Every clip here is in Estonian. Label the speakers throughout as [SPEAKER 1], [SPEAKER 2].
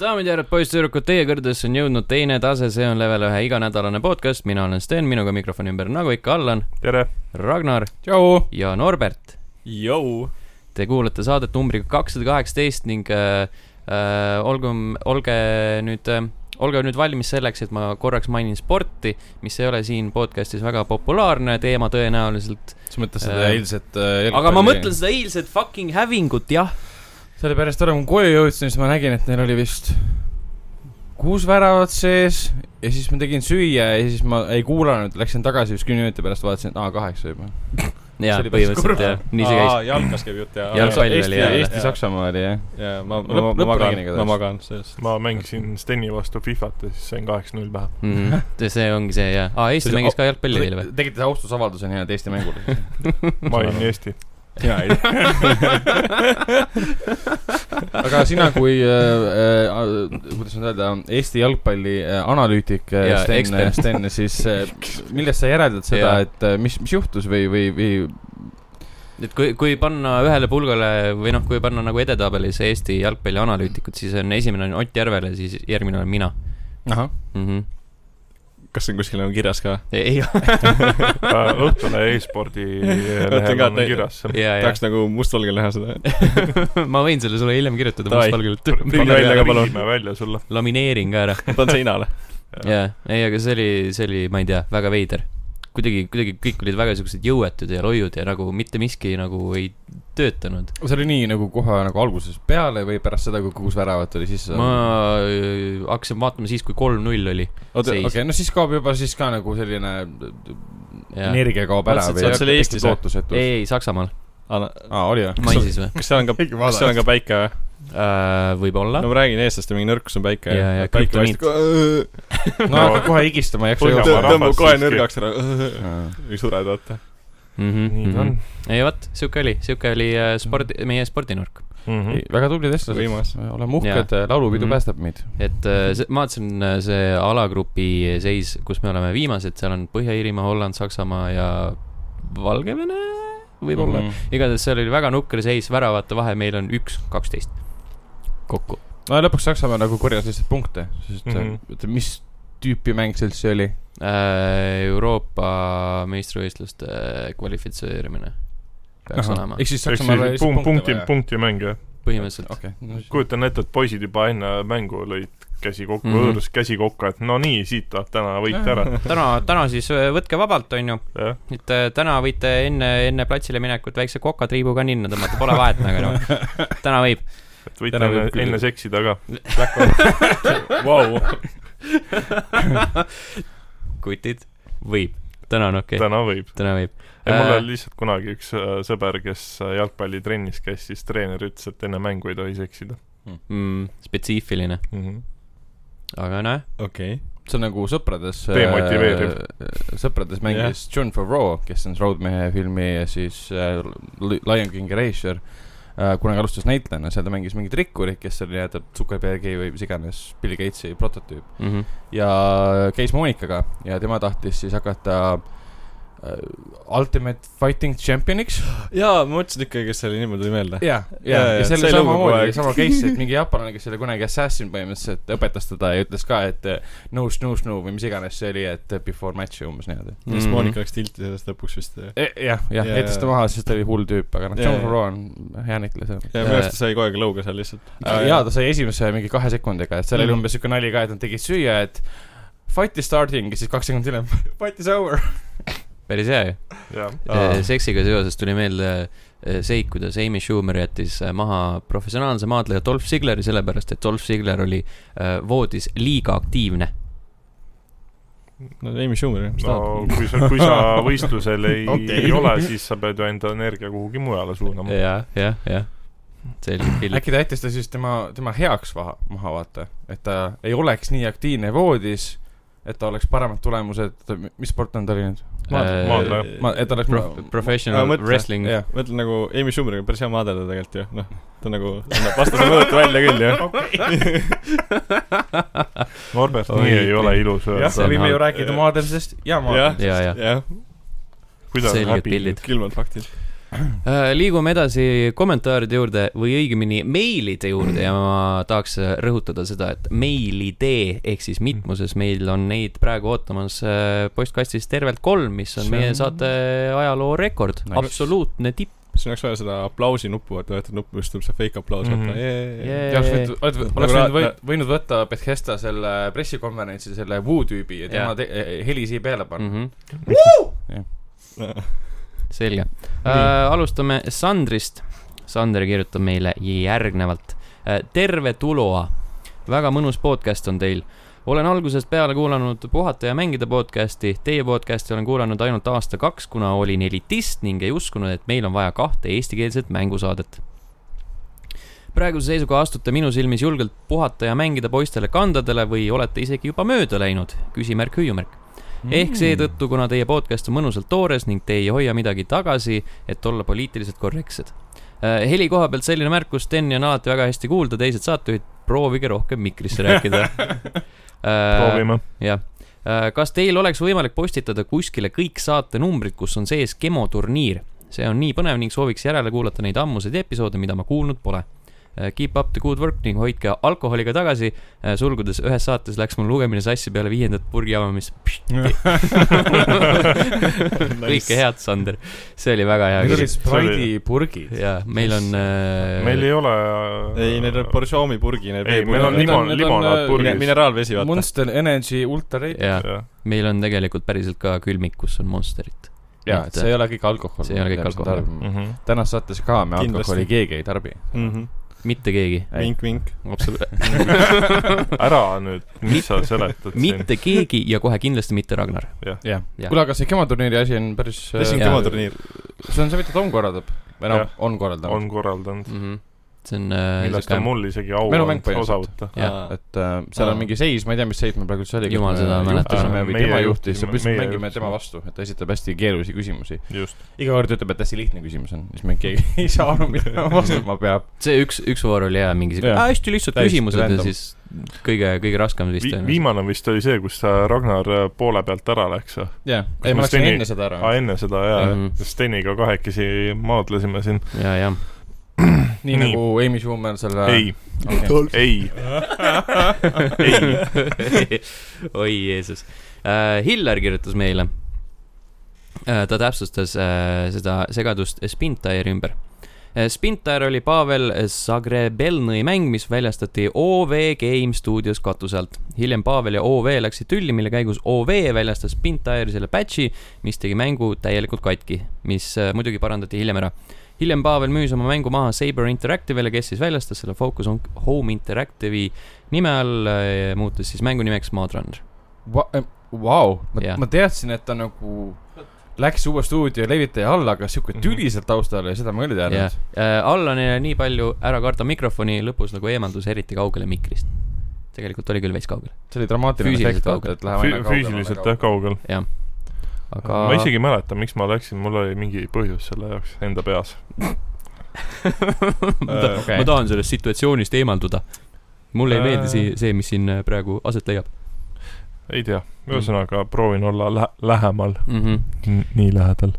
[SPEAKER 1] daamid ja härrad , poisssüdrukud , teie kõrgedesse on jõudnud teine tase , see on level ühe iganädalane podcast , mina olen Sten , minuga mikrofoni ümber , nagu ikka , Allan ,
[SPEAKER 2] tere .
[SPEAKER 1] Ragnar
[SPEAKER 2] tšau .
[SPEAKER 1] ja Norbert .
[SPEAKER 2] Jou .
[SPEAKER 1] Te kuulate saadet numbriga kakssada kaheksateist ning äh, äh, olgu , olge nüüd äh, , olge nüüd valmis selleks , et ma korraks mainin sporti , mis ei ole siin podcastis väga populaarne teema tõenäoliselt ,
[SPEAKER 3] sa mõtled
[SPEAKER 1] Äh,
[SPEAKER 3] seda eilset äh,
[SPEAKER 1] aga ma
[SPEAKER 3] jalgpalli-
[SPEAKER 1] mõtlen seda eilset fucking hävingut , jah .
[SPEAKER 2] sellepärast ära , kui ma koju jõudsin , siis ma nägin , et neil oli vist kuus väravat sees ja siis ma tegin süüa ja siis ma ei kuulanud , läksin tagasi just kümne minuti pärast , vaatasin , et aa , kaheksa juba .
[SPEAKER 1] jaa ,
[SPEAKER 2] See oli päris
[SPEAKER 1] põhimõtteliselt
[SPEAKER 2] kurb.
[SPEAKER 1] jah , nii see käis .
[SPEAKER 3] jalkas käib jutt ja .
[SPEAKER 1] Jalgpall oli,
[SPEAKER 2] Eesti ,
[SPEAKER 1] jah.
[SPEAKER 2] Eesti-Saksamaa oli jah .
[SPEAKER 3] jaa , ma ,
[SPEAKER 2] Lõpp-
[SPEAKER 3] ma , ma
[SPEAKER 2] lõppu
[SPEAKER 3] magan
[SPEAKER 2] nägin , igatahes.
[SPEAKER 3] ma magan sellest .
[SPEAKER 4] ma mängisin Steni vastu Fifat ja siis sain kaheksa-null pähe .
[SPEAKER 1] Mhm. see ongi see jah , aa , Eesti
[SPEAKER 2] See oli-
[SPEAKER 1] mängis ka jalgpalli eile või ?
[SPEAKER 2] tegite austusavalduse nii-öelda Eesti mängule .
[SPEAKER 4] ma olin Eesti .
[SPEAKER 3] mina ei .
[SPEAKER 2] aga sina kui äh, , äh, kuidas nüüd öelda , Eesti jalgpalli äh, analüütik äh,
[SPEAKER 1] Jaa,
[SPEAKER 2] Sten
[SPEAKER 1] ekspert. ,
[SPEAKER 2] Sten , siis äh, millest sa järeldad seda
[SPEAKER 1] Jaa. ,
[SPEAKER 2] et äh, mis , mis juhtus või , või , või
[SPEAKER 1] et kui , kui panna ühele pulgale või noh , kui panna nagu edetabelis Eesti jalgpallianalüütikud , siis on esimene on Ott Järvele , siis järgmine olen mina
[SPEAKER 2] ahah ,
[SPEAKER 1] mm . -hmm.
[SPEAKER 3] kas see on kuskil nagu kirjas ka ?
[SPEAKER 1] ei ,
[SPEAKER 4] Õhtulehe Äh, e-spordi lehel
[SPEAKER 3] ka,
[SPEAKER 4] on
[SPEAKER 3] et-
[SPEAKER 4] kirjas see .
[SPEAKER 1] ja , ja
[SPEAKER 3] tahaks nagu mustvalgel näha seda .
[SPEAKER 1] ma võin selle sulle hiljem kirjutada
[SPEAKER 3] Davai.
[SPEAKER 1] mustvalgelt ,
[SPEAKER 3] Prillid välja ka palun.
[SPEAKER 4] viime välja sulle .
[SPEAKER 1] lamineerin ka ära .
[SPEAKER 3] panen seinale .
[SPEAKER 1] jaa , ei , aga see oli , see oli , ma ei tea , väga veider . kuidagi , kuidagi kõik olid väga siuksed jõuetud ja loiud ja nagu mitte miski nagu ei töötanud .
[SPEAKER 2] see oli nii nagu kohe nagu alguses peale või pärast seda , kui kuus väravat oli sisse ?
[SPEAKER 1] ma öö, hakkasin vaatama siis , kui kolm-null oli .
[SPEAKER 3] oota ,
[SPEAKER 1] Seis.
[SPEAKER 2] okei okay, , no siis kaob juba siis ka nagu selline
[SPEAKER 1] Jaa.
[SPEAKER 2] energia kaob ära
[SPEAKER 3] Mõtlesin, et
[SPEAKER 2] või
[SPEAKER 3] see- see oli Eestis, jah?
[SPEAKER 2] lootusetus .
[SPEAKER 1] ei , ei , Saksamaal ,
[SPEAKER 2] aa , oli või ?
[SPEAKER 1] maisis või ?
[SPEAKER 3] kas seal on ka , kas seal on ka päike või ?
[SPEAKER 1] võib-olla
[SPEAKER 2] Noh.
[SPEAKER 3] no . ma räägin eestlaste mingi nõrkus on päike .
[SPEAKER 1] Jaa, jaa,
[SPEAKER 3] päike
[SPEAKER 1] krüptoniit.
[SPEAKER 3] vastu-
[SPEAKER 2] no
[SPEAKER 4] No.
[SPEAKER 2] aga kohe higistama ei jaksa
[SPEAKER 4] Põhja-
[SPEAKER 2] jõuda .
[SPEAKER 3] tõmbab
[SPEAKER 4] rahvas
[SPEAKER 3] kohe
[SPEAKER 4] siiski.
[SPEAKER 3] nõrgaks ära .
[SPEAKER 2] Mhm.
[SPEAKER 3] või sured , vaata .
[SPEAKER 1] Mhm.
[SPEAKER 4] nii ta on .
[SPEAKER 1] ei vot , siuke oli , siuke oli äh, spordi , meie spordinurk .
[SPEAKER 4] Mhm.
[SPEAKER 2] väga tublid eestlased
[SPEAKER 3] Võimas. ,
[SPEAKER 2] oleme uhked , laulupidu
[SPEAKER 1] Mhm.
[SPEAKER 2] päästab meid .
[SPEAKER 1] et äh, see- ma vaatasin äh, see alagrupi seis , kus me oleme viimased , seal on Põhja-Iirimaa , Holland , Saksamaa ja Valgevene võib-olla mm .
[SPEAKER 2] Mhm.
[SPEAKER 1] -hmm. igatahes seal oli väga nukker seis , väravate vahe meil on üks , kaksteist kokku .
[SPEAKER 2] no ja lõpuks Saksamaa nagu korjas lihtsalt punkte , sest
[SPEAKER 4] Mhm.
[SPEAKER 2] oota , mis tüüpi mäng see üldse oli ?
[SPEAKER 1] Äh, Euroopa meistrivõistluste kvalifitseerimine peaks Aha. olema ,
[SPEAKER 2] ehk siis
[SPEAKER 4] ehk
[SPEAKER 2] Saksamaal oli
[SPEAKER 4] siis punkt ,
[SPEAKER 2] lihtsalt
[SPEAKER 4] punkti
[SPEAKER 2] punkte , vaja .
[SPEAKER 4] punkti mäng jah .
[SPEAKER 1] põhimõtteliselt .
[SPEAKER 2] okei ,
[SPEAKER 4] kujutan ette , et poisid juba enne mängu lõid käsi kokku mm ,
[SPEAKER 1] Mhm.
[SPEAKER 4] -hmm. hõõrus käsi kokku , et no nii , siit tahab täna võit ära .
[SPEAKER 1] täna , täna siis äh, võtke vabalt , onju .
[SPEAKER 4] jah ,
[SPEAKER 1] et äh, täna võite enne , enne platsile minekut väikse kokatriibuga ninna tõmmata , pole vahet nagu noh . täna võib .
[SPEAKER 4] et võite
[SPEAKER 2] Täna võib
[SPEAKER 4] enne,
[SPEAKER 2] küll.
[SPEAKER 4] enne seksida ka .
[SPEAKER 3] Vau .
[SPEAKER 1] kutid , võib . täna on okei okay. ,
[SPEAKER 4] täna võib .
[SPEAKER 1] täna võib .
[SPEAKER 4] ja mul
[SPEAKER 1] Äh.
[SPEAKER 4] oli lihtsalt kunagi üks äh, sõber , kes äh, jalgpallitrennis käis , siis treener ütles , et enne mängu ei tohi seksida
[SPEAKER 1] Mm, spetsiifiline ,
[SPEAKER 4] mm . -hmm.
[SPEAKER 1] aga noh, nojah ,
[SPEAKER 3] okei .
[SPEAKER 2] see on nagu sõprades .
[SPEAKER 4] Demotiveeriv. .
[SPEAKER 2] sõprades mängis yeah. John Favreau , kes on Roadmehe filmi ja siis äh, Li- Lion King Erasure äh, kunagi alustas näitlejana , seal ta mängis mingit rikkurit , kes oli nii-öelda Zuckerbergi või mis iganes Bill Gatesi prototüüp .
[SPEAKER 1] mhm.
[SPEAKER 2] ja käis Monikaga ja tema tahtis siis hakata äh, Ultimate Fighting Championiks .
[SPEAKER 3] jaa , ma mõtlesin ikka , kes selle nimi tuli meelde .
[SPEAKER 2] ja , ja
[SPEAKER 3] Jaa, , jaa,
[SPEAKER 2] ja
[SPEAKER 3] see
[SPEAKER 2] selle
[SPEAKER 3] lugu kogu
[SPEAKER 2] samamoodi
[SPEAKER 3] aeg.
[SPEAKER 2] oli sama case , et mingi jaapanlane , kes oli kunagi assassin põhimõtteliselt , õpetas teda ja ütles ka , et äh, no snoo snoo või mis iganes see oli , et äh, before match'i umbes niimoodi .
[SPEAKER 3] siis Monika läks tilti sellest lõpuks vist . ja
[SPEAKER 2] jah , jah
[SPEAKER 3] Jaa,
[SPEAKER 2] yeah, , heitis ta
[SPEAKER 3] jaa.
[SPEAKER 2] maha , sest ta oli hull tüüp , aga noh ,
[SPEAKER 3] Jaa,
[SPEAKER 2] John
[SPEAKER 3] jaa.
[SPEAKER 2] Favreau on hea näitleja seal .
[SPEAKER 3] minu arust ta sai kogu aeg lõuga seal lihtsalt .
[SPEAKER 2] jaa , ta sai esimese mingi kahe sekundiga , et seal oli
[SPEAKER 3] Mhm.
[SPEAKER 2] umbes siuke nali ka , et nad tegid süüa , et fight is starting ja siis kaks sekundit hiljem fight is over .
[SPEAKER 1] päris hea ju .
[SPEAKER 4] jah ,
[SPEAKER 3] Aa.
[SPEAKER 1] seksiga seoses tuli meelde eh, seik , kuidas Amy Schumer jättis eh, maha professionaalse maadleja Dolph Sigleri sellepärast , et Dolph Sigler oli eh, voodis liiga aktiivne .
[SPEAKER 3] no Amy Schumer , mis ta
[SPEAKER 4] no
[SPEAKER 3] tahab .
[SPEAKER 4] kui sa , kui sa võistlusel ei
[SPEAKER 3] Okei.
[SPEAKER 4] okay. ole , siis sa pead ju enda energia kuhugi mujale suunama .
[SPEAKER 1] jah , jah , jah . selge , pilt .
[SPEAKER 2] äkki ta jättis ta siis tema , tema heaks maha , maha vaata , et ta ei oleks nii aktiivne voodis , et ta oleks paremad tulemused , mis sport on tal nüüd ?
[SPEAKER 4] maadleja- maadleja.
[SPEAKER 2] ma , et ta oleks
[SPEAKER 1] Prof- ,
[SPEAKER 3] Aa,
[SPEAKER 1] Äh, professional
[SPEAKER 3] mõtle.
[SPEAKER 1] wrestling .
[SPEAKER 2] Äh, jah ,
[SPEAKER 3] mõtlen nagu Amy Schumeriga on päris hea maadelda tegelikult ju , noh , ta nagu annab vastase mõõtu välja küll ju .
[SPEAKER 4] Norbert ,
[SPEAKER 1] Oi,
[SPEAKER 4] nii ei ole ilus
[SPEAKER 2] jah ,
[SPEAKER 4] öelda .
[SPEAKER 1] see on
[SPEAKER 2] võime
[SPEAKER 1] halb.
[SPEAKER 2] ju rääkida maadeldusest ja
[SPEAKER 3] jah
[SPEAKER 2] maadeldusest ,.
[SPEAKER 1] ja , ja .
[SPEAKER 3] jah ,
[SPEAKER 4] kuidas on
[SPEAKER 1] selged
[SPEAKER 4] häbi
[SPEAKER 1] pildid. ?
[SPEAKER 3] külmad faktid .
[SPEAKER 1] Äh, liigume edasi kommentaaride juurde või õigemini meilide juurde ja ma tahaks rõhutada seda , et meilidee ehk siis mitmuses meil on neid praegu ootamas äh, postkastis tervelt kolm , mis on
[SPEAKER 2] See
[SPEAKER 1] meie
[SPEAKER 2] on-
[SPEAKER 1] saate ajaloo rekord
[SPEAKER 2] Nice.
[SPEAKER 1] nice. , absoluutne tipp .
[SPEAKER 3] siin oleks vaja seda aplausi nuppu , vaata , vaata nupp , just tuleb see fake aplaus ,
[SPEAKER 4] Mhm.
[SPEAKER 3] vaata .
[SPEAKER 2] oleks võinud , oleks
[SPEAKER 3] Nagu
[SPEAKER 2] võinud
[SPEAKER 3] ra-
[SPEAKER 2] võ- võinud võtta Bethesda selle pressikonverentsi selle Woo tüübi ja tema
[SPEAKER 1] Jah.
[SPEAKER 2] te- eh, heli siia peale panna . Jah.
[SPEAKER 1] Mhm. selge äh, , alustame Sandrist . Sander kirjutab meile järgnevalt äh, . terve Tuloa , väga mõnus podcast on teil olen algusest peale kuulanud Puhata ja mängida podcasti , teie podcasti olen kuulanud ainult aasta-kaks , kuna olin elitist ning ei uskunud , et meil on vaja kahte eestikeelset mängusaadet . praeguse seisuga astute minu silmis julgelt puhata ja mängida poistele kandadele või olete isegi juba mööda läinud , küsimärk , hüüumärk . ehk seetõttu , kuna teie podcast on mõnusalt toores ning te ei hoia midagi tagasi , et olla poliitiliselt korrektsed . heli koha pealt selline märkus , Steni on alati väga hästi kuulda , teised saatejuhid , proovige rohkem mikrisse rääkida . Äh,
[SPEAKER 4] proovime .
[SPEAKER 1] jah , Äh, kas teil oleks võimalik postitada kuskile kõik saatenumbrid , kus on sees gemoturniir ? see on nii põnev ning sooviks järele kuulata neid ammuseid episoode , mida ma kuulnud pole . Keep up the good work ning hoidke alkoholiga tagasi . sulgudes ühes saates läks mul lugemine sassi peale viiendat purgi avamist . Mm. kõike head , Sander . see oli väga
[SPEAKER 2] Need
[SPEAKER 1] hea
[SPEAKER 2] olid
[SPEAKER 1] küll .
[SPEAKER 2] Sprite'i purgid .
[SPEAKER 1] ja meil on äh,
[SPEAKER 4] meil ei ole .
[SPEAKER 3] ei , need on . Borjomi purgi , need
[SPEAKER 4] ei , meil on
[SPEAKER 2] Need on-
[SPEAKER 4] limon ,
[SPEAKER 2] need on, äh,
[SPEAKER 4] limonaadpurgis .
[SPEAKER 3] mineraalvesi , vaata .
[SPEAKER 2] Monster Energy Ultra Red .
[SPEAKER 1] ja meil on tegelikult päriselt ka külmik , kus on Monsterit .
[SPEAKER 2] jaa , et see ei ole kõik alkohol .
[SPEAKER 1] See ei ole kõik alkohol. . Mhm.
[SPEAKER 2] tänases saates ka me
[SPEAKER 3] Kindlasti.
[SPEAKER 2] alkoholi keegi ei tarbi .
[SPEAKER 3] Mhm.
[SPEAKER 1] mitte keegi .
[SPEAKER 3] vink-vink .
[SPEAKER 4] ära nüüd , mis sa seletad siin ?
[SPEAKER 1] mitte keegi ja kohe kindlasti mitte Ragnar .
[SPEAKER 2] jah
[SPEAKER 1] Jah. ,
[SPEAKER 2] kuule , aga see kematurniiri asi on päris .
[SPEAKER 3] tõsi ,
[SPEAKER 1] Jaa.
[SPEAKER 3] kemoturniir .
[SPEAKER 2] see on see , mida Tom korraldab . või noh
[SPEAKER 4] Jah. ,
[SPEAKER 2] on korraldanud .
[SPEAKER 4] on korraldanud ,
[SPEAKER 1] mm . -hmm. see on äh,
[SPEAKER 4] millest on
[SPEAKER 1] siuke ,
[SPEAKER 4] mul isegi au
[SPEAKER 2] Meil on mäng
[SPEAKER 4] olnud osa
[SPEAKER 2] põhimõtteliselt.
[SPEAKER 4] võtta .
[SPEAKER 1] jah ,
[SPEAKER 2] et äh, seal on mingi seis , ma ei tea , mis seis meil praegu üldse oli .
[SPEAKER 1] Jumal seda mäletab.
[SPEAKER 2] või
[SPEAKER 4] Meie
[SPEAKER 2] tema juhtis ,
[SPEAKER 4] juhtisime-
[SPEAKER 2] me lihtsalt
[SPEAKER 4] meie
[SPEAKER 2] mängime
[SPEAKER 4] juhtisime.
[SPEAKER 2] tema vastu , et ta esitab hästi keerulisi küsimusi .
[SPEAKER 4] just ,
[SPEAKER 2] iga kord ütleb , et hästi lihtne küsimus on , siis me keegi ei saa aru , mida vastama peab .
[SPEAKER 1] see üks , üks voor oli hea , mingi siuke
[SPEAKER 2] Jah.
[SPEAKER 1] "Aa, hästi lihtsad
[SPEAKER 2] Täiesti
[SPEAKER 1] küsimused ja
[SPEAKER 2] random.
[SPEAKER 1] siis kõige , kõige raskem vist on .
[SPEAKER 4] viimane vist oli see , kus äh, Ragnar äh, poole pealt ära läks või ?
[SPEAKER 2] jah ,
[SPEAKER 4] Kas
[SPEAKER 2] ei
[SPEAKER 4] me
[SPEAKER 2] ma läksin
[SPEAKER 4] Steni-
[SPEAKER 2] enne seda ära
[SPEAKER 4] aa ,. enne seda jaa
[SPEAKER 1] Mhm. ,
[SPEAKER 4] Steniga kahekesi maadlesime siin .
[SPEAKER 1] ja , ja ,
[SPEAKER 4] nii.
[SPEAKER 2] nii nagu Amy Schumer selle .
[SPEAKER 4] ei ,
[SPEAKER 2] okay. .
[SPEAKER 4] ei ,
[SPEAKER 1] oi Jeesus äh, . Hillar kirjutas meile äh, . ta täpsustas äh, seda segadust Spintire ümber . Spintire oli Pavel Zagrebelnõi mäng , mis väljastati OV Game Studios katuse alt . hiljem Pavel ja OV läksid tülli , mille käigus OV väljastas Spintire selle patch'i , mis tegi mängu täielikult katki , mis äh, muidugi parandati hiljem ära . hiljem Pavel müüs oma mängu maha Saber Interactive'ile , kes siis väljastas selle Focus on Home Interactive'i nime all äh, muutus siis mängu nimeks Madrunner .
[SPEAKER 2] Vau ,
[SPEAKER 1] Jah.
[SPEAKER 2] ma teadsin , et ta nagu läks uue stuudio levitaja alla , aga sihuke
[SPEAKER 4] Mhm.
[SPEAKER 2] tüli seal taustal ja seda ma küll ei
[SPEAKER 1] jah
[SPEAKER 2] teadnud .,
[SPEAKER 1] Eh, Allanile nii palju ära karta mikrofoni , lõpus nagu eemaldus eriti kaugele mikrist . tegelikult oli küll veits kaugel ,
[SPEAKER 2] see oli dramaatiline
[SPEAKER 1] Füüsiliselt
[SPEAKER 2] efekt ,
[SPEAKER 1] kaugel.
[SPEAKER 2] et läheb aina kaugemale .
[SPEAKER 4] füüsiliselt jah , kaugel .
[SPEAKER 1] aga .
[SPEAKER 4] ma isegi ei mäleta , miks ma läksin , mul oli mingi põhjus selle jaoks enda peas . Äh.
[SPEAKER 1] ma, ta,
[SPEAKER 2] okei.
[SPEAKER 1] okay. ma tahan sellest situatsioonist eemalduda . mulle ei
[SPEAKER 4] Äh.
[SPEAKER 1] meeldi see , see , mis siin äh, praegu aset leiab
[SPEAKER 4] ei tea , ühesõnaga proovin olla lä- , lähemal ,
[SPEAKER 1] mm . -hmm.
[SPEAKER 4] nii lähedal .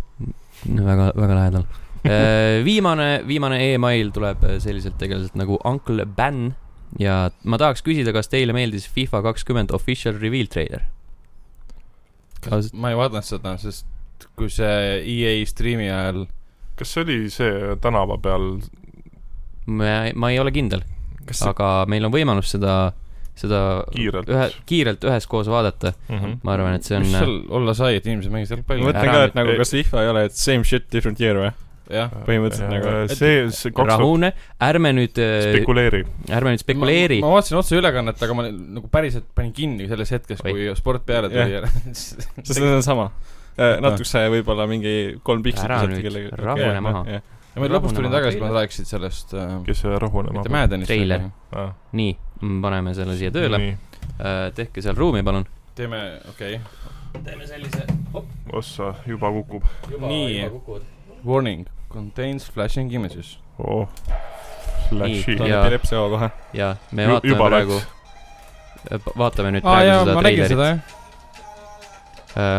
[SPEAKER 1] väga , väga lähedal Äh, viimane , viimane email tuleb äh, selliselt tegelaselt nagu Uncle Ben ja ma tahaks küsida , kas teile meeldis FIFA kakskümmend official reveal trailer ? Kas-
[SPEAKER 2] ma ei vaadanud seda , sest kui see EA striimi ajal ,
[SPEAKER 4] kas see oli see tänava peal ,
[SPEAKER 1] ma , ma ei ole kindel ,
[SPEAKER 2] kas see ,
[SPEAKER 1] aga meil on võimalus seda , seda
[SPEAKER 4] Kiirelt.
[SPEAKER 1] ühe , kiirelt üheskoos vaadata .
[SPEAKER 4] Mhm.
[SPEAKER 1] ma arvan , et see
[SPEAKER 2] Hmm? mis seal
[SPEAKER 1] on , äh,
[SPEAKER 2] olla sai , et inimesed mängisid
[SPEAKER 3] ma
[SPEAKER 2] jalgpalli ?
[SPEAKER 1] Mõtle-
[SPEAKER 3] mõtlen ka ,
[SPEAKER 1] Ära nüüd-
[SPEAKER 3] et nagu
[SPEAKER 4] ei-
[SPEAKER 3] kas IFA ei ole , et same shit different year või ?
[SPEAKER 2] jah ,
[SPEAKER 3] põhimõtteliselt nagu .
[SPEAKER 4] Äh, see , see kaks tuhat ,
[SPEAKER 1] rahune , ärme nüüd ,
[SPEAKER 4] spekuleeri .
[SPEAKER 1] ärme nüüd spekuleeri
[SPEAKER 2] ma . ma vaatasin otseülekannet , aga ma nagu päriselt panin kinni selles hetkes ,
[SPEAKER 1] Oi.
[SPEAKER 2] kui sport peale tuli ja
[SPEAKER 3] sest see on sama . natukese võib-olla mingi kolm pikslit
[SPEAKER 1] Ära nüüd, rahune maha. .
[SPEAKER 2] ja ma lõpus tulin
[SPEAKER 1] Rahunema
[SPEAKER 2] tagasi , kui nad
[SPEAKER 1] teile.
[SPEAKER 2] rääkisid sellest äh,
[SPEAKER 4] kes see rahunema
[SPEAKER 2] mitte ? Maddenist ,
[SPEAKER 1] Treiler. nii , paneme selle siia tööle , tehke seal ruumi , palun .
[SPEAKER 2] teeme , okei okay. ,
[SPEAKER 1] teeme sellise ,
[SPEAKER 4] ossa , juba kukub .
[SPEAKER 2] Nii. juba warning , contains flashing images .
[SPEAKER 4] oh ,
[SPEAKER 1] Nii,
[SPEAKER 4] läks siia .
[SPEAKER 1] Jaa.
[SPEAKER 3] tuleb epilepsia kohe .
[SPEAKER 1] ja me
[SPEAKER 4] Ju-
[SPEAKER 1] vaatame
[SPEAKER 4] juba
[SPEAKER 1] Eh, praegu , vaatame nüüd praegu seda treilerit .
[SPEAKER 2] jah .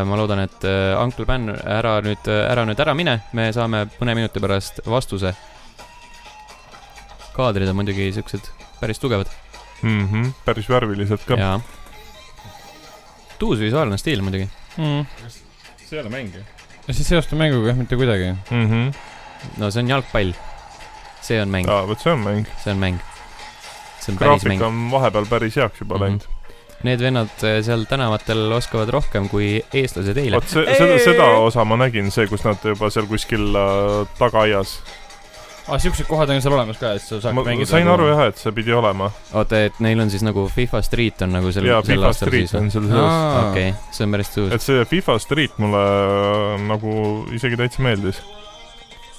[SPEAKER 1] ma loodan , et äh, Uncle Ben ära nüüd , ära nüüd ära mine , me saame mõne minuti pärast vastuse . kaadrid on muidugi siuksed päris tugevad
[SPEAKER 4] mm . -hmm. päris värvilised ka .
[SPEAKER 1] ja tuus visuaalne stiil muidugi .
[SPEAKER 2] mm. .
[SPEAKER 3] see ei ole mäng ju .
[SPEAKER 2] see ei seostu mänguga jah , mitte kuidagi .
[SPEAKER 4] Mm -hmm.
[SPEAKER 1] no see on jalgpall . see on mäng ,
[SPEAKER 4] aa , vot see on mäng .
[SPEAKER 1] see on mäng . see on päris mäng
[SPEAKER 4] graafik . on vahepeal päris heaks juba
[SPEAKER 1] Mhm.
[SPEAKER 4] läinud .
[SPEAKER 1] Need vennad eh, seal tänavatel oskavad rohkem kui eestlased eile .
[SPEAKER 4] vot see , seda , seda osa ma nägin , see , kus nad juba seal kuskil äh, tagaaias .
[SPEAKER 2] aa , siuksed kohad on seal olemas ka , et sa saad
[SPEAKER 4] ma
[SPEAKER 2] mängida . nagu
[SPEAKER 4] sain aru . jah , et see pidi olema .
[SPEAKER 1] oota , et neil on siis nagu FIFA Street on nagu sel ,
[SPEAKER 4] jaa ,
[SPEAKER 1] sel
[SPEAKER 4] FIFA
[SPEAKER 1] aastal siis
[SPEAKER 4] Street
[SPEAKER 1] või ?
[SPEAKER 4] on seal sees .
[SPEAKER 1] okei , see on päris tõus .
[SPEAKER 4] et see FIFA Street mulle äh, nagu isegi täitsa meeldis .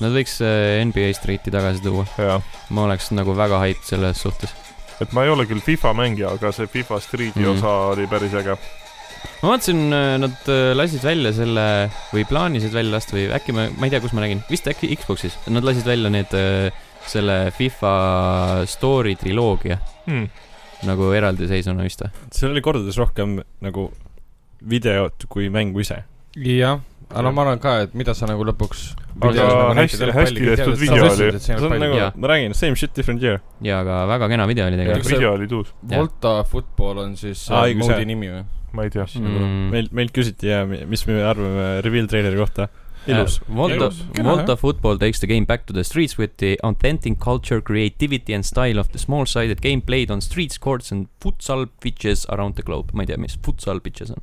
[SPEAKER 1] Nad võiks eh, NBA Streeti tagasi tuua .
[SPEAKER 4] jaa .
[SPEAKER 1] ma oleks nagu väga hype selles suhtes .
[SPEAKER 4] et ma ei ole küll FIFA mängija , aga see FIFA Streeti
[SPEAKER 1] Mhm.
[SPEAKER 4] mm. osa oli päris äge .
[SPEAKER 1] ma vaatasin , nad eh, lasid välja selle või plaanisid välja lasta või äkki ma , ma ei tea , kus ma nägin , vist äkki Xbox'is , nad lasid välja need , selle FIFA story triloogia
[SPEAKER 4] Mm.
[SPEAKER 1] nagu eraldiseisvana vist või ?
[SPEAKER 3] seal oli kordades rohkem nagu videot kui mängu ise .
[SPEAKER 2] jah , aga no ma arvan ka , et mida sa nagu lõpuks . nagu
[SPEAKER 4] Aga hästi- hästi tehtud video oli.
[SPEAKER 3] see on nagu
[SPEAKER 1] Jaa. ,
[SPEAKER 3] ma räägin , same shit , different year .
[SPEAKER 1] jaa , aga väga kena video oli
[SPEAKER 2] Ja
[SPEAKER 1] tegelikult .
[SPEAKER 2] kas see-
[SPEAKER 4] video oli tuus ,
[SPEAKER 1] jah.
[SPEAKER 2] Volta Football on siis
[SPEAKER 3] Aa,
[SPEAKER 2] äh,
[SPEAKER 3] õige, see-
[SPEAKER 2] moodi nimi või ?
[SPEAKER 4] ma ei tea .
[SPEAKER 1] Mm.
[SPEAKER 3] meil , meilt küsiti ja mi- mis me arvame reveal treileri kohta . ilus .
[SPEAKER 1] Äh, Volta
[SPEAKER 2] Ilus. , Kena,
[SPEAKER 1] Volta
[SPEAKER 2] jah.
[SPEAKER 1] Football takes the game back to the streets with the authentic culture, creativity and style of the small-sided game played on streets, courts and futsal pitches around the globe . ma ei tea , mis futsal pitches on .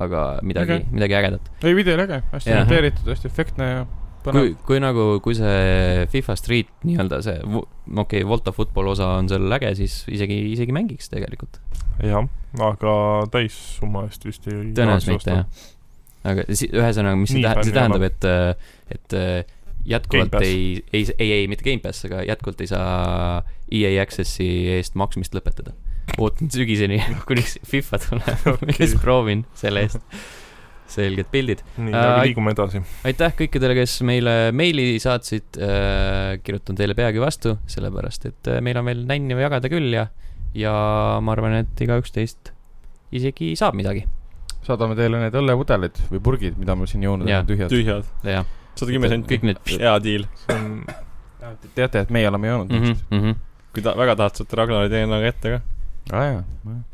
[SPEAKER 1] aga midagi
[SPEAKER 2] Okei.
[SPEAKER 1] okay. , midagi ägedat .
[SPEAKER 2] ei , video oli äge , hästi
[SPEAKER 1] Jah.
[SPEAKER 2] monteeritud , hästi efektne ja
[SPEAKER 1] kui
[SPEAKER 2] põnev .,
[SPEAKER 1] kui nagu , kui see FIFA Street nii-öelda see , okei okay, , Volta Football osa on seal äge , siis isegi , isegi mängiks tegelikult .
[SPEAKER 4] jah , aga täissumma eest vist ei .
[SPEAKER 1] tõenäoliselt mitte , jah . aga si- , ühesõnaga , mis see
[SPEAKER 4] Nii
[SPEAKER 1] tähendab , see
[SPEAKER 4] fänn
[SPEAKER 1] tähendab , et , et äh, jätkuvalt
[SPEAKER 4] Gamepass.
[SPEAKER 1] ei , ei , ei , ei , mitte Gamepass , aga jätkuvalt ei saa EA Access'i eest maksmist lõpetada . ootan sügiseni , kuniks FIFA tuleb okay. , siis proovin selle eest . selged pildid .
[SPEAKER 4] nii ,
[SPEAKER 1] Äh,
[SPEAKER 4] aga
[SPEAKER 1] ai-
[SPEAKER 4] liigume edasi .
[SPEAKER 1] aitäh kõikidele , kes meile meili saatsid äh, . kirjutan teile peagi vastu , sellepärast et äh, meil on veel nänni jagada küll ja , ja ma arvan , et igaüks teist isegi saab midagi .
[SPEAKER 2] saadame teile need õllepudelid või purgid , mida me siin joonud
[SPEAKER 1] Jaa.
[SPEAKER 2] oleme , tühjad .
[SPEAKER 3] tühjad .
[SPEAKER 1] jah ,
[SPEAKER 3] sada kümme senti
[SPEAKER 1] kõik . need
[SPEAKER 3] hea diil .
[SPEAKER 4] see on ,
[SPEAKER 2] teate , et meie oleme joonud
[SPEAKER 1] mm .
[SPEAKER 2] mm .
[SPEAKER 1] -hmm.
[SPEAKER 3] kui ta väga tahad , saate Ragnari DNA-ga ette ka .
[SPEAKER 2] -hmm. aa jaa .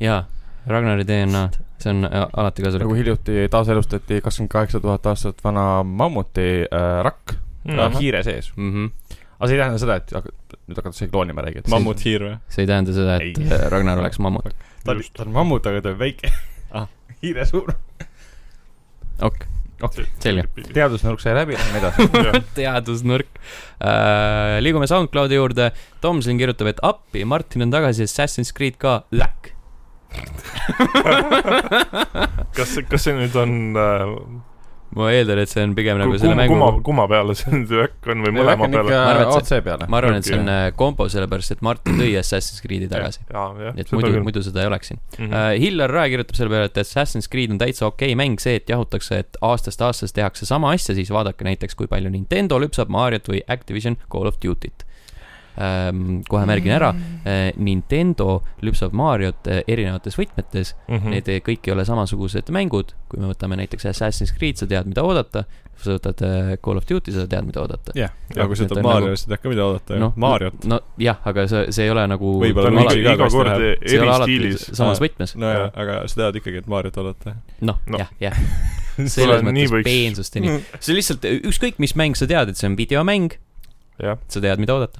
[SPEAKER 1] jaa , Ragnari DNA-d , see on ä, alati
[SPEAKER 2] nagu
[SPEAKER 1] kasulik .
[SPEAKER 2] hiljuti taaselustati kakskümmend kaheksa tuhat aastat vana mammuti äh, rakk mm. ,
[SPEAKER 5] Mhm.
[SPEAKER 4] Ahah.
[SPEAKER 2] hiire sees .
[SPEAKER 1] Mm -hmm.
[SPEAKER 2] aga see ei tähenda seda , et hakka- nüüd hakatakse kloonima räägid .
[SPEAKER 3] mammut hiir või ?
[SPEAKER 1] see ei tähenda seda , et
[SPEAKER 2] Ei.
[SPEAKER 1] äh, Ragnar oleks mammut .
[SPEAKER 2] ta on , ta on mammut , aga ta on väike
[SPEAKER 3] Ah. .
[SPEAKER 2] hiire suur .
[SPEAKER 1] ok ,
[SPEAKER 2] okei ,
[SPEAKER 1] selge .
[SPEAKER 2] teadusnõrk sai läbi , lähme edasi .
[SPEAKER 1] teadusnurk uh, . liigume SoundCloudi juurde . Tomson kirjutab , et appi , Martin on tagasi , Assassin's Creed ka , läkk .
[SPEAKER 4] kas , kas see nüüd on äh, ,
[SPEAKER 1] ma eeldan , et see on pigem nagu selle
[SPEAKER 4] kumma , kumma ,
[SPEAKER 1] mängu ,
[SPEAKER 4] kumma peale see nüüd äkk on või
[SPEAKER 2] ma
[SPEAKER 4] mõlema
[SPEAKER 2] hakkan
[SPEAKER 4] peale ?
[SPEAKER 2] ikka
[SPEAKER 1] Ma arvan, et see-
[SPEAKER 2] otse peale .
[SPEAKER 1] ma arvan , et see on
[SPEAKER 4] okei.
[SPEAKER 1] äh, kombo , sellepärast et Martin tõi Assassin's Creed'i tagasi .
[SPEAKER 4] jaa , jah ,
[SPEAKER 1] et
[SPEAKER 4] seda
[SPEAKER 1] muidu ,
[SPEAKER 4] küll .
[SPEAKER 1] muidu seda ei oleks siin .
[SPEAKER 4] Mhm.
[SPEAKER 1] Uh, Hillar Rae kirjutab selle peale , et Assassin's Creed on täitsa okei okay mäng , see , et jahutakse , et aastast aastast tehakse sama asja , siis vaadake näiteks , kui palju Nintendo lüpsab Mariot või Activision Call of Duty't uh, . kohe märgin ära
[SPEAKER 4] Mhm.
[SPEAKER 1] uh, , Nintendo lüpsab Mariot uh, erinevates võtmetes ,
[SPEAKER 4] Mhm.
[SPEAKER 1] need eh, kõik ei ole samasugused mängud . kui me võtame näiteks Assassin's Creed , sa tead , mida oodata , sa võtad uh, Call of Duty , sa tead , mida oodata .
[SPEAKER 2] jah ,
[SPEAKER 3] ja kui sa
[SPEAKER 1] et ta
[SPEAKER 3] ütled
[SPEAKER 1] on
[SPEAKER 3] Mario
[SPEAKER 1] nagu- ,
[SPEAKER 3] siis ei hakka midagi oodata ju . Mariot .
[SPEAKER 1] no jah , aga see , see ei ole nagu .
[SPEAKER 3] Võib-olla
[SPEAKER 4] ta
[SPEAKER 3] Tal
[SPEAKER 4] on
[SPEAKER 3] on
[SPEAKER 4] iga ,
[SPEAKER 3] alati ka
[SPEAKER 4] iga
[SPEAKER 3] kast
[SPEAKER 4] kord
[SPEAKER 3] läheb.
[SPEAKER 1] see ei
[SPEAKER 4] eri
[SPEAKER 1] ole alati
[SPEAKER 4] stiilis .
[SPEAKER 1] samas
[SPEAKER 3] Aa.
[SPEAKER 1] võtmes .
[SPEAKER 3] nojah , aga sa tead ikkagi , et Mariot oodata .
[SPEAKER 1] noh no. ,
[SPEAKER 4] Noh.
[SPEAKER 1] jah , jah . selles
[SPEAKER 4] Pole- nii
[SPEAKER 1] mõttes
[SPEAKER 4] võiks- Mhm.
[SPEAKER 1] peensusteni . see lihtsalt , ükskõik mis mäng sa tead , et see on videomäng ,
[SPEAKER 4] jah ,
[SPEAKER 1] sa tead , mida oodata .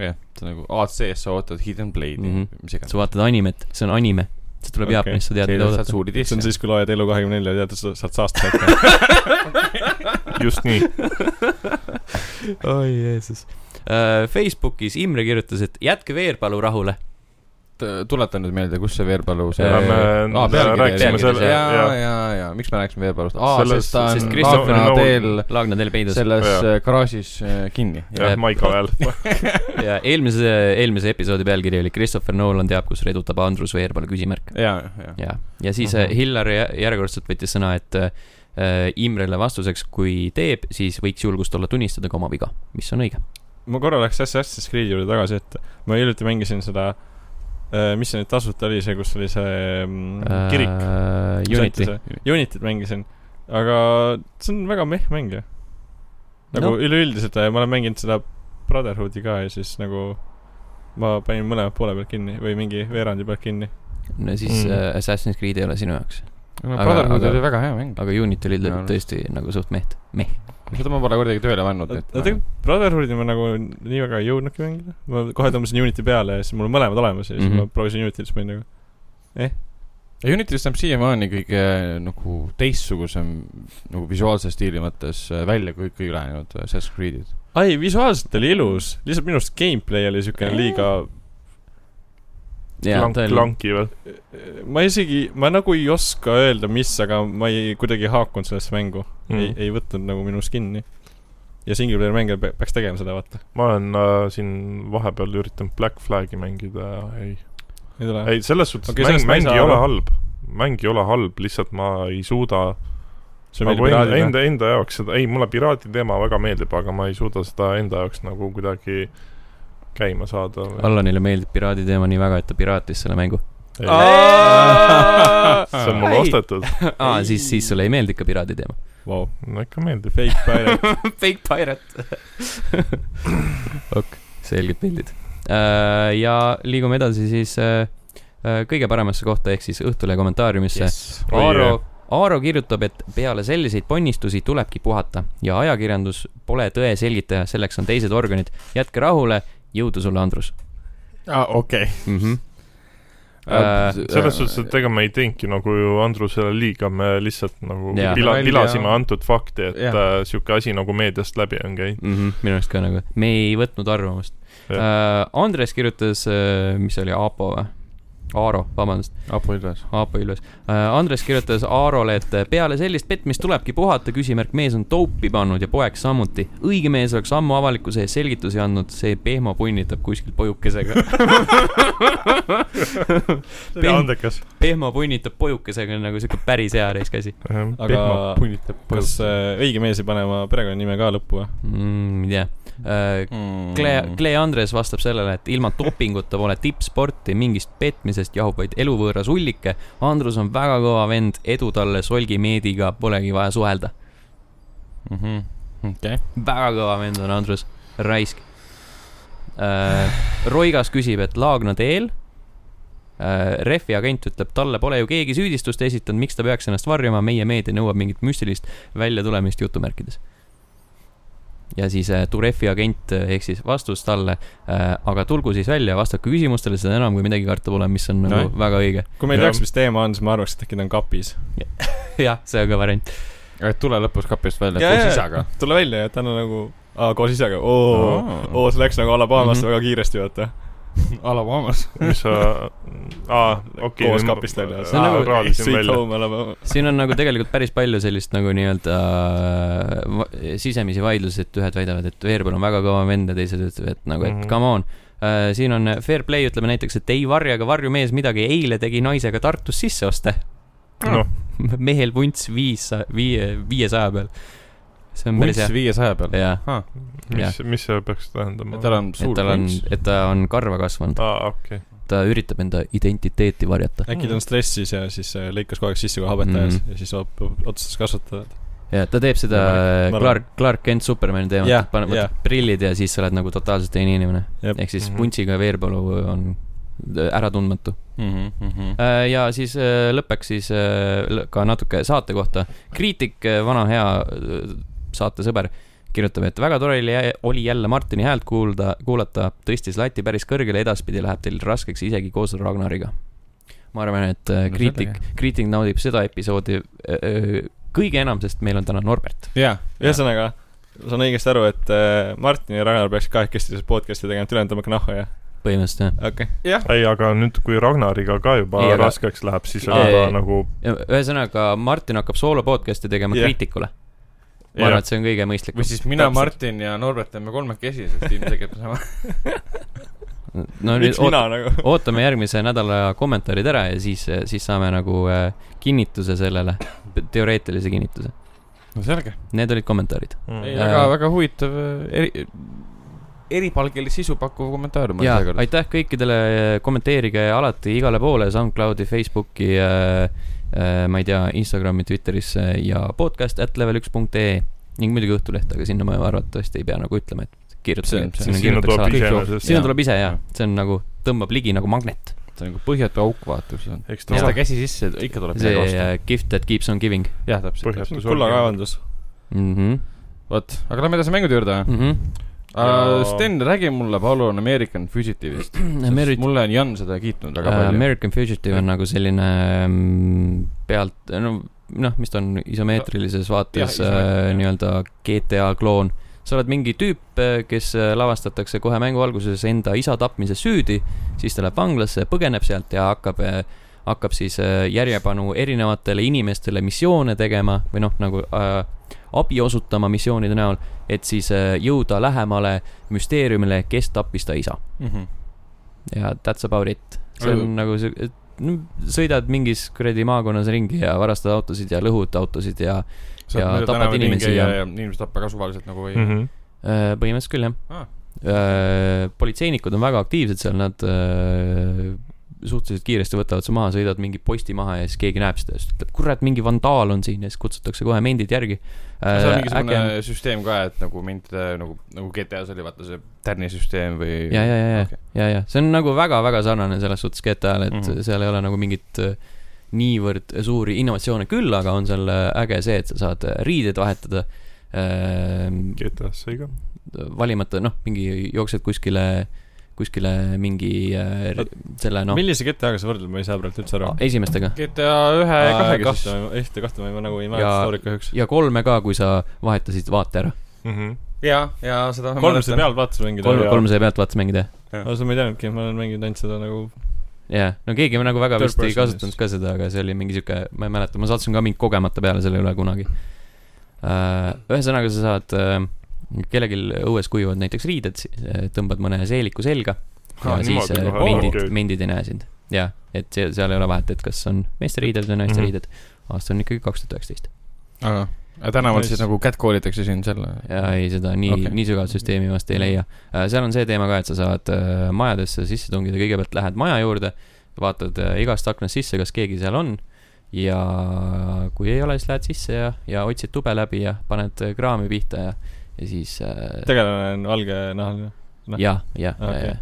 [SPEAKER 2] jah , see on nagu AC-s sa ootad Hidden Blade'i
[SPEAKER 1] Mhm. ,
[SPEAKER 2] mis iganes .
[SPEAKER 1] sa vaatad animet , see on anime . see tuleb
[SPEAKER 3] Okei.
[SPEAKER 1] okay. Jaapanist , sa tead , mida
[SPEAKER 2] saad
[SPEAKER 1] oodata .
[SPEAKER 2] suuri
[SPEAKER 3] see on
[SPEAKER 2] tisse .
[SPEAKER 3] siis , kui loed Elu kahekümne nelja ja tead , et sa saad saasta kätte .
[SPEAKER 4] just nii .
[SPEAKER 1] oi Jeesus . Äh, Facebookis Imre kirjutas , et jätke Veerpalu rahule .
[SPEAKER 2] äh, tuletan nüüd meelde , kus see Veerpalu see .
[SPEAKER 1] Ärme-
[SPEAKER 2] aa ,
[SPEAKER 1] rääkisime
[SPEAKER 2] pealkiri
[SPEAKER 1] selle-
[SPEAKER 2] oli . ja ,
[SPEAKER 4] jah.
[SPEAKER 2] ja , ja, ja. , miks me rääkisime Veerpalust ? aa ,
[SPEAKER 4] Selles-
[SPEAKER 2] sest ta
[SPEAKER 1] sest
[SPEAKER 2] on
[SPEAKER 1] Christopher
[SPEAKER 2] Laagna
[SPEAKER 4] Nolan-
[SPEAKER 2] teel
[SPEAKER 1] Laagna teil peidus .
[SPEAKER 2] selles
[SPEAKER 4] Jaa.
[SPEAKER 2] äh, garaažis äh, kinni .
[SPEAKER 4] jah , Maiko hääl .
[SPEAKER 1] ja eelmise , eelmise episoodi pealkiri oli Christopher Nolan teab , kus redutab Andrus Veerpalu küsimärk .
[SPEAKER 2] ja , ja ,
[SPEAKER 1] ja , ja siis uh -huh.
[SPEAKER 2] Mhm.
[SPEAKER 1] Hillar jä- järjekordselt võttis sõna , et äh, Imrele vastuseks , kui teeb , siis võiks julgust olla tunnistada ka oma viga , mis on õige .
[SPEAKER 3] ma korra läheks Assassin's Creed'i juurde tagasi , et ma hiljuti mängisin seda
[SPEAKER 5] äh, mis see nüüd tasuta oli , see , kus oli see mm,
[SPEAKER 4] Kirik.
[SPEAKER 1] uh, . Äh, Unity .
[SPEAKER 5] Unitit mängisin , aga see on väga meh mäng ju . nagu
[SPEAKER 1] No.
[SPEAKER 5] no. üleüldiselt äh, ma olen mänginud seda Brotherhoodi ka ja siis nagu ma panin mõlema poole pealt kinni või mingi veerandi pealt kinni .
[SPEAKER 1] no siis
[SPEAKER 4] Mm.
[SPEAKER 1] mm. uh, Assassin's Creed ei ole sinu jaoks ,
[SPEAKER 2] no
[SPEAKER 1] Aga-
[SPEAKER 2] Brotherhood
[SPEAKER 1] aga-
[SPEAKER 2] oli väga hea mäng ,
[SPEAKER 1] aga Unity oli
[SPEAKER 2] Minu
[SPEAKER 1] tõ-
[SPEAKER 2] arust.
[SPEAKER 1] tõesti nagu suht meht , meh .
[SPEAKER 2] seda ma pole kordagi tööle pannud , et
[SPEAKER 5] oota , Brotherhoodi ma nagu nii väga ei jõudnudki mängida . ma kohe tõmbasin Uniti peale ja siis mul on mõlemad olemas ja siis mm
[SPEAKER 1] Mhm.
[SPEAKER 5] -hmm. ma proovisin Unitit , siis ma olin nagu
[SPEAKER 2] ja Unity vist on siiamaani kõige nagu teistsugusem nagu visuaalse stiili mõttes äh, välja kui kõik ülejäänud äh, Assassin's Creed'id .
[SPEAKER 5] ai , visuaalselt oli ilus , lihtsalt minu arust gameplay oli siukene liiga ,
[SPEAKER 1] jaa , ta oli ,
[SPEAKER 4] klanki veel .
[SPEAKER 5] ma isegi , ma nagu ei oska öelda , mis , aga ma ei , kuidagi ei haakunud sellesse mängu mm. . ei , ei võtnud nagu minus kinni . ja single player mänge pe- peaks tegema seda , vaata .
[SPEAKER 4] ma olen äh, siin vahepeal üritanud Black Flagi mängida , ei ,
[SPEAKER 5] ei tule .
[SPEAKER 4] ei selles suhtes
[SPEAKER 5] Okei,
[SPEAKER 4] okay, mäng ,
[SPEAKER 5] sellest ma ei
[SPEAKER 4] mäng
[SPEAKER 5] saa
[SPEAKER 4] ei ole
[SPEAKER 5] aru.
[SPEAKER 4] halb . mäng ei ole halb , lihtsalt ma ei suuda
[SPEAKER 5] see
[SPEAKER 4] nagu
[SPEAKER 5] meeldib
[SPEAKER 4] enda ,
[SPEAKER 5] piraadile .
[SPEAKER 4] enda , enda jaoks seda , ei , mulle piraati teema väga meeldib , aga ma ei suuda seda enda jaoks nagu kuidagi käima saada .
[SPEAKER 1] Allanile meeldib piraadi teema nii väga , et ta piraatis selle mängu .
[SPEAKER 4] see on mul
[SPEAKER 1] Ai.
[SPEAKER 4] ostetud .
[SPEAKER 1] aa , siis , siis sulle ei meeldi ikka piraadi teema .
[SPEAKER 5] Vau ,
[SPEAKER 4] no ikka meeldib .
[SPEAKER 5] fake pirate .
[SPEAKER 1] Fake pirate . ok , selged pildid . ja liigume edasi siis äh, äh, kõige paremasse kohta ehk siis Õhtule kommentaariumisse yes. . Aaro , Aaro kirjutab , et peale selliseid ponnistusi tulebki puhata ja ajakirjandus pole tõe selgitaja , selleks on teised organid . jätke rahule , jõudu sulle , Andrus
[SPEAKER 4] Ah,
[SPEAKER 2] aa , okei .
[SPEAKER 1] mm . -hmm.
[SPEAKER 2] Äh,
[SPEAKER 4] selles suhtes , et ega me ei teinudki nagu ju Andrusele liiga , me lihtsalt nagu
[SPEAKER 1] Jaa.
[SPEAKER 4] pila- ,
[SPEAKER 2] Välja-
[SPEAKER 4] pilasime antud fakti , et
[SPEAKER 2] Jah.
[SPEAKER 4] äh, sihuke asi nagu meediast läbi on käinud .
[SPEAKER 1] mm . -hmm, minu arust ka nagu , me ei võtnud arvamust .
[SPEAKER 4] Jah.
[SPEAKER 1] Uh, Andres kirjutas uh, , mis see oli , Aapo või ? Aaro , vabandust ,
[SPEAKER 2] Apo Ilves .
[SPEAKER 1] Aapo Ilves uh, . Andres kirjutas Aarole , et peale sellist petmist tulebki puhata , küsimärk , mees on toopi pannud ja poeg samuti . õige mees oleks ammu avalikkuse ees selgitusi andnud , see pehmo punnitab kuskil pojukesega .
[SPEAKER 5] see oli andekas .
[SPEAKER 1] pehmo punnitab pojukesega on nagu siuke päris hea reiskäsi
[SPEAKER 4] Ehm,
[SPEAKER 5] aga
[SPEAKER 2] punnitab
[SPEAKER 5] kas äh, õige mees ei pane oma perekonnanime ka lõppu või ?
[SPEAKER 1] mm, . ei tea uh, .
[SPEAKER 2] Mm.
[SPEAKER 1] Klee , Klee Andres vastab sellele , et ilma dopinguta pole tippsporti , mingist petmisest jahub vaid eluvõõras ullike . Andrus on väga kõva vend , edu talle solgi meediga , polegi vaja suhelda .
[SPEAKER 2] Klee . Mhm. okei .
[SPEAKER 1] väga kõva vend on Andrus , raisk äh, . Roigas küsib , et Laagna teel äh, . Refi agent ütleb , talle pole ju keegi süüdistust esitanud , miks ta peaks ennast varjama , meie meedia nõuab mingit müstilist väljatulemist jutumärkides . ja siis äh, Turefi agent äh, ehk siis vastus talle äh, , aga tulgu siis välja , vastake küsimustele , seda enam , kui midagi karta pole , mis on nagu
[SPEAKER 5] Nojah.
[SPEAKER 1] väga õige .
[SPEAKER 5] kui ma ei
[SPEAKER 4] Jah.
[SPEAKER 5] teaks , mis teema on , siis ma arvaks , et äkki ta on kapis .
[SPEAKER 1] jah , see on ka variant .
[SPEAKER 2] aga tule lõpus kapist välja
[SPEAKER 5] Jaa, jaa.
[SPEAKER 2] koos isaga .
[SPEAKER 5] tule välja ja ta on nagu , aa , koos isaga , oo , oo , see läks nagu Alabamasse
[SPEAKER 1] Mhm.
[SPEAKER 5] mm -hmm. väga kiiresti , vaata .
[SPEAKER 2] Alabamas .
[SPEAKER 4] mis sa , aa , okei .
[SPEAKER 5] Koos kapist väljas.
[SPEAKER 1] See on nagu-
[SPEAKER 4] raadisin
[SPEAKER 5] Sweet
[SPEAKER 4] välja .
[SPEAKER 5] home Alabama .
[SPEAKER 1] siin on nagu tegelikult päris palju sellist nagu nii-öelda äh, va- sisemisi vaidlusi , et ühed väidavad , et Veerpalu on väga kõva vend ja teised ütlevad , et nagu , et
[SPEAKER 4] Mhm.
[SPEAKER 1] come on . siin on äh, fair play , ütleme näiteks , et ei varja ega varju mees midagi , eile tegi naisega Tartus sisseoste .
[SPEAKER 4] noh ,
[SPEAKER 1] mehel vunts viis , viie , viiesaja peal . see on päris
[SPEAKER 2] vunts
[SPEAKER 1] hea .
[SPEAKER 2] viiesaja peal .
[SPEAKER 1] jaa ,
[SPEAKER 4] mis , mis see peaks tähendama ?
[SPEAKER 2] tal on
[SPEAKER 1] et
[SPEAKER 2] suur
[SPEAKER 1] tal on
[SPEAKER 2] vunts .,
[SPEAKER 1] et ta on karva kasvanud ,
[SPEAKER 4] aa , okei .
[SPEAKER 1] ta üritab enda identiteeti varjata
[SPEAKER 5] äkki ta on stressis ja siis äh, lõikas kogu aeg sisse kohe habet
[SPEAKER 1] Mhm.
[SPEAKER 5] ajas ja siis op- op- otsustas kasvatada .
[SPEAKER 1] ja ta teeb seda
[SPEAKER 5] Võimalik. Ma arvan-
[SPEAKER 1] Clark , Clark Kent Supermani teemat
[SPEAKER 5] Jah,
[SPEAKER 1] yeah, , paneb
[SPEAKER 5] jah.
[SPEAKER 1] yeah. prillid ja siis sa oled nagu totaalselt teine inimene
[SPEAKER 5] Jep. .
[SPEAKER 1] ehk siis
[SPEAKER 4] Mhm.
[SPEAKER 1] puntsiga Veerpalu on äratundmatu . Mhm, ja siis äh, lõppeks siis äh, lõ- ka natuke saate kohta . kriitik , vana hea äh, saatesõber , kirjutab , et väga tore oli , oli jälle Martini häält kuulda , kuulata , tõstis lati päris kõrgele , edaspidi läheb teil raskeks isegi koos Ragnariga . ma arvan , et äh,
[SPEAKER 2] No
[SPEAKER 1] kriitik , kriitik naudib seda episoodi äh, äh, kõige enam , sest meil on täna Norbert .
[SPEAKER 2] jaa .
[SPEAKER 5] ühesõnaga , ma saan õigesti aru , et äh, Martin ja Ragnar peaks kahekesti seda podcast'i tegema , et ülejäänud tõmmake nahha ja
[SPEAKER 1] põhimõtteliselt jah .
[SPEAKER 5] okei okay. .
[SPEAKER 4] ei , aga nüüd , kui Ragnariga ka juba
[SPEAKER 1] Ei,
[SPEAKER 4] ei,
[SPEAKER 1] aga-
[SPEAKER 4] raskeks läheb , siis on
[SPEAKER 1] Ei,
[SPEAKER 4] juba
[SPEAKER 1] ei.
[SPEAKER 4] nagu
[SPEAKER 1] Ja ühesõnaga , Martin hakkab soolo podcast'i tegema
[SPEAKER 5] Jah.
[SPEAKER 1] yeah. kriitikule . ma
[SPEAKER 4] Jah.
[SPEAKER 1] arvan , et see on kõige mõistlikum
[SPEAKER 2] või . siis mina ,
[SPEAKER 5] Täpselt.
[SPEAKER 2] Martin ja Norbert teeme kolmekesi , sest Tim tegeb sama .
[SPEAKER 1] no nüüd
[SPEAKER 5] miks
[SPEAKER 1] oot,
[SPEAKER 5] mina nagu ?
[SPEAKER 1] ootame järgmise nädala kommentaarid ära ja siis , siis saame nagu äh, kinnituse sellele , teoreetilise kinnituse .
[SPEAKER 2] no selge .
[SPEAKER 1] Need olid kommentaarid .
[SPEAKER 4] mm,
[SPEAKER 2] ei ,
[SPEAKER 1] Äh,
[SPEAKER 2] väga , väga huvitav äh, eri , eripalgelist sisu pakkuv kommentaar
[SPEAKER 1] ja aitäh kõikidele , kommenteerige alati igale poole , SoundCloudi , Facebooki äh, , äh, ma ei tea , Instagrami , Twitterisse ja podcast at level üks punkt ee ning muidugi Õhtuleht , aga sinna ma ju arvatavasti ei pea nagu ütlema , et
[SPEAKER 2] See-
[SPEAKER 1] kirjutage , sinna
[SPEAKER 2] see-
[SPEAKER 4] sinna
[SPEAKER 1] kirjutatakse
[SPEAKER 4] tuleb
[SPEAKER 1] alati .
[SPEAKER 4] iseenesest .
[SPEAKER 1] sinna
[SPEAKER 2] nagu Jaa.
[SPEAKER 1] tuleb ise ja
[SPEAKER 2] Jaa.
[SPEAKER 1] see on nagu , tõmbab ligi nagu magnet .
[SPEAKER 2] see on nagu põhjatu auk , vaata , kus on .
[SPEAKER 4] eks ta
[SPEAKER 2] tõsta
[SPEAKER 4] ole .
[SPEAKER 2] käsi sisse , ikka tuleb
[SPEAKER 1] see
[SPEAKER 2] midagi vastu
[SPEAKER 1] äh, . gift that keeps on giving
[SPEAKER 2] jah , täpselt .
[SPEAKER 4] põhjatu sorg .
[SPEAKER 3] kullakaevandus .
[SPEAKER 1] mm .
[SPEAKER 2] vot , aga lähme edasi mängude juurde mm. .
[SPEAKER 1] -hmm.
[SPEAKER 2] Uh,
[SPEAKER 4] Ja-
[SPEAKER 2] Sten , räägi mulle palun American Fugitivist .
[SPEAKER 1] Ameri-
[SPEAKER 2] mulle on Jan seda kiitnud väga
[SPEAKER 1] Uh,
[SPEAKER 2] palju uh, .
[SPEAKER 1] American Fugitive on nagu selline mm, pealt , no , noh , mis ta on isomeetrilises vaates
[SPEAKER 2] Jah, isomeetri-
[SPEAKER 1] äh,
[SPEAKER 2] jah.
[SPEAKER 1] nii-öelda GTA kloon . sa oled mingi tüüp , kes äh, lavastatakse kohe mängu alguses enda isa tapmise süüdi , siis ta läheb vanglasse , põgeneb sealt ja hakkab , hakkab siis äh, järjepanu erinevatele inimestele missioone tegema või noh , nagu äh, abi osutama missioonide näol , et siis äh, jõuda lähemale müsteeriumile , kes tappis ta isa
[SPEAKER 2] Mm -hmm.
[SPEAKER 1] ja that's about it . see on
[SPEAKER 2] Aga-
[SPEAKER 1] nagu see , et no, sõidad mingis kuradi maakonnas ringi ja varastad autosid ja lõhud autosid ja Ja tapad inimesi
[SPEAKER 2] ja,
[SPEAKER 1] ja-
[SPEAKER 2] ja inimesed tappa ka suvaliselt nagu või mm .
[SPEAKER 4] Mhm.
[SPEAKER 1] öö, äh, põhimõtteliselt küll jah
[SPEAKER 2] Ah.
[SPEAKER 1] ah. . politseinikud on väga aktiivsed seal , nad öö, suhteliselt kiiresti võtavad su maha , sõidad mingi posti maha ja siis keegi näeb seda ja siis ütleb , kurat , mingi vandaal on siin ja siis kutsutakse kohe mendid järgi . Äh,
[SPEAKER 2] -hmm. seal on mingisugune äge. süsteem ka , et nagu mind äh, nagu , nagu GTA-s oli vaata see tärnisüsteem või .
[SPEAKER 1] ja , ja , ja ,
[SPEAKER 2] Okei.
[SPEAKER 1] ja , ja , ja see on nagu väga-väga sarnane selles suhtes GTA-le , et mm
[SPEAKER 2] Mhm.
[SPEAKER 1] -hmm. seal ei ole nagu mingit äh, niivõrd suuri innovatsioone , küll aga on seal äh, äge see , et sa saad äh, riideid vahetada äh, .
[SPEAKER 4] GTA-s sai ka .
[SPEAKER 1] valimata , noh , mingi jooksed kuskile , kuskile mingi äh, ri- selle noh ,
[SPEAKER 3] millise kettaga sa võrdled , ma ei saa praegu üldse aru .
[SPEAKER 1] esimestega
[SPEAKER 2] GTA ühe ja kahega siis .
[SPEAKER 3] ühte , kahte ma ei- ma nagu ei
[SPEAKER 1] Ja-
[SPEAKER 3] mäleta story't kahjuks .
[SPEAKER 1] ja kolme ka , kui sa vahetasid vaate ära .
[SPEAKER 4] Mhm.
[SPEAKER 2] ja , ja seda .
[SPEAKER 3] kolmse . peal vaatasin mängida
[SPEAKER 1] kolm ,
[SPEAKER 4] jaa.
[SPEAKER 1] kolm sai pealt vaates mängida ,
[SPEAKER 3] aga seda ma ei teadnudki , ma olen mänginud ainult seda nagu
[SPEAKER 1] jah . no keegi nagu väga
[SPEAKER 3] Third
[SPEAKER 1] vist ei
[SPEAKER 3] person
[SPEAKER 1] kasutanud
[SPEAKER 3] vist.
[SPEAKER 1] ka seda , aga see oli mingi sihuke , ma ei mäleta , ma sattusin ka mingi kogemata peale selle üle kunagi . ühesõnaga , sa saad , kellelgi õues kuivad näiteks riided , tõmbad mõne seeliku selga
[SPEAKER 3] Ah,
[SPEAKER 1] ja siis äh,
[SPEAKER 3] noh,
[SPEAKER 1] mindid , mindid ei näe sind . jah , et see , seal ei ole vahet , et kas on meeste riided või naiste
[SPEAKER 4] Mhm.
[SPEAKER 1] riided . aasta on ikkagi kaks tuhat üheksateist .
[SPEAKER 2] aga tänaval siis nagu catcall itakse sind selle .
[SPEAKER 1] ja ei , seda nii
[SPEAKER 2] Okei.
[SPEAKER 1] okay. , nii sügavat süsteemi vast ei leia . seal on see teema ka , et sa saad äh, majadesse sisse tungida , kõigepealt lähed maja juurde , vaatad äh, igast aknast sisse , kas keegi seal on ja kui ei ole , siis lähed sisse ja , ja otsid tube läbi ja paned äh, kraami pihta ja , ja siis äh,
[SPEAKER 3] tegelane on valgenahaline . noh.
[SPEAKER 1] ja , ja , ja ,
[SPEAKER 3] Okei.
[SPEAKER 1] ja ,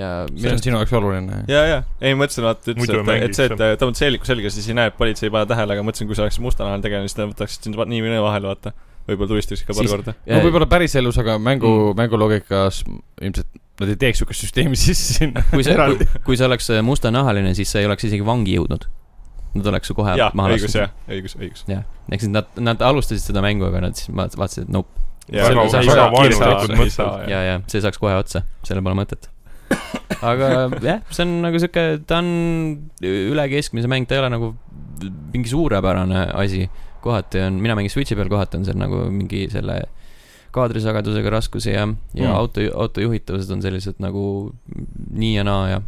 [SPEAKER 1] ja
[SPEAKER 2] see on
[SPEAKER 1] minu ,
[SPEAKER 2] sinu jaoks oluline .
[SPEAKER 3] ja , ja , ei ma mõtlesin , vaata ütles ,
[SPEAKER 4] Muidu
[SPEAKER 3] et , et see , et
[SPEAKER 4] mängiks,
[SPEAKER 3] tõmbad seeliku selga , siis ei näe , politsei ei pane tähele , aga mõtlesin , kui see oleks mustanahaline tegelane , siis ta võtaks sind va- nii või naa vahele , vaata . võib-olla tulistaks ikka paar
[SPEAKER 1] Siis-
[SPEAKER 3] korda .
[SPEAKER 2] no võib-olla päriselus , aga mängu mm. , mänguloogikas ilmselt nad ei teeks sihukest süsteemi sisse sinna .
[SPEAKER 1] kui see , kui, kui see oleks äh, mustanahaline , siis sa ei oleks isegi vangi jõudnud . Nad oleks su kohe
[SPEAKER 3] jah ,
[SPEAKER 1] maha
[SPEAKER 3] õigus ,
[SPEAKER 1] lasknud .
[SPEAKER 3] jah , õigus , õigus .
[SPEAKER 1] jah , ehk siis nad , nad alustasid seda mängu , aga nad siis vaat- vaatasid , et nope ,
[SPEAKER 4] Väga-
[SPEAKER 1] väga
[SPEAKER 4] vaenulikud
[SPEAKER 1] ja , ja see saaks kohe otsa , sellel pole mõtet . aga jah , see on nagu sihuke , ta on üle keskmise mäng , ta ei ole nagu mingi suurepärane asi . kohati on , mina mängin Switchi peal , kohati on seal nagu mingi selle kaadrisagedusega raskusi ja , ja
[SPEAKER 2] Mm.
[SPEAKER 1] mm. auto , auto juhitavused on sellised nagu nii ja naa ja ,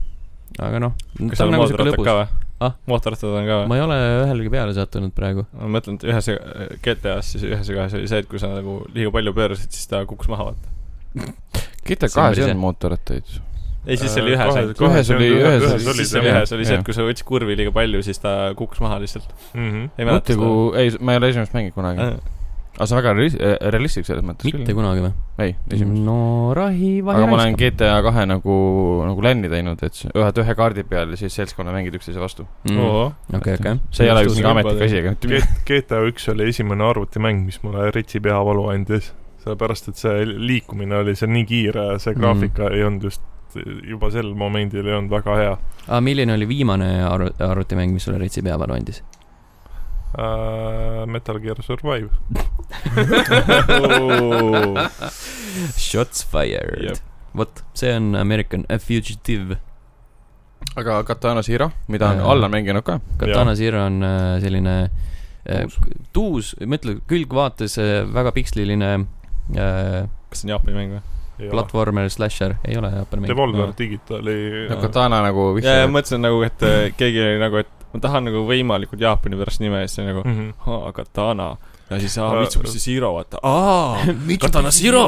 [SPEAKER 1] aga noh .
[SPEAKER 3] kas seal on mootorrattad ka või ?
[SPEAKER 1] Ah?
[SPEAKER 3] mootorrattad on ka või ?
[SPEAKER 1] ma ei ole ühelegi peale sattunud praegu .
[SPEAKER 3] ma mõtlen , et ühes GTA-s siis ühes ja kahes oli see , et kui sa nagu liiga palju pöörasid , siis ta kukkus maha , vaata .
[SPEAKER 2] GTA
[SPEAKER 1] See on
[SPEAKER 2] kahes
[SPEAKER 1] päris
[SPEAKER 2] ei
[SPEAKER 1] hea.
[SPEAKER 2] olnud mootorrattaid .
[SPEAKER 3] ei , siis see oli ühes ainult .
[SPEAKER 2] Ühes oli- ühes
[SPEAKER 4] oli
[SPEAKER 2] oli-
[SPEAKER 3] siis
[SPEAKER 4] see
[SPEAKER 3] see oli
[SPEAKER 2] jah.
[SPEAKER 3] ühes , oli see ,
[SPEAKER 2] jah.
[SPEAKER 3] et kui sa võtsid kurvi liiga palju , siis ta kukkus maha lihtsalt .
[SPEAKER 4] jah .
[SPEAKER 3] ei mäleta
[SPEAKER 2] mõtle ,
[SPEAKER 3] seda . Äh,
[SPEAKER 2] kui , ei , ma ei ole esimest mänginud kunagi . aga see on väga realis- , realistlik selles mõttes
[SPEAKER 1] mitte . kunagi või ?
[SPEAKER 2] ei , esimest .
[SPEAKER 1] no rahi
[SPEAKER 2] aga ma olen
[SPEAKER 1] vahel .
[SPEAKER 2] GTA kahe nagu , nagu länni teinud , et sa- ühed ühe kaardi peal ja siis seltskonna mängid üksteise vastu .
[SPEAKER 1] Mm. okei , okei .
[SPEAKER 2] see ei ole
[SPEAKER 3] Õhtus
[SPEAKER 2] mingi
[SPEAKER 3] juba
[SPEAKER 2] ametlik
[SPEAKER 3] teha.
[SPEAKER 2] asi , aga mitte midagi .
[SPEAKER 4] G- GTA üks oli esimene arvutimäng , mis mulle ritsi peavalu andis , sellepärast et see liikumine oli seal nii kiire ja see
[SPEAKER 1] Mm.
[SPEAKER 4] graafika mm. ei olnud just , juba sel momendil ei olnud väga hea
[SPEAKER 1] aga Ah, milline oli viimane arv- , arvutimäng , mis sulle retsi peavalu andis ?
[SPEAKER 4] uh, . Metal Gear Survive .
[SPEAKER 1] Shots
[SPEAKER 3] Jep.
[SPEAKER 1] fired . vot , see on American A Fugitive .
[SPEAKER 2] aga Katana Zero , mida on
[SPEAKER 1] Jaa.
[SPEAKER 2] Allan mänginud ka .
[SPEAKER 1] Katana Zero on äh, selline äh, tuus , ma ütlen , külgvaates äh, väga piksliline äh,
[SPEAKER 3] kas see on Jaapani mäng või ?
[SPEAKER 1] platvormer slasher , ei ole Jaapani mäng .
[SPEAKER 4] Devolver
[SPEAKER 3] no.
[SPEAKER 4] äh, no. Digitali
[SPEAKER 2] no Katana nagu
[SPEAKER 3] ja , ja
[SPEAKER 2] vihje .
[SPEAKER 3] mõtlesin nagu , et äh, keegi oli nagu , et ma tahan nagu võimalikult Jaapani pärast nime ja siis oli nagu
[SPEAKER 4] mm . -hmm.
[SPEAKER 3] haa , katana .
[SPEAKER 5] ja siis , aa , Mitsubishi Zero , vaata , aa , Katana Zero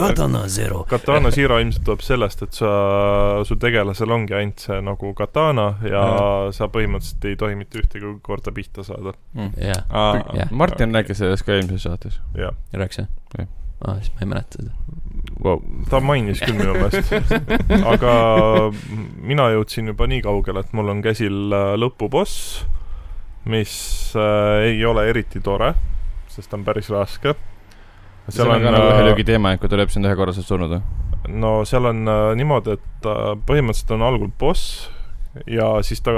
[SPEAKER 1] Katana Zero .
[SPEAKER 4] Katana Zero ilmselt tuleb sellest , et sa , su tegelasel ongi ainult see nagu katana ja
[SPEAKER 5] Jaa.
[SPEAKER 4] sa põhimõtteliselt ei tohi mitte ühtegi korda pihta saada .
[SPEAKER 1] jah , Jah.
[SPEAKER 2] Martin rääkis sellest ka eelmises saates .
[SPEAKER 4] jah ,
[SPEAKER 1] rääkis jah
[SPEAKER 2] Jah. ?
[SPEAKER 1] aa , siis ma ei mäleta seda .
[SPEAKER 2] Wow.
[SPEAKER 4] ta mainis küll minu meelest , aga mina jõudsin juba nii kaugele , et mul on käsil äh, lõpuboss , mis äh, ei ole eriti tore , sest ta on päris raske .
[SPEAKER 2] seal on ka nagu ühe löögi teema , et kui ta lööb sind ühe korra , sa oled surnud või ?
[SPEAKER 4] no seal on äh, niimoodi , et äh, põhimõtteliselt on algul boss ja siis ta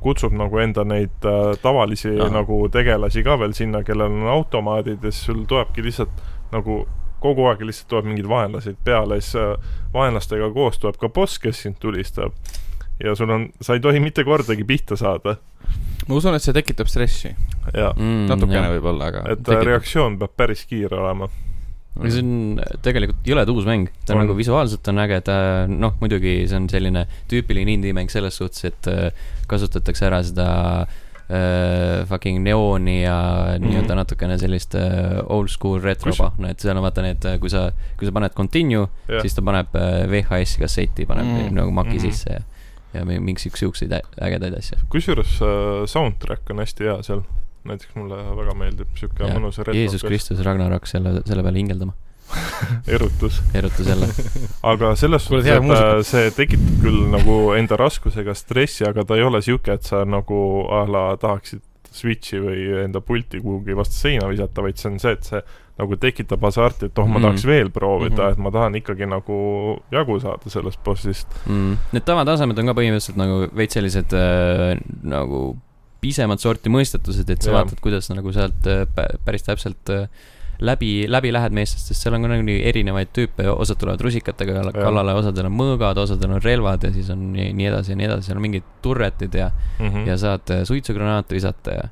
[SPEAKER 4] kutsub nagu enda neid äh, tavalisi
[SPEAKER 2] Ahah.
[SPEAKER 4] Aha. nagu tegelasi ka veel sinna , kellel on automaadid ja siis sul tulebki lihtsalt nagu kogu aeg lihtsalt tuleb mingeid vaenlaseid peale , siis äh, vaenlastega koos tuleb ka boss , kes sind tulistab . ja sul on , sa ei tohi mitte kordagi pihta saada
[SPEAKER 2] ma usun , et see tekitab stressi .
[SPEAKER 4] ja
[SPEAKER 1] Mm,
[SPEAKER 2] natukene . võib-olla , aga .
[SPEAKER 4] et äh, reaktsioon peab päris kiire olema .
[SPEAKER 1] aga see on äh, tegelikult jõled uus mäng , ta on
[SPEAKER 4] On.
[SPEAKER 1] nagu visuaalselt on äge , ta noh , muidugi see on selline tüüpiline indie-mäng selles suhtes , et äh, kasutatakse ära seda äh, fucking neooni ja mm -hmm. nii-öelda natukene sellist äh, old school retro
[SPEAKER 4] Mhm. Kus-
[SPEAKER 1] pahna , et seal on vaata need , kui sa , kui sa paned continue ,
[SPEAKER 4] Jah.
[SPEAKER 1] siis ta paneb äh, VHS-i kasseti , paneb mm
[SPEAKER 2] Mm.
[SPEAKER 1] -hmm. nagu maki mm
[SPEAKER 4] Mhm.
[SPEAKER 1] -hmm. sisse ja , ja mi- mingi siukse , siukseid ä- ägedaid asju .
[SPEAKER 4] kusjuures äh, soundtrack on hästi hea seal , näiteks mulle väga meeldib siuke
[SPEAKER 1] Jah.
[SPEAKER 4] mõnus
[SPEAKER 1] Jeesus
[SPEAKER 4] retrokas
[SPEAKER 1] Kristus , Ragnarok selle , selle peale hingeldama ,
[SPEAKER 4] erutus .
[SPEAKER 1] erutus jälle .
[SPEAKER 4] aga selles
[SPEAKER 2] Kuule,
[SPEAKER 4] suhtes ,
[SPEAKER 2] hea
[SPEAKER 4] et
[SPEAKER 2] muusika.
[SPEAKER 4] äh, see tekitab küll nagu enda raskusega stressi , aga ta ei ole siuke , et sa nagu a la tahaksid switch'i või enda pulti kuhugi vastu seina visata , vaid see on see , et see nagu tekitab hasarti , et oh , ma
[SPEAKER 1] Mhm.
[SPEAKER 4] tahaks veel proovida
[SPEAKER 2] Mhm.
[SPEAKER 4] mm , -hmm. et ma tahan ikkagi nagu jagu saada sellest bossist .
[SPEAKER 1] mm. . Need tavatasemed on ka põhimõtteliselt nagu veits sellised äh, nagu pisemat sorti mõistetused , et sa ja.
[SPEAKER 4] Jaa.
[SPEAKER 1] vaatad , kuidas nagu sealt äh, pä- päris täpselt äh, läbi , läbi lähed meestest , sest seal on ka nagu nii erinevaid tüüpe , osad tulevad rusikatega kal-
[SPEAKER 4] Jaa.
[SPEAKER 1] kallale , osadel on mõõgad , osadel on relvad ja siis on nii, nii edasi ja nii edasi , seal on mingid turretid ja mm. ,
[SPEAKER 4] Mm
[SPEAKER 1] ja saad äh, suitsugranaate visata ja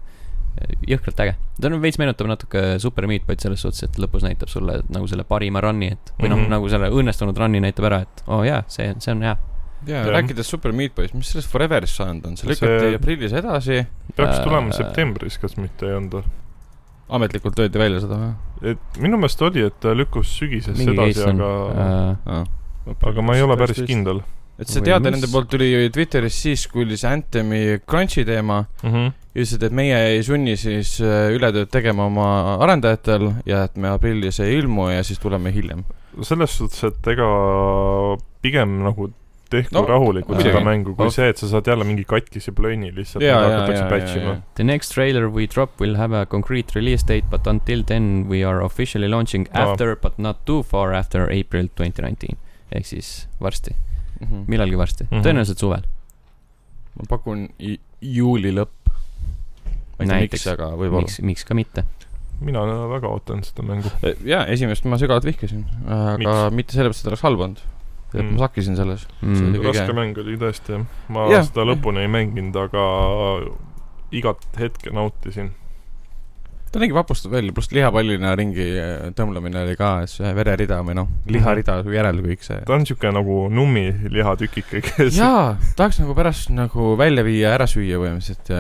[SPEAKER 1] jõhkralt äge , ta on veits meenutab natuke Super Meat Boy'd selles suhtes , et lõpus näitab sulle nagu selle parima run'i , et või noh mm
[SPEAKER 4] Mhm.
[SPEAKER 1] -hmm. , nagu selle õnnestunud run'i näitab ära , et oo oh, jaa , see , see on hea .
[SPEAKER 2] jaa ,
[SPEAKER 4] Jah.
[SPEAKER 2] rääkides Super Meat Boy'st , mis sellest Forever'ist saanud on , see lükati
[SPEAKER 4] See-
[SPEAKER 2] aprillis edasi ,
[SPEAKER 4] peaks tulema
[SPEAKER 1] Äh.
[SPEAKER 4] septembris , kas mitte ei olnud või ?
[SPEAKER 2] ametlikult öeldi välja seda või ?
[SPEAKER 4] et minu meelest oli , et ta lükkus sügisesse edasi , aga äh, ,
[SPEAKER 1] äh,
[SPEAKER 4] aga ma ei ole päris . kindel
[SPEAKER 2] et see
[SPEAKER 1] Või
[SPEAKER 2] teade
[SPEAKER 1] mis?
[SPEAKER 2] nende poolt tuli ju Twitteris siis , kui oli see Anthemi crunch'i teema
[SPEAKER 4] mm . -hmm.
[SPEAKER 2] ja ütlesid , et meie ei sunni siis äh, ületööd tegema oma arendajatel ja et me aprillis ei ilmu ja siis tuleme hiljem .
[SPEAKER 4] selles suhtes , et ega pigem nagu tehku
[SPEAKER 2] No,
[SPEAKER 4] no, rahulikult
[SPEAKER 2] muidugi.
[SPEAKER 4] seda mängu , kui
[SPEAKER 2] No.
[SPEAKER 4] no. see , et sa saad jälle mingi katkise plönni lihtsalt ,
[SPEAKER 2] Jaa,
[SPEAKER 4] mida
[SPEAKER 2] jaa,
[SPEAKER 4] hakatakse
[SPEAKER 2] jaa,
[SPEAKER 4] patch
[SPEAKER 2] jaa,
[SPEAKER 4] ima
[SPEAKER 2] jaa. .
[SPEAKER 1] The next trailer we drop will have a concrete release date but until then we are officially launching
[SPEAKER 4] Aa.
[SPEAKER 1] after but not too far after April twenty nineteen ehk siis varsti , millalgi varsti mm ,
[SPEAKER 4] Mhm.
[SPEAKER 1] -hmm. tõenäoliselt suvel .
[SPEAKER 2] ma pakun i- juuli lõpp . ma ei tea , miks ,
[SPEAKER 1] Näiteks.
[SPEAKER 2] aga võib-olla .
[SPEAKER 1] miks , miks ka mitte .
[SPEAKER 4] mina väga ootan seda mängu .
[SPEAKER 2] E, jaa , esimest ma sügavalt vihkasin , aga miks?
[SPEAKER 4] Miks?
[SPEAKER 2] mitte sellepärast , et ta oleks halb olnud . et
[SPEAKER 4] Mm.
[SPEAKER 2] ma sakkisin selles . See oli
[SPEAKER 1] Mm.
[SPEAKER 2] kõige-
[SPEAKER 4] raske mäng oli tõesti jah , ma
[SPEAKER 2] Jah.
[SPEAKER 4] yeah. seda lõpuni ei mänginud , aga igat hetke nautisin .
[SPEAKER 2] ta nägi vapustav välja , pluss lihapallina ringi äh, tõmblemine oli ka , see vererida või noh , liharida kui järel kõik see .
[SPEAKER 4] ta on siuke nagu nummi lihatükike , kes yeah.
[SPEAKER 2] jaa , tahaks nagu pärast nagu välja viia , ära süüa põhimõtteliselt ,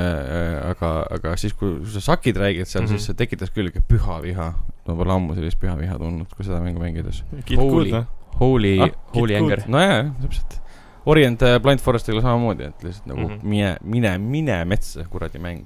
[SPEAKER 2] aga , aga siis , kui sa sakid räägid seal mm , -hmm.
[SPEAKER 4] Mhm.
[SPEAKER 2] siis see tekitas küll ikka püha viha . ma pole ammu sellist püha viha tundnud , kui seda mängu mängides .
[SPEAKER 3] Kid
[SPEAKER 1] Holy.
[SPEAKER 3] Good , noh .
[SPEAKER 1] Holy
[SPEAKER 2] Ah,
[SPEAKER 1] ah, , Holy
[SPEAKER 3] Kid
[SPEAKER 1] Anger .
[SPEAKER 2] nojah , täpselt . Orient äh, Blind Forestiga samamoodi , et lihtsalt nagu mm
[SPEAKER 4] Mhm.
[SPEAKER 2] -hmm. mine , mine , mine metsa , kuradi mäng .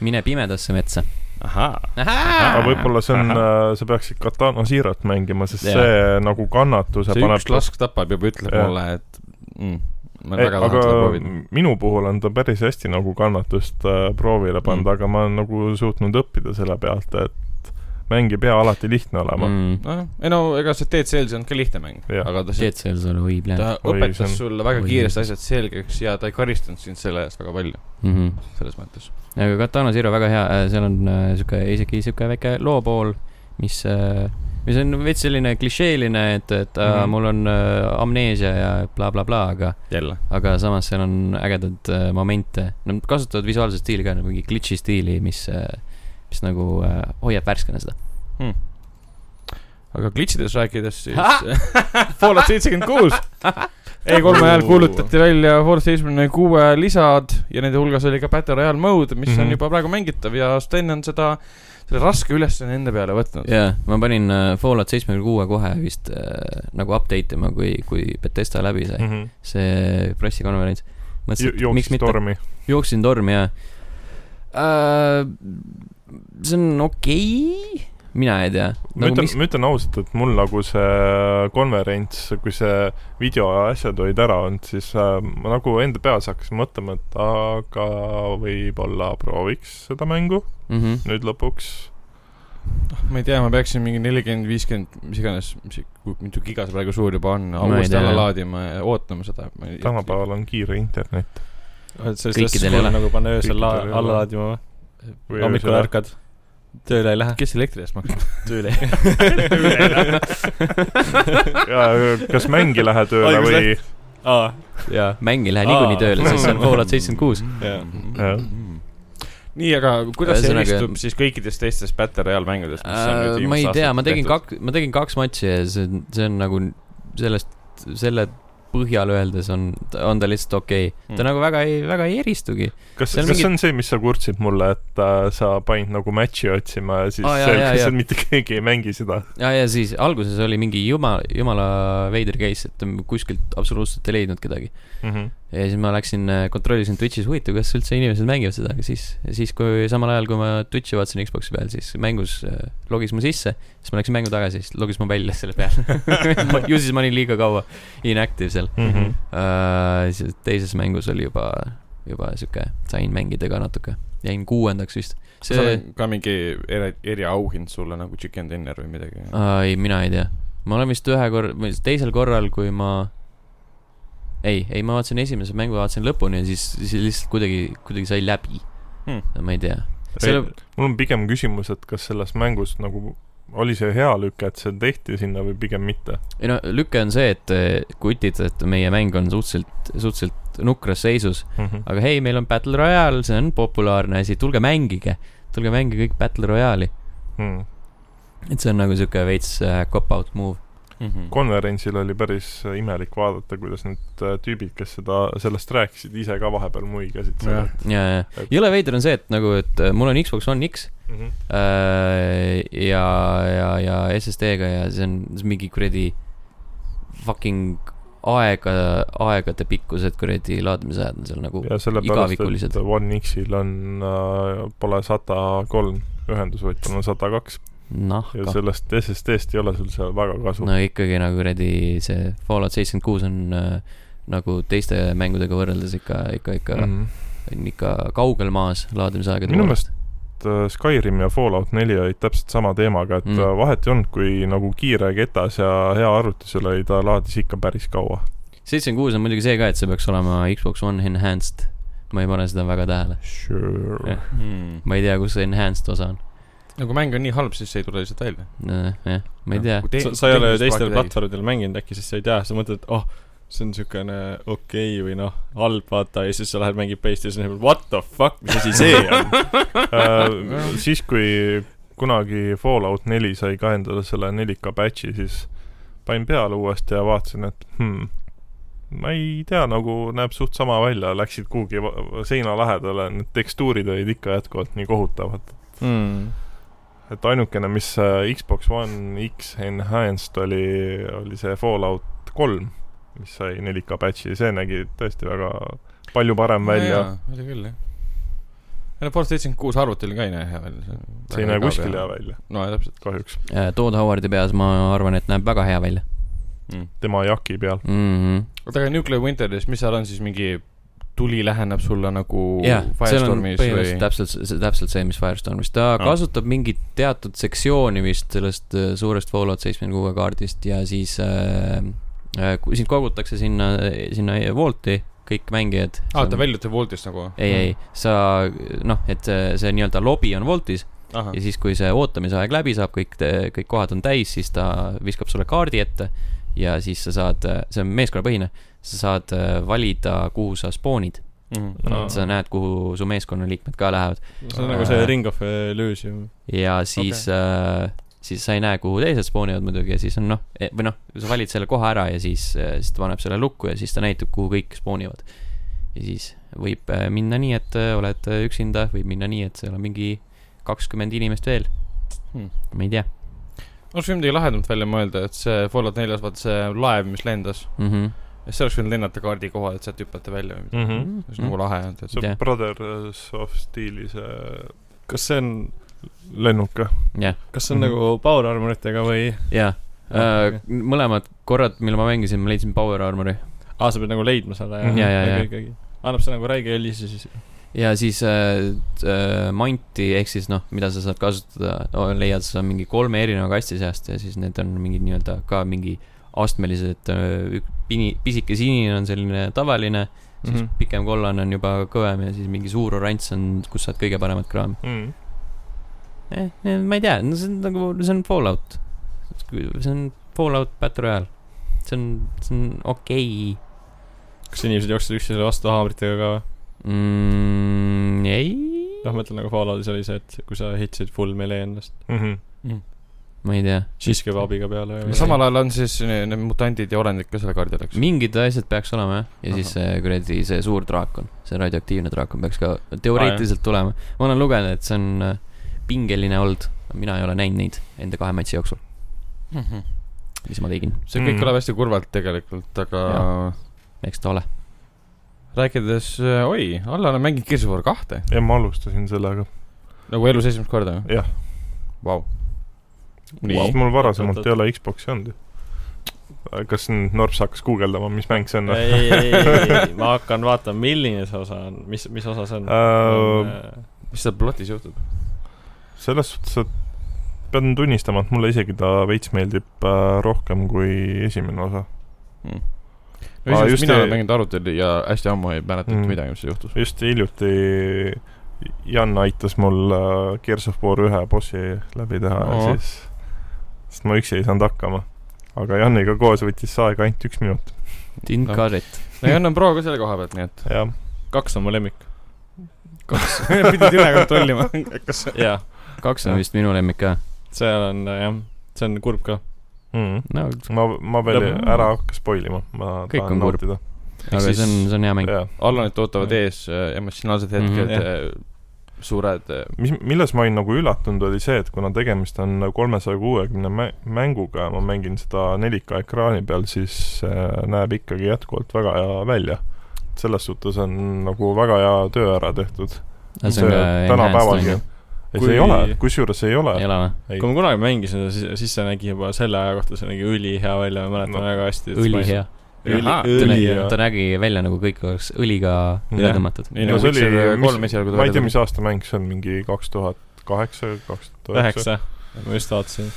[SPEAKER 1] mine pimedasse metsa .
[SPEAKER 2] ahhaa .
[SPEAKER 4] aga võib-olla see on , sa peaksid Katana Siirat mängima , sest
[SPEAKER 2] Jah.
[SPEAKER 4] yeah. see nagu kannatuse
[SPEAKER 2] see
[SPEAKER 4] paneb
[SPEAKER 2] üks lask tapab juba ütleb
[SPEAKER 4] Jah.
[SPEAKER 2] mulle , et mm, ma
[SPEAKER 4] ei ,
[SPEAKER 2] väga tahan
[SPEAKER 4] aga
[SPEAKER 2] seda proovida .
[SPEAKER 4] minu puhul on ta päris hästi nagu kannatust äh, proovile pannud
[SPEAKER 2] Mm.
[SPEAKER 4] mm. , aga ma olen nagu suutnud õppida selle pealt , et mäng ei pea alati lihtne olema mm. .
[SPEAKER 1] Mm.
[SPEAKER 2] nojah , ei no ega see Dead Cells ei olnud ka lihtne mäng ,
[SPEAKER 4] Jah.
[SPEAKER 2] aga ta see
[SPEAKER 1] Dead Cells oli õibne
[SPEAKER 2] ta .
[SPEAKER 4] Oi,
[SPEAKER 2] õpetas
[SPEAKER 4] see
[SPEAKER 2] on...
[SPEAKER 4] on-
[SPEAKER 2] sulle väga
[SPEAKER 1] oi.
[SPEAKER 2] kiiresti asjad selgeks ja ta ei karistanud sind selle eest väga palju ,
[SPEAKER 1] Mm -hmm.
[SPEAKER 2] selles mõttes .
[SPEAKER 1] aga Katana Zero väga hea , seal on äh, sihuke , isegi sihuke väike loo pool , mis , mis on veits selline klišeeline , et , et mm -hmm.
[SPEAKER 2] Mhm.
[SPEAKER 1] mul on äh, amneesia ja blablabla bla, , bla, aga ,
[SPEAKER 2] jälle .
[SPEAKER 1] aga samas seal on ägedaid äh, momente . Nad kasutavad visuaalset stiili ka , mingi glitch'i stiili , mis , mis nagu äh, hoiab värskena seda .
[SPEAKER 2] aga glitchidest rääkides siis Fallout seitsekümmend eh, kuus , E3 ajal kuulutati välja Force seitsmekümne kuue lisad ja nende hulgas oli ka Battle Royale mode , mis mm -hmm.
[SPEAKER 4] Mhm.
[SPEAKER 2] on juba praegu mängitav ja Sten on seda , selle raske ülesanne enda peale võtnud .
[SPEAKER 1] jaa , ma panin äh, Fallout seitsmekümne kuue kohe vist äh, nagu update ima , kui , kui Betesta läbi sai mm.
[SPEAKER 4] -hmm.
[SPEAKER 1] see pressikonverents . mõtlesin , et miks
[SPEAKER 4] jooksis
[SPEAKER 1] mitte .
[SPEAKER 4] tormi .
[SPEAKER 1] jooksin tormi ja äh, . see on okei okay? , mina ei tea .
[SPEAKER 4] ma
[SPEAKER 1] nagu
[SPEAKER 4] ütlen
[SPEAKER 1] mis ,
[SPEAKER 4] ma ütlen ausalt , et mul nagu see konverents , kui see video ja asjad olid ära olnud , siis äh, ma nagu enda peas hakkasin mõtlema , et aga võib-olla prooviks seda mängu
[SPEAKER 1] mm . -hmm.
[SPEAKER 4] nüüd lõpuks .
[SPEAKER 2] ma ei tea , ma peaksin mingi nelikümmend , viiskümmend , mis iganes , mis , kui mitu giga see praegu suur juba on ,
[SPEAKER 1] ei
[SPEAKER 2] uuesti
[SPEAKER 1] tea,
[SPEAKER 2] alla
[SPEAKER 1] jah.
[SPEAKER 2] laadima ja ootama seda .
[SPEAKER 4] tänapäeval on kiire internet .
[SPEAKER 1] Kõikidel ei ole.
[SPEAKER 5] nagu panna öösel la-
[SPEAKER 4] Kõikidel ei ole.
[SPEAKER 5] alla laadima või ? hommikul . ärkad , tööle ei lähe .
[SPEAKER 2] kes elektri eest maksab ?
[SPEAKER 5] tööle ei
[SPEAKER 4] kas mängi lähe tööle
[SPEAKER 5] Ai, kus
[SPEAKER 4] või ?
[SPEAKER 5] lähe . jaa ,
[SPEAKER 1] mäng ei lähe niikuinii
[SPEAKER 5] Aa.
[SPEAKER 1] tööle , sest see on Fallout seitsekümmend kuus .
[SPEAKER 5] jaa .
[SPEAKER 4] Jah.
[SPEAKER 2] nii , aga kuidas see
[SPEAKER 1] Ühesõnaga- Äh,
[SPEAKER 2] eristub siis kõikidest teistest Battle Royale mängudest , mis on
[SPEAKER 1] ma
[SPEAKER 2] nüüd
[SPEAKER 1] ei
[SPEAKER 2] viimased
[SPEAKER 1] tea ,
[SPEAKER 2] aastad
[SPEAKER 1] ma tegin
[SPEAKER 2] tehtud?
[SPEAKER 1] kaks , ma tegin kaks matši ja see on , see on nagu sellest , selle põhjal öeldes on , on ta lihtsalt okei okay. . ta
[SPEAKER 2] Mm.
[SPEAKER 1] mm. nagu väga ei , väga ei eristugi .
[SPEAKER 4] kas ,
[SPEAKER 1] Seal
[SPEAKER 4] kas mingi...
[SPEAKER 1] mingi-
[SPEAKER 4] see on see , mis sa kurtsid mulle , et äh, sa panid nagu match'i otsima ja siis
[SPEAKER 1] Aa,
[SPEAKER 4] oh,
[SPEAKER 1] jaa, jaa,
[SPEAKER 4] selgus ,
[SPEAKER 1] jaa.
[SPEAKER 4] et mitte keegi ei mängi seda .
[SPEAKER 1] ja , ja siis alguses oli mingi jumala , jumala veider case , et kuskilt absoluutselt ei leidnud kedagi . ja siis ma läksin , kontrollisin Twitch'is , huvitav , kas üldse inimesed mängivad seda , aga siis , siis kui samal ajal , kui ma Twitch'i vaatasin Xbox'i peal , siis mängus äh, logis mu sisse , siis ma läksin mängu tagasi , siis logis mu välja selle peale . ju siis ma olin liiga kaua inactive seal
[SPEAKER 4] Mhm.
[SPEAKER 1] äh, . siis teises mängus oli juba , juba sihuke , sain mängida ka natuke , jäin kuuendaks vist .
[SPEAKER 2] kas seal
[SPEAKER 1] see ,
[SPEAKER 2] on ka mingi eri , eriauhind sulle nagu chicken dinner või midagi ?
[SPEAKER 1] ei , mina ei tea , ma olen vist ühe korra , või teisel korral , kui ma ei , ei , ma vaatasin esimese mängu , vaatasin lõpuni ja siis , siis lihtsalt kuidagi , kuidagi sai läbi
[SPEAKER 2] Hmm.
[SPEAKER 1] hmm. . ma ei tea .
[SPEAKER 4] Selle...
[SPEAKER 1] Selle-
[SPEAKER 4] mul on pigem küsimus , et kas selles mängus nagu oli see hea lüke , et see tehti sinna või pigem mitte ?
[SPEAKER 1] ei no lüke on see , et eh, kutid , et meie mäng on suhteliselt , suhteliselt nukras seisus ,
[SPEAKER 4] Mhm.
[SPEAKER 1] aga hei , meil on Battle Royale , see on populaarne asi , tulge mängige , tulge mängige kõik Battle Royale'i .
[SPEAKER 4] Mhm.
[SPEAKER 1] et see on nagu sihuke veits äh, cop-out move . Mhm.
[SPEAKER 4] konverentsil oli päris imelik vaadata , kuidas need äh, tüübid , kes seda , sellest rääkisid , ise ka vahepeal muigasid
[SPEAKER 2] Jah.
[SPEAKER 4] seal .
[SPEAKER 1] ja , ja jõle veider on see , et nagu , et äh, mul on Xbox One X
[SPEAKER 4] Mhm.
[SPEAKER 1] äh, ja , ja , ja SSD-ga ja see on see on mingi kuradi fucking aega , aegade pikkused kuradi laadimisajad on seal nagu
[SPEAKER 4] ja sellepärast ,
[SPEAKER 1] igavikulised.
[SPEAKER 4] et One X-il on äh, , pole sada kolm ühendus , vaid tal on sada kaks ja
[SPEAKER 1] nahka .
[SPEAKER 4] sellest SSD-st ei ole sul seal väga kasu
[SPEAKER 1] no ikkagi nagu kuradi see Fallout seitsekümmend kuus on äh, nagu teiste mängudega võrreldes ikka , ikka , ikka mm.
[SPEAKER 4] -hmm.
[SPEAKER 1] on ikka kaugel maas laadimisaegade
[SPEAKER 4] Minu meelest- . et äh, Skyrim ja Fallout neli olid täpselt sama teemaga , et
[SPEAKER 1] Mm.
[SPEAKER 4] mm. vahet ei olnud , kui nagu kiire ketas ja hea arvutusel oli , ta laadis ikka päris kaua .
[SPEAKER 1] seitsekümmend kuus on muidugi see ka , et see peaks olema Xbox One enhanced . ma ei pane seda väga tähele .
[SPEAKER 4] Sure
[SPEAKER 1] Jah.
[SPEAKER 2] Hmm.
[SPEAKER 1] ma ei tea , kus see enhanced osa on .
[SPEAKER 2] no kui mäng on nii halb , siis see ei tule lihtsalt välja . Nagu
[SPEAKER 1] jah , ma ei tea .
[SPEAKER 5] sa , sa ei ole ju teistel . platvormidel mänginud äkki , siis sa ei tea , sa mõtled , et oh , see on siukene okei okay või noh , halb vaata ja siis sa lähed mängid PlayStationi ja siis what the fuck , mis asi see on ?
[SPEAKER 4] äh, . siis , kui kunagi Fallout neli sai ka endale selle 4K patch'i , siis panin peale uuesti ja vaatasin , et hmm, ma ei tea , nagu näeb suht sama välja , läksid kuhugi va- seina lähedale , need tekstuurid olid ikka jätkuvalt nii kohutavad . Hmm. et ainukene , mis äh, Xbox One X enhanced oli , oli see Fallout kolm , mis sai 4K patch'i , see nägi tõesti väga palju parem välja .
[SPEAKER 2] oli küll , jah . no Force seitsekümmend kuus arvutil ka ei näe hea välja .
[SPEAKER 4] see ei näe kuskil hea . välja ,
[SPEAKER 2] no ja täpselt
[SPEAKER 4] kahjuks .
[SPEAKER 1] Äh, Todd Howardi peas ma arvan , et näeb väga hea välja Hmm.
[SPEAKER 2] mm. .
[SPEAKER 4] tema jaki peal .
[SPEAKER 1] mm . -hmm.
[SPEAKER 2] oota , aga Nuclear Winteris , mis seal on siis mingi tuli läheneb sulle nagu
[SPEAKER 1] jah , seal on
[SPEAKER 2] Firestormis või
[SPEAKER 1] põhimõtteliselt ? täpselt see , täpselt see , mis Firestormis , ta
[SPEAKER 2] Ah.
[SPEAKER 1] no. kasutab mingit teatud sektsiooni vist sellest äh, suurest Fallout seitsmekümne kuue kaardist ja siis äh, äh, ku- sind kogutakse sinna , sinna Wolti , kõik mängijad .
[SPEAKER 2] aa , ta väljutab Ah, Voltist nagu ?
[SPEAKER 1] ei , ei , sa noh , et see, see nii-öelda lobi on Woltis
[SPEAKER 2] ahah
[SPEAKER 1] ja , siis , kui see ootamisaeg läbi saab , kõik , kõik kohad on täis , siis ta viskab sulle kaardi ette ja siis sa saad , see on meeskonnapõhine , sa saad äh, valida , kuhu sa spoonid .
[SPEAKER 2] Mhm.
[SPEAKER 1] et sa näed , kuhu su meeskonnaliikmed ka lähevad .
[SPEAKER 5] see on nagu see Ring of Illusion .
[SPEAKER 1] ja siis okay. äh, siis sa ei näe , kuhu teised spoonivad muidugi ja siis on noh , või noh , sa valid selle koha ära ja siis , siis ta paneb selle lukku ja siis ta näitab , kuhu kõik spoonivad . ja siis võib äh, minna nii , et äh, oled äh, üksinda , võib minna nii , et seal on mingi kakskümmend inimest veel
[SPEAKER 2] Hmm.
[SPEAKER 1] hmm. . ma ei tea
[SPEAKER 2] oleks võinud midagi lahedamat välja mõelda , et see Fallout neljas , vaata see laev , mis lendas ,
[SPEAKER 1] mm . -hmm.
[SPEAKER 2] see oleks võinud lennata kaardi kohal , et sealt hüpata välja või midagi .
[SPEAKER 4] mm .
[SPEAKER 1] Mhm.
[SPEAKER 4] -hmm.
[SPEAKER 2] see oleks nagu lahe olnud , et
[SPEAKER 4] see
[SPEAKER 1] Jah.
[SPEAKER 4] yeah. Brothers of Steel'i see
[SPEAKER 5] kas see on ,
[SPEAKER 4] lennuke .
[SPEAKER 1] jah ,
[SPEAKER 5] kas see on mm -hmm. nagu power armoritega või ?
[SPEAKER 1] ja
[SPEAKER 2] Ah,
[SPEAKER 1] äh, mõlemad korrad , mil ma mängisin , ma leidsin Power Armori
[SPEAKER 5] aa , sa pead nagu leidma selle
[SPEAKER 1] Mhm. Jaa, jaa, jaa.
[SPEAKER 5] ja . annab see nagu räige helise siis .
[SPEAKER 1] ja siis äh, äh, manti ehk siis noh , mida sa saad kasutada , leiad sa mingi kolme erineva kasti seast ja siis need on mingid nii-öelda ka mingi astmelised , pini- , pisike sinine on selline tavaline , siis mm
[SPEAKER 5] Mhm.
[SPEAKER 1] -hmm. pikem kollane on juba kõvem ja siis mingi suur oranž on , kus saad kõige paremat kraami
[SPEAKER 4] mm. .
[SPEAKER 1] eh, . Eh, ma ei tea , no see on nagu , see on Fallout . see on Fallout Battle Royale . see on , see on okei
[SPEAKER 5] kas inimesed jooksevad üksteisele vastu haamritega ka või ?
[SPEAKER 1] okay. mm, . ei ,
[SPEAKER 5] noh , ma ütlen nagu Falloutis oli see , et kui sa hitsid full melee ennast ,
[SPEAKER 4] Mm -hmm.
[SPEAKER 1] ma ei tea
[SPEAKER 5] siis käib abiga peale
[SPEAKER 1] No
[SPEAKER 5] või ?
[SPEAKER 2] samal ajal on siis ne- need mutandid ja olendid ka selle kaardil , eks .
[SPEAKER 1] mingid asjad peaks olema jah , ja siis see kuradi see suur draakon , see radioaktiivne draakon peaks ka teoreetiliselt tulema . ma olen lugenud , et see on äh, pingeline olnud , mina ei ole näinud neid enda kahe matši jooksul , mis ma tegin ,
[SPEAKER 2] Mhm. see kõik
[SPEAKER 4] Mm.
[SPEAKER 2] kõlab hästi kurvalt tegelikult , aga
[SPEAKER 1] Jah. eks ta ole .
[SPEAKER 2] rääkides , oi , Allan on mänginud Gears of War kahte
[SPEAKER 4] ja ma alustasin sellega .
[SPEAKER 2] nagu elus esimest korda .
[SPEAKER 4] Jah. .
[SPEAKER 2] Vau .
[SPEAKER 4] sest
[SPEAKER 2] nii .
[SPEAKER 4] mul varasemalt
[SPEAKER 5] Oot,
[SPEAKER 4] ei ole Xbox'i olnud ju . kas nüüd Norps hakkas guugeldama , mis mäng see on ?
[SPEAKER 5] ei , ei , ei , ei , ma hakkan vaatama , milline see osa on , mis , mis osa see
[SPEAKER 1] Ähm.
[SPEAKER 5] on
[SPEAKER 4] Äh, .
[SPEAKER 2] mis seal plotis juhtub ?
[SPEAKER 4] selles suhtes , et pean tunnistama , et mulle isegi ta veits meeldib äh, rohkem kui esimene osa .
[SPEAKER 2] no
[SPEAKER 4] Aa,
[SPEAKER 2] iseenesest
[SPEAKER 4] just
[SPEAKER 2] mina
[SPEAKER 4] see-
[SPEAKER 2] olen mänginud arutelu ja hästi ammu ei mäleta
[SPEAKER 4] Mm.
[SPEAKER 2] mitte midagi , mis seal juhtus .
[SPEAKER 4] just hiljuti Jan aitas mul äh, Gears of War ühe bossi läbi teha ja
[SPEAKER 2] Oo.
[SPEAKER 4] siis , sest ma üksi ei saanud hakkama . aga Janiga koos võttis see aega ainult üks minut .
[SPEAKER 1] Tin
[SPEAKER 2] No.
[SPEAKER 1] Carrit ,
[SPEAKER 2] no Jan on pro ka selle koha pealt , nii et
[SPEAKER 4] jah ,
[SPEAKER 5] kaks on mu lemmik .
[SPEAKER 2] pidid üle kontrollima .
[SPEAKER 5] jaa ,
[SPEAKER 1] kaks on vist minu lemmik ka .
[SPEAKER 5] seal on äh, jah , see on kurb ka .
[SPEAKER 1] no
[SPEAKER 4] Mhm. ma , ma veel
[SPEAKER 1] Lõpp-
[SPEAKER 4] ära hakka spoilima , ma
[SPEAKER 1] Kõik
[SPEAKER 4] tahan
[SPEAKER 1] on kurb.
[SPEAKER 4] nautida .
[SPEAKER 1] aga
[SPEAKER 2] siis-
[SPEAKER 1] see on , see on hea mäng .
[SPEAKER 4] jaa ,
[SPEAKER 2] Allanit ootavad ees äh, emotsionaalsed
[SPEAKER 1] Mhm.
[SPEAKER 2] hetked
[SPEAKER 5] Jah.
[SPEAKER 2] äh, , suured äh,
[SPEAKER 4] mis , milles ma olin nagu üllatunud , oli see , et kuna tegemist on kolmesaja kuuekümne mänguga ja ma mängin seda 4K ekraani peal , siis äh, näeb ikkagi jätkuvalt väga hea välja . selles suhtes on nagu väga hea töö ära tehtud .
[SPEAKER 1] see on ka enhanced
[SPEAKER 4] tänapäevalgi
[SPEAKER 1] on .
[SPEAKER 4] ei , see
[SPEAKER 5] Kui-
[SPEAKER 4] ei ole , kusjuures ei ole
[SPEAKER 1] ju , ei . ole või ?
[SPEAKER 4] Ei.
[SPEAKER 5] kui ma kunagi mängisin seda , siis , siis see nägi juba selle aja kohta , see nägi ülihea välja , ma mäletan
[SPEAKER 4] No.
[SPEAKER 5] väga hästi .
[SPEAKER 1] õlihea .
[SPEAKER 5] üli
[SPEAKER 2] Ahaa. ,
[SPEAKER 1] ta
[SPEAKER 5] õli
[SPEAKER 1] nägi
[SPEAKER 5] ja ,
[SPEAKER 1] ta nägi välja nagu kõik oleks õliga üle
[SPEAKER 5] Jah.
[SPEAKER 1] tõmmatud .
[SPEAKER 2] nii
[SPEAKER 4] No
[SPEAKER 2] nagu
[SPEAKER 4] see oli-
[SPEAKER 2] Witcher
[SPEAKER 4] mis-
[SPEAKER 2] kolm esialgu
[SPEAKER 4] ma ei tea , mis aasta mäng see on , mingi kaks tuhat kaheksa , kaks tuhat üheksa .
[SPEAKER 5] üheksa , ma just vaatasin .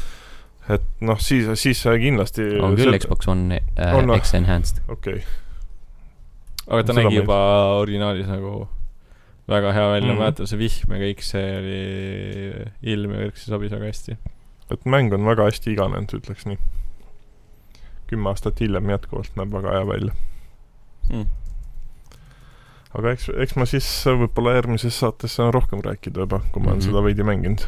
[SPEAKER 4] et noh , siis , siis see kindlasti
[SPEAKER 1] on küll Xbox One äh,
[SPEAKER 4] On või?
[SPEAKER 1] X Enhanced .
[SPEAKER 4] okei okay. ,
[SPEAKER 5] aga ta
[SPEAKER 4] Seda ma
[SPEAKER 5] nägi
[SPEAKER 4] ei-
[SPEAKER 5] juba originaalis nagu väga hea
[SPEAKER 4] Mhm.
[SPEAKER 5] välja mm , -hmm. ma mäletan see vihm ja kõik see oli , ilm ja kõik see sobis väga hästi .
[SPEAKER 4] et mäng on väga hästi iganenud , ütleks nii . kümme aastat hiljem jätkuvalt näeb väga hea välja .
[SPEAKER 2] Mm.
[SPEAKER 4] aga eks , eks ma siis võib-olla järgmises saates saan rohkem rääkida juba , kui ma olen
[SPEAKER 1] Mhm.
[SPEAKER 4] seda veidi mänginud .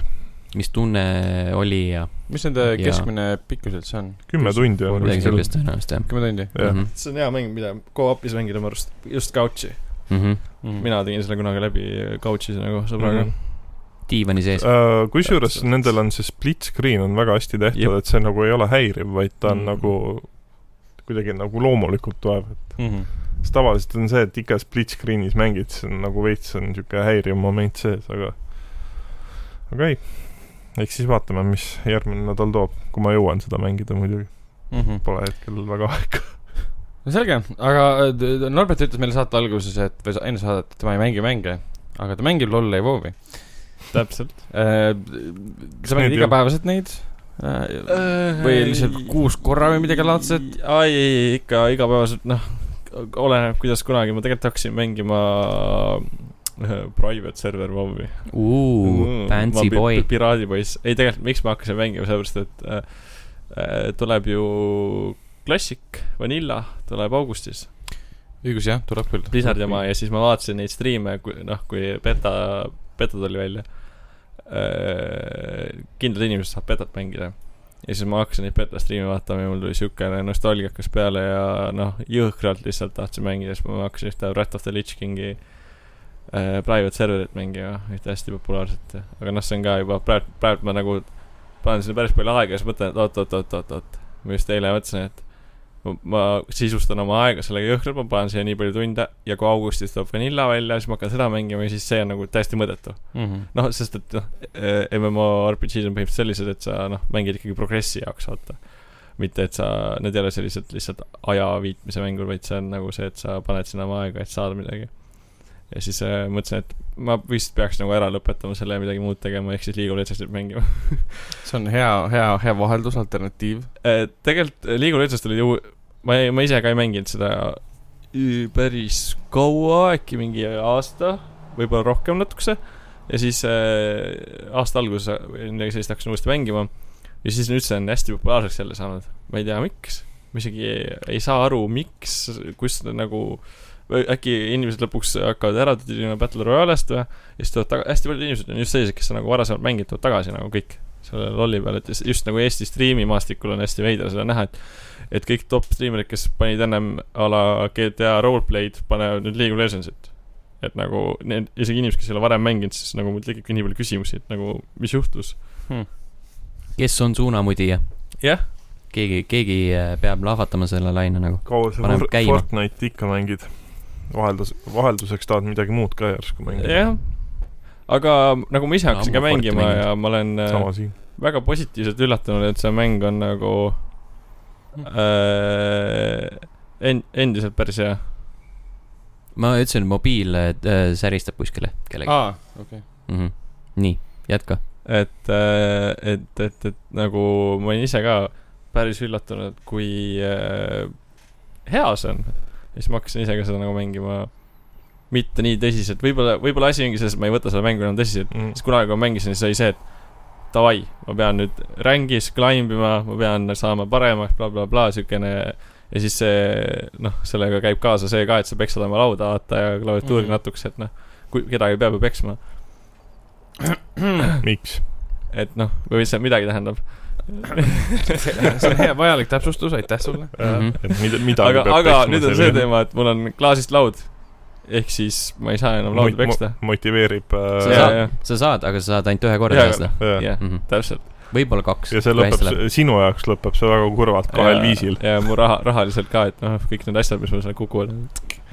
[SPEAKER 1] mis tunne oli ja
[SPEAKER 2] mis
[SPEAKER 1] Jaa.
[SPEAKER 2] nende keskmine pikkus üldse on ?
[SPEAKER 4] kümme tundi on
[SPEAKER 1] midagi
[SPEAKER 4] kuskil .
[SPEAKER 1] sellist tõenäoliselt jah
[SPEAKER 2] kümme tundi ?
[SPEAKER 4] jah ,
[SPEAKER 1] Mhm.
[SPEAKER 5] see on hea mäng , mida co-op'is mängida minu arust , just couch'i .
[SPEAKER 1] Mhm.
[SPEAKER 5] mina tegin selle kunagi läbi couch'is nagu sõbraga mm . -hmm.
[SPEAKER 1] diivani sees .
[SPEAKER 4] Äh, kusjuures
[SPEAKER 5] Täpselt.
[SPEAKER 4] nendel on see split screen on väga hästi tehtud ,
[SPEAKER 5] Jep.
[SPEAKER 4] et see nagu ei ole häiriv , vaid ta
[SPEAKER 1] Mhm.
[SPEAKER 4] on
[SPEAKER 2] Mm.
[SPEAKER 4] mm. nagu kuidagi nagu loomulikult tuleb .
[SPEAKER 2] mina .
[SPEAKER 4] sest tavaliselt on see , et ikka split screen'is mängid , see on nagu veits on niisugune häiriv moment sees , aga aga ei , eks siis vaatame , mis järgmine nädal toob , kui ma jõuan seda mängida muidugi , pole hetkel väga aega .
[SPEAKER 2] Mhm. no selge , aga t- t- Norbert ütles meile saate alguses , et või sa- enne saadet , et tema ei mängi mänge , aga ta mängib lolle ja voovi .
[SPEAKER 5] täpselt .
[SPEAKER 2] sa
[SPEAKER 4] Need
[SPEAKER 2] mängid
[SPEAKER 4] ju-
[SPEAKER 2] igapäevaselt neid ? Äh, või lihtsalt kuus korra või midagi laadset ??
[SPEAKER 5] ai , ei , ei ikka igapäevaselt noh , oleneb kuidas kunagi , ma tegelikult hakkasin mängima äh, private server WoW-i . Mm,
[SPEAKER 1] Fancy
[SPEAKER 5] ma pi-
[SPEAKER 1] boy
[SPEAKER 5] pi- . piraadipoiss , ei tegelikult , miks ma hakkasin mängima , sellepärast et äh, äh, tuleb ju klassik , Vanilla tuleb augustis ,
[SPEAKER 2] õigus jah , tuleb küll .
[SPEAKER 5] Blizzardi oma ja siis ma vaatasin neid striime , noh , kui beta , beta tuli välja . kindlad inimesed saab betat mängida. ja siis ma hakkasin neid beta striime vaatama ja mul tuli siukene nostalgia hakkas peale ja noh, jõhkralt lihtsalt tahtsin mängida, siis ma hakkasin ühte Wrath of the Lich Kingi äh, private serverit mängima, ühte hästi populaarset, aga noh, see on ka juba praegu, praegu ma nagu panen sinna päris palju aega ja siis mõtlen, et oot-oot-oot-oot-oot. ma just eile mõtlesin, et ma, ma sisustan oma aega sellega jõhkralt, ma panen siia nii palju tunde ja kui augustis tuleb Vanilla välja, siis ma hakkan seda mängima ja siis see on nagu täiesti mõttetu
[SPEAKER 1] mm
[SPEAKER 2] Mhm.
[SPEAKER 1] -hmm.
[SPEAKER 5] noh , sest et noh , MMORPG-d on põhimõtteliselt sellised , et sa noh , mängid ikkagi progressi jaoks , vaata . mitte , et sa , need ei ole sellised lihtsalt aja viitmise mängud , vaid see on nagu see , et sa paned sinna oma aega , et saada midagi . ja siis äh, mõtlesin , et ma vist peaks nagu ära lõpetama selle ja midagi muud tegema , ehk siis League of Legendsit mängima .
[SPEAKER 2] see on hea , hea , hea vaheldus , alternatiiv .
[SPEAKER 5] Eh, tegelikult League of Legends oli ju , ma ei , ma ise ka ei mänginud seda ü- päris kaua , äkki mingi aasta , võib-olla rohkem natukese . ja siis äh, aasta alguses või midagi sellist hakkasin uuesti mängima . ja siis nüüd see on hästi populaarseks jälle saanud , ma ei tea , miks . ma isegi ei, ei saa aru , miks , kus nagu , äkki inimesed lõpuks hakkavad ära tüdima Battle Royale'ist või . ja siis tulevad taga- , hästi paljud inimesed on just sellised , kes on nagu varasemalt mänginud , tulevad tagasi nagu kõik selle lolli peale , et just- just nagu Eesti striimimaastikul on hästi veider seda näha , et et kõik top striimerid , kes panid ennem a la GTA roleplay'd , panevad nüüd League of Legendsit . et nagu need , isegi inimesed , kes ei ole varem mänginud , siis nagu mul tekibki nii palju küsimusi , et nagu mis juhtus .
[SPEAKER 1] kes on suunamudija ?
[SPEAKER 5] jah ,
[SPEAKER 1] keegi , keegi äh, peab lahvatama selle laine nagu .
[SPEAKER 4] kaua sa
[SPEAKER 1] Paneb
[SPEAKER 4] For-
[SPEAKER 1] käima.
[SPEAKER 4] Fortnite'i ikka mängid ? vaheldus , vahelduseks tahad midagi muud ka järsku mängida ?
[SPEAKER 5] jah . aga nagu ma ise
[SPEAKER 1] Ammu
[SPEAKER 5] hakkasin ka
[SPEAKER 1] Forti
[SPEAKER 5] mängima
[SPEAKER 1] mänginud.
[SPEAKER 5] ja ma olen äh,
[SPEAKER 4] sama siin .
[SPEAKER 5] väga positiivselt üllatunud , et see mäng on nagu äh, en- , endiselt päris hea .
[SPEAKER 1] ma ütlesin , mobiil äh, äh, säristab kuskile kellegi
[SPEAKER 2] aa , okei .
[SPEAKER 5] Ah.
[SPEAKER 1] mm . -hmm. nii , jätka .
[SPEAKER 5] et , et , et , et nagu ma olin ise ka päris üllatunud , kui äh, hea see on . ja siis ma hakkasin ise ka seda nagu mängima mitte nii tõsiselt , võib-olla , võib-olla asi ongi selles , et ma ei võta seda mängu enam tõsiselt .
[SPEAKER 4] Mm.
[SPEAKER 5] siis kunagi , kui ma mängisin , siis oli see , et davai , ma pean nüüd rängis climb ima , ma pean saama paremaks bla, , blablabla , siukene . ja siis see , noh , sellega käib kaasa see ka , et sa peksad oma lauda , vaata , ja klaviatuuri
[SPEAKER 1] Mhm.
[SPEAKER 5] mm -hmm. natukese , et noh , kui kedagi peab ju peksma .
[SPEAKER 4] miks ?
[SPEAKER 5] et noh , või see midagi tähendab .
[SPEAKER 2] see on hea , vajalik täpsustus , aitäh sulle .
[SPEAKER 1] Mhm.
[SPEAKER 4] Äh, et mida , midagi
[SPEAKER 5] aga ,
[SPEAKER 4] peab
[SPEAKER 5] aga
[SPEAKER 4] peksma
[SPEAKER 5] nüüd on see teema , et mul on klaasist laud . ehk siis ma ei saa enam lauda
[SPEAKER 4] Mot-
[SPEAKER 5] peksta .
[SPEAKER 4] mo- motiveerib
[SPEAKER 1] Sa
[SPEAKER 5] ja ,
[SPEAKER 1] saad-
[SPEAKER 4] äh, .
[SPEAKER 5] ja ,
[SPEAKER 1] sa saad , aga sa saad ainult ühe korra
[SPEAKER 5] Jaa,
[SPEAKER 1] teha seda
[SPEAKER 4] ja, ja.
[SPEAKER 5] ja
[SPEAKER 1] mm . -hmm.
[SPEAKER 5] täpselt .
[SPEAKER 1] võib-olla kaks .
[SPEAKER 4] ja see lõpeb , sinu jaoks lõpeb see väga kurvalt kahel ja. viisil .
[SPEAKER 5] ja mu raha , rahaliselt ka , et noh , kõik need asjad , mis mul seal kukuvad .
[SPEAKER 1] Hmm.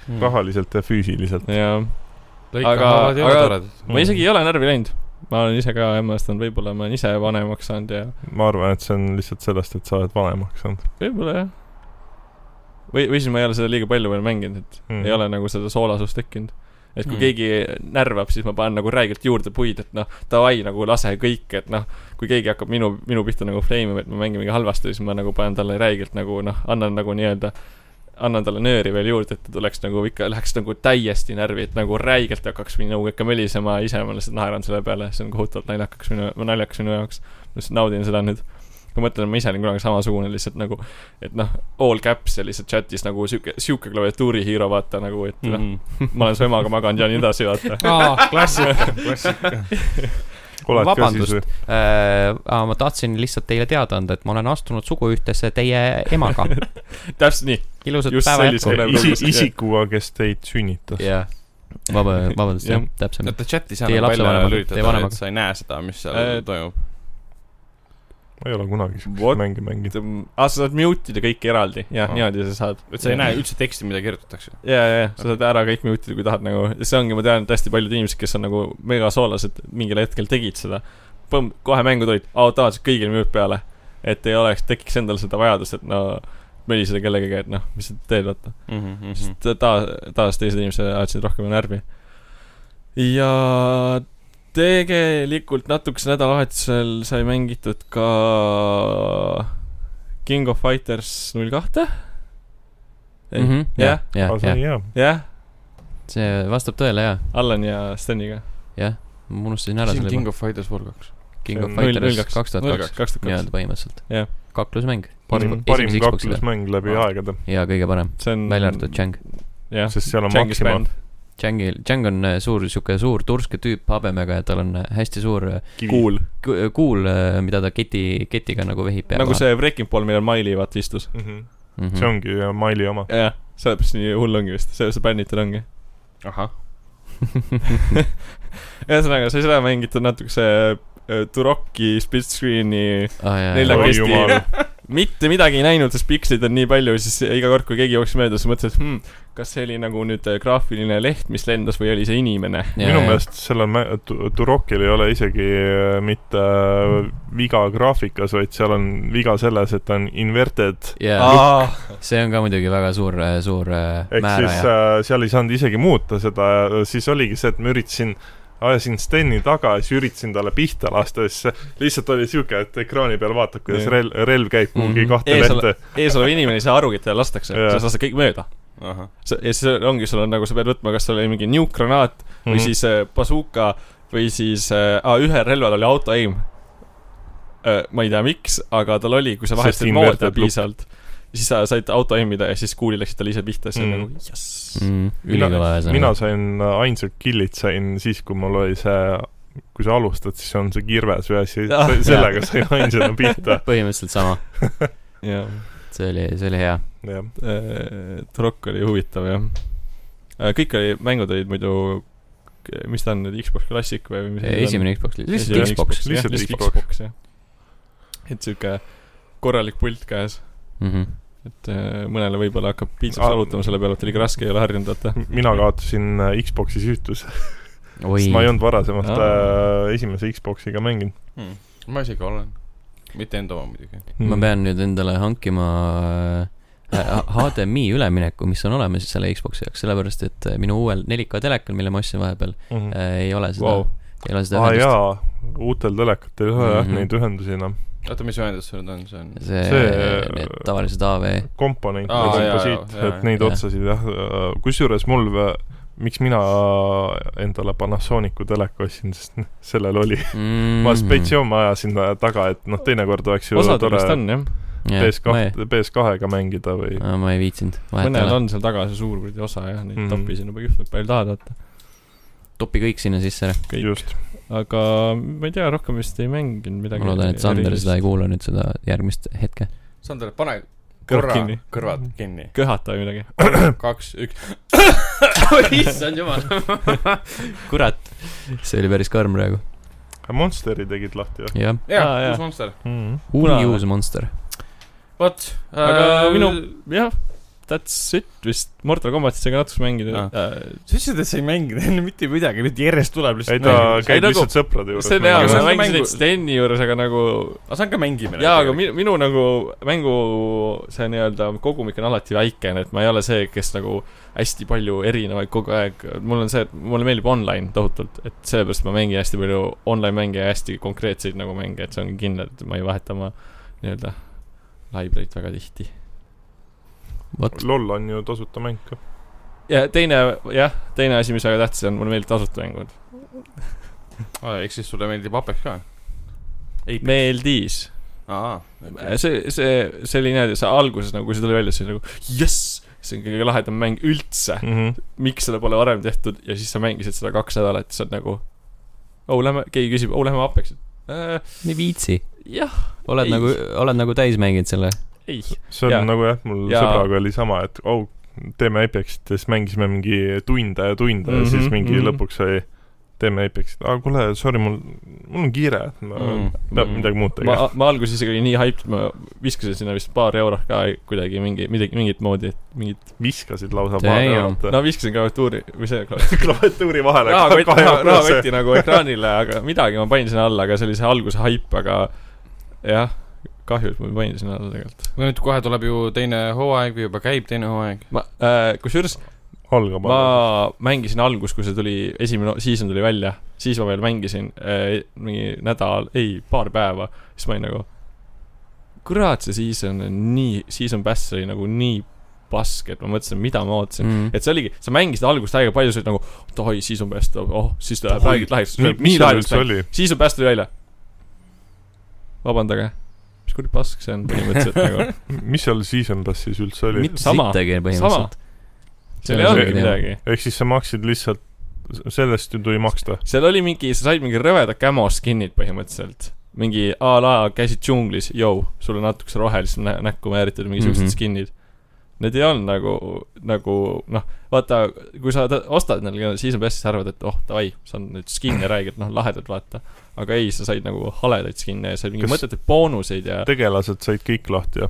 [SPEAKER 1] Mm.
[SPEAKER 4] rahaliselt ja füüsiliselt .
[SPEAKER 5] ja Aga-
[SPEAKER 2] lõikavad ja
[SPEAKER 5] aga-
[SPEAKER 2] toredad .
[SPEAKER 5] ma isegi ei ole närvi läinud . ma olen ise ka hämmastunud , võib-olla ma olen ise vanemaks saanud ja
[SPEAKER 4] ma arvan , et see on lihtsalt sellest , et sa oled vanemaks saanud
[SPEAKER 5] võib-olla jah . või , või siis ma ei ole seda liiga palju veel mänginud , et
[SPEAKER 4] Mhm.
[SPEAKER 5] mm. ei . ole nagu seda soolasust tekkinud . et kui
[SPEAKER 1] Mm.
[SPEAKER 5] mm. keegi närvab , siis ma panen nagu räigelt juurde puid , et noh , davai nagu lase kõik , et noh , kui keegi hakkab minu , minu pihta nagu flame ima , et ma mängin mingi halvasti , siis ma nagu panen talle räigelt nagu noh , annan nagu nii-öelda annan talle nööri veel juurde , et ta tuleks nagu ikka , läheks nagu täiesti närvi , et nagu räigelt hakkaks minu ikka mölisema , ise ma lihtsalt naeran selle peale , see on kohutavalt naljakas minu , naljakas minu jaoks . ma lihtsalt naudin seda nüüd . ma mõtlen , ma ise olin kunagi samasugune lihtsalt nagu , et noh , all caps ja lihtsalt chatis nagu sihuke , sihuke klaviatuuri hiiro , vaata nagu , et noh , ma olen su emaga maganud ja nii edasi , vaata .
[SPEAKER 2] aa , klassika , klassika .
[SPEAKER 4] oled ka siis
[SPEAKER 1] Vabandust.
[SPEAKER 4] või ?
[SPEAKER 1] äh, . aga ma tahtsin lihtsalt teile teada anda , et ma olen astunud suguühtesse teie emaga .
[SPEAKER 5] täpselt nii .
[SPEAKER 1] ilusat
[SPEAKER 5] Just
[SPEAKER 1] päeva
[SPEAKER 5] sellise-
[SPEAKER 1] jätku .
[SPEAKER 4] isi ,
[SPEAKER 5] Vabandust, jah.
[SPEAKER 4] isikuga , kes teid sünnitas .
[SPEAKER 1] nagu jah , vaba , vabandust , jah
[SPEAKER 5] Jah. ,
[SPEAKER 1] täpsemalt .
[SPEAKER 2] Nad chatis
[SPEAKER 1] Noh, Teie
[SPEAKER 2] enam palju ära
[SPEAKER 1] lapsevanemad, teie
[SPEAKER 2] lülitada ,
[SPEAKER 1] vanemad.
[SPEAKER 2] et sa ei näe seda , mis seal
[SPEAKER 5] Äh,
[SPEAKER 2] toimub .
[SPEAKER 4] ma ei ole kunagi
[SPEAKER 5] What?
[SPEAKER 4] siukest mänge mänginud .
[SPEAKER 5] mm, aa , sa saad mute ida kõik eraldi , jah ,
[SPEAKER 2] Aa.
[SPEAKER 5] niimoodi sa saad .
[SPEAKER 2] et sa ei näe . üldse teksti , mida kirjutatakse .
[SPEAKER 5] ja , ja , ja sa saad ära kõik mute ida , kui tahad nagu , see ongi , ma tean , et hästi paljud inimesed , kes on nagu megasoolased , mingil hetkel tegid seda . Põmm , kohe mängu tulid , automaatselt kõigil mute peale . et ei oleks , tekiks endal seda vajadust , et no möliseda kellegagi , et noh , mis sa teed , vaata .
[SPEAKER 2] Mhm.
[SPEAKER 1] Mhm,
[SPEAKER 5] sest ta- ta- taas teised inimesed ajasid rohkem närvi . ja tegelikult natukese nädalavahetusel sai mängitud ka King of Fighters null kahte .
[SPEAKER 1] jah
[SPEAKER 5] jah ,,
[SPEAKER 1] Mhm, jah
[SPEAKER 4] aga , see
[SPEAKER 1] jah ,
[SPEAKER 4] oli hea .
[SPEAKER 5] jah ,
[SPEAKER 1] see vastab tõele ja ,
[SPEAKER 5] Allan ja Steniga .
[SPEAKER 1] jah , ma unustasin ära
[SPEAKER 2] siin
[SPEAKER 1] selle
[SPEAKER 2] King . of Fighters War kaks .
[SPEAKER 1] King of
[SPEAKER 4] see on
[SPEAKER 5] null- null
[SPEAKER 1] Fighters
[SPEAKER 5] kaks-
[SPEAKER 1] kaks tuhat
[SPEAKER 2] null
[SPEAKER 1] kaks ,
[SPEAKER 5] kaks tuhat kaks
[SPEAKER 1] nii-öelda . põhimõtteliselt .
[SPEAKER 5] Jah.
[SPEAKER 1] kaklusmäng .
[SPEAKER 4] parim , parim kaklusmäng läbi
[SPEAKER 1] Ah.
[SPEAKER 4] aegade ,
[SPEAKER 1] ja kõige parem ,
[SPEAKER 5] see on .
[SPEAKER 1] välja arvatud Chang .
[SPEAKER 5] jah ,
[SPEAKER 4] sest seal on
[SPEAKER 5] Chang'is
[SPEAKER 4] Maxima ,
[SPEAKER 5] bänd .
[SPEAKER 1] Djangi , Djang on äh, suur sihuke suur turske tüüp habemega ja tal on äh, hästi suur äh,
[SPEAKER 5] kuul .
[SPEAKER 1] ku- äh, kuul , mida ta keti , ketiga nagu vehib pea
[SPEAKER 5] nagu see Wrecking Ball , millel Miley vaata istus .
[SPEAKER 4] mm . -hmm.
[SPEAKER 1] mm
[SPEAKER 4] see . ongi äh, Maili oma .
[SPEAKER 5] jah , sellepärast nii hull ongi vist , sellepärast bännitud ongi .
[SPEAKER 2] ahah .
[SPEAKER 5] ühesõnaga , sa seda mängid natukese äh, Turoki split screen'i ,
[SPEAKER 1] Ah, jah,
[SPEAKER 5] Nelja-
[SPEAKER 1] jah.
[SPEAKER 5] Oi jumal. mitte midagi ei näinud , sest pikslid on nii palju , siis iga kord , kui keegi jooksis mööda , siis mõtled hmm, , kas see oli nagu nüüd äh, graafiline leht , mis lendas või oli see inimene .
[SPEAKER 1] Ja,
[SPEAKER 4] minu
[SPEAKER 1] ja.
[SPEAKER 4] meelest sellel mä- tu- Turokil ei ole isegi äh, mitte äh, viga graafikas , vaid seal on viga selles , et ta on inverted .
[SPEAKER 1] jaa ,
[SPEAKER 5] aa ,
[SPEAKER 1] see on ka muidugi väga suur , suur äh,
[SPEAKER 4] ehk siis
[SPEAKER 1] määraja .
[SPEAKER 4] äh, seal ei saanud isegi muuta seda ja siis oligi see , et ma üritasin , ajasin Steni taga ja siis üritasin talle pihta lasta ja siis lihtsalt oli siuke , et ekraani peal vaatad , kuidas
[SPEAKER 5] Jah.
[SPEAKER 4] relv , relv käib kuhugi
[SPEAKER 1] Mhm.
[SPEAKER 4] kahte
[SPEAKER 5] Ees
[SPEAKER 4] lehte .
[SPEAKER 5] eesolev inimene ei saa aru , et teda lastakse ,
[SPEAKER 4] Jaa.
[SPEAKER 5] sa lased kõik mööda .
[SPEAKER 2] ahah .
[SPEAKER 5] ja siis ongi , sul on nagu , sa pead võtma , kas seal oli mingi niukgranaat või
[SPEAKER 4] Mhm.
[SPEAKER 5] mm. siis äh, bazooka või siis äh, , aa , ühel relval oli auto aim äh, . ma ei tea , miks , aga tal oli , kui sa
[SPEAKER 4] Sest
[SPEAKER 5] vahetasid
[SPEAKER 4] inverted
[SPEAKER 5] moodi
[SPEAKER 4] loop.
[SPEAKER 5] piisavalt , siis sa said auto aimida ja siis kuuli läksid talle ise pihta , siis oli
[SPEAKER 4] Mm.
[SPEAKER 5] nagu jess .
[SPEAKER 1] Mhm. ülikõva
[SPEAKER 4] mina
[SPEAKER 1] ühesõnaga .
[SPEAKER 4] sain , ainsad killid sain siis , kui mul oli see , kui sa alustad , siis on see kirves ühes ja
[SPEAKER 5] Ah,
[SPEAKER 4] se- sellega sain ainsana pihta ,
[SPEAKER 1] põhimõtteliselt sama ,
[SPEAKER 5] jah ,
[SPEAKER 1] see oli , see oli hea .
[SPEAKER 4] jah .
[SPEAKER 5] Trokk äh, oli huvitav jah . kõik oli , mängud olid muidu , mis ta on nüüd , Xbox Classic või mis asi ta on?
[SPEAKER 1] esimene Xbox ,
[SPEAKER 5] Esimene
[SPEAKER 1] lihtsalt Xbox .
[SPEAKER 5] jah,
[SPEAKER 4] Lihtsalt
[SPEAKER 5] lihtsalt
[SPEAKER 4] Xbox.
[SPEAKER 5] Xbox jah . et siuke korralik pult käes ,
[SPEAKER 1] Mhm.
[SPEAKER 5] et äh, mõnele võib-olla hakkab piitsaks
[SPEAKER 4] Ah.
[SPEAKER 5] arutama selle peale , et liiga raske ei ole harjunud , vaata .
[SPEAKER 4] mina kaotasin äh, Xbox'i süütuse ,
[SPEAKER 1] oi Ah.
[SPEAKER 4] sest ma ei , olnud varasemalt
[SPEAKER 5] Aa.
[SPEAKER 4] äh, esimese Xbox'iga mänginud .
[SPEAKER 1] Hmm.
[SPEAKER 2] ma isegi olen . mitte enda oma muidugi .
[SPEAKER 1] ma
[SPEAKER 4] Mhm.
[SPEAKER 1] pean nüüd endale hankima äh, äh, HDMI ülemineku , mis on olemas selle Xbox'i jaoks , sellepärast et äh, minu uuel 4K telekal , mille ma ostsin vahepeal ,
[SPEAKER 4] mm . -hmm.
[SPEAKER 1] ei ole seda
[SPEAKER 5] Vau. ,
[SPEAKER 1] ei ole seda
[SPEAKER 4] aa
[SPEAKER 1] ühendust.
[SPEAKER 4] jaa , uutel telekatel ei ole jah
[SPEAKER 1] Mhm.
[SPEAKER 4] neid ühendusi noh, enam .
[SPEAKER 2] oota , mis ühendus sul nüüd on , see on ?
[SPEAKER 1] see,
[SPEAKER 4] see-
[SPEAKER 1] see , need tavalised AV .
[SPEAKER 4] komponente
[SPEAKER 2] Aa,
[SPEAKER 4] ja
[SPEAKER 2] jaa,
[SPEAKER 4] komposiit ,
[SPEAKER 2] jaa, jaa,
[SPEAKER 4] et neid
[SPEAKER 1] jaa.
[SPEAKER 4] otsasid jah , kusjuures mul , miks mina endale Panasonicu teleka ostsin , sest sellel oli
[SPEAKER 1] Mhm. Mm.
[SPEAKER 4] ma spetsioon ajasin taga , et noh , teinekord oleks ju
[SPEAKER 5] osad
[SPEAKER 4] tore
[SPEAKER 5] vist on jah ,
[SPEAKER 1] PS2 .
[SPEAKER 4] PS2 , PS2-ga mängida või
[SPEAKER 1] ma ei viitsinud , vahet ei
[SPEAKER 5] mõnel
[SPEAKER 1] ole ,
[SPEAKER 5] on seal taga see suur kuradi osa jah , neid
[SPEAKER 4] Mhm.
[SPEAKER 5] mm. topi sinna palju , palju tahad vaata .
[SPEAKER 1] topi kõik sinna sisse ära .
[SPEAKER 5] kõik.
[SPEAKER 4] just .
[SPEAKER 5] aga ma ei tea , rohkem vist ei mänginud midagi .
[SPEAKER 1] ma loodan , et Sander seda ei kuula nüüd seda järgmist hetke .
[SPEAKER 2] Sander , pane
[SPEAKER 5] Kõrv
[SPEAKER 2] korra
[SPEAKER 5] kinni.
[SPEAKER 2] kõrvad kinni .
[SPEAKER 5] köhata või midagi .
[SPEAKER 2] kaks , üks .
[SPEAKER 1] issand jumal . kurat , see oli päris karm praegu .
[SPEAKER 4] Monsteri tegid lahti või ?
[SPEAKER 1] jah ,
[SPEAKER 5] Aa,
[SPEAKER 2] jaa ,
[SPEAKER 5] jaa.
[SPEAKER 2] uus Monster .
[SPEAKER 1] uus
[SPEAKER 5] Mhm. Punane.
[SPEAKER 1] uus monster .
[SPEAKER 2] vot .
[SPEAKER 5] aga äh, minu , jah , that's it vist , Mortal Combatit sai ka natuke mängida
[SPEAKER 2] Ah.
[SPEAKER 5] äh, .
[SPEAKER 2] sa ütlesid , et sa ei mänginud enne mitte midagi , nüüd järjest tuleb
[SPEAKER 4] ei
[SPEAKER 2] lihtsalt .
[SPEAKER 4] ta käib
[SPEAKER 5] nagu-
[SPEAKER 4] lihtsalt sõprade juures .
[SPEAKER 5] see on hea ,
[SPEAKER 2] mängu-
[SPEAKER 5] ma
[SPEAKER 2] mängu-
[SPEAKER 5] mängisin neid
[SPEAKER 2] mängu-
[SPEAKER 5] Steni juures , aga nagu
[SPEAKER 2] aga see on ka mängimine .
[SPEAKER 5] jaa , aga minu , minu nagu mängu see nii-öelda kogumik on alati väikene , et ma ei ole see , kes nagu hästi palju erinevaid kogu aeg , mul on see , et mulle meeldib online tohutult , et sellepärast ma mängin hästi palju online mänge ja hästi konkreetseid nagu mänge , et see ongi kindel , et ma ei vaheta oma nii-öelda library't väga tihti .
[SPEAKER 1] vot ,
[SPEAKER 4] LOL on ju tasuta mäng ka .
[SPEAKER 5] ja teine , jah , teine asi , mis väga tähtis on , mulle meeldib tasuta mängud .
[SPEAKER 2] ehk siis sulle meeldib Apex ka ?
[SPEAKER 5] meeldis .
[SPEAKER 2] aa .
[SPEAKER 5] see , see , see oli niimoodi , see alguses nagu , kui see tuli välja , siis oli nagu jess , see on kõige lahedam mäng üldse .
[SPEAKER 4] Mhm.
[SPEAKER 5] miks seda pole varem tehtud ja siis sa mängisid seda kaks nädalat , siis on nagu . oh , lähme , keegi küsib , oh , lähme Apexit äh, .
[SPEAKER 1] ei viitsi .
[SPEAKER 5] jah ,
[SPEAKER 1] oled
[SPEAKER 5] Ei.
[SPEAKER 1] nagu , oled nagu täis mänginud selle .
[SPEAKER 5] ei .
[SPEAKER 4] see on
[SPEAKER 5] Jaa.
[SPEAKER 4] nagu jah , mul
[SPEAKER 5] Jaa.
[SPEAKER 4] sõbraga oli sama , et au , teeme Apexit ja siis mängisime mingi tunde ja tunde ja siis
[SPEAKER 5] Mhm,
[SPEAKER 4] mingi
[SPEAKER 5] mhm.
[SPEAKER 4] lõpuks oli teeme Apexit , aga kuule , sorry , mul , mul on kiire , et ma
[SPEAKER 2] Mm,
[SPEAKER 4] peab
[SPEAKER 5] mm.
[SPEAKER 4] midagi muud tegema .
[SPEAKER 5] ma , ma alguses isegi olin nii hyped , ma viskasin sinna vist paar eurot ka kuidagi mingi , midagi , mingit moodi , et mingit .
[SPEAKER 4] viskasid lausa
[SPEAKER 1] Damn.
[SPEAKER 4] paari
[SPEAKER 5] no viskasin klaviatuuri või see klaviatuur .
[SPEAKER 4] klaviatuuri vahele .
[SPEAKER 5] rahakott , rahakoti nagu ekraanile , aga midagi ma panin sinna alla , aga see oli see alguse haip , aga jah , kahju , et ma ei panin sinna alla tegelikult .
[SPEAKER 2] no nüüd kohe tuleb ju teine hooaeg või juba käib teine hooaeg .
[SPEAKER 5] ma äh, , kusjuures
[SPEAKER 4] algab
[SPEAKER 5] ma mängisin algus , kui see tuli , esimene season tuli välja , siis ma veel mängisin äh, mingi nädal , ei , paar päeva , siis ma olin nagu , kurat , see season on nii , season pass oli nagu nii paske , et ma mõtlesin , mida ma ootasin .
[SPEAKER 4] Mm.
[SPEAKER 5] et see oligi , sa mängisid algusest aega palju , sa olid nagu , et oi , season pass tuleb , oh , siis ta läheb
[SPEAKER 4] Oi,
[SPEAKER 5] haigelt lahti , siis
[SPEAKER 4] Mi-
[SPEAKER 5] tuleb
[SPEAKER 4] mis
[SPEAKER 5] nii
[SPEAKER 4] seal
[SPEAKER 5] lahti .
[SPEAKER 4] üldse oli ?
[SPEAKER 5] siis on päästnud välja . vabandage , mis kuradi pask see on põhimõtteliselt nagu .
[SPEAKER 4] mis seal Season Passis üldse oli ?
[SPEAKER 5] Sama.
[SPEAKER 1] sittagi
[SPEAKER 5] sama
[SPEAKER 1] põhimõtteliselt .,
[SPEAKER 5] seal ei
[SPEAKER 4] Selles
[SPEAKER 5] olnudki
[SPEAKER 4] oli-
[SPEAKER 5] midagi .
[SPEAKER 4] ehk siis sa maksid lihtsalt , sellest ju tuli maksta .
[SPEAKER 5] seal oli mingi , sa said mingi rõvedad camo skin'id põhimõtteliselt . mingi a la käisid džunglis , jou , sul on natukese rohelist nä näkku määritud , mingisugused mm
[SPEAKER 1] Mhm.
[SPEAKER 5] -hmm. skin'id . Need ei olnud nagu , nagu noh , vaata , kui sa ta- ostad neile , siis on best , sa arvad , et oh , davai , saan nüüd skin'e räägid , noh , lahedad , vaata . aga ei , sa said nagu haledaid skin'e ja said mingeid
[SPEAKER 4] Kas-
[SPEAKER 5] mõttetuid boonuseid ja
[SPEAKER 4] tegelased said kõik lahti ja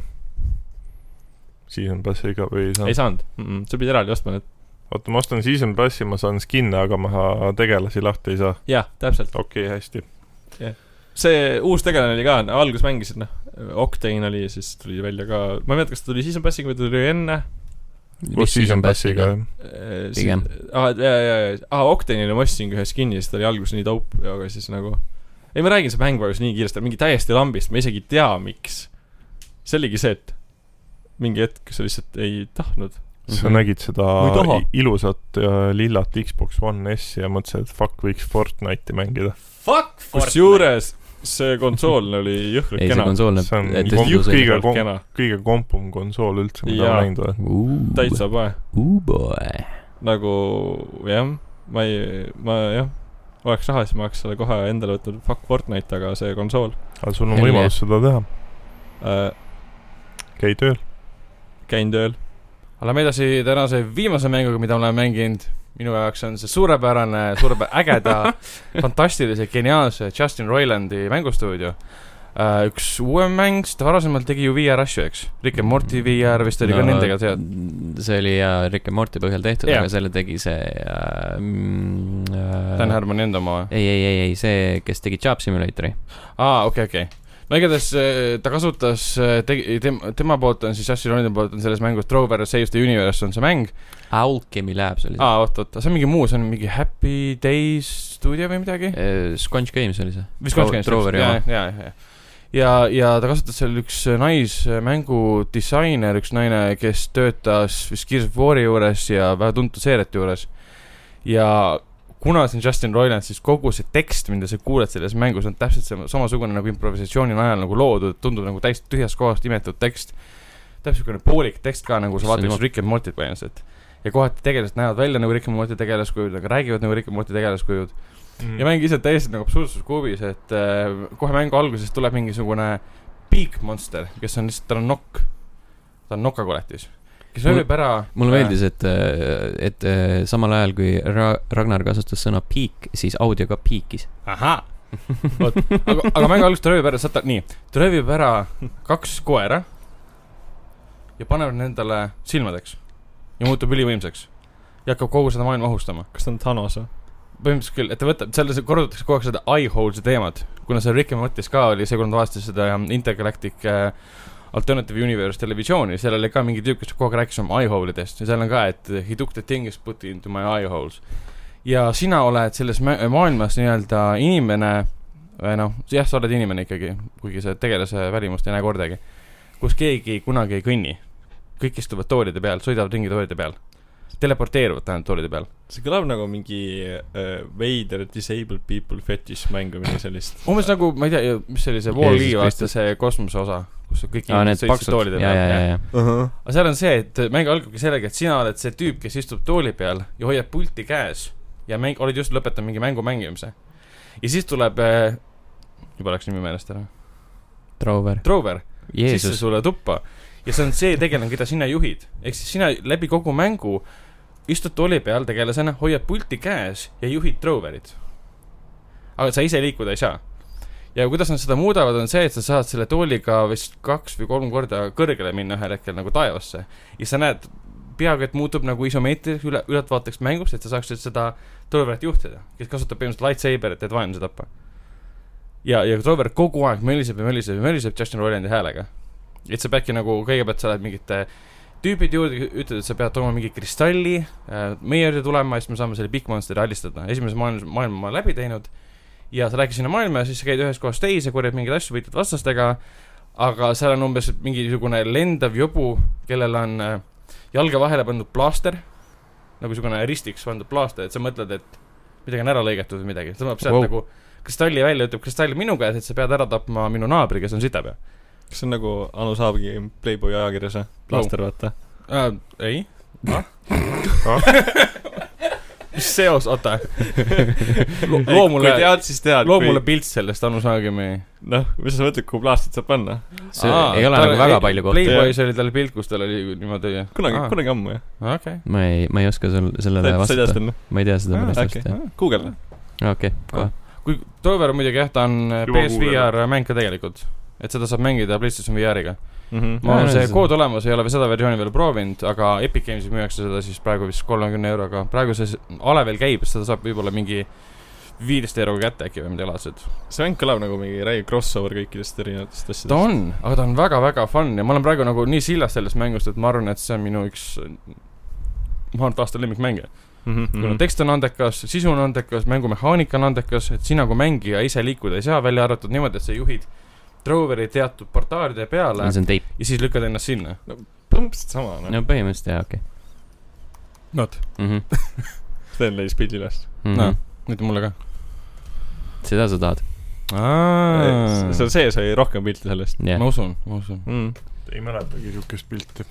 [SPEAKER 4] season pass'i ka või ei
[SPEAKER 5] ei
[SPEAKER 4] saanud ?
[SPEAKER 5] saanud mm . -mm. sa pidid eraldi ostma need ,
[SPEAKER 4] oota , ma ostan season pass'i , ma saan skin'e , aga ma tegelasi lahti ei saa .
[SPEAKER 5] jah , täpselt .
[SPEAKER 4] okei okay, , hästi .
[SPEAKER 5] see uus tegelane oli ka , alguses mängisid noh , Octane oli , siis tuli välja ka , ma ei mäleta , kas ta tuli Season Passiga või ta tuli enne .
[SPEAKER 4] koos season pass'iga ,. jah .
[SPEAKER 1] Pigem. .
[SPEAKER 5] aa , Äh, Ah, jaa , jaa , jaa , aa Octane'ile ma ostsingi ühe skin'i , siis ta oli alguses nii dope , aga siis nagu . ei , ma räägin , see mäng vajus nii kiiresti , mingi täiesti lambist , ma isegi ei tea , miks . see oligi see , et mingi hetk sa lihtsalt ei tahtnud .
[SPEAKER 4] sa
[SPEAKER 1] Mhm.
[SPEAKER 4] nägid seda
[SPEAKER 5] Ma ei taha.
[SPEAKER 4] i- ilusat ja lillat Xbox One S-i ja mõtlesid , et fuck , võiks Fortnite'i mängida .
[SPEAKER 1] Fuck
[SPEAKER 5] kusjuures see konsool oli jõhkralt
[SPEAKER 1] ei , see
[SPEAKER 5] kena .
[SPEAKER 1] konsool
[SPEAKER 4] See on
[SPEAKER 1] näeb
[SPEAKER 4] kom-
[SPEAKER 1] tõesti
[SPEAKER 4] kõige-
[SPEAKER 5] jõhkralt kena ,
[SPEAKER 4] kõige kompum konsool üldse , mida
[SPEAKER 5] Jaa.
[SPEAKER 4] ma näinud olen .
[SPEAKER 1] uus .
[SPEAKER 5] täitsa poe .
[SPEAKER 1] U-boy .
[SPEAKER 5] nagu jah , ma ei , ma jah , oleks raha , siis ma oleks selle kohe endale võtnud Fuck Fortnite , aga see konsool
[SPEAKER 4] aga sul on
[SPEAKER 1] Hell
[SPEAKER 4] võimalus seda teha ,
[SPEAKER 5] äh, ,
[SPEAKER 4] käi tööl .
[SPEAKER 5] käin tööl .
[SPEAKER 2] oleme edasi tänase viimase mänguga , mida oleme mänginud . minu jaoks on see suurepärane , suurepärane , ägeda , fantastilise , geniaalse Justin Roilandi mängustuudio . üks uuem mäng , sest ta varasemalt tegi ju VR asju , eks . Rick and Morty VR vist oli no, ka nendega seotud .
[SPEAKER 1] see oli jaa , Rick and Morty põhjal tehtud
[SPEAKER 2] Jaa.
[SPEAKER 1] yeah. , aga selle tegi see äh, mm, äh,
[SPEAKER 2] Dan Harmoni enda oma .
[SPEAKER 1] ei , ei , ei , ei see , kes tegi Job Simulatori .
[SPEAKER 2] aa , okei , okei . no igatahes eh, ta kasutas , tegi , tema , tema poolt on siis Justin Roilandi poolt on selles mängus Trover Saves the Universe on see mäng .
[SPEAKER 1] Alchemy Labs oli see .
[SPEAKER 2] aa , oot , oot , see on mingi muu , see on mingi Happy Days stuudio või midagi .
[SPEAKER 1] Sponge Äh, Games oli see .
[SPEAKER 2] Wisconsin Games ,
[SPEAKER 1] Troveri oma .
[SPEAKER 2] ja , ja , ja , ja , ja ta kasutas seal üks naismängudisainer , üks naine , kes töötas vist Gears of War'i juures ja väga tuntud seeriate juures . ja kuna see on Justin Roiland , siis kogu see tekst , mida sa kuuled selles mängus , on täpselt sama- samasugune nagu improvisatsiooni najal nagu loodud , tundub nagu täiesti tühjast kohast imetud tekst . täpselt niisugune poolik tekst ka nagu sa
[SPEAKER 1] Issand
[SPEAKER 2] vaatad
[SPEAKER 1] jumal.
[SPEAKER 2] just Rick and Morty't põhimõtteliselt . ja kohati tegelased näevad välja nagu Rick and Morty tegelaskujud , aga räägivad nagu Rick and Morty tegelaskujud
[SPEAKER 1] Mhm.
[SPEAKER 2] ja mäng ise on täiesti nagu absurdsuskuubis , et äh, kohe mängu alguses tuleb mingisugune big monster , kes on lihtsalt , tal on nokk . ta on nokakoletis , kes
[SPEAKER 1] Mul-
[SPEAKER 2] lööb ära .
[SPEAKER 1] mulle meeldis , et , et äh, samal ajal kui Ra- Ragnar kasutas sõna peak , siis audio ka peak'is .
[SPEAKER 2] ahaa , vot , aga , aga mängu alguses ta röövib ära , saad ta , nii , ta röövib ära kaks koera ja paneb need endale silmadeks ja muutub ülivõimsaks ja hakkab kogu seda maailma ohustama .
[SPEAKER 5] kas ta on Thanos või ?
[SPEAKER 2] põhimõtteliselt küll , et ta võtab , seal see- korrutatakse kogu aeg seda eye holes'i teemat , kuna see Rick and Morty's ka oli see , kui nad vaatasid seda ähm, Intergalactic äh, Alternative Universe televisiooni , seal oli ka mingi tüüp , kes kogu aeg rääkis oma eye hole idest ja seal on ka , et he took the thing is put into my eye holes . ja sina oled selles mä- maailmas nii-öelda inimene , noh , jah , sa oled inimene ikkagi , kuigi sa tegelase välimust ei näe kordagi , kus keegi kunagi ei kõnni . kõik istuvad toolide peal , sõidavad ringi toolide peal , teleporteeruvad tähendab toolide peal .
[SPEAKER 5] see kõlab nagu mingi äh, veider disabled people fetish mäng või midagi sellist .
[SPEAKER 2] umbes nagu , ma ei tea , mis see oli , see Wall-E
[SPEAKER 1] Jeesus
[SPEAKER 2] vaata
[SPEAKER 1] Kristus.
[SPEAKER 2] see kosmose osa , kus kõik
[SPEAKER 1] aa , need
[SPEAKER 2] inimesed sõitsid
[SPEAKER 1] paksud ,
[SPEAKER 2] toolide
[SPEAKER 1] ja , ja , ja
[SPEAKER 2] peal .,
[SPEAKER 1] ja .
[SPEAKER 2] aga seal on see , et mäng algabki sellega , et sina oled see tüüp , kes istub tooli peal ja hoiab pulti käes ja mäng , oled just lõpetanud mingi mängu mängimise . ja siis tuleb äh, , juba läks nimi meelest ära ,
[SPEAKER 1] Trover ,
[SPEAKER 2] Trover , sisse
[SPEAKER 1] Jeesus ,
[SPEAKER 2] sulle tuppa ja see on see tegelane , keda sina juhid , ehk siis sina läbi kogu mängu istud tooli peal tegelasena , hoiad pulti käes ja juhid Troverit . aga sa ise liikuda ei saa . ja kuidas nad seda muudavad , on see , et sa saad selle tooliga vist kaks või kolm korda kõrgele minna ühel hetkel nagu taevasse ja sa näed , peaaegu et muutub nagu isomeetriks üle , ülevaateks mängust , et sa saaksid seda Troverit juhtida , kes kasutab põhimõtteliselt lightsaberit , et vaenlase tappa . ja , ja Trover kogu aeg möliseb ja möliseb ja möliseb Justin Roilandi häälega . et sa peadki nagu , kõigepealt sa lähed mingite tüübid juurde , ütled , et sa pead tooma mingi kristalli äh, meie juurde tulema ja siis me saame selle Big Monsteri alistada . esimese maailma , maailma ma olen läbi teinud ja sa lähed sinna maailma ja siis sa käid ühest kohast teise , korjad mingeid asju , võitled vastastega , aga seal on umbes mingisugune lendav jobu , kellel on äh, jalge vahele pandud plaaster , nagu niisugune ristiks pandud plaaster , et sa mõtled , et midagi on ära lõigatud või midagi , tõmbab sealt
[SPEAKER 1] Wow.
[SPEAKER 2] wow. nagu kristalli välja , ütleb kristall minu käes , et sa pead ära tapma minu naabri , kes on sitapea .
[SPEAKER 5] kas see on nagu Anu Saabki Playboy ajakirjas või ? Plaster , vaata .
[SPEAKER 2] äh, . ei , mis seos , oota . loo
[SPEAKER 5] kui
[SPEAKER 2] mulle ,
[SPEAKER 5] tead , siis tead .
[SPEAKER 2] loo mulle . pilt sellest Anu Saagimi .
[SPEAKER 5] noh , mis sa mõtled , kuhu plaastit saab panna ?
[SPEAKER 1] see Aa, ei ole nagu väga palju kohti .
[SPEAKER 2] Playboy's oli tal pilt , kus tal oli niimoodi .
[SPEAKER 5] kunagi , kunagi ammu jah .
[SPEAKER 2] okei .
[SPEAKER 1] ma ei , ma ei oska sul sellele
[SPEAKER 5] sa ei tea
[SPEAKER 1] vastata ,
[SPEAKER 5] seda ,
[SPEAKER 1] ma ei tea seda
[SPEAKER 2] Aa,
[SPEAKER 1] päris
[SPEAKER 5] okei.
[SPEAKER 1] täpselt ,
[SPEAKER 5] guugelda .
[SPEAKER 1] jah . okei , kohe .
[SPEAKER 2] kui Toiver muidugi jah , ta on äh,
[SPEAKER 4] Juba
[SPEAKER 2] PSVR mäng ka tegelikult . et seda saab mängida PlayStation VR-iga .
[SPEAKER 1] Aa,
[SPEAKER 2] mul on
[SPEAKER 1] no
[SPEAKER 2] see
[SPEAKER 1] siis-
[SPEAKER 2] kood olemas , ei ole veel seda versiooni veel proovinud , aga Epic Games'is müüakse seda siis praegu vist kolmekümne euroga . praegu see s- ale veel käib , seda saab võib-olla mingi viieteist euroga kätte äkki või midagi laadset .
[SPEAKER 5] see mäng kõlab nagu mingi räige crossover kõikidest erinevatest asjadest .
[SPEAKER 2] ta on , aga ta on väga-väga fun ja ma olen praegu nagu nii sillas sellest mängust , et ma arvan , et see on minu üks , ma arvan , et aasta lemmikmänge .
[SPEAKER 5] Mhm,
[SPEAKER 1] Mhm.
[SPEAKER 2] kuna tekst on andekas , sisu on andekas , mängumehaanika on andekas , et sina kui mängija ise liikuda ei saa , välja arvatud niimoodi , et sa juhid Droveri teatud portaalide peale
[SPEAKER 1] see on teip .
[SPEAKER 2] ja siis lükkad ennast sinna .
[SPEAKER 5] põhimõtteliselt sama , noh .
[SPEAKER 1] no põhimõtteliselt jaa , okei . Mhm.
[SPEAKER 2] Not. .
[SPEAKER 5] Sten leidis pildi üles .
[SPEAKER 2] Noh. nüüd mulle ka .
[SPEAKER 1] seda sa tahad ,
[SPEAKER 5] seal sees oli rohkem pilte sellest .
[SPEAKER 1] jah
[SPEAKER 2] ma . usun , ma usun .
[SPEAKER 5] Mm.
[SPEAKER 4] ei mäletagi siukest pilti .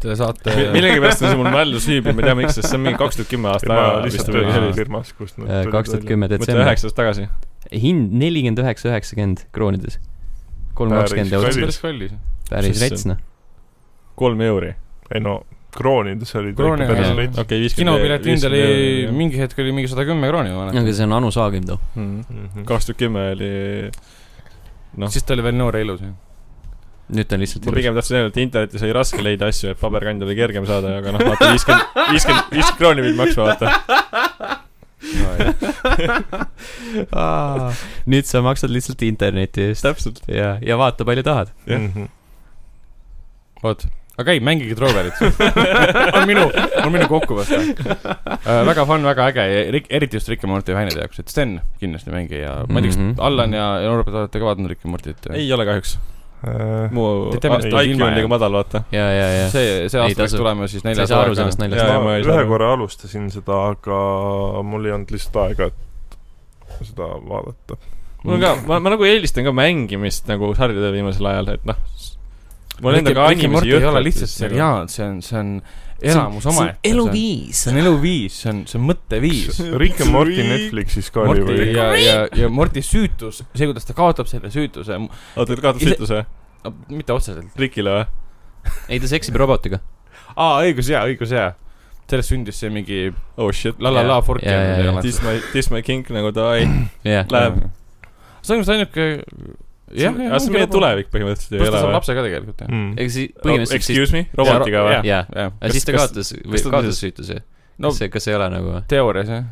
[SPEAKER 2] Te saate
[SPEAKER 5] Mi- . millegipärast on see mul mällu süüb ja ma ei tea , miks , sest see on mingi kaks tuhat kümme aasta
[SPEAKER 4] ma
[SPEAKER 5] aja vist
[SPEAKER 4] lihtsalt
[SPEAKER 5] või midagi
[SPEAKER 4] töötasin
[SPEAKER 5] sellist .
[SPEAKER 4] firmas , kus nad .
[SPEAKER 1] kaks tuhat . kümme
[SPEAKER 5] mõtle
[SPEAKER 1] Äh, detsember ,
[SPEAKER 5] üheksa aastat tagasi .
[SPEAKER 1] hind nelikümmend üheksa , üheksakümmend kroonides . kolm
[SPEAKER 4] Päris
[SPEAKER 1] kakskümmend
[SPEAKER 2] see on
[SPEAKER 1] eurot ,
[SPEAKER 4] kallis.
[SPEAKER 2] päris kallis .
[SPEAKER 1] päris
[SPEAKER 5] Sisse.
[SPEAKER 1] rets noh .
[SPEAKER 5] kolm euri .
[SPEAKER 4] ei no , kroonides oli ta
[SPEAKER 2] Krooni
[SPEAKER 4] ikka päris
[SPEAKER 1] ajal-
[SPEAKER 4] veits .
[SPEAKER 5] okei , viiskümmend .
[SPEAKER 2] kinopilet hind oli , mingi hetk oli mingi sada kümme krooni , ma mäletan
[SPEAKER 1] aga . see on Anu Saagim too .
[SPEAKER 4] Mhm.
[SPEAKER 5] kaks tuhat Mhm. kümme oli , noh.
[SPEAKER 2] siis ta oli veel noor ja ilus , jah .
[SPEAKER 1] nüüd ta on lihtsalt
[SPEAKER 5] ma pigem tahtsin öelda , et internetis oli raske leida asju , et paberkandjal oli kergem saada , aga noh , vaata viiskümmend , viiskümmend , viiskümmend krooni pidi maksma , vaata .
[SPEAKER 1] Aa, nüüd sa maksad lihtsalt interneti eest
[SPEAKER 5] täpselt .
[SPEAKER 1] ja , ja vaata , palju tahad .
[SPEAKER 4] Mhm.
[SPEAKER 2] vot , aga ei , mängige Droverit on minu , on minu kokkuvõte uh, . väga fun , väga äge ja rik- eriti just Rick ja Morty fännide jaoks , et Sten kindlasti mängi ja ma ei tea ,
[SPEAKER 1] Mhm.
[SPEAKER 2] kas Allan ja Norbert olete ka vaadanud Rick ja Mortyt ?
[SPEAKER 5] ei ole kahjuks .
[SPEAKER 4] Äh,
[SPEAKER 5] mu
[SPEAKER 2] Te teate,
[SPEAKER 5] IQ
[SPEAKER 2] et ilma
[SPEAKER 5] on
[SPEAKER 2] jääb.
[SPEAKER 5] liiga madal , vaata .
[SPEAKER 1] ja , ja , ja see,
[SPEAKER 2] see , see
[SPEAKER 1] Ei
[SPEAKER 2] aasta peaks
[SPEAKER 1] tasu.
[SPEAKER 2] tulema siis
[SPEAKER 1] sa ei
[SPEAKER 2] neljas
[SPEAKER 1] saa aru sellest naljast .
[SPEAKER 5] Jaa,
[SPEAKER 4] ma
[SPEAKER 5] ma ei saa
[SPEAKER 4] ühe
[SPEAKER 5] aru.
[SPEAKER 4] korra alustasin seda , aga mul ei olnud lihtsalt aega , et seda vaadata .
[SPEAKER 5] mul ka , ma , ma nagu eelistan ka mängimist nagu sarjadele viimasel ajal , et noh . mul endaga animesi nagu-
[SPEAKER 2] ei ole lihtsalt . seriaal , see on , see on elamus omaette .
[SPEAKER 1] eluviis
[SPEAKER 2] see on eluviis , see on , see on mõtteviis .
[SPEAKER 4] Rick and Morty Netflixis ka oli
[SPEAKER 2] Morty
[SPEAKER 4] või ?
[SPEAKER 2] ja , ja , ja Morty süütus , see , kuidas ta kaotab selle süütuse ,
[SPEAKER 5] oota , et kaotab
[SPEAKER 2] Ise-
[SPEAKER 5] süütuse
[SPEAKER 2] mitte otseselt .
[SPEAKER 5] Rikile või ?
[SPEAKER 1] ei , ta seksib robotiga .
[SPEAKER 2] aa , õigus jaa , õigus jaa . sellest sündis see mingi
[SPEAKER 5] oh shit ,
[SPEAKER 2] la la la fork
[SPEAKER 1] Jaa, jaa, jaa.
[SPEAKER 2] ja
[SPEAKER 5] This my , this my king nagu davai .
[SPEAKER 1] jah ,
[SPEAKER 5] Läheb. .
[SPEAKER 2] see on vist ainuke , jah , jah .
[SPEAKER 5] see on meie . tulevik põhimõtteliselt ju
[SPEAKER 2] pluss ta
[SPEAKER 5] ei ole
[SPEAKER 2] saab
[SPEAKER 5] või ?
[SPEAKER 2] lapse ka tegelikult ju .
[SPEAKER 4] Mm.
[SPEAKER 1] ega siis põhimõtteliselt siis ,
[SPEAKER 5] Excuse me , robotiga või ?
[SPEAKER 1] jaa ,
[SPEAKER 2] jah .
[SPEAKER 1] aga siis ta
[SPEAKER 5] Kas-
[SPEAKER 1] kaotas või
[SPEAKER 5] kas ta
[SPEAKER 1] kaotas
[SPEAKER 5] tõstis-
[SPEAKER 1] süütuse .
[SPEAKER 2] no
[SPEAKER 1] kas see , kas ei ole nagu ,
[SPEAKER 2] teoorias jah .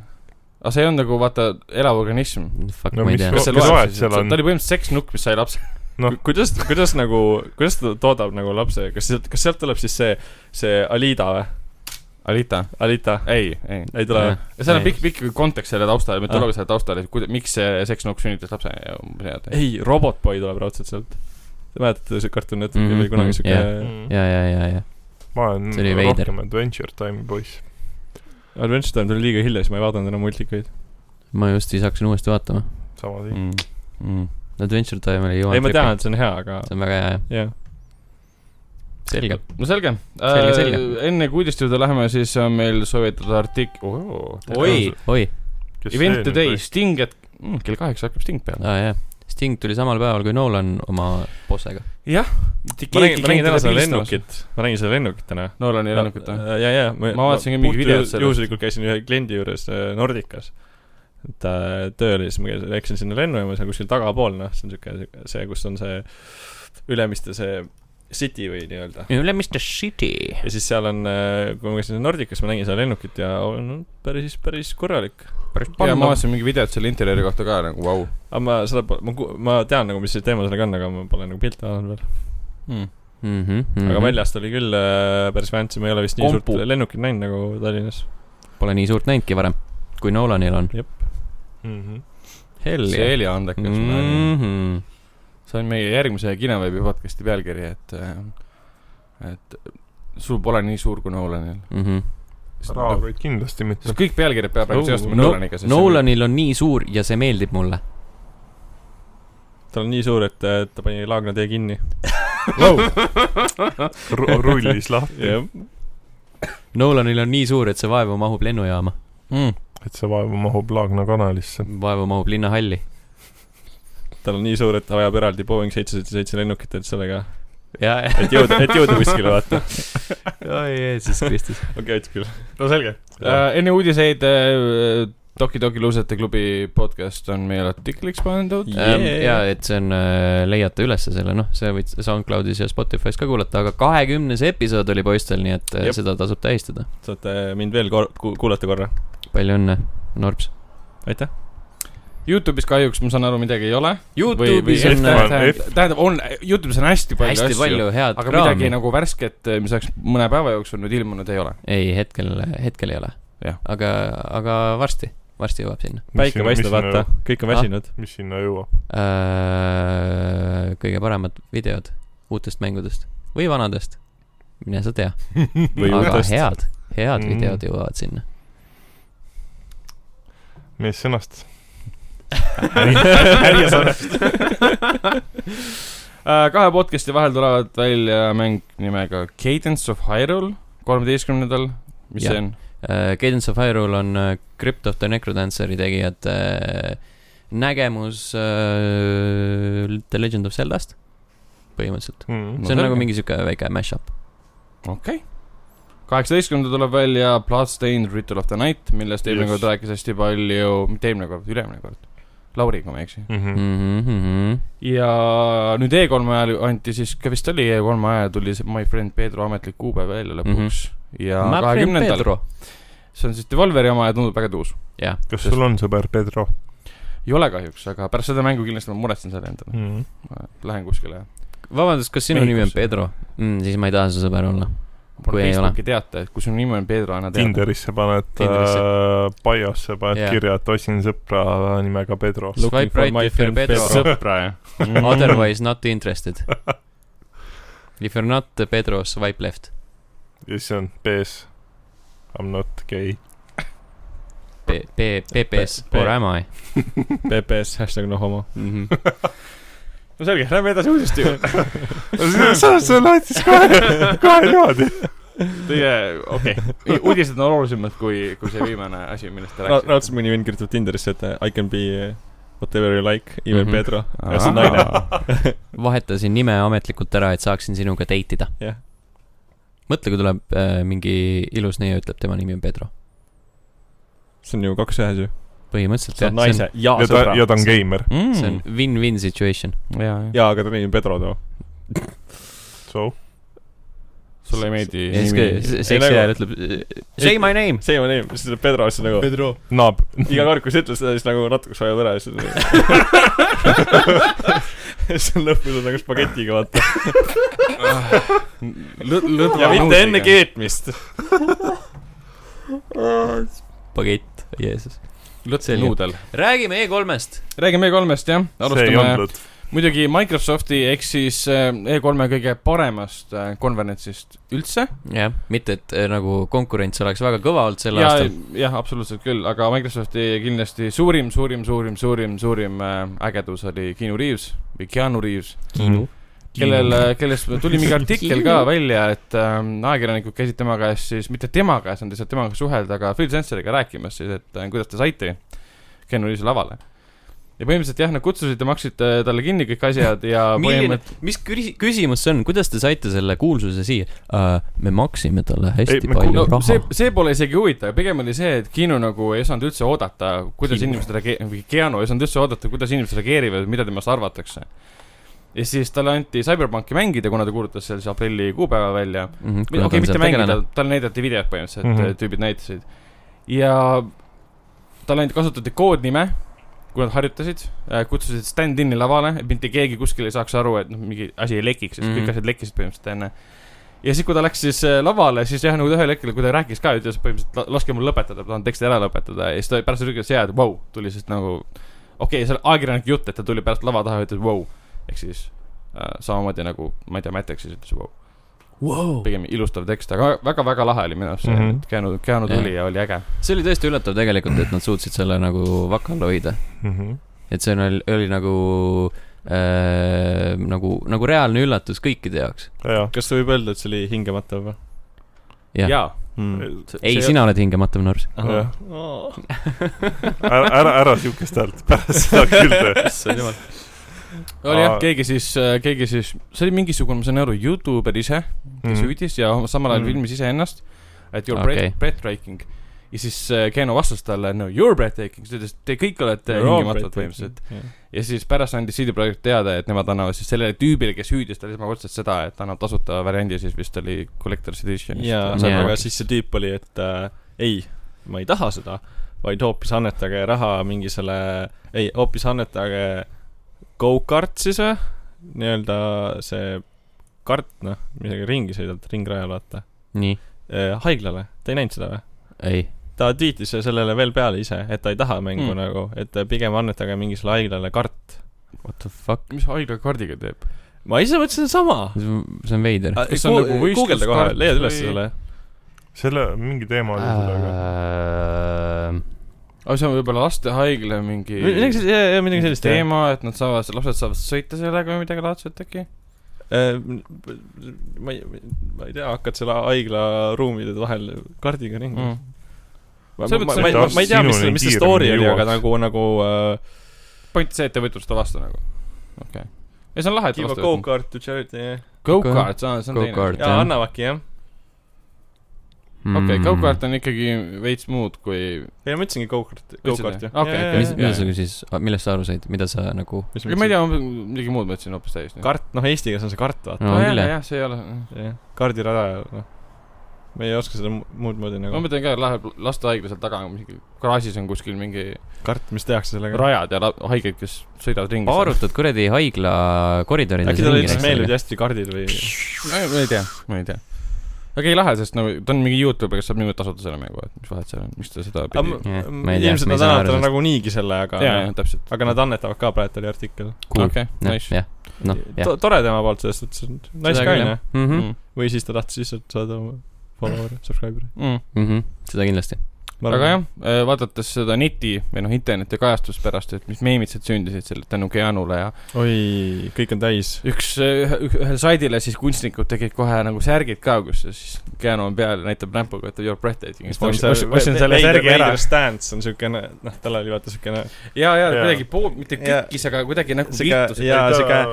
[SPEAKER 2] aga see ei olnud nagu vaata elav organism .
[SPEAKER 1] fuck
[SPEAKER 4] No
[SPEAKER 1] no, ma ei
[SPEAKER 4] mis
[SPEAKER 1] tea no, .
[SPEAKER 4] ro-
[SPEAKER 2] kas see
[SPEAKER 4] mis
[SPEAKER 2] loeb
[SPEAKER 4] vahet
[SPEAKER 2] siis ,
[SPEAKER 4] seal
[SPEAKER 2] et see-
[SPEAKER 4] on?
[SPEAKER 2] ta oli põhimõtteliselt seksnukk , mis sai lapse .
[SPEAKER 5] Ku- kuidas , kuidas nagu , kuidas ta toodab nagu lapse , kas sealt , kas sealt tuleb siis see , see Alida või ?
[SPEAKER 2] Alita .
[SPEAKER 5] Alita ,
[SPEAKER 2] ei , ei .
[SPEAKER 5] ei tule või ?
[SPEAKER 2] seal on
[SPEAKER 1] Ei. Ah.
[SPEAKER 2] pikk , pikk kontekst selle taustal , mütoloogia selle taustal , et kuida- , miks see seksnukk sünnitas lapse ja umbes nii ,
[SPEAKER 5] ei , Robotboy tuleb raudselt sealt . Te mäletate , see Cartoon Networki
[SPEAKER 1] Mhm,
[SPEAKER 5] oli kunagi siuke
[SPEAKER 1] jah. ja , ja , ja , ja .
[SPEAKER 4] Mm. ma olen
[SPEAKER 1] See oli veider.
[SPEAKER 4] rohkem Adventure Time'i poiss .
[SPEAKER 5] Adventure Time tuli liiga hilja , siis ma ei vaadanud enam multikaid .
[SPEAKER 1] ma just siis hakkasin uuesti vaatama .
[SPEAKER 4] sama asi .
[SPEAKER 5] Mm.
[SPEAKER 1] Mm.
[SPEAKER 2] et .
[SPEAKER 1] Adventure Time oli jumala
[SPEAKER 5] ei , ma tean , et see on hea , aga
[SPEAKER 1] see on väga hea , jah .
[SPEAKER 5] jah .
[SPEAKER 1] selge .
[SPEAKER 2] no selge .
[SPEAKER 1] Selge, selge.
[SPEAKER 2] enne kui uudiste juurde läheme , siis on meil soovitud artik- . Mm. oi ,
[SPEAKER 1] oi ,
[SPEAKER 2] Event Today , Sting , et mm, kell kaheksa hakkab Sting peale .
[SPEAKER 1] aa jah . Sting tuli samal päeval kui Nolan oma bossega .
[SPEAKER 5] ma nägin , ma nägin täna seda . lennukit , ma nägin seda lennukit täna .
[SPEAKER 2] Nolani lennukit
[SPEAKER 1] äh,
[SPEAKER 2] või ?
[SPEAKER 5] või ? Äh, ja , ja .
[SPEAKER 2] Ma vaatasin ka mingi videot sellest.
[SPEAKER 5] juhuslikult käisin ühe kliendi juures äh, Nordicas . et äh, tööl ja siis ma käisin- läksin sinna lennujaama , seal kuskil tagapool , noh , see on siuke , see , kus on see Ülemiste see city või nii-öelda .
[SPEAKER 1] Ülemiste City .
[SPEAKER 5] ja siis seal on , kui ma käisin seal Nordicas , ma nägin seda lennukit ja on päris , päris korralik . päris
[SPEAKER 2] ja ma vaatasin mingi videot selle interjööri kohta ka nagu vau
[SPEAKER 5] aga ma seda , ma , ma tean nagu , mis see teema sellega on , aga ma pole nagu pilte vaadanud veel .
[SPEAKER 2] mm. .
[SPEAKER 1] Mhm,
[SPEAKER 5] aga . väljast oli küll äh, päris fancy , ma ei ole vist nii
[SPEAKER 2] Mhm. Kompu.
[SPEAKER 5] suurt lennukit näinud nagu Tallinnas .
[SPEAKER 1] Pole nii suurt näinudki varem , kui Nolanil on .
[SPEAKER 4] Mhm.
[SPEAKER 1] Hell
[SPEAKER 2] see Elja andekas mm. ,
[SPEAKER 1] jah .
[SPEAKER 2] see on meie järgmise Kinoveebi podcast'i pealkiri , et , et sul pole nii suur kui Nolanil .
[SPEAKER 1] mhm.
[SPEAKER 4] rahakoid kindlasti mitte
[SPEAKER 2] sest . kõik pealkirjad peavad praegu
[SPEAKER 5] Oh.
[SPEAKER 2] seostama
[SPEAKER 1] No-
[SPEAKER 2] Nolaniga .
[SPEAKER 1] Nolanil on nii suur ja see meeldib mulle .
[SPEAKER 5] ta on nii suur , et äh, ta pani Laagna tee kinni .
[SPEAKER 4] rullis lahti .
[SPEAKER 5] jah ,
[SPEAKER 1] Nolanil on nii suur , et see vaevu mahub lennujaama ,
[SPEAKER 2] mm. .
[SPEAKER 4] et see vaevu mahub Laagna kanalisse .
[SPEAKER 1] vaevu mahub linnahalli .
[SPEAKER 5] tal on nii suur , et ta vajab eraldi Boeing seitse seitse seitse lennukit , et sellega ,
[SPEAKER 1] ja , ja ,
[SPEAKER 5] et jõuda , et jõuda kuskile vaata .
[SPEAKER 1] oi Jeesus Kristus .
[SPEAKER 5] okei , aitab küll .
[SPEAKER 4] no selge .
[SPEAKER 2] Uh, enne uudiseid uh, Toki Toki luusete klubi podcast on meie artikliks pandud Ähm,
[SPEAKER 5] Jah. Yeah.
[SPEAKER 1] ja , et see on , leiate ülesse selle , noh , see võid SoundCloudis ja Spotify's ka kuulata , aga kahekümnes episood oli poistel , nii et äh,
[SPEAKER 5] Jep.
[SPEAKER 1] seda tasub tähistada .
[SPEAKER 5] saate mind veel kor- , ku- , kuulata korra .
[SPEAKER 1] palju õnne , Norps .
[SPEAKER 5] aitäh .
[SPEAKER 2] Youtube'is kahjuks ma saan aru , midagi ei ole .
[SPEAKER 1] Youtube'is on
[SPEAKER 4] F1
[SPEAKER 1] äh,
[SPEAKER 2] tähendab , on , Youtube'is on hästi palju
[SPEAKER 1] hästi
[SPEAKER 2] asju ,
[SPEAKER 1] palju head
[SPEAKER 2] aga midagi
[SPEAKER 1] kraami .
[SPEAKER 2] nagu värsket , mis oleks mõne päeva jooksul nüüd ilmunud , ei ole .
[SPEAKER 1] ei , hetkel , hetkel ei ole
[SPEAKER 2] Jah. .
[SPEAKER 1] aga , aga varsti , varsti jõuab sinna .
[SPEAKER 5] päike paistab , vaata , kõik on
[SPEAKER 1] Ah.
[SPEAKER 5] väsinud .
[SPEAKER 4] mis sinna jõuab ?
[SPEAKER 1] Äh, kõige paremad videod uutest mängudest või vanadest , mine sa tea ,
[SPEAKER 5] või
[SPEAKER 1] Ah. aga
[SPEAKER 5] uutest . Mm.
[SPEAKER 1] head , head
[SPEAKER 4] Mhm.
[SPEAKER 1] videod jõuavad sinna .
[SPEAKER 4] mees sõnast .
[SPEAKER 5] härja sarnast .
[SPEAKER 2] Äh, kahe podcast'i vahel tulevad välja mäng nimega Cadence of Hyrule kolmeteistkümnendal , mis
[SPEAKER 1] Jah.
[SPEAKER 2] see on ?
[SPEAKER 1] Äh, Cadence of Hyrule on äh, Crypt of the Necrodanceri tegijate äh, nägemus äh, The Legend of Zeldast , põhimõtteliselt .
[SPEAKER 4] Mhm.
[SPEAKER 1] see on
[SPEAKER 2] selge.
[SPEAKER 1] nagu mingi sihuke väike mash-up .
[SPEAKER 2] kaheksateistkümnendal tuleb välja Bloodstained Ritual of the Night , millest eelmine
[SPEAKER 4] Yes.
[SPEAKER 2] kord rääkis hästi palju , mitte eelmine kord , üle-eelmine kord . Lauri , kui ma ei eksi .
[SPEAKER 5] Mm.
[SPEAKER 4] Mhm.
[SPEAKER 1] Mm. Mm-hmm.
[SPEAKER 2] ja nüüd E3 ajal anti siis , ka vist oli E3 ajal tuli see My Friend Pedro ametlik kuupäev välja lõpuks mm -hmm. ja kahekümnendal , see on siis Devolveri oma ja tundub väga tuus .
[SPEAKER 1] jah ,
[SPEAKER 4] kas sul on sõber Pedro
[SPEAKER 2] ei ole kahjuks , aga pärast seda mängu kindlasti ma muretsen selle endale ,
[SPEAKER 4] mm. ?
[SPEAKER 2] lähen kuskile .
[SPEAKER 1] vabandust , kas sinu nimi on
[SPEAKER 2] Mehhikosse.
[SPEAKER 1] Pedro mm, ? siis ma ei taha su sõber olla .
[SPEAKER 2] mul
[SPEAKER 1] Kui
[SPEAKER 2] on
[SPEAKER 1] ei ole.
[SPEAKER 2] Facebooki teate , et kui su nimi on Pedro , anna teada .
[SPEAKER 4] Tinderisse paned
[SPEAKER 1] Tinderisse.
[SPEAKER 4] äh, , biosse paned
[SPEAKER 1] Jaa.
[SPEAKER 4] yeah. kirja , et otsin sõpra nimega Pedro .
[SPEAKER 5] Looking
[SPEAKER 1] Swipe
[SPEAKER 5] for
[SPEAKER 1] right
[SPEAKER 5] my
[SPEAKER 1] if you are
[SPEAKER 5] friend
[SPEAKER 1] Pedro .
[SPEAKER 5] Pedro.
[SPEAKER 2] sõpra , jah ?
[SPEAKER 1] Mm. Otherwise not interested . If you are not Pedro , swipe left .
[SPEAKER 4] ja siis on PS . I m not gay .
[SPEAKER 1] P , P , PPS , or am I ?
[SPEAKER 5] PPS , hashtag no homo .
[SPEAKER 2] no selge , lähme edasi uudiste juurde .
[SPEAKER 4] sa , sa lahtis kohe , kohe niimoodi .
[SPEAKER 2] teie , okei okay. , uudised on olulisemad kui , kui see viimane asi , millest te rääkisite .
[SPEAKER 5] raudselt mõni vend kirjutab Tinderisse , et äh, I can be whatever you like , even
[SPEAKER 1] Mhm.
[SPEAKER 5] Pedro . ja see on naine .
[SPEAKER 1] vahetasin nime ametlikult ära , et saaksin sinuga date ida .
[SPEAKER 5] jah ,
[SPEAKER 1] mõtle , kui tuleb äh, mingi ilus neiu , ütleb tema nimi on Pedro .
[SPEAKER 5] see on ju kaks ühes ju .
[SPEAKER 1] põhimõtteliselt jah , see
[SPEAKER 5] saad
[SPEAKER 1] on ,
[SPEAKER 5] naise ja
[SPEAKER 4] ja ta , ja ta on
[SPEAKER 5] sõbra .
[SPEAKER 4] geimer .
[SPEAKER 2] Hmm.
[SPEAKER 1] see on win-win situation .
[SPEAKER 2] jaa ,
[SPEAKER 5] jaa , aga ta nimi on Pedro too .
[SPEAKER 4] So ,
[SPEAKER 2] sulle ei meeldi
[SPEAKER 1] ja siis , kui
[SPEAKER 2] nimi .
[SPEAKER 1] seksi ajal ütleb "Äh, say my name .
[SPEAKER 5] see on nimi , siis ta ütleb Pedro , siis nagu
[SPEAKER 3] Pedro .
[SPEAKER 4] naab .
[SPEAKER 5] iga kord , kui sa ütled seda , siis nagu natukene vajab ära ja siis siis on lõpus on nagu spagetiga vaata .
[SPEAKER 2] Ah.
[SPEAKER 5] ja mitte enne . keetmist .
[SPEAKER 1] pagett , Jeesus .
[SPEAKER 2] lõtse
[SPEAKER 1] Selge.
[SPEAKER 2] nuudel .
[SPEAKER 1] räägime E E3-st .
[SPEAKER 2] räägime E3-st
[SPEAKER 4] see
[SPEAKER 2] jah ,
[SPEAKER 4] ei
[SPEAKER 2] alustame
[SPEAKER 4] olnud .
[SPEAKER 2] muidugi Microsofti ehk siis eh, E3-e kõige paremast eh, konverentsist üldse .
[SPEAKER 1] jah , mitte , et äh, nagu konkurents oleks väga kõva olnud sel
[SPEAKER 2] ja
[SPEAKER 1] aastal .,
[SPEAKER 2] jah , absoluutselt küll , aga Microsofti kindlasti suurim , suurim , suurim , suurim , suurim eh, ägedus oli Keanu Reaves või Keanu Reaves . kellel , kellest tuli mingi artikkel ka välja , et ähm, ajakirjanikud käisid tema käest siis , mitte tema käes , nad ei saanud temaga suhelda , aga Phil Sensoriga rääkimas siis , et äh, kuidas te saite Ken Reavesi lavale . ja põhimõtteliselt jah , nad kutsusid ja maksid äh, talle kinni kõik asjad ja
[SPEAKER 1] milline
[SPEAKER 2] põhimõtteliselt ,
[SPEAKER 1] mis küsi- , küsimus see on , kuidas te saite selle kuulsuse siia uh, ? me maksime talle hästi
[SPEAKER 4] Ei,
[SPEAKER 1] ei,
[SPEAKER 4] me
[SPEAKER 1] palju
[SPEAKER 2] no,
[SPEAKER 1] raha
[SPEAKER 2] see
[SPEAKER 1] see... .,
[SPEAKER 2] see pole isegi huvitav , pigem oli see , et Keanu nagu ei osanud üldse oodata , kuidas
[SPEAKER 1] Keanu.
[SPEAKER 2] inimesed reageerivad , või Keanu ei osanud üldse oodata , kuidas inimesed reageerivad , mida temast arvatakse . ja siis talle anti Cyberpunki mängida , kuna ta kuulutas seal siis aprilli kuupäeva välja
[SPEAKER 1] Mm
[SPEAKER 2] okei okay, , mitte mängida ,. talle näidati videot põhimõtteliselt mm ,
[SPEAKER 4] Mhm.
[SPEAKER 2] -hmm. tüübid näitasid . ja talle ainult kasutati koodnime , kui nad harjutasid , kutsusid stand-in'i lavale , et mitte keegi kuskil ei saaks aru , et noh , mingi asi ei lekiks , sest mm
[SPEAKER 1] Mhm.
[SPEAKER 2] -hmm. kõik asjad lekkisid põhimõtteliselt enne . ja siis , kui ta läks siis äh, lavale , siis jah , nagu ta ühel hetkel , kui ta rääkis ka , ütles põhimõtteliselt "La- laske mul lõpetada , ma tahan teksti ära lõpetada ja siis ta pärast ütles jaa , et vau wow, , tuli siis nagu okei okay, , see on ajakirjaniku jutt , et ta tuli pärast lava taha ja ütles vau wow. , ehk siis äh, samamoodi nagu ma ei tea , Matt Exis ütles vau wow
[SPEAKER 1] Wow.
[SPEAKER 2] pigem ilustav tekst , aga väga-väga lahe oli minu arust see mm ,
[SPEAKER 4] Mhm.
[SPEAKER 2] -hmm. et Keanu , Keanu tuli
[SPEAKER 1] Jah.
[SPEAKER 2] ja oli äge .
[SPEAKER 1] see oli tõesti üllatav tegelikult , et nad suutsid selle nagu vaka all hoida .
[SPEAKER 4] Mhm.
[SPEAKER 1] et see oli, oli nagu äh, , nagu , nagu reaalne üllatus kõikide jaoks .
[SPEAKER 4] jah ,
[SPEAKER 5] kas sa võib öelda , et see oli hingematav või ?
[SPEAKER 1] Jah.
[SPEAKER 2] jaa ,
[SPEAKER 5] Hmm. Äh,
[SPEAKER 3] mm. .
[SPEAKER 1] ei , sina oled hingematav norras .
[SPEAKER 4] jah ,
[SPEAKER 5] oh, .
[SPEAKER 4] ära , ära , ära siukest häält pärast seda küll tee .
[SPEAKER 5] issand jumal .
[SPEAKER 2] oli jah
[SPEAKER 4] Aa. ,
[SPEAKER 2] keegi siis , keegi siis , see oli mingisugune , ma saan aru , Youtuber ise , kes
[SPEAKER 4] Mm.
[SPEAKER 2] hüüdis ja samal ajal
[SPEAKER 4] Mm.
[SPEAKER 2] filmis iseennast , et you are
[SPEAKER 1] Okei.
[SPEAKER 2] okay. breathtaking . ja siis äh, Keenu vastas talle , no you are breathtaking , ta ütles , te kõik olete hingematvad põhimõtteliselt . ja siis pärast andis CD Projekt teada , et nemad annavad siis sellele tüübile , kes hüüdis talle esmakordselt seda , et annab tasuta variandi , siis vist oli Collector's Edition .
[SPEAKER 5] jaa ,
[SPEAKER 1] Jaa.
[SPEAKER 5] aga siis see tüüp oli , et äh, ei , ma ei taha seda , vaid hoopis annetage raha mingisele , ei , hoopis annetage go-kart siis või , nii-öelda see kart , noh , millega ringi sõidad , ringrajal vaata ,
[SPEAKER 1] nii ,
[SPEAKER 5] haiglale , ta ei näinud seda või ?
[SPEAKER 1] ei .
[SPEAKER 5] ta tweetis sellele veel peale ise , et ta ei taha mängu
[SPEAKER 2] Mm.
[SPEAKER 5] mm. nagu , et pigem annetage mingisele haiglale kart .
[SPEAKER 1] What the fuck ,
[SPEAKER 2] mis haigla kaardiga teeb ?
[SPEAKER 5] ma ise mõtlesin sama .
[SPEAKER 1] see on veider .
[SPEAKER 2] Kas see on nagu võistluskart
[SPEAKER 5] guugelda kohe , leiad üles
[SPEAKER 2] või-
[SPEAKER 5] selle .
[SPEAKER 4] selle , mingi teema
[SPEAKER 5] Äh,
[SPEAKER 4] oli sellega .
[SPEAKER 2] aga see on võib-olla lastehaigla mingi
[SPEAKER 5] midagi sellist , jaa , jaa , midagi sellist .
[SPEAKER 2] teema , et nad saavad , lapsed saavad sõita sellega või midagi laadset äkki .
[SPEAKER 5] Äh, ma ei , ma ei tea , hakkad selle haigla ruumide vahel kardiga ringi mm. . ma ,
[SPEAKER 2] Hmm. Selles
[SPEAKER 5] ma ,
[SPEAKER 2] mõttes,
[SPEAKER 5] ma,
[SPEAKER 2] et
[SPEAKER 5] ma, ma ei tea , mis
[SPEAKER 4] sinuni ,
[SPEAKER 5] mis see
[SPEAKER 4] kiiremini
[SPEAKER 5] story oli , aga
[SPEAKER 4] jõuaks.
[SPEAKER 5] nagu , nagu äh,
[SPEAKER 2] point see , et te võtluste vastu nagu . okei okay. . ja see on lahe , et
[SPEAKER 5] give a
[SPEAKER 2] vastu võtnud .
[SPEAKER 5] go-kart to charity , jah .
[SPEAKER 2] Go-kart , see on , see on teine .
[SPEAKER 1] Go-kart ,
[SPEAKER 5] jaa ,
[SPEAKER 1] jah .
[SPEAKER 5] annavadki , jah .
[SPEAKER 1] hmm.
[SPEAKER 5] Mm.
[SPEAKER 2] okei , Go-kart on ikkagi veits muud kui .
[SPEAKER 5] ei , ma ütlesingi go-kart ,
[SPEAKER 2] Ütlesid,
[SPEAKER 5] go-kart , jah .
[SPEAKER 2] jah? Okei, okei.
[SPEAKER 1] mis ,
[SPEAKER 2] jaa,
[SPEAKER 1] mis sa siis , millest sa aru said , mida sa nagu ,
[SPEAKER 5] mis
[SPEAKER 2] ma ei tea , ma midagi muud mõtlesin hoopis täiesti .
[SPEAKER 5] kart , noh , eesti keeles on see kart , vaata
[SPEAKER 1] No,
[SPEAKER 2] no
[SPEAKER 1] on küll,
[SPEAKER 2] jälle
[SPEAKER 1] jah. ,
[SPEAKER 2] jah , see ei ole .
[SPEAKER 5] no. . kardirada , noh . ma ei oska seda mu- muud moodi
[SPEAKER 2] ma
[SPEAKER 5] nagu .
[SPEAKER 2] mõtlen ka , et läheb lastehaigla seal taga , mingi garaažis on kuskil mingi
[SPEAKER 5] kart , mis tehakse sellega .
[SPEAKER 2] rajad ja la- haiged , kes sõidavad ringi .
[SPEAKER 1] paarutad kuradi haigla koridorides .
[SPEAKER 5] äkki talle lihtsalt meeldivad hästi kardid või ?
[SPEAKER 2] ma ei ma ei tea , ma ei tea . aga ei lähe , sest nagu ta on mingi Youtuber , kes saab niimoodi tasuta selle mängu , et mis vahet seal on , miks ta seda pidi .
[SPEAKER 1] Jah,
[SPEAKER 5] M-
[SPEAKER 1] ma ei tea,
[SPEAKER 5] ilmselt
[SPEAKER 1] ma ei
[SPEAKER 5] nad
[SPEAKER 1] saa aru
[SPEAKER 5] annavad talle
[SPEAKER 1] sellest.
[SPEAKER 5] nagunii selle , aga
[SPEAKER 2] jaa , jaa , täpselt .
[SPEAKER 5] aga nad annetavad ka , praegu oli artikkel
[SPEAKER 1] Cool.
[SPEAKER 2] okei , nice .
[SPEAKER 1] jah , noh , jah .
[SPEAKER 5] To- tore tema poolt , selles suhtes , et nice
[SPEAKER 2] Seda
[SPEAKER 5] guy
[SPEAKER 2] küll,
[SPEAKER 5] noh ,
[SPEAKER 1] Mhm.
[SPEAKER 2] Mm.
[SPEAKER 5] või siis ta tahtis lihtsalt saada oma follower'i , subscriber'i .
[SPEAKER 2] Mm.
[SPEAKER 1] mhm. seda kindlasti .
[SPEAKER 2] aga jah , vaadates seda neti või noh , interneti kajastust pärast , et mis meemitsed sündisid selle tänu Keanule ja
[SPEAKER 5] oi , kõik on täis .
[SPEAKER 2] üks , ühel saidile siis kunstnikud tegid kohe nagu särgid ka , kus siis Keanu on peal ja näitab näpuga , et you are breathtaking . siis ma ostsin- ostsin selle särgi ära .
[SPEAKER 5] Stance on siukene , noh , tal oli vaata siukene ,
[SPEAKER 2] ja , ja
[SPEAKER 4] Jaa.
[SPEAKER 2] kuidagi pool , mitte
[SPEAKER 5] Jaa.
[SPEAKER 2] kükkis , aga kuidagi nagu
[SPEAKER 5] Siga-
[SPEAKER 2] viltus .
[SPEAKER 5] jaa,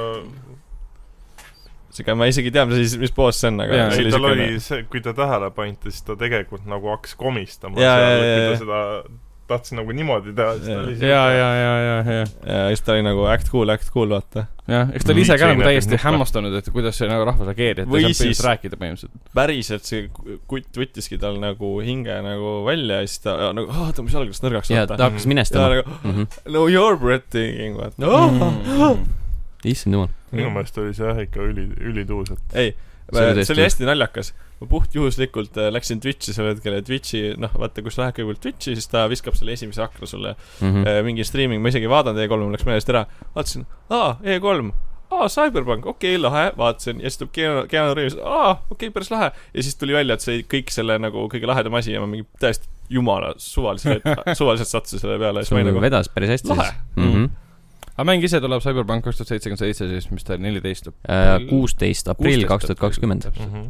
[SPEAKER 5] siuke , ma isegi ei tea , mis siis , mis poos see on , aga
[SPEAKER 2] Jaa,
[SPEAKER 5] see
[SPEAKER 4] ei ,
[SPEAKER 5] oli
[SPEAKER 4] tal
[SPEAKER 5] siukene
[SPEAKER 4] oli . see , kui te tähele panite , siis ta tegelikult nagu hakkas komistama
[SPEAKER 5] Jaa,
[SPEAKER 4] seal ,
[SPEAKER 5] jaa,
[SPEAKER 4] et kui
[SPEAKER 5] jaa,
[SPEAKER 4] ta seda tahtis nagu niimoodi teha , siis ta
[SPEAKER 5] Jaa.
[SPEAKER 4] oli
[SPEAKER 2] ja , ja , ja , ja , ja ,
[SPEAKER 5] ja siis ta oli nagu act cool , act cool , vaata .
[SPEAKER 2] jah , eks ta oli
[SPEAKER 4] Mm,
[SPEAKER 2] ise ka nagu
[SPEAKER 4] seemnepilk
[SPEAKER 2] täiesti
[SPEAKER 4] nuppa.
[SPEAKER 2] hämmastunud , et kuidas see nagu rahvas reageerib , et ta ei
[SPEAKER 5] Või
[SPEAKER 2] saanud
[SPEAKER 5] siis-
[SPEAKER 2] põhimõtteliselt rääkida põhimõtteliselt .
[SPEAKER 5] päriselt see kutt võttiski tal nagu hinge nagu välja ja siis ta ja, nagu , aa , ta mis alguses nõrgaks
[SPEAKER 1] ja ta
[SPEAKER 5] vaata .
[SPEAKER 1] hakkas
[SPEAKER 5] ja
[SPEAKER 1] minestama . Mhm.
[SPEAKER 5] nagu no you are breathtaking , vaata no. .
[SPEAKER 1] Mm.
[SPEAKER 2] Mm.
[SPEAKER 1] issand jumal .
[SPEAKER 5] Mm.
[SPEAKER 4] minu meelest oli see jah ikka üli , ülituus , et
[SPEAKER 5] ei ,
[SPEAKER 1] See oli
[SPEAKER 5] see
[SPEAKER 1] tõesti just.
[SPEAKER 5] oli hästi naljakas . ma puhtjuhuslikult äh, läksin Twitchi sel hetkel ja Twitchi , noh , vaata , kui sa lähed kõigepealt Twitchi , siis ta viskab selle esimese akna sulle mm. .
[SPEAKER 1] Mhm.
[SPEAKER 4] Mhm.
[SPEAKER 5] mingi streaming , ma isegi ei vaadanud E3-e , mul läks meelest ära . vaatasin , aa , E3 aa , Cyberpunk , okei okay, , lahe , vaatasin ja siis tuleb Keanu , Keanu Reaves , aa , okei okay, , päris lahe . ja siis tuli välja , et see kõik selle nagu kõige lahedam asi ja ma mingi täiesti jumala suvaliselt , suvaliselt sattusin selle peale ja siis
[SPEAKER 1] sul
[SPEAKER 5] ma olin
[SPEAKER 1] nagu
[SPEAKER 5] nagu .
[SPEAKER 1] vedas päris hästi
[SPEAKER 5] Lahe.
[SPEAKER 1] siis . Mhm.
[SPEAKER 2] aga mäng ise tuleb Cyberpunk kaks tuhat seitsekümmend seitse siis , mis ta oli , neliteist
[SPEAKER 1] Äh, kuusteist aprill kaks tuhat kakskümmend .
[SPEAKER 4] mhm.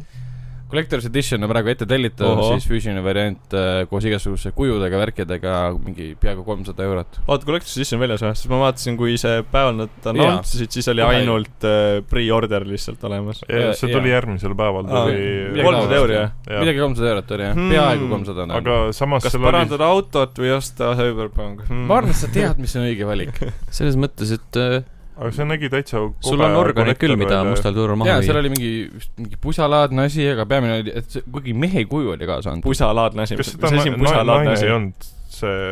[SPEAKER 2] Collector's Edition on praegu ette tellitav ,
[SPEAKER 5] Ohoh.
[SPEAKER 2] siis füüsiline variant äh, koos igasuguse kujudega , värkidega , mingi peaaegu kolmsada eurot .
[SPEAKER 5] oota , Collector's Edition väljas või ? sest ma vaatasin , kui see päeval nad annontsisid , siis oli
[SPEAKER 2] Kohe-
[SPEAKER 5] ainult äh, pre-order lihtsalt olemas .
[SPEAKER 4] Ja Eh, see tuli
[SPEAKER 2] Jaa.
[SPEAKER 4] järgmisel päeval , tuli
[SPEAKER 2] midagi
[SPEAKER 5] kolmsada
[SPEAKER 2] taolist,
[SPEAKER 5] euri
[SPEAKER 2] jah.
[SPEAKER 5] jah ?
[SPEAKER 4] jah.
[SPEAKER 2] midagi kolmsada eurot oli jah
[SPEAKER 5] Hmm.
[SPEAKER 2] hmm. , peaaegu kolmsada on .
[SPEAKER 4] aga samas
[SPEAKER 5] kas
[SPEAKER 4] seal oli ,
[SPEAKER 5] parandada autot või osta Cyberpunk hmm.
[SPEAKER 2] ma arvan , et sa tead , mis on õige valik .
[SPEAKER 1] selles mõttes , et äh,
[SPEAKER 4] aga see nägi täitsa
[SPEAKER 1] sul on organeid küll , mida . mustal turul maha
[SPEAKER 2] jaa , seal
[SPEAKER 1] viia .
[SPEAKER 2] oli mingi , mingi pusalaadne asi , aga peamine oli , et see- kuigi mehe kuju oli kaasa antud .
[SPEAKER 5] pusalaadne asi , mis
[SPEAKER 4] kas seda
[SPEAKER 5] asi on
[SPEAKER 4] na- naine
[SPEAKER 5] pusalaadne
[SPEAKER 4] ei
[SPEAKER 5] asi ?
[SPEAKER 4] olnud , see ,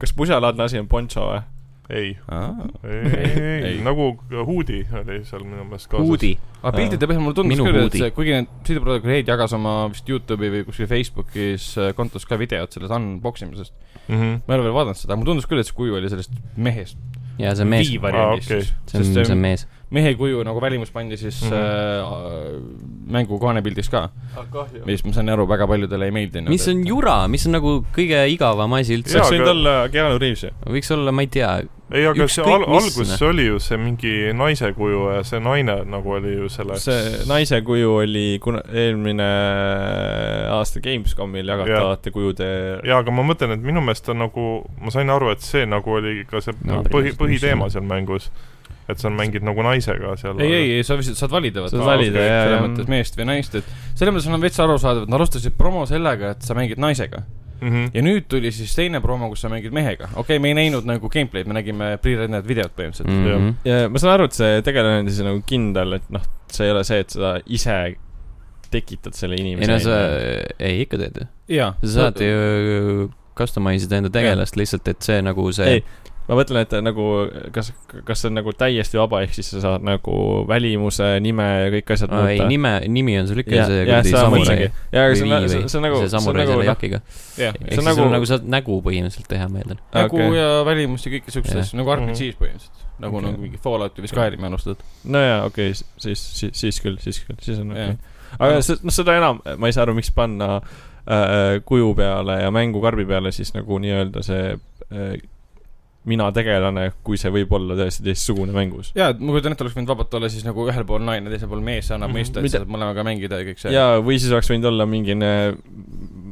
[SPEAKER 5] kas pusalaadne asi on poncho või ?
[SPEAKER 4] ei ,
[SPEAKER 2] aga
[SPEAKER 4] ei , ei
[SPEAKER 2] Ei. ,
[SPEAKER 4] nagu huudi oli seal minu meelest kaasas .
[SPEAKER 1] huudi .
[SPEAKER 2] piltide põhjal mulle tundus
[SPEAKER 1] Minu
[SPEAKER 2] küll , et
[SPEAKER 1] hoodie.
[SPEAKER 2] see , kuigi need sideprodukti leid jagas oma vist Youtube'i või kuskil Facebookis äh, kontos ka videot sellest unboxing isest .
[SPEAKER 4] mhmh ,
[SPEAKER 2] ma ei ole veel vaadanud seda , aga mulle tundus küll , et see kuju oli sellest mehest .
[SPEAKER 1] jaa , see on mees .
[SPEAKER 2] variandist
[SPEAKER 4] Aa,
[SPEAKER 2] siis .
[SPEAKER 1] see on , see on mees .
[SPEAKER 2] mehe kuju nagu välimus pandi siis mm
[SPEAKER 4] Mhm.
[SPEAKER 2] -hmm. äh, mängu kaanepildiks ka ,
[SPEAKER 5] kahju .
[SPEAKER 2] mis ma saan aru , väga paljudele ei meeldinud .
[SPEAKER 1] mis on jura , mis on nagu kõige igavam asi üldse .
[SPEAKER 4] Jaa,
[SPEAKER 5] see võinud
[SPEAKER 4] aga-
[SPEAKER 5] olla Keanu Reaves ju .
[SPEAKER 1] võiks olla , ma ei tea ,
[SPEAKER 4] ei , aga see
[SPEAKER 1] Ükskõik
[SPEAKER 4] al- ,
[SPEAKER 1] mis,
[SPEAKER 4] alguses
[SPEAKER 1] noh.
[SPEAKER 4] oli ju see mingi naise kuju ja see naine nagu oli ju selle
[SPEAKER 5] see naise kuju oli kuna eelmine äh, aasta Gamescomil
[SPEAKER 4] Jah.
[SPEAKER 5] jagatavate kujude
[SPEAKER 4] jaa , aga ma mõtlen , et minu meelest on nagu , ma sain aru , et see nagu oli ka see
[SPEAKER 1] No,
[SPEAKER 4] no, põhi ,
[SPEAKER 1] põhimõtteliselt
[SPEAKER 4] põhiteema seal mängus . et sa mängid nagu naisega seal .
[SPEAKER 2] ei , ei , ei , sa lihtsalt saad valida .
[SPEAKER 5] Saad valida, jaa,
[SPEAKER 2] selles
[SPEAKER 5] jah.
[SPEAKER 2] mõttes meest või naist , et selles mõttes on veits arusaadav , et nad alustasid promo sellega , et sa mängid naisega .
[SPEAKER 4] mm .
[SPEAKER 2] ja nüüd tuli siis teine promo , kus sa mängid mehega . okei okay, , me ei näinud nagu gameplay'd , me nägime pre-rendered videot põhimõtteliselt mm. .
[SPEAKER 1] -hmm.
[SPEAKER 5] ja ma saan aru , et see tegelane on siis nagu kindel , et noh , see ei ole see , et sa ise tekitad selle
[SPEAKER 1] ei no sa
[SPEAKER 5] inimese .,
[SPEAKER 1] ei ikka teed ju .
[SPEAKER 2] jaa .
[SPEAKER 1] sa saad ju customise ida enda tegelast lihtsalt , et see nagu see
[SPEAKER 5] Ei, . ma mõtlen , et nagu kas , kas see on nagu täiesti vaba , ehk siis sa saad nagu välimuse , nime ja kõik asjad
[SPEAKER 1] Oh, ei ,
[SPEAKER 5] muuta .
[SPEAKER 1] nime , nimi on sul ikka
[SPEAKER 5] Jah,
[SPEAKER 1] see
[SPEAKER 5] jah,
[SPEAKER 1] kuradi
[SPEAKER 5] seda ma
[SPEAKER 1] samurai
[SPEAKER 5] mõtlesingi. . jaa , aga see on , see on- see on nagu ,
[SPEAKER 1] see
[SPEAKER 5] see on
[SPEAKER 1] samurai
[SPEAKER 5] nagu
[SPEAKER 1] selle
[SPEAKER 5] noh ,
[SPEAKER 1] jakiga .
[SPEAKER 2] jah ,
[SPEAKER 1] ehk
[SPEAKER 5] see on
[SPEAKER 1] siis sul
[SPEAKER 5] nagu-
[SPEAKER 1] nagu saad nägu põhimõtteliselt teha , ma eeldan .
[SPEAKER 2] nägu
[SPEAKER 5] Okei.
[SPEAKER 2] okay. Nagu ja välimust ja kõike siukseid
[SPEAKER 1] Jah.
[SPEAKER 2] asju , nagu RPG-s põhimõtteliselt . nagu
[SPEAKER 1] Okei.
[SPEAKER 2] okay. nagu mingi Fallouti või Skyrimi alustad .
[SPEAKER 5] nojaa , okei okay, , siis , siis , siis küll , siis küll , siis on okei
[SPEAKER 2] Jah.
[SPEAKER 5] okay. . aga see , noh , seda enam , ma ei saa aru , miks panna äh, kuju peale ja mängukarbi peale siis nagu nii-öelda see äh, mina tegelane , kui see võib olla täiesti teistsugune mängus .
[SPEAKER 2] jaa , et ma kujutan ette , oleks võinud vabalt olla siis nagu ühel pool naine , teisel pool mees , see annab
[SPEAKER 4] Mhm.
[SPEAKER 2] mõista , et
[SPEAKER 5] Mida-
[SPEAKER 2] sa saad mõlemaga mängida ja kõik see .
[SPEAKER 5] jaa , või siis oleks võinud olla mingine ,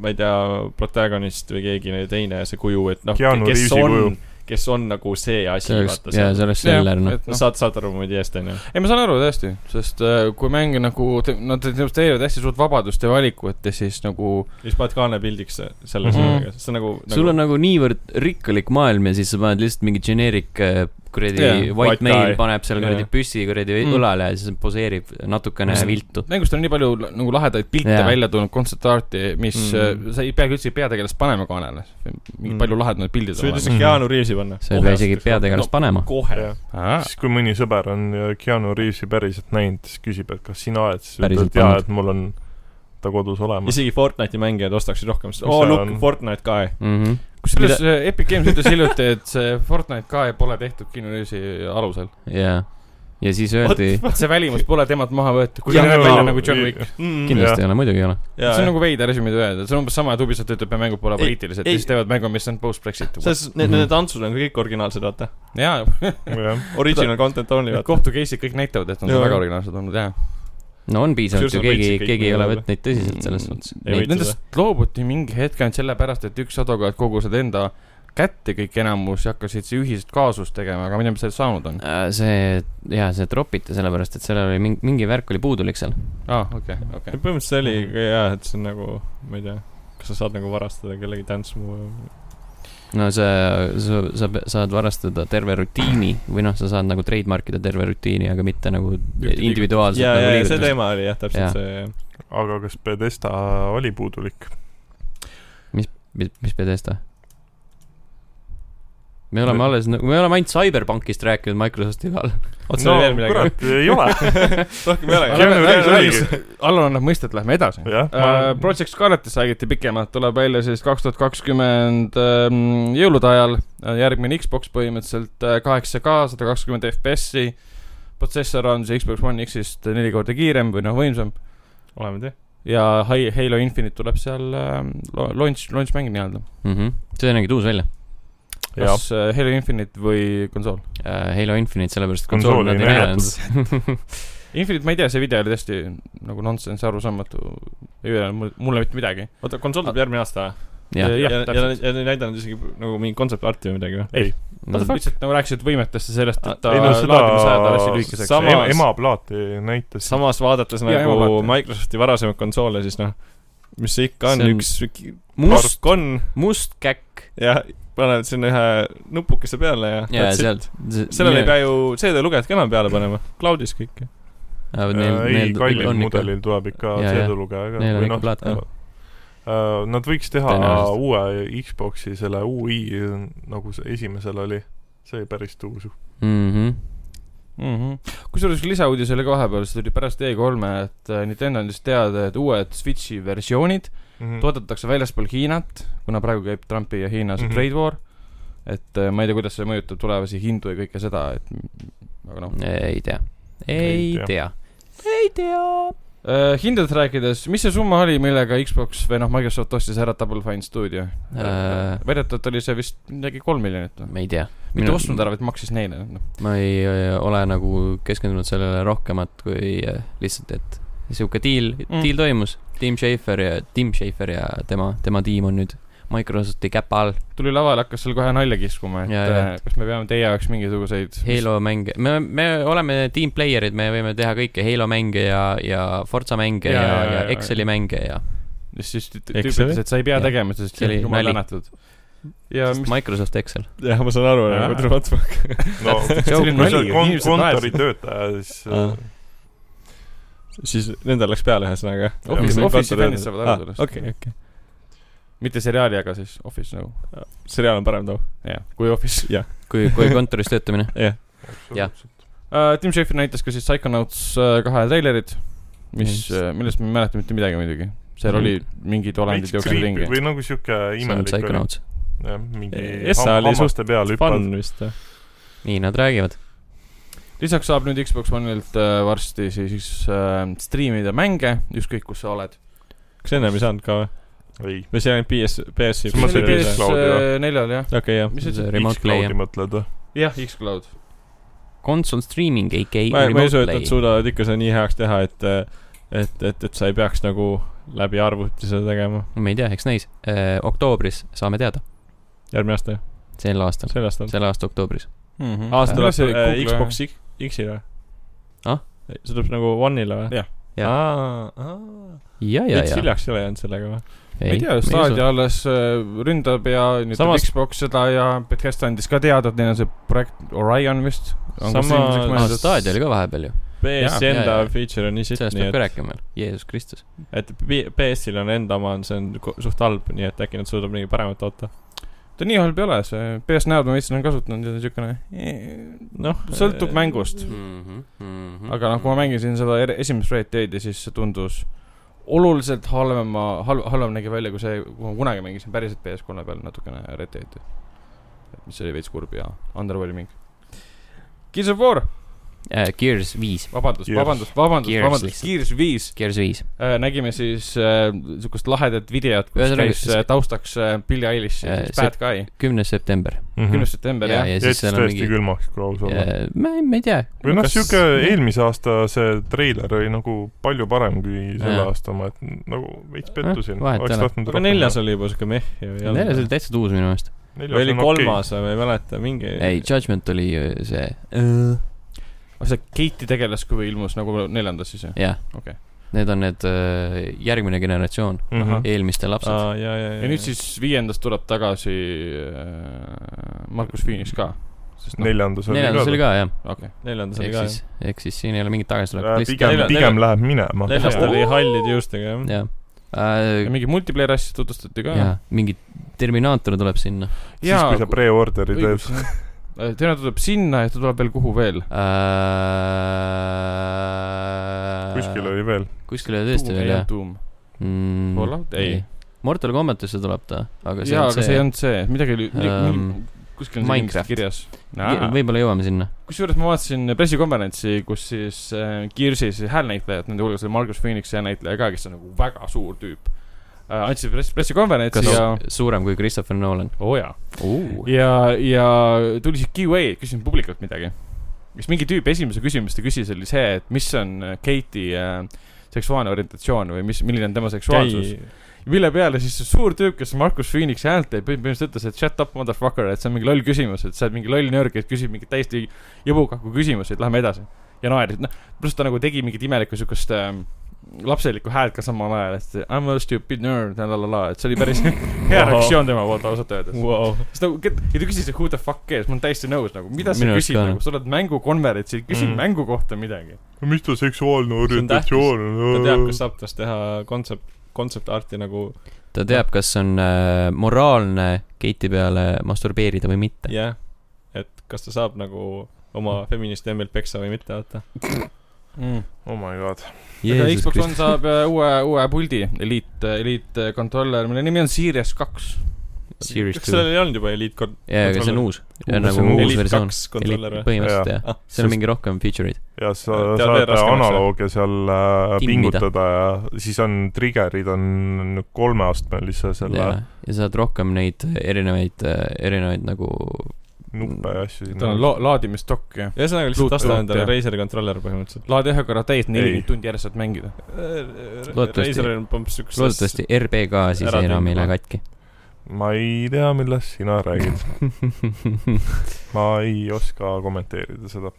[SPEAKER 5] ma ei tea , protagonist või keegi teine see kuju , et noh ,
[SPEAKER 4] Keanu
[SPEAKER 5] kes
[SPEAKER 4] Reavesi kuju.
[SPEAKER 5] on , kes on nagu see asi ,
[SPEAKER 1] see oleks ,
[SPEAKER 5] vaata
[SPEAKER 1] jaa , see
[SPEAKER 5] seal .
[SPEAKER 1] oleks seller , noh .
[SPEAKER 2] et noh ,
[SPEAKER 5] saad , saad aru moodi eest , onju .
[SPEAKER 2] ei , ma saan aru tõesti , sest äh, kui mäng nagu , nad demonstreerivad hästi suurt vabadust ja valikut ja siis nagu
[SPEAKER 5] siis paned kaanepildiks selle
[SPEAKER 2] Mhm.
[SPEAKER 5] mm , -hmm. see on nagu, nagu...
[SPEAKER 1] sul on nagu niivõrd rikkalik maailm ja siis sa paned lihtsalt mingi generic äh, kuradi
[SPEAKER 2] Jaa,
[SPEAKER 1] yeah, white,
[SPEAKER 5] white
[SPEAKER 1] white male
[SPEAKER 5] guy.
[SPEAKER 1] paneb seal kuradi
[SPEAKER 5] Jaa.
[SPEAKER 1] püssi kuradi
[SPEAKER 2] Mm.
[SPEAKER 1] mm. õlale ja siis poseerib natukene
[SPEAKER 2] Mis-
[SPEAKER 1] viltu .
[SPEAKER 2] mängust on nii palju la- nagu lahedaid pilte
[SPEAKER 1] Jaa.
[SPEAKER 2] yeah. välja tulnud , kontsertarti , mis mm.
[SPEAKER 5] Mhm.
[SPEAKER 2] äh, sa ei peagi üldse peategelast panema kaanele . mingi
[SPEAKER 5] Mhm.
[SPEAKER 2] mm. palju lahedamad pildid
[SPEAKER 5] sa võid
[SPEAKER 2] on
[SPEAKER 5] lihtsalt Keanu Reavesi panna .
[SPEAKER 1] sa ei pea isegi peategelast no. panema .
[SPEAKER 5] kohe .
[SPEAKER 2] olemas .
[SPEAKER 4] siis , kui mõni sõber on Keanu Reavesi päriselt näinud , siis küsib , et kas sina oled , siis
[SPEAKER 1] Päriselt
[SPEAKER 4] ütled jaa ,
[SPEAKER 1] pannud.
[SPEAKER 4] et mul on ta kodus olemas .
[SPEAKER 5] isegi Fortnite'i mängijad ostaksid rohkem , sest
[SPEAKER 4] Mis
[SPEAKER 5] oo ,
[SPEAKER 4] seal
[SPEAKER 5] look
[SPEAKER 4] on? ,
[SPEAKER 5] Fortnite ka .
[SPEAKER 1] Mm -hmm.
[SPEAKER 2] kusjuures äh, Epic Games ütles hiljuti , et see Fortnite ka ei- pole tehtud kinolüüsi alusel .
[SPEAKER 1] jaa . ja siis öeldi ,
[SPEAKER 2] see välimus pole temalt maha võetud , kui
[SPEAKER 5] Jah,
[SPEAKER 2] ta näeb
[SPEAKER 5] jaa.
[SPEAKER 2] välja nagu John Wick .
[SPEAKER 5] Mm,
[SPEAKER 1] kindlasti ei ole , muidugi ei ole .
[SPEAKER 2] see on nagu veider asi , mida öelda , see on umbes sama , et Ubisoft ütleb , et mängud pole
[SPEAKER 5] Ei,
[SPEAKER 2] poliitilised
[SPEAKER 5] ei.
[SPEAKER 2] ja siis teevad mängu , mis on post-Brexit .
[SPEAKER 5] selles , need ,
[SPEAKER 1] Mhm.
[SPEAKER 5] need tantsud on ka kõik originaalsed , vaata .
[SPEAKER 2] jaa ,
[SPEAKER 4] jah ,
[SPEAKER 5] Original content only ,
[SPEAKER 2] Need
[SPEAKER 5] vaata .
[SPEAKER 2] kohtu case'id kõik näitavad , et nad on
[SPEAKER 5] Jaa.
[SPEAKER 2] väga originaalsed olnud , jah .
[SPEAKER 1] no on piisavalt ju ,
[SPEAKER 5] Kusjuures nad
[SPEAKER 1] keegi
[SPEAKER 5] võitsid , kõik
[SPEAKER 1] keegi ei ole
[SPEAKER 5] nii-öelda.
[SPEAKER 1] võtnud neid tõsiselt selles suhtes .
[SPEAKER 5] Ei
[SPEAKER 1] Neid
[SPEAKER 5] võitnud.
[SPEAKER 2] Nendest loobuti mingi hetk ainult sellepärast , et üks advokaat kogus need enda kätte kõik enamus ja hakkasid see ühisest kaasust tegema , aga ma ei tea , mis sellest saanud on .
[SPEAKER 1] Äh, see , jaa , see tropiti sellepärast , et sellel oli mingi , mingi värk oli puudulik seal .
[SPEAKER 2] aa , Ah, okei , okei .
[SPEAKER 5] põhimõtteliselt see oli ka jah , et see on nagu , ma ei tea , kas sa saad nagu varastada kellegi dance move'i või ?
[SPEAKER 1] no sa , sa , sa pe- saad varastada terve rutiini või noh , sa saad nagu trademark ida terve rutiini , aga mitte nagu individuaalselt
[SPEAKER 5] ja ,
[SPEAKER 1] nagu
[SPEAKER 5] ja , ja see
[SPEAKER 1] liigutust.
[SPEAKER 5] teema oli jah ,
[SPEAKER 1] Jaa.
[SPEAKER 5] täpselt see .
[SPEAKER 4] aga kas Pedesta oli puudulik ?
[SPEAKER 1] mis , mis Bethesda ? me oleme alles , me oleme ainult Cyberpunkist rääkinud Microsofti peal .
[SPEAKER 5] oota , sul oli veel midagi ?
[SPEAKER 4] kurat , ei ole ,
[SPEAKER 5] rohkem ei
[SPEAKER 4] Keanu Reaves
[SPEAKER 5] olegi .
[SPEAKER 4] oligi ,
[SPEAKER 2] Allan annab mõista , et lähme edasi .
[SPEAKER 4] jah .
[SPEAKER 2] Uh, Project Scarletist räägiti pikemalt , tuleb välja siis kaks tuhat kakskümmend ähm, jõulude ajal , järgmine Xbox põhimõtteliselt kaheksa K , sada kakskümmend FPS-i , protsessor on siis Xbox One X-ist neli korda kiirem või noh , võimsam
[SPEAKER 5] oleme tee .
[SPEAKER 2] ja Hi- Halo Infinite tuleb seal ähm, lo- launch , launch mäng nii-öelda .
[SPEAKER 5] Mhm.
[SPEAKER 1] see nägid uus välja .
[SPEAKER 4] jah ,
[SPEAKER 2] kas äh, Halo Infinite või konsool ?
[SPEAKER 1] Äh, Halo Infinite , sellepärast et
[SPEAKER 4] Konsooli
[SPEAKER 1] konsooli nad
[SPEAKER 4] ei
[SPEAKER 1] ei näidanud .
[SPEAKER 2] Infinite , ma ei tea , see video oli tõesti nagu nonsense , arusaamatu , ei öelnud mulle mitte midagi .
[SPEAKER 5] oota , konsool tuleb järgmine aasta või ?
[SPEAKER 1] jah ,
[SPEAKER 5] ja ,
[SPEAKER 2] Jah,
[SPEAKER 5] ja , ja
[SPEAKER 2] täpselt.
[SPEAKER 5] nad ei näidanud isegi nagu mingit kontsept-arti või midagi või ?
[SPEAKER 2] Nad
[SPEAKER 1] Mhm.
[SPEAKER 2] lihtsalt nagu rääkisid võimetest ja sellest , et ta
[SPEAKER 4] Ah, Ei no seda-
[SPEAKER 2] laadimisajad on hästi lühikeseks .
[SPEAKER 5] Samas-
[SPEAKER 4] ema , ema plaati näitas .
[SPEAKER 5] samas vaadates
[SPEAKER 2] Jaa,
[SPEAKER 5] nagu
[SPEAKER 2] jaa, vaata.
[SPEAKER 5] Microsofti varasemaid konsoole , siis noh , mis see ikka on ,
[SPEAKER 1] See on
[SPEAKER 5] üks ki-
[SPEAKER 1] must ,
[SPEAKER 5] kark on
[SPEAKER 1] must käkk
[SPEAKER 5] ja paned sinna ühe nupukese peale ja,
[SPEAKER 1] ja
[SPEAKER 5] that's it.
[SPEAKER 1] sealt .
[SPEAKER 5] sellele ei pea ju CD-lugejat ka enam peale panema , cloud'is kõik .
[SPEAKER 1] Ah,
[SPEAKER 2] Äh,
[SPEAKER 4] Äh, ei , kallil mudelil tuleb ikka
[SPEAKER 1] Jaa, jaa.
[SPEAKER 4] CD-lugeja
[SPEAKER 1] Neil on ikka
[SPEAKER 4] ka
[SPEAKER 1] plaat ka. .
[SPEAKER 4] noh, äh, Nad võiks teha
[SPEAKER 1] Tõenäoliselt.
[SPEAKER 4] uue Xbox'i , selle UI , nagu see esimesel oli . see oli päris tuus .
[SPEAKER 1] mhmh ,
[SPEAKER 2] mm -hmm. . kusjuures lisauudis oli ka vahepeal , see tuli pärast E3-e , et äh, Nintendo andis teada , et uued Switchi versioonid
[SPEAKER 4] Mhm.
[SPEAKER 2] toodetakse väljaspool Hiinat , kuna praegu käib Trumpi ja Hiina see
[SPEAKER 4] Mhm.
[SPEAKER 2] mm -hmm. trade war . et äh, ma ei tea , kuidas see mõjutab tulevasi hindu ja kõike seda , et m- aga noh ,
[SPEAKER 1] ei tea ,
[SPEAKER 4] Ei
[SPEAKER 1] ei
[SPEAKER 4] tea.
[SPEAKER 1] tea .
[SPEAKER 2] Uh, hindadest rääkides , mis see summa oli , millega Xbox või noh , Microsoft ostis ära Double Fine Studio uh...
[SPEAKER 1] Äh. ?
[SPEAKER 2] väidetavalt oli see vist midagi kolm miljonit või ?
[SPEAKER 1] ma Äh, ei tea .
[SPEAKER 2] mitte ostnud ära , vaid maksis neile , noh .
[SPEAKER 1] ma ei äh, ole nagu keskendunud sellele rohkemat kui äh, lihtsalt , et sihuke deal mm.
[SPEAKER 2] Mm. ,
[SPEAKER 1] deal toimus . Tim Schafer ja , Tim Schafer ja tema , tema tiim on nüüd Microsofti käpa all .
[SPEAKER 2] tuli lavale , hakkas seal kohe nalja kiskuma , et
[SPEAKER 1] Jaa,
[SPEAKER 2] ja,
[SPEAKER 1] jaa.
[SPEAKER 2] ja. kas me peame teie jaoks mingisuguseid
[SPEAKER 1] Halo mänge , me , me oleme team player'id , me võime teha kõike Halo mänge ja , ja Forza mänge ja,
[SPEAKER 2] Jaa,
[SPEAKER 1] ja,
[SPEAKER 2] jaa,
[SPEAKER 1] ja,
[SPEAKER 2] jaa,
[SPEAKER 1] ja
[SPEAKER 2] jaa.
[SPEAKER 1] Exceli mänge ja .
[SPEAKER 2] ja siis tü- tüüp
[SPEAKER 5] Exceli?
[SPEAKER 2] ütles , et sa ei pea
[SPEAKER 1] Jah.
[SPEAKER 2] tegema seda , sest
[SPEAKER 1] See
[SPEAKER 2] see
[SPEAKER 1] oli
[SPEAKER 2] oli jumal
[SPEAKER 1] nali.
[SPEAKER 2] tänatud . ja mis
[SPEAKER 1] Microsoft Excel .
[SPEAKER 5] jah , ma saan aru ,
[SPEAKER 2] Jaa.
[SPEAKER 5] nagu tuleb otsa .
[SPEAKER 4] no kui
[SPEAKER 2] see oli
[SPEAKER 4] sa
[SPEAKER 2] nali ,
[SPEAKER 4] oled kon- ,
[SPEAKER 2] inimesed naersid .
[SPEAKER 4] kontoritöötaja , siis
[SPEAKER 5] Aa.
[SPEAKER 4] äh,
[SPEAKER 5] siis nendel läks peale , ühesõnaga .
[SPEAKER 2] Office- Office'i fännid saavad
[SPEAKER 1] Ah,
[SPEAKER 2] aru sellest.
[SPEAKER 5] okei , okei .
[SPEAKER 2] mitte seriaali , aga siis Office nagu ,
[SPEAKER 5] seriaal on parem too .
[SPEAKER 2] jah , kui Office .
[SPEAKER 1] kui , kui kontoris töötamine .
[SPEAKER 5] jah ,
[SPEAKER 1] Jah.
[SPEAKER 4] absoluutselt .
[SPEAKER 2] Uh, Tim Schafer näitas ka siis Psychonauts uh, kahe treilerit , mis
[SPEAKER 1] Just.
[SPEAKER 2] uh, , millest ma ei mäleta mitte midagi muidugi . seal
[SPEAKER 1] Mhm.
[SPEAKER 2] oli mingid olendid
[SPEAKER 4] veits
[SPEAKER 2] jooksid
[SPEAKER 4] creepy
[SPEAKER 2] ringi .
[SPEAKER 4] või nagu siuke
[SPEAKER 1] see on
[SPEAKER 4] imelik oli .
[SPEAKER 1] Psychonauts .
[SPEAKER 4] jah , mingi
[SPEAKER 5] Essa
[SPEAKER 4] ham-
[SPEAKER 5] oli
[SPEAKER 4] hammaste peal hüppad
[SPEAKER 5] fun . vist või ?
[SPEAKER 1] nii nad räägivad .
[SPEAKER 2] lisaks saab nüüd Xbox One'ilt uh, varsti siis uh, striimida mänge , ükskõik kus sa oled .
[SPEAKER 5] kas ennem ei saanud ka või ?
[SPEAKER 4] ei ,
[SPEAKER 5] või see oli ainult PS , PS-i ?
[SPEAKER 4] See ma
[SPEAKER 2] see
[SPEAKER 4] sain
[SPEAKER 2] oli
[SPEAKER 4] PS- Xcloudi,
[SPEAKER 2] PS4-l jah ,
[SPEAKER 5] okei , jah .
[SPEAKER 2] mis see
[SPEAKER 1] See
[SPEAKER 2] see ,
[SPEAKER 1] Remote
[SPEAKER 4] X-Cloudi mõtled või ?
[SPEAKER 2] jah , Xcloud .
[SPEAKER 1] Console streaming , AK
[SPEAKER 5] ma , ma ei
[SPEAKER 1] remote
[SPEAKER 5] usu , et nad
[SPEAKER 1] play .
[SPEAKER 5] suudavad ikka seda nii heaks teha , et , et , et , et sa ei peaks nagu läbi arvuti seda tegema
[SPEAKER 1] ma ei tea , eks näis . oktoobris saame teada ,
[SPEAKER 5] järgmine aasta ,
[SPEAKER 1] sel aastal ,
[SPEAKER 5] sel aastal .
[SPEAKER 1] selle aasta oktoobris .
[SPEAKER 5] aa , see
[SPEAKER 2] Kuidas see
[SPEAKER 5] tuleb äh,
[SPEAKER 2] Google'i-
[SPEAKER 5] Xbox X- X-ile
[SPEAKER 1] Ah? ?
[SPEAKER 5] see tuleb nagu One'ile või ?
[SPEAKER 2] Jah.
[SPEAKER 1] Jah.
[SPEAKER 5] aa , aa .
[SPEAKER 1] ja , ja ,
[SPEAKER 5] veits
[SPEAKER 1] ja .
[SPEAKER 5] hiljaks ei ole jäänud sellega või ?
[SPEAKER 2] ma ei tea , Stadia alles äh, ründab ja nüüd Samas...
[SPEAKER 5] Samas-
[SPEAKER 2] Xbox seda ja Bethesda andis ka teada , et neil on see projekt Orion vist .
[SPEAKER 5] Samas-
[SPEAKER 1] aa ,
[SPEAKER 5] mõeldes-
[SPEAKER 1] Stadia Ah, oli ka vahepeal ju ,
[SPEAKER 5] PS-i
[SPEAKER 1] Jaa,
[SPEAKER 5] enda
[SPEAKER 1] jaa, jaa.
[SPEAKER 5] feature on nii sitt ,
[SPEAKER 1] sellest
[SPEAKER 5] nii
[SPEAKER 1] peab ka
[SPEAKER 5] et ,
[SPEAKER 1] rääkima , Jeesus Kristus .
[SPEAKER 5] et P- PS-il on enda oma , see on ko- suht halb , nii et äkki nad suudavad midagi paremat toota .
[SPEAKER 2] ta nii halb ei ole , see PS näod ma vist olen kasutanud ja ta on siukene ,
[SPEAKER 5] noh ,
[SPEAKER 1] eh,
[SPEAKER 2] sõltub mängust .
[SPEAKER 1] mm.
[SPEAKER 2] aga noh , kui ma mängisin seda er- esimest Red Deadi , siis see tundus oluliselt halvema , halv , halvem nägi välja kui see , kui ma kunagi mängisin päriselt PS3 peal natukene Red Deadi . et mis oli veits kurb ja underwhelming . Gears of War ,
[SPEAKER 1] äh, . Gears viis ,
[SPEAKER 2] vabandust ,
[SPEAKER 4] Gears.
[SPEAKER 2] vabandust , vabandust ,
[SPEAKER 1] Gears
[SPEAKER 2] vabandust ,
[SPEAKER 1] lihtsalt.
[SPEAKER 2] Gears viis
[SPEAKER 1] Gears viis .
[SPEAKER 2] Äh, nägime siis äh, sihukest lahedat videot , kus
[SPEAKER 1] Ühesõnaga,
[SPEAKER 2] käis
[SPEAKER 1] see-
[SPEAKER 2] äh, taustaks äh, Billie Eilish ja
[SPEAKER 1] Äh,
[SPEAKER 2] siis
[SPEAKER 1] see-
[SPEAKER 2] Bad Guy ,
[SPEAKER 1] kümnes september .
[SPEAKER 2] kümnes september
[SPEAKER 1] ja ,
[SPEAKER 2] jah .
[SPEAKER 1] ja siis
[SPEAKER 4] Mhm. jättis
[SPEAKER 1] seal on
[SPEAKER 4] tõesti
[SPEAKER 1] mingi ,
[SPEAKER 4] külmaks , kui aus olla .
[SPEAKER 1] ma ei , ma ei tea ,
[SPEAKER 4] või noh ,
[SPEAKER 5] Kas-
[SPEAKER 4] sihuke
[SPEAKER 2] Mhm.
[SPEAKER 4] eelmise aasta see treiler oli nagu palju parem kui selle
[SPEAKER 1] Jaa.
[SPEAKER 4] aasta oma , et nagu veits
[SPEAKER 1] Jah,
[SPEAKER 4] pettusin .
[SPEAKER 1] vahet ei ole.
[SPEAKER 5] aga neljas oli juba siuke meh ju .
[SPEAKER 1] neljas oli täitsa tuus minu meelest .
[SPEAKER 5] või oli kolmas või ma ei mäleta , mingi .
[SPEAKER 1] ei , Judgment oli ju see , äh,
[SPEAKER 2] see Keiti tegelas , kui ilmus nagu neljandas siis jah ?
[SPEAKER 1] jah .
[SPEAKER 2] Okei. Mhm.
[SPEAKER 1] Need on need äh, järgmine generatsioon ,
[SPEAKER 5] Mhm.
[SPEAKER 4] mhmh ,
[SPEAKER 1] eelmiste lapsed .
[SPEAKER 5] aa , ja , ja ,
[SPEAKER 2] ja nüüd siis viiendas tuleb tagasi äh, Markus Phoenix ka , sest noh ,
[SPEAKER 4] neljandas oli
[SPEAKER 1] neljandas oli
[SPEAKER 4] ka .
[SPEAKER 1] ka jah ,
[SPEAKER 2] okei okay. ,
[SPEAKER 5] neljandas oli
[SPEAKER 1] ehk
[SPEAKER 5] ka
[SPEAKER 1] siis , ehk siis siin ei ole mingit
[SPEAKER 4] Äh,
[SPEAKER 1] tagasilööki ,
[SPEAKER 4] pigem ,
[SPEAKER 5] nelja-
[SPEAKER 4] pigem
[SPEAKER 5] nelja-
[SPEAKER 4] läheb minema .
[SPEAKER 5] neljas
[SPEAKER 2] Jaa.
[SPEAKER 5] oli hallide juustega jah .
[SPEAKER 1] jah . jah
[SPEAKER 2] ja , mingi multiplayer asja tutvustati ka .
[SPEAKER 1] ja mingi Terminaator tuleb sinna
[SPEAKER 4] siis , kui sa pre-order'i teed .
[SPEAKER 2] tema Äh, tuleb sinna ja ta tuleb veel kuhu veel ?
[SPEAKER 1] äh, .
[SPEAKER 4] kuskil oli veel .
[SPEAKER 1] kuskil oli tõesti veel jah .
[SPEAKER 2] Doom ,
[SPEAKER 1] mm,
[SPEAKER 2] Fallout , ei ..
[SPEAKER 1] Mortal Combatisse tuleb ta , aga see
[SPEAKER 2] jaa ,
[SPEAKER 1] on
[SPEAKER 2] aga see ei
[SPEAKER 1] see .
[SPEAKER 2] olnud see , midagi oli ,
[SPEAKER 1] Ähm,
[SPEAKER 2] kuskil on see
[SPEAKER 1] Minecraft.
[SPEAKER 2] kindlasti kirjas .
[SPEAKER 1] võib-olla jõuame sinna .
[SPEAKER 2] kusjuures ma vaatasin pressikonverentsi , kus siis äh, Gearsi siis häälnäitlejad , nende hulgas oli Margus Phoenix häälnäitleja ka , kes on nagu väga suur tüüp äh, . andsid press , pressikonverentsi
[SPEAKER 1] kas
[SPEAKER 2] ja ,
[SPEAKER 1] suurem kui Christopher Nolan
[SPEAKER 2] oo Oh, jaa ,
[SPEAKER 1] uh. ?
[SPEAKER 2] ja , ja tuli siis Q&A , küsisin publikult midagi . siis mingi tüüp esimese küsimuse ta küsis , oli see , et mis on Kate'i äh, seksuaalne orientatsioon või mis , milline on tema seksuaalsus . mille peale siis see suur tüüp , kes Markus Phoenix häält teeb , põhimõtteliselt ütles , et shut up motherfucker , et see on mingi loll küsimus , et sa oled mingi loll nörg , kes küsib mingeid täiesti jõbukakku küsimusi , et lähme edasi . ja naeris , noh , pluss ta nagu tegi mingit imelikku siukest ähm, lapselikku häält ka samal ajal , et I m a stupid nerd ja la la la , et see oli päris hea reaktsioon tema poolt ausalt öeldes .
[SPEAKER 5] Wow.
[SPEAKER 2] siis nagu , ja ta küsis , et who the fuck is , ma olen täiesti nõus nagu , mida sa
[SPEAKER 1] Minu arust
[SPEAKER 2] küsid
[SPEAKER 1] ka.
[SPEAKER 2] nagu , sa oled mängukonverentsil , küsi
[SPEAKER 5] Mm.
[SPEAKER 2] mm. mängu kohta midagi .
[SPEAKER 4] mis ta seksuaalne
[SPEAKER 5] See on tähtis.
[SPEAKER 4] orientatsioon
[SPEAKER 5] ta
[SPEAKER 4] on ?
[SPEAKER 5] teab , kas saab tast teha kontsept , kontseptarti nagu
[SPEAKER 1] ta teab , kas on äh, moraalne Keiti peale masturbeerida või mitte .
[SPEAKER 5] jah yeah. , et kas ta saab nagu oma feministi emmelt peksa või mitte , vaata .
[SPEAKER 2] Mm.
[SPEAKER 4] oh my god .
[SPEAKER 2] aga Xbox One äh, saab äh, uue , uue puldi , Elite , Elite controller , mille nimi on Series kaks .
[SPEAKER 1] Series
[SPEAKER 5] kas
[SPEAKER 1] two.
[SPEAKER 5] sellel ei olnud juba Elite kon- ?
[SPEAKER 1] jaa , aga see on uus . see on
[SPEAKER 4] Uus- see
[SPEAKER 1] nagu
[SPEAKER 4] on
[SPEAKER 1] uus
[SPEAKER 4] uus.
[SPEAKER 1] versioon .
[SPEAKER 5] kaks kontroller või ?
[SPEAKER 1] põhimõtteliselt jah
[SPEAKER 5] Ah, .
[SPEAKER 1] seal on mingi rohkem feature'id .
[SPEAKER 4] ja sa
[SPEAKER 5] Tead veel
[SPEAKER 4] saad
[SPEAKER 5] raskemaks,
[SPEAKER 4] analoogia seal äh,
[SPEAKER 1] Timmida.
[SPEAKER 4] pingutada ja siis on trigger'id on kolmeastmelise selle
[SPEAKER 1] ja , ja saad rohkem neid erinevaid , erinevaid nagu
[SPEAKER 4] nuppe ja asju
[SPEAKER 2] tal on
[SPEAKER 5] Mm.
[SPEAKER 4] sinna .
[SPEAKER 2] lo- , laadimisdokk ja
[SPEAKER 5] ühesõnaga lihtsalt
[SPEAKER 2] Bluetooth,
[SPEAKER 5] osta endale
[SPEAKER 2] jah.
[SPEAKER 5] Razeri kontroller põhimõtteliselt .
[SPEAKER 2] laadi ühe korra täis ,
[SPEAKER 4] Ei.
[SPEAKER 2] nelikümmend tundi järjest saad mängida .
[SPEAKER 1] Loodetavasti-
[SPEAKER 5] Razer on pomps siukses .
[SPEAKER 1] loodetavasti RB ka siis
[SPEAKER 5] ära
[SPEAKER 1] enam ei
[SPEAKER 5] tõmbama.
[SPEAKER 1] lähe katki .
[SPEAKER 4] ma ei tea , millest sina räägid , ma ei oska kommenteerida seda .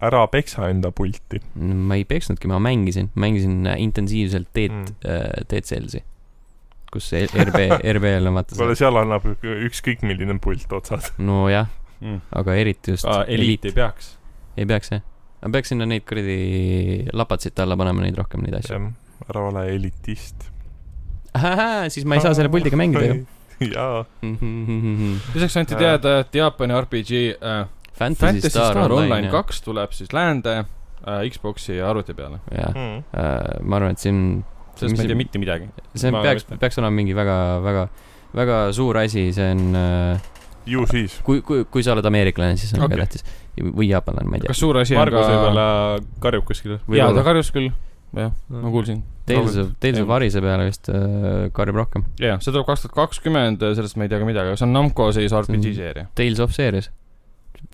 [SPEAKER 4] ära peksa enda pulti .
[SPEAKER 1] Äh, ma ei peksnudki , ma mängisin , mängisin äh, intensiivselt äh,
[SPEAKER 4] Mm.
[SPEAKER 1] T-d , T-Celsi , kus E- see RB , RB-l on vaata
[SPEAKER 4] kuule ,
[SPEAKER 1] see ,
[SPEAKER 4] seal annab ük- ükskõik milline pult otsas .
[SPEAKER 1] nojah ,
[SPEAKER 2] Mm.
[SPEAKER 1] aga eriti just
[SPEAKER 5] aa , Elite
[SPEAKER 1] eliit
[SPEAKER 5] ei peaks .
[SPEAKER 1] ei peaks jah . ma peaks sinna neid kuradi lapatsite alla panema neid rohkem neid asju .
[SPEAKER 4] ära ole elitist .
[SPEAKER 1] siis ma ei saa selle puldiga mängida ju .
[SPEAKER 4] jaa ,
[SPEAKER 2] lisaks anti
[SPEAKER 4] Äh.
[SPEAKER 2] teada , et Jaapani RPG äh,
[SPEAKER 1] Fantasy
[SPEAKER 2] Fantasy
[SPEAKER 1] Star Online jah.
[SPEAKER 2] kaks tuleb siis läände äh, , Xbox'i ja arvuti peale .
[SPEAKER 1] jah ,
[SPEAKER 4] mm.
[SPEAKER 1] ma arvan , et siin
[SPEAKER 2] sellest
[SPEAKER 1] Mis
[SPEAKER 2] ma ei
[SPEAKER 1] see-
[SPEAKER 2] tea mitte midagi .
[SPEAKER 1] see
[SPEAKER 5] Ma
[SPEAKER 1] on, peaks
[SPEAKER 5] mõtlen. ,
[SPEAKER 1] peaks olema mingi väga , väga , väga suur asi , see on ,
[SPEAKER 4] ju siis .
[SPEAKER 1] kui , kui , kui sa oled ameeriklane , siis on okay.
[SPEAKER 2] Okei.
[SPEAKER 1] väga tähtis . või jaapanlane , ma ei tea .
[SPEAKER 2] kas suur asi on
[SPEAKER 5] Margus
[SPEAKER 2] ka ?
[SPEAKER 5] võib-olla karjub kuskil .
[SPEAKER 2] jaa , ta karjus küll , jah , ma kuulsin .
[SPEAKER 1] Tales of , Tales of
[SPEAKER 2] jah.
[SPEAKER 1] Arise peale vist äh, karjub rohkem .
[SPEAKER 2] jaa , see tuleb kaks tuhat kakskümmend , sellest ma ei tea ka midagi , aga see on Namco siis RPG seeria .
[SPEAKER 1] Tales of series ,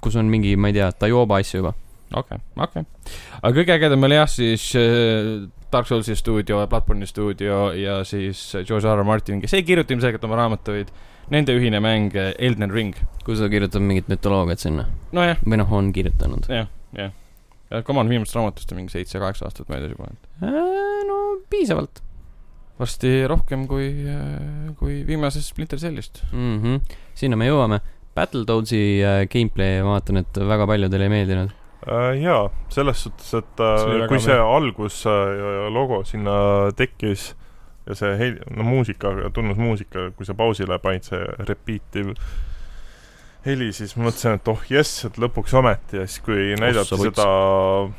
[SPEAKER 1] kus on mingi , ma ei tea , Taioba asju juba .
[SPEAKER 2] okei , okei . aga kõige ägedam oli jah , siis äh, Dark Soulsi stuudio ja Bloodborne'i stuudio ja siis George R. R. Martin , kes ei kirjuta ilmselgelt oma raamatuid , nende ühine mäng äh, Elden Ring .
[SPEAKER 1] kus ta kirjutab mingit mütoloogiat sinna
[SPEAKER 2] nojah ,
[SPEAKER 1] või noh , on kirjutanud .
[SPEAKER 2] jah , jah . Come on , viimasest raamatust on mingi seitse-kaheksa aastat möödas juba .
[SPEAKER 1] no piisavalt
[SPEAKER 2] varsti rohkem kui , kui viimasest Splinter Cellist .
[SPEAKER 1] mm . -hmm. sinna me jõuame . Battletoadsi äh, gameplay , ma vaatan , et väga paljudele ei meeldinud .
[SPEAKER 4] Äh, jaa , selles suhtes , et
[SPEAKER 5] See oli
[SPEAKER 4] äh,
[SPEAKER 5] väga
[SPEAKER 4] kui see
[SPEAKER 5] meeldiv.
[SPEAKER 4] algus äh, ja- ja logo sinna tekkis ja see hel- , no muusika , tunnusmuusika , kui sa pausile panid , see repeativ heli , siis ma mõtlesin , et oh jess , et lõpuks ometi ja siis , kui näidati
[SPEAKER 1] sa võtsid.
[SPEAKER 4] seda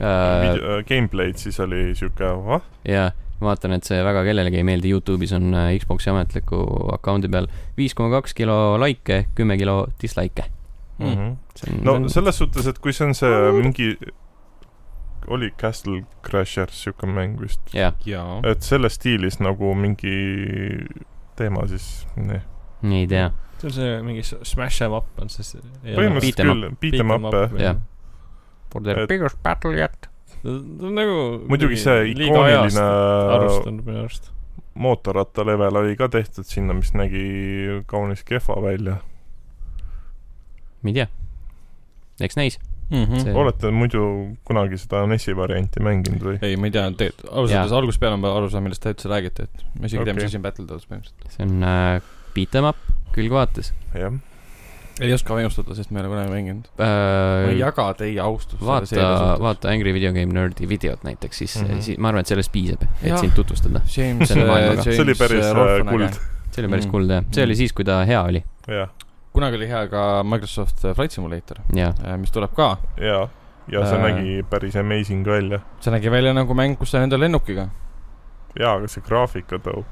[SPEAKER 1] Äh,
[SPEAKER 4] video- äh, gameplay'd , siis oli siuke vah ,
[SPEAKER 1] ja ma vaatan , et see väga kellelegi ei meeldi , Youtube'is on äh, Xbox'i ametliku account'i peal viis koma kaks kilo likee , kümme kilo dislike'e . see on
[SPEAKER 4] Mhm. no
[SPEAKER 1] see on-
[SPEAKER 4] selles suhtes , et kui see on see mingi , oli Castle Crashers siuke mäng vist ,
[SPEAKER 1] jah ,
[SPEAKER 2] jaa .
[SPEAKER 4] et selles stiilis nagu mingi teema siis , nii .
[SPEAKER 1] ei tea ,
[SPEAKER 5] see on see mingi s- smash em up on siis .
[SPEAKER 4] põhimõtteliselt
[SPEAKER 1] Beat 'em
[SPEAKER 4] küll , beat em up jah .
[SPEAKER 1] Jah. .
[SPEAKER 4] their
[SPEAKER 5] biggest battle yet . ta on nagu .
[SPEAKER 4] muidugi see ikooniline
[SPEAKER 5] arvestanud minu arust .
[SPEAKER 4] mootorrattalevel oli ka tehtud sinna , mis nägi kaunis kehva välja .
[SPEAKER 1] ma ei tea . eks näis .
[SPEAKER 2] Mhm.
[SPEAKER 1] See-
[SPEAKER 4] olete muidu kunagi seda NES-i varianti mänginud või ?
[SPEAKER 2] ei , ma ei tea , tegelikult ausalt
[SPEAKER 1] Jaa.
[SPEAKER 2] öeldes algusest peale ma aru saan , millest te üldse räägite , et ma isegi ei tea , mis
[SPEAKER 4] Okei.
[SPEAKER 2] asi on Battletoads põhimõtteliselt .
[SPEAKER 1] see on äh, beat em up külgvaates
[SPEAKER 4] jah ,
[SPEAKER 2] ei oska meenutada , sest me ei ole kunagi mänginud . ma ei
[SPEAKER 1] äh, .
[SPEAKER 2] jaga teie austust .
[SPEAKER 1] vaata , vaata Angry Video Game Nerdi videot näiteks , siis mm ,
[SPEAKER 4] Mhm.
[SPEAKER 1] -hmm. siis ma arvan , et sellest piisab , et
[SPEAKER 2] Jah.
[SPEAKER 1] sind tutvustada .
[SPEAKER 2] James ,
[SPEAKER 1] selle maailmaga.
[SPEAKER 2] James
[SPEAKER 4] see oli päris äh,
[SPEAKER 2] Rolfon äge.
[SPEAKER 4] kuld ,
[SPEAKER 1] see oli päris
[SPEAKER 2] Mhm.
[SPEAKER 1] cool jah , see oli siis , kui ta hea oli
[SPEAKER 4] jah ,
[SPEAKER 2] kunagi oli hea ka Microsoft äh, Flight Simulator ,
[SPEAKER 1] ja
[SPEAKER 2] mis tuleb ka .
[SPEAKER 4] ja , ja see
[SPEAKER 2] Äh.
[SPEAKER 4] nägi päris amazing välja .
[SPEAKER 2] see nägi välja nagu mäng , kus sa lendad lennukiga .
[SPEAKER 4] jaa , aga see graafika tõu- .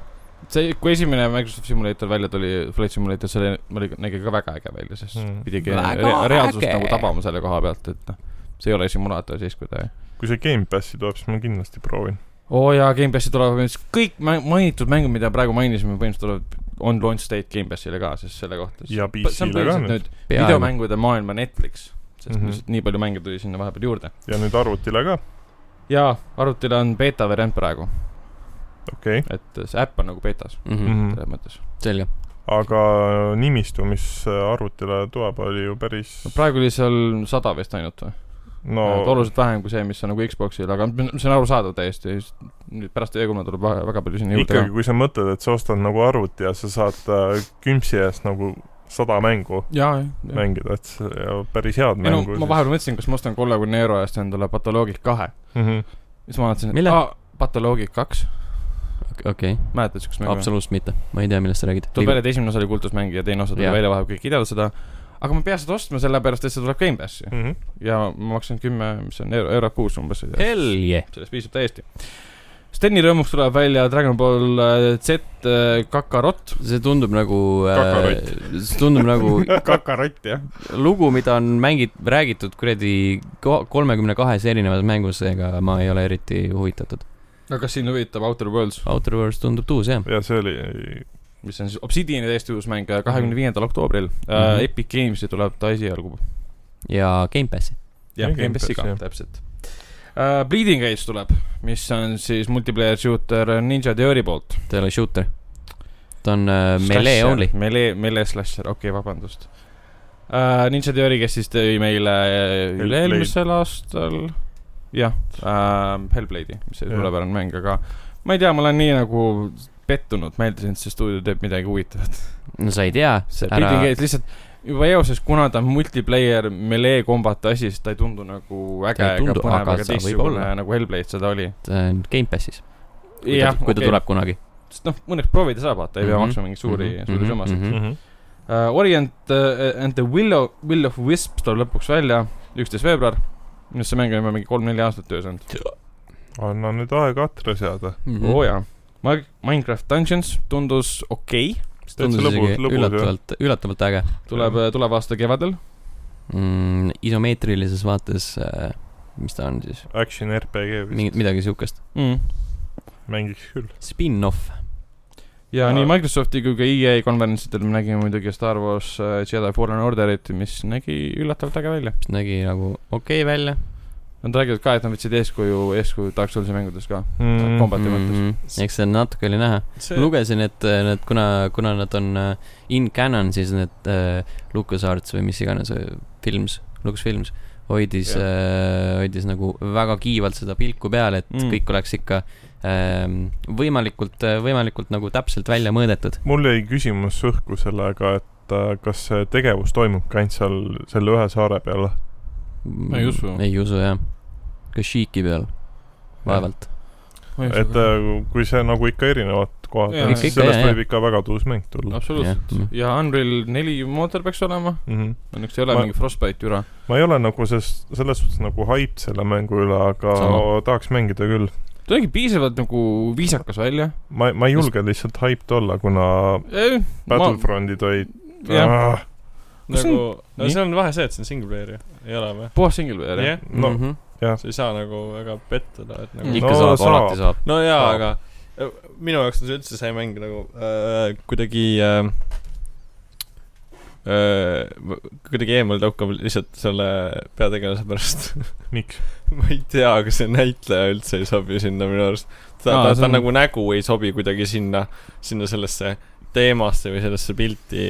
[SPEAKER 2] see , kui esimene Microsoft Simulator välja tuli , Flight Simulator , see oli , nägi ka väga äge välja , sest mm.
[SPEAKER 4] Mm.
[SPEAKER 2] pidigi
[SPEAKER 1] Väga
[SPEAKER 2] re reaalsust
[SPEAKER 1] äge.
[SPEAKER 2] nagu tabama selle koha pealt , et noh , see ei ole simulaator siis , kui ta .
[SPEAKER 4] kui see Gamepassi tuleb , siis ma kindlasti proovin .
[SPEAKER 2] oo oh, jaa , Gamepassi tuleb siis kõik mä- mainitud mängud , mida praegu mainisime , põhimõtteliselt tulevad , on launch date Gamepassile ka , sest selle kohta .
[SPEAKER 4] ja PC-le ka nüüd .
[SPEAKER 2] nüüd . videomängude maailma Netflix , sest mm
[SPEAKER 4] Mhm.
[SPEAKER 2] -hmm. lihtsalt nii palju mänge tuli sinna vahepeal juurde .
[SPEAKER 4] ja nüüd arvutile ka ,
[SPEAKER 2] jaa , arvutile on beeta variant praegu ,
[SPEAKER 4] okei okay. .
[SPEAKER 2] et see äpp on nagu beetas
[SPEAKER 1] mm . -hmm.
[SPEAKER 4] Mm
[SPEAKER 2] selles mõttes .
[SPEAKER 1] selge ,
[SPEAKER 4] aga nimistu , mis arvutile tuleb , oli ju päris
[SPEAKER 2] no praegu oli seal sada vist ainult või ?
[SPEAKER 4] no
[SPEAKER 2] no. . oluliselt vähem kui see , mis on nagu Xboxil , aga see on arusaadav täiesti . nüüd pärast E3-e tuleb va- väga palju sinna juurde
[SPEAKER 4] ikkagi ,
[SPEAKER 2] ka .
[SPEAKER 4] kui sa mõtled , et sa ostad nagu arvuti ja sa saad äh, kümpsi eest nagu sada mängu
[SPEAKER 2] jaa ,
[SPEAKER 4] ja.
[SPEAKER 2] jah .
[SPEAKER 4] mängida , et see- ja päris head
[SPEAKER 2] ei no
[SPEAKER 4] mängu .
[SPEAKER 2] ma vahepeal mõtlesin , kas ma ostan kolmekümne euro eest endale Patoloogic kahe .
[SPEAKER 4] mm . -hmm.
[SPEAKER 2] siis ma vaatasin , et
[SPEAKER 1] Mille?
[SPEAKER 2] aa , Patoloogic kaks ,
[SPEAKER 1] okei okay. ,
[SPEAKER 2] mäletad siukest mängu ?
[SPEAKER 1] absoluutselt mitte , ma ei tea , millest sa räägid .
[SPEAKER 2] tuleb välja , et esimene osa oli kultusmäng ja teine osa tuli
[SPEAKER 1] Jaa.
[SPEAKER 2] välja vahepeal , kõik ideavad seda . aga ma ei pea seda ostma , sellepärast et see tuleb Gamepassi
[SPEAKER 4] Mm -hmm.
[SPEAKER 2] ja ma maksan kümme , mis on euro , eurot kuus umbes .
[SPEAKER 1] Hell yeah ,
[SPEAKER 2] sellest piisab täiesti . Steni rõõmuks tuleb välja Dragon Ball äh, Z äh, Kakarot .
[SPEAKER 1] see tundub nagu äh,
[SPEAKER 4] Kakarott. ,
[SPEAKER 1] see tundub nagu
[SPEAKER 3] kakarott , jah .
[SPEAKER 1] lugu , mida on mängit- , räägitud kuradi kolmekümne kahes erinevas mängus , ega ma ei ole eriti huvitatud .
[SPEAKER 2] aga kas sind huvitab Outer Worlds ,
[SPEAKER 1] Outer Worlds tundub tuus jah .
[SPEAKER 4] ja see oli ,
[SPEAKER 2] mis on siis Obsidiani täiesti uus mäng , kahekümne viiendal oktoobril äh,
[SPEAKER 1] Mhm.
[SPEAKER 2] Epic Games'i tuleb ta esialgu .
[SPEAKER 1] ja Gamepassi .
[SPEAKER 2] jah ,
[SPEAKER 4] Game
[SPEAKER 2] Gamepassi
[SPEAKER 4] Pass,
[SPEAKER 2] ka
[SPEAKER 4] jah. ,
[SPEAKER 2] täpselt äh, . Bleeding Age tuleb , mis on siis multiplayer shooter Ninja Theory poolt .
[SPEAKER 1] ta ei ole shooter . ta on äh, melee only .
[SPEAKER 2] Melee , Melee slasher , okei okay, , vabandust uh, . Ninja Theory , kes siis tõi meile äh,
[SPEAKER 4] Hellblade.
[SPEAKER 2] üle-eelmisel aastal , jah uh, , Hellblade'i , mis oli
[SPEAKER 4] Jah.
[SPEAKER 2] suurepärane mäng , aga ma ei tea , ma olen nii nagu pettunud , ma eeldasin , et see stuudio teeb midagi huvitavat .
[SPEAKER 1] no sa ei tea .
[SPEAKER 2] see Bleeding Edge lihtsalt juba eoses , kuna ta on multiplayer melee kombat asi , siis ta ei tundu nagu äge
[SPEAKER 1] Ta ei tundu,
[SPEAKER 2] ega põnev ,
[SPEAKER 1] aga ta
[SPEAKER 2] aga
[SPEAKER 1] võib
[SPEAKER 2] teistsugune
[SPEAKER 1] olla.
[SPEAKER 2] nagu Hellblade seda oli .
[SPEAKER 1] on äh, Gamepassis , kui ta , kui ta okay. tuleb kunagi .
[SPEAKER 2] sest noh , mõneks proovida saab , vaata , ei pea
[SPEAKER 1] Mhm.
[SPEAKER 2] maksma mingeid suuri mm ,
[SPEAKER 1] Mhm,
[SPEAKER 2] -hmm. suuri
[SPEAKER 1] mhm,
[SPEAKER 2] summasid mm .
[SPEAKER 1] mhm.
[SPEAKER 2] -hmm.
[SPEAKER 1] Mhm.
[SPEAKER 4] -hmm.
[SPEAKER 2] Uh, Orient uh, and the Will of , Will of Wisp tuleb lõpuks välja , üksteist veebruar . minu arust see mäng on juba mingi kolm-neli aastat töös olnud
[SPEAKER 4] anna nüüd aega atra seada .
[SPEAKER 1] Mhm.
[SPEAKER 2] mm. . oo . jaa . ma , Minecraft Dungeons tundus okei okay. ,
[SPEAKER 1] tundus
[SPEAKER 4] Täitsa lõbus-
[SPEAKER 1] isegi
[SPEAKER 4] lõbus, jah.
[SPEAKER 1] üllatavalt , üllatavalt äge
[SPEAKER 2] tuleb mm. , tuleb aasta kevadel .
[SPEAKER 1] mm, . isomeetrilises vaates äh, , mis ta on siis ,
[SPEAKER 4] Action RPG vist
[SPEAKER 1] mingit , midagi siukest .
[SPEAKER 2] Mm.
[SPEAKER 4] mängiks küll .
[SPEAKER 1] Spin-off ,
[SPEAKER 2] ja
[SPEAKER 4] Ah.
[SPEAKER 2] nii Microsofti kui ka EA konverentsitel me nägime muidugi Star Wars uh, Jedi Fallen Orderit , mis nägi üllatavalt äge välja .
[SPEAKER 1] mis nägi nagu okei okay välja
[SPEAKER 2] Nad räägivad ka , et nad võtsid eeskuju , eeskuju Dark Soulsi mängudes ka mm. ,
[SPEAKER 4] Mm.
[SPEAKER 2] kombati mõttes .
[SPEAKER 1] -hmm. eks see natuke oli näha .
[SPEAKER 5] see ,
[SPEAKER 1] lugesin , et äh, nad , kuna , kuna nad on äh, in canon , siis need äh, LucasArts või mis iganes äh, films , Lucasfilms hoidis , äh, hoidis nagu väga kiivalt seda pilku peal , et
[SPEAKER 2] Mm.
[SPEAKER 1] mm. kõik oleks ikka ähm, võimalikult , võimalikult nagu täpselt välja mõõdetud .
[SPEAKER 4] mul jäi küsimus õhku sellega , et äh, kas see tegevus toimubki ainult seal selle ühe saare peal ?
[SPEAKER 1] ma
[SPEAKER 2] ei usu.
[SPEAKER 1] ei usu jah . ka Sheeki peal , vaevalt .
[SPEAKER 4] et äh, kui see nagu ikka erinevad kohad
[SPEAKER 2] Jaa,
[SPEAKER 4] on , siis
[SPEAKER 1] ikka, jaa,
[SPEAKER 4] sellest võib
[SPEAKER 1] jaa.
[SPEAKER 4] ikka väga tuus mäng tulla .
[SPEAKER 2] absoluutselt
[SPEAKER 1] Jah. . Mhm.
[SPEAKER 2] ja Unreal neli mootor peaks olema ,
[SPEAKER 4] Mm -hmm.
[SPEAKER 2] õnneks ei ole
[SPEAKER 4] Ma-
[SPEAKER 2] mingi Frostbite jura .
[SPEAKER 4] ma ei ole nagu ses , selles suhtes nagu haip selle mängu üle , aga
[SPEAKER 1] Sama.
[SPEAKER 4] tahaks mängida küll .
[SPEAKER 2] ta nägi piisavalt nagu viisakas välja .
[SPEAKER 4] ma , ma ei julge lihtsalt haiped olla , kuna Battlefrontid olid
[SPEAKER 2] jah ,
[SPEAKER 4] ah,
[SPEAKER 2] Kas
[SPEAKER 5] nagu , no
[SPEAKER 2] nii?
[SPEAKER 5] see on vahe see , et see on single player ju , ei ole või ?
[SPEAKER 2] puhas single player jah
[SPEAKER 5] jah ,
[SPEAKER 4] no mm -hmm.
[SPEAKER 5] sa ei saa nagu väga pettuda , et nagu
[SPEAKER 1] Mhm. ikka
[SPEAKER 4] No
[SPEAKER 1] saab,
[SPEAKER 4] saab.
[SPEAKER 1] alati saab .
[SPEAKER 5] no jaa ,
[SPEAKER 4] Aa.
[SPEAKER 5] aga äh, minu jaoks on see üldse see mäng nagu äh, kuidagi äh, äh, v- kuidagi eemale tõukab lihtsalt selle peategelase pärast .
[SPEAKER 4] miks ?
[SPEAKER 5] ma ei tea , aga see näitleja üldse ei sobi sinna minu arust .
[SPEAKER 2] Aa,
[SPEAKER 5] ta no, , ta,
[SPEAKER 2] see
[SPEAKER 5] ta
[SPEAKER 2] on-
[SPEAKER 5] on... nagu nägu ei sobi kuidagi sinna , sinna sellesse teemasse või sellesse pilti .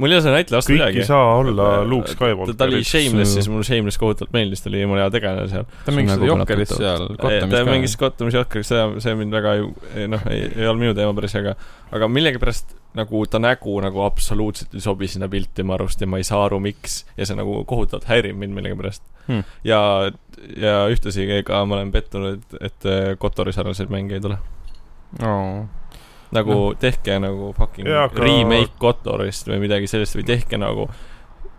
[SPEAKER 5] mul ei ole selle näitleja vastu
[SPEAKER 4] kõik ei
[SPEAKER 5] midagi .
[SPEAKER 4] saa olla
[SPEAKER 5] Ta-
[SPEAKER 4] Luke
[SPEAKER 5] ta
[SPEAKER 4] Skywalker .
[SPEAKER 5] ta oli Shameless , siis mulle Shameless kohutavalt meeldis , ta oli jumala hea tegelane seal .
[SPEAKER 2] ta mängis
[SPEAKER 1] nagu
[SPEAKER 2] seda Jokkerit
[SPEAKER 1] kõlab
[SPEAKER 2] seal ,
[SPEAKER 5] ta mängis
[SPEAKER 2] Gothamis ka .
[SPEAKER 5] Gothamis Jokkeris , see , see mind väga ju , noh , ei , ei olnud minu teema päris , aga , aga millegipärast nagu ta nägu nagu absoluutselt ei sobi sinna pilti mu arust ja ma ei saa aru , miks . ja see nagu kohutavalt häirib mind millegipärast
[SPEAKER 2] Hmm.
[SPEAKER 5] ja , ja ühtlasi ka ma olen pettunud , et , et äh, Kotori sarnaseid mänge ei tule . nagu no. tehke nagu fucking
[SPEAKER 4] Jaa,
[SPEAKER 5] ja,
[SPEAKER 4] aga-
[SPEAKER 5] aga... remake Kotorist või midagi sellist või tehke nagu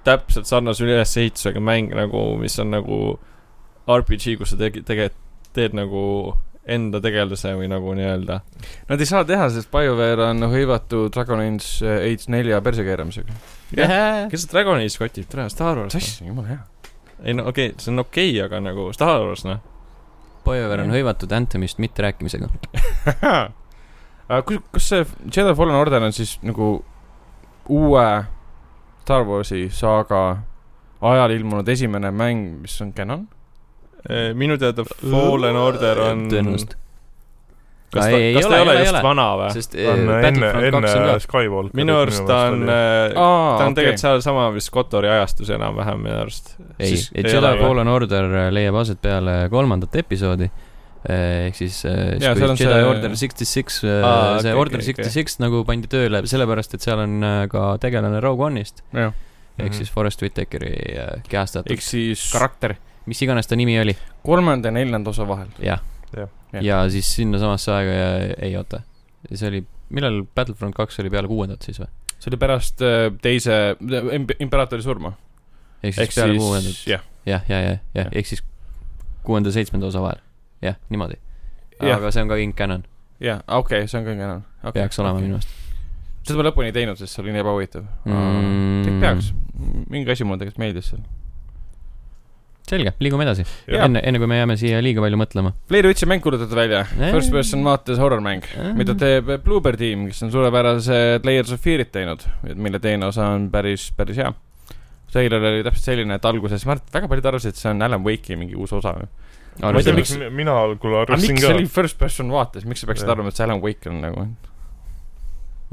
[SPEAKER 5] täpselt sarnase ülesehitusega mäng nagu , mis on nagu RPG , kus sa tegi- , tege- , teed nagu enda tegelase või nagu nii-öelda .
[SPEAKER 2] Nad ei saa teha , sest BioWare on hõivatud Dragon Age eh, Age nelja perse keeramisega .
[SPEAKER 5] kes see Dragon Age kotib , tere , Star Wars .
[SPEAKER 2] sassi , jumala hea .
[SPEAKER 5] ei no okei okay, , see on okei okay, , aga nagu Star Wars noh .
[SPEAKER 1] Boiver on hõivatud Anthemist mitterääkimisega .
[SPEAKER 2] kus , kas see Jedi Fallen Order on siis nagu uue Star Warsi saaga ajal ilmunud esimene mäng , mis on canon ?
[SPEAKER 5] Eh, minu teada Fallen Order on . kas
[SPEAKER 1] tõenäoliselt .
[SPEAKER 5] ta ,
[SPEAKER 1] Ei, ei
[SPEAKER 5] kas ta
[SPEAKER 1] ole,
[SPEAKER 5] ei
[SPEAKER 1] ei
[SPEAKER 5] ole just
[SPEAKER 1] ole.
[SPEAKER 5] vana või ?
[SPEAKER 1] sest
[SPEAKER 4] on
[SPEAKER 1] eh,
[SPEAKER 4] enne ,
[SPEAKER 1] Battlefront kaks on
[SPEAKER 4] enne
[SPEAKER 1] ka .
[SPEAKER 4] Skywalker .
[SPEAKER 5] minu arust ta on ,
[SPEAKER 2] ta
[SPEAKER 5] ta on
[SPEAKER 2] on
[SPEAKER 5] tegelikult sealsama vist Kotori ajastus enam-vähem minu arust .
[SPEAKER 1] ei , Jedi Fallen Order eh, leiab aset peale kolmandat episoodi . ehk siis eh,
[SPEAKER 2] Jaa,
[SPEAKER 1] siis
[SPEAKER 2] seal on
[SPEAKER 1] kui Jedi
[SPEAKER 2] see-
[SPEAKER 1] Order sixty six ,
[SPEAKER 5] Aa,
[SPEAKER 1] see
[SPEAKER 5] okei,
[SPEAKER 1] Order
[SPEAKER 5] okei,
[SPEAKER 1] sixty six nagu pandi tööle sellepärast , et seal on eh, ka tegelane Rogue One'ist
[SPEAKER 2] jah ,
[SPEAKER 1] ehk
[SPEAKER 4] Mhm.
[SPEAKER 1] siis Forest Whitakeri eh, kehastatud ,
[SPEAKER 2] ehk siis
[SPEAKER 1] karakter. mis iganes ta nimi oli ,
[SPEAKER 2] kolmanda ja neljanda osa vahel .
[SPEAKER 1] jah .
[SPEAKER 2] Jah.
[SPEAKER 1] ja siis sinnasamasse aega ja ei oota , see oli , millal Battlefront kaks oli peale kuuendat siis või ?
[SPEAKER 2] see oli pärast äh, teise eh, imp- , imperaatori surma .
[SPEAKER 1] ehk
[SPEAKER 2] ehk
[SPEAKER 1] siis peale kuuendat ,
[SPEAKER 2] siis jah ,
[SPEAKER 1] jah , ja , ja ,
[SPEAKER 2] jah.
[SPEAKER 1] jah , ehk siis kuuenda-seitsmenda osa vahel , jah , niimoodi .
[SPEAKER 2] Jah.
[SPEAKER 1] aga see on ka King Cannon ,
[SPEAKER 2] jah , okei okay, , see on ka Canon okay, .
[SPEAKER 1] peaks olema minu . meelest
[SPEAKER 2] seda ma lõpuni ei teinud , sest see oli nii ebahuvitav
[SPEAKER 1] Mm.
[SPEAKER 2] mm. . peaks , mingi asi mulle tegelikult meeldis seal .
[SPEAKER 1] selge , liigume edasi .
[SPEAKER 4] Jah.
[SPEAKER 1] äh, enne , enne kui me jääme siia liiga palju mõtlema .
[SPEAKER 2] Player Witchi mäng kuulutati välja ,
[SPEAKER 1] Nee.
[SPEAKER 2] first person vaates horror mäng , mida teeb Bluebird tiim , kes on suurepärase Layers of Fear'it teinud , mille teine osa on päris , päris hea . Treiler oli täpselt selline , et alguses Märt , väga paljud arvasid , et see on Alan Wake'i mingi uus osa .
[SPEAKER 4] ma ei tea ,
[SPEAKER 2] Arvestades-
[SPEAKER 4] miks mi- mina algul
[SPEAKER 2] aga
[SPEAKER 4] arvasin
[SPEAKER 2] miks
[SPEAKER 4] ka
[SPEAKER 2] see . oli first person vaates , miks sa peaksid
[SPEAKER 4] Jah.
[SPEAKER 2] arvama , et see Alan Wake on nagu ?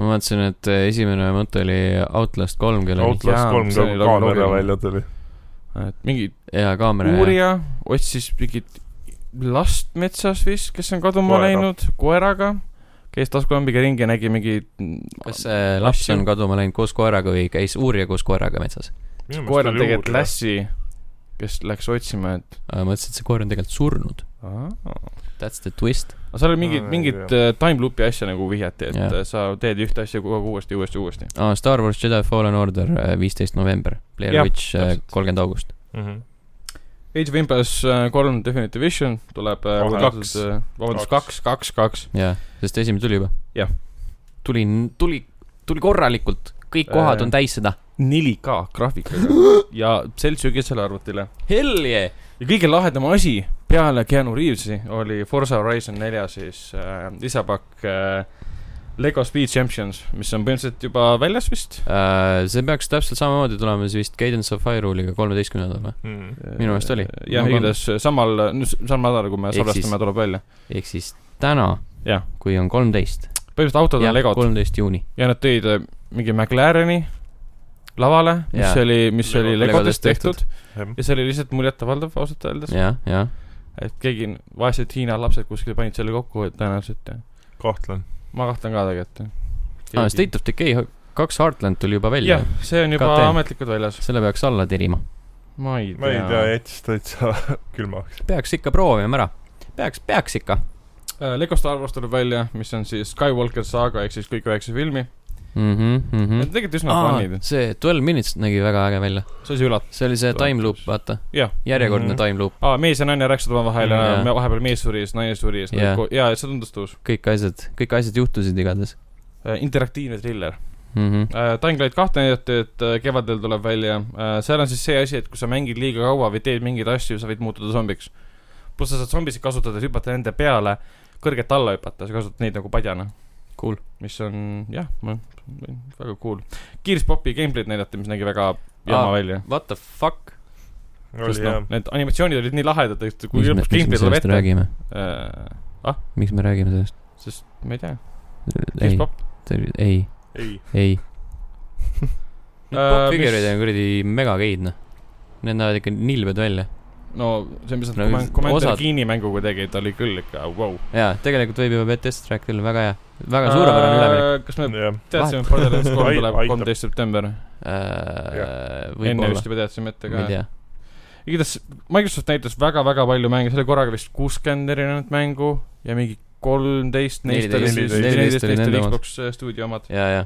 [SPEAKER 1] ma vaatasin , et eh, esimene mõte oli Outlast kolm , kellel oli
[SPEAKER 4] Outlast
[SPEAKER 2] jaa,
[SPEAKER 4] kolm
[SPEAKER 2] see
[SPEAKER 4] ka
[SPEAKER 2] oli
[SPEAKER 4] kaamera
[SPEAKER 2] loogiline.
[SPEAKER 4] välja tuli .
[SPEAKER 2] et mingi
[SPEAKER 1] hea kaamera ja
[SPEAKER 2] uurija otsis mingit last metsas vist , kes on kaduma
[SPEAKER 4] Koeraga.
[SPEAKER 2] Koera. läinud koeraga , käis taskulambiga ringi ja nägi mingit
[SPEAKER 1] kas see laps
[SPEAKER 2] asju.
[SPEAKER 1] on kaduma läinud koos koeraga või käis uurija koos koeraga metsas ?
[SPEAKER 2] koer on tegelikult . Lassi , kes läks otsima , et
[SPEAKER 1] mõtlesin , et see koer on tegelikult surnud .
[SPEAKER 2] aga
[SPEAKER 1] That's the twist .
[SPEAKER 2] seal oli mingid
[SPEAKER 4] Aa,
[SPEAKER 2] no, ,
[SPEAKER 4] ei
[SPEAKER 2] mingid äh, time loop'i asja nagu vihjati , et
[SPEAKER 1] Jah.
[SPEAKER 2] yeah. sa teed ühte asja kogu aeg uuesti , uuesti , uuesti .
[SPEAKER 1] aa , Ah, Star Wars Jedi Fallen Order , viisteist november , Player
[SPEAKER 2] Jah,
[SPEAKER 1] Witch ,
[SPEAKER 2] täpselt.
[SPEAKER 1] kolmkümmend august .
[SPEAKER 4] Mhm,
[SPEAKER 2] Age of Empires äh, kolm Definitive Edition tuleb äh,
[SPEAKER 4] Kohe.
[SPEAKER 2] kaks , vabandust , kaks , kaks , kaks .
[SPEAKER 1] jaa , sest esimene tuli juba .
[SPEAKER 2] Jah.
[SPEAKER 1] tuli , tuli , tuli korralikult , kõik
[SPEAKER 2] Äh.
[SPEAKER 1] kohad on täis seda .
[SPEAKER 2] 4K graafikaga ja sel sügisel arvutile .
[SPEAKER 1] Hell yeah !
[SPEAKER 2] ja kõige lahedam asi peale Keanu Reavesi oli Forza Horizon nelja siis äh, lisapakk äh, Lego Speed Champions , mis on põhimõtteliselt juba väljas vist .
[SPEAKER 1] Äh, see peaks täpselt samamoodi tulema siis vist Cadence of Hirule'iga kolmeteistkümnendal või ?
[SPEAKER 4] mhm.
[SPEAKER 1] Minu meelest oli.
[SPEAKER 2] Äh, jah ,
[SPEAKER 1] Ma-
[SPEAKER 2] igatahes samal , samal nädalal , kui me
[SPEAKER 1] Ehk
[SPEAKER 2] salvestame ,
[SPEAKER 1] siis-
[SPEAKER 2] tuleb välja .
[SPEAKER 1] ehk siis täna ,
[SPEAKER 2] jah ,
[SPEAKER 1] kui on kolmteist .
[SPEAKER 2] põhimõtteliselt autod on Legod
[SPEAKER 1] kolmteist juuni .
[SPEAKER 2] ja nad tõid äh, mingi McLareni lavale , mis
[SPEAKER 1] Jaa.
[SPEAKER 2] oli , mis oli
[SPEAKER 1] Lego-
[SPEAKER 2] Legodest
[SPEAKER 1] Legodest
[SPEAKER 2] tehtud
[SPEAKER 4] Jah.
[SPEAKER 2] ja see oli lihtsalt muljetavaldav ausalt öeldes ,
[SPEAKER 1] jah , jah .
[SPEAKER 2] et keegi , vaesed Hiina lapsed kuskil panid selle kokku , et tõenäoliselt jah .
[SPEAKER 4] kahtlen .
[SPEAKER 2] ma kahtlen ka tegelikult jah
[SPEAKER 1] aa , Ah, State of Decay kaks Heartland tuli juba välja
[SPEAKER 2] jah ., see on juba
[SPEAKER 1] KT.
[SPEAKER 2] ametlikult väljas .
[SPEAKER 1] selle peaks alla tirima .
[SPEAKER 2] ma ei
[SPEAKER 4] ma ei tea ,
[SPEAKER 2] tea .
[SPEAKER 4] jättis täitsa külmaks .
[SPEAKER 1] peaks ikka proovima ära . peaks , peaks ikka
[SPEAKER 2] Äh, Lego Star Wars tuleb välja , mis on siis Skywalker saaga ehk siis kõik üheksa filmi .
[SPEAKER 1] mm . -hmm, mm
[SPEAKER 2] Need
[SPEAKER 1] -hmm.
[SPEAKER 2] on tegelikult üsna fun'id
[SPEAKER 1] Aa, , see Twelve Minutes nägi väga äge välja .
[SPEAKER 2] see oli üllatav .
[SPEAKER 1] see oli see
[SPEAKER 2] Twelve
[SPEAKER 1] time loop , vaata .
[SPEAKER 2] Jah.
[SPEAKER 1] järjekordne mm
[SPEAKER 4] Mhm.
[SPEAKER 1] -hmm. time loop ,
[SPEAKER 2] aa , mees ja naine rääkisid omavahel
[SPEAKER 1] Mm,
[SPEAKER 2] ja
[SPEAKER 1] jaa.
[SPEAKER 2] me- vahepeal mees suri ja siis naine suri ja siis
[SPEAKER 1] Jaa.
[SPEAKER 2] nad ko- jaa , et see tundus tõus .
[SPEAKER 1] kõik asjad , kõik asjad juhtusid igatahes
[SPEAKER 2] Äh, interaktiivne triller .
[SPEAKER 1] mm . -hmm.
[SPEAKER 2] Dying Light kahte näidati , et äh, kevadel tuleb välja . seal on siis see asi , et kui sa mängid liiga kaua või teed mingeid asju , sa võid muutuda zombiks . pluss sa saad zombisid kasutada , hüpata nende peale , kõrget alla hüpata , sa kasutad neid nagu padjana .
[SPEAKER 1] Cool. .
[SPEAKER 2] mis on jah , väga cool . Gearspopi gameplay'd näidati , mis nägi väga jama
[SPEAKER 1] Aa.
[SPEAKER 2] välja .
[SPEAKER 1] What the fuck ?
[SPEAKER 4] oli
[SPEAKER 2] sest
[SPEAKER 4] jah
[SPEAKER 2] noh ,, need animatsioonid olid nii lahedad , et kui
[SPEAKER 1] miks me ,
[SPEAKER 2] lõpuks
[SPEAKER 1] miks me
[SPEAKER 2] gameplay tuleb
[SPEAKER 1] sellest
[SPEAKER 2] ette ,
[SPEAKER 1] räägime ,
[SPEAKER 2] ah ,
[SPEAKER 1] miks me räägime sellest ?
[SPEAKER 2] sest ma ei tea ,
[SPEAKER 1] ei ,
[SPEAKER 2] Gearspop .
[SPEAKER 1] ei ,
[SPEAKER 4] ei .
[SPEAKER 1] ei . Need
[SPEAKER 2] Äh,
[SPEAKER 1] popfigure'id
[SPEAKER 2] mis-
[SPEAKER 1] on kuradi megageid , noh . Need näevad ikka nilbed välja .
[SPEAKER 2] no see , mis
[SPEAKER 1] No
[SPEAKER 2] nad
[SPEAKER 1] just-
[SPEAKER 2] Commander
[SPEAKER 1] osad-
[SPEAKER 2] Keeni mänguga tegid , oli küll ikka vau .
[SPEAKER 1] jaa , tegelikult võib juba Bethesda rääkida , väga hea , väga suurepärane üleminek .
[SPEAKER 2] Äh, kas me
[SPEAKER 4] jah ,
[SPEAKER 2] teadsime , et Borderlands kolm
[SPEAKER 4] Ai-
[SPEAKER 2] tuleb
[SPEAKER 4] aitab.
[SPEAKER 2] kolmteist september , enne
[SPEAKER 1] võib-olla
[SPEAKER 2] vist , juba teadsime
[SPEAKER 1] Äh,
[SPEAKER 2] ette
[SPEAKER 1] ma
[SPEAKER 2] ka
[SPEAKER 1] ei . tea .
[SPEAKER 2] igatahes Microsoft näitas väga-väga palju mänge , see oli korraga vist kuuskümmend erinevat mängu ja mingi kolmteist neist oli siis ,
[SPEAKER 1] 14,
[SPEAKER 2] neliteist neist oli
[SPEAKER 1] nende omad.
[SPEAKER 2] Xbox äh, stuudio omad .
[SPEAKER 1] ja , ja ,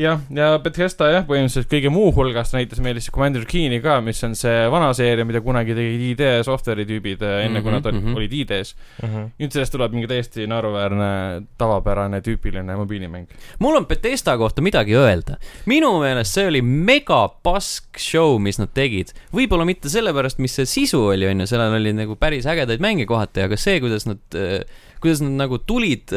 [SPEAKER 2] jah , ja Bethesda jah , põhimõtteliselt kõige muu hulgas näitas meile siis Commander Keeni ka , mis on see vana seeria , mida kunagi tegid ID E Software'i tüübid äh, enne , kui
[SPEAKER 1] Mhm,
[SPEAKER 2] nad olid,
[SPEAKER 1] mhm.
[SPEAKER 2] olid ID-s . nüüd sellest tuleb mingi täiesti naeruväärne , tavapärane , tüüpiline mobiilimäng .
[SPEAKER 1] mul on Bethesda kohta midagi öelda . minu meelest see oli mega pask show , mis nad tegid . võib-olla mitte sellepärast , mis see sisu oli , onju , sellel oli nagu päris ägedaid mänge kohati , aga see , kuidas nad , kuidas nad nagu tulid ,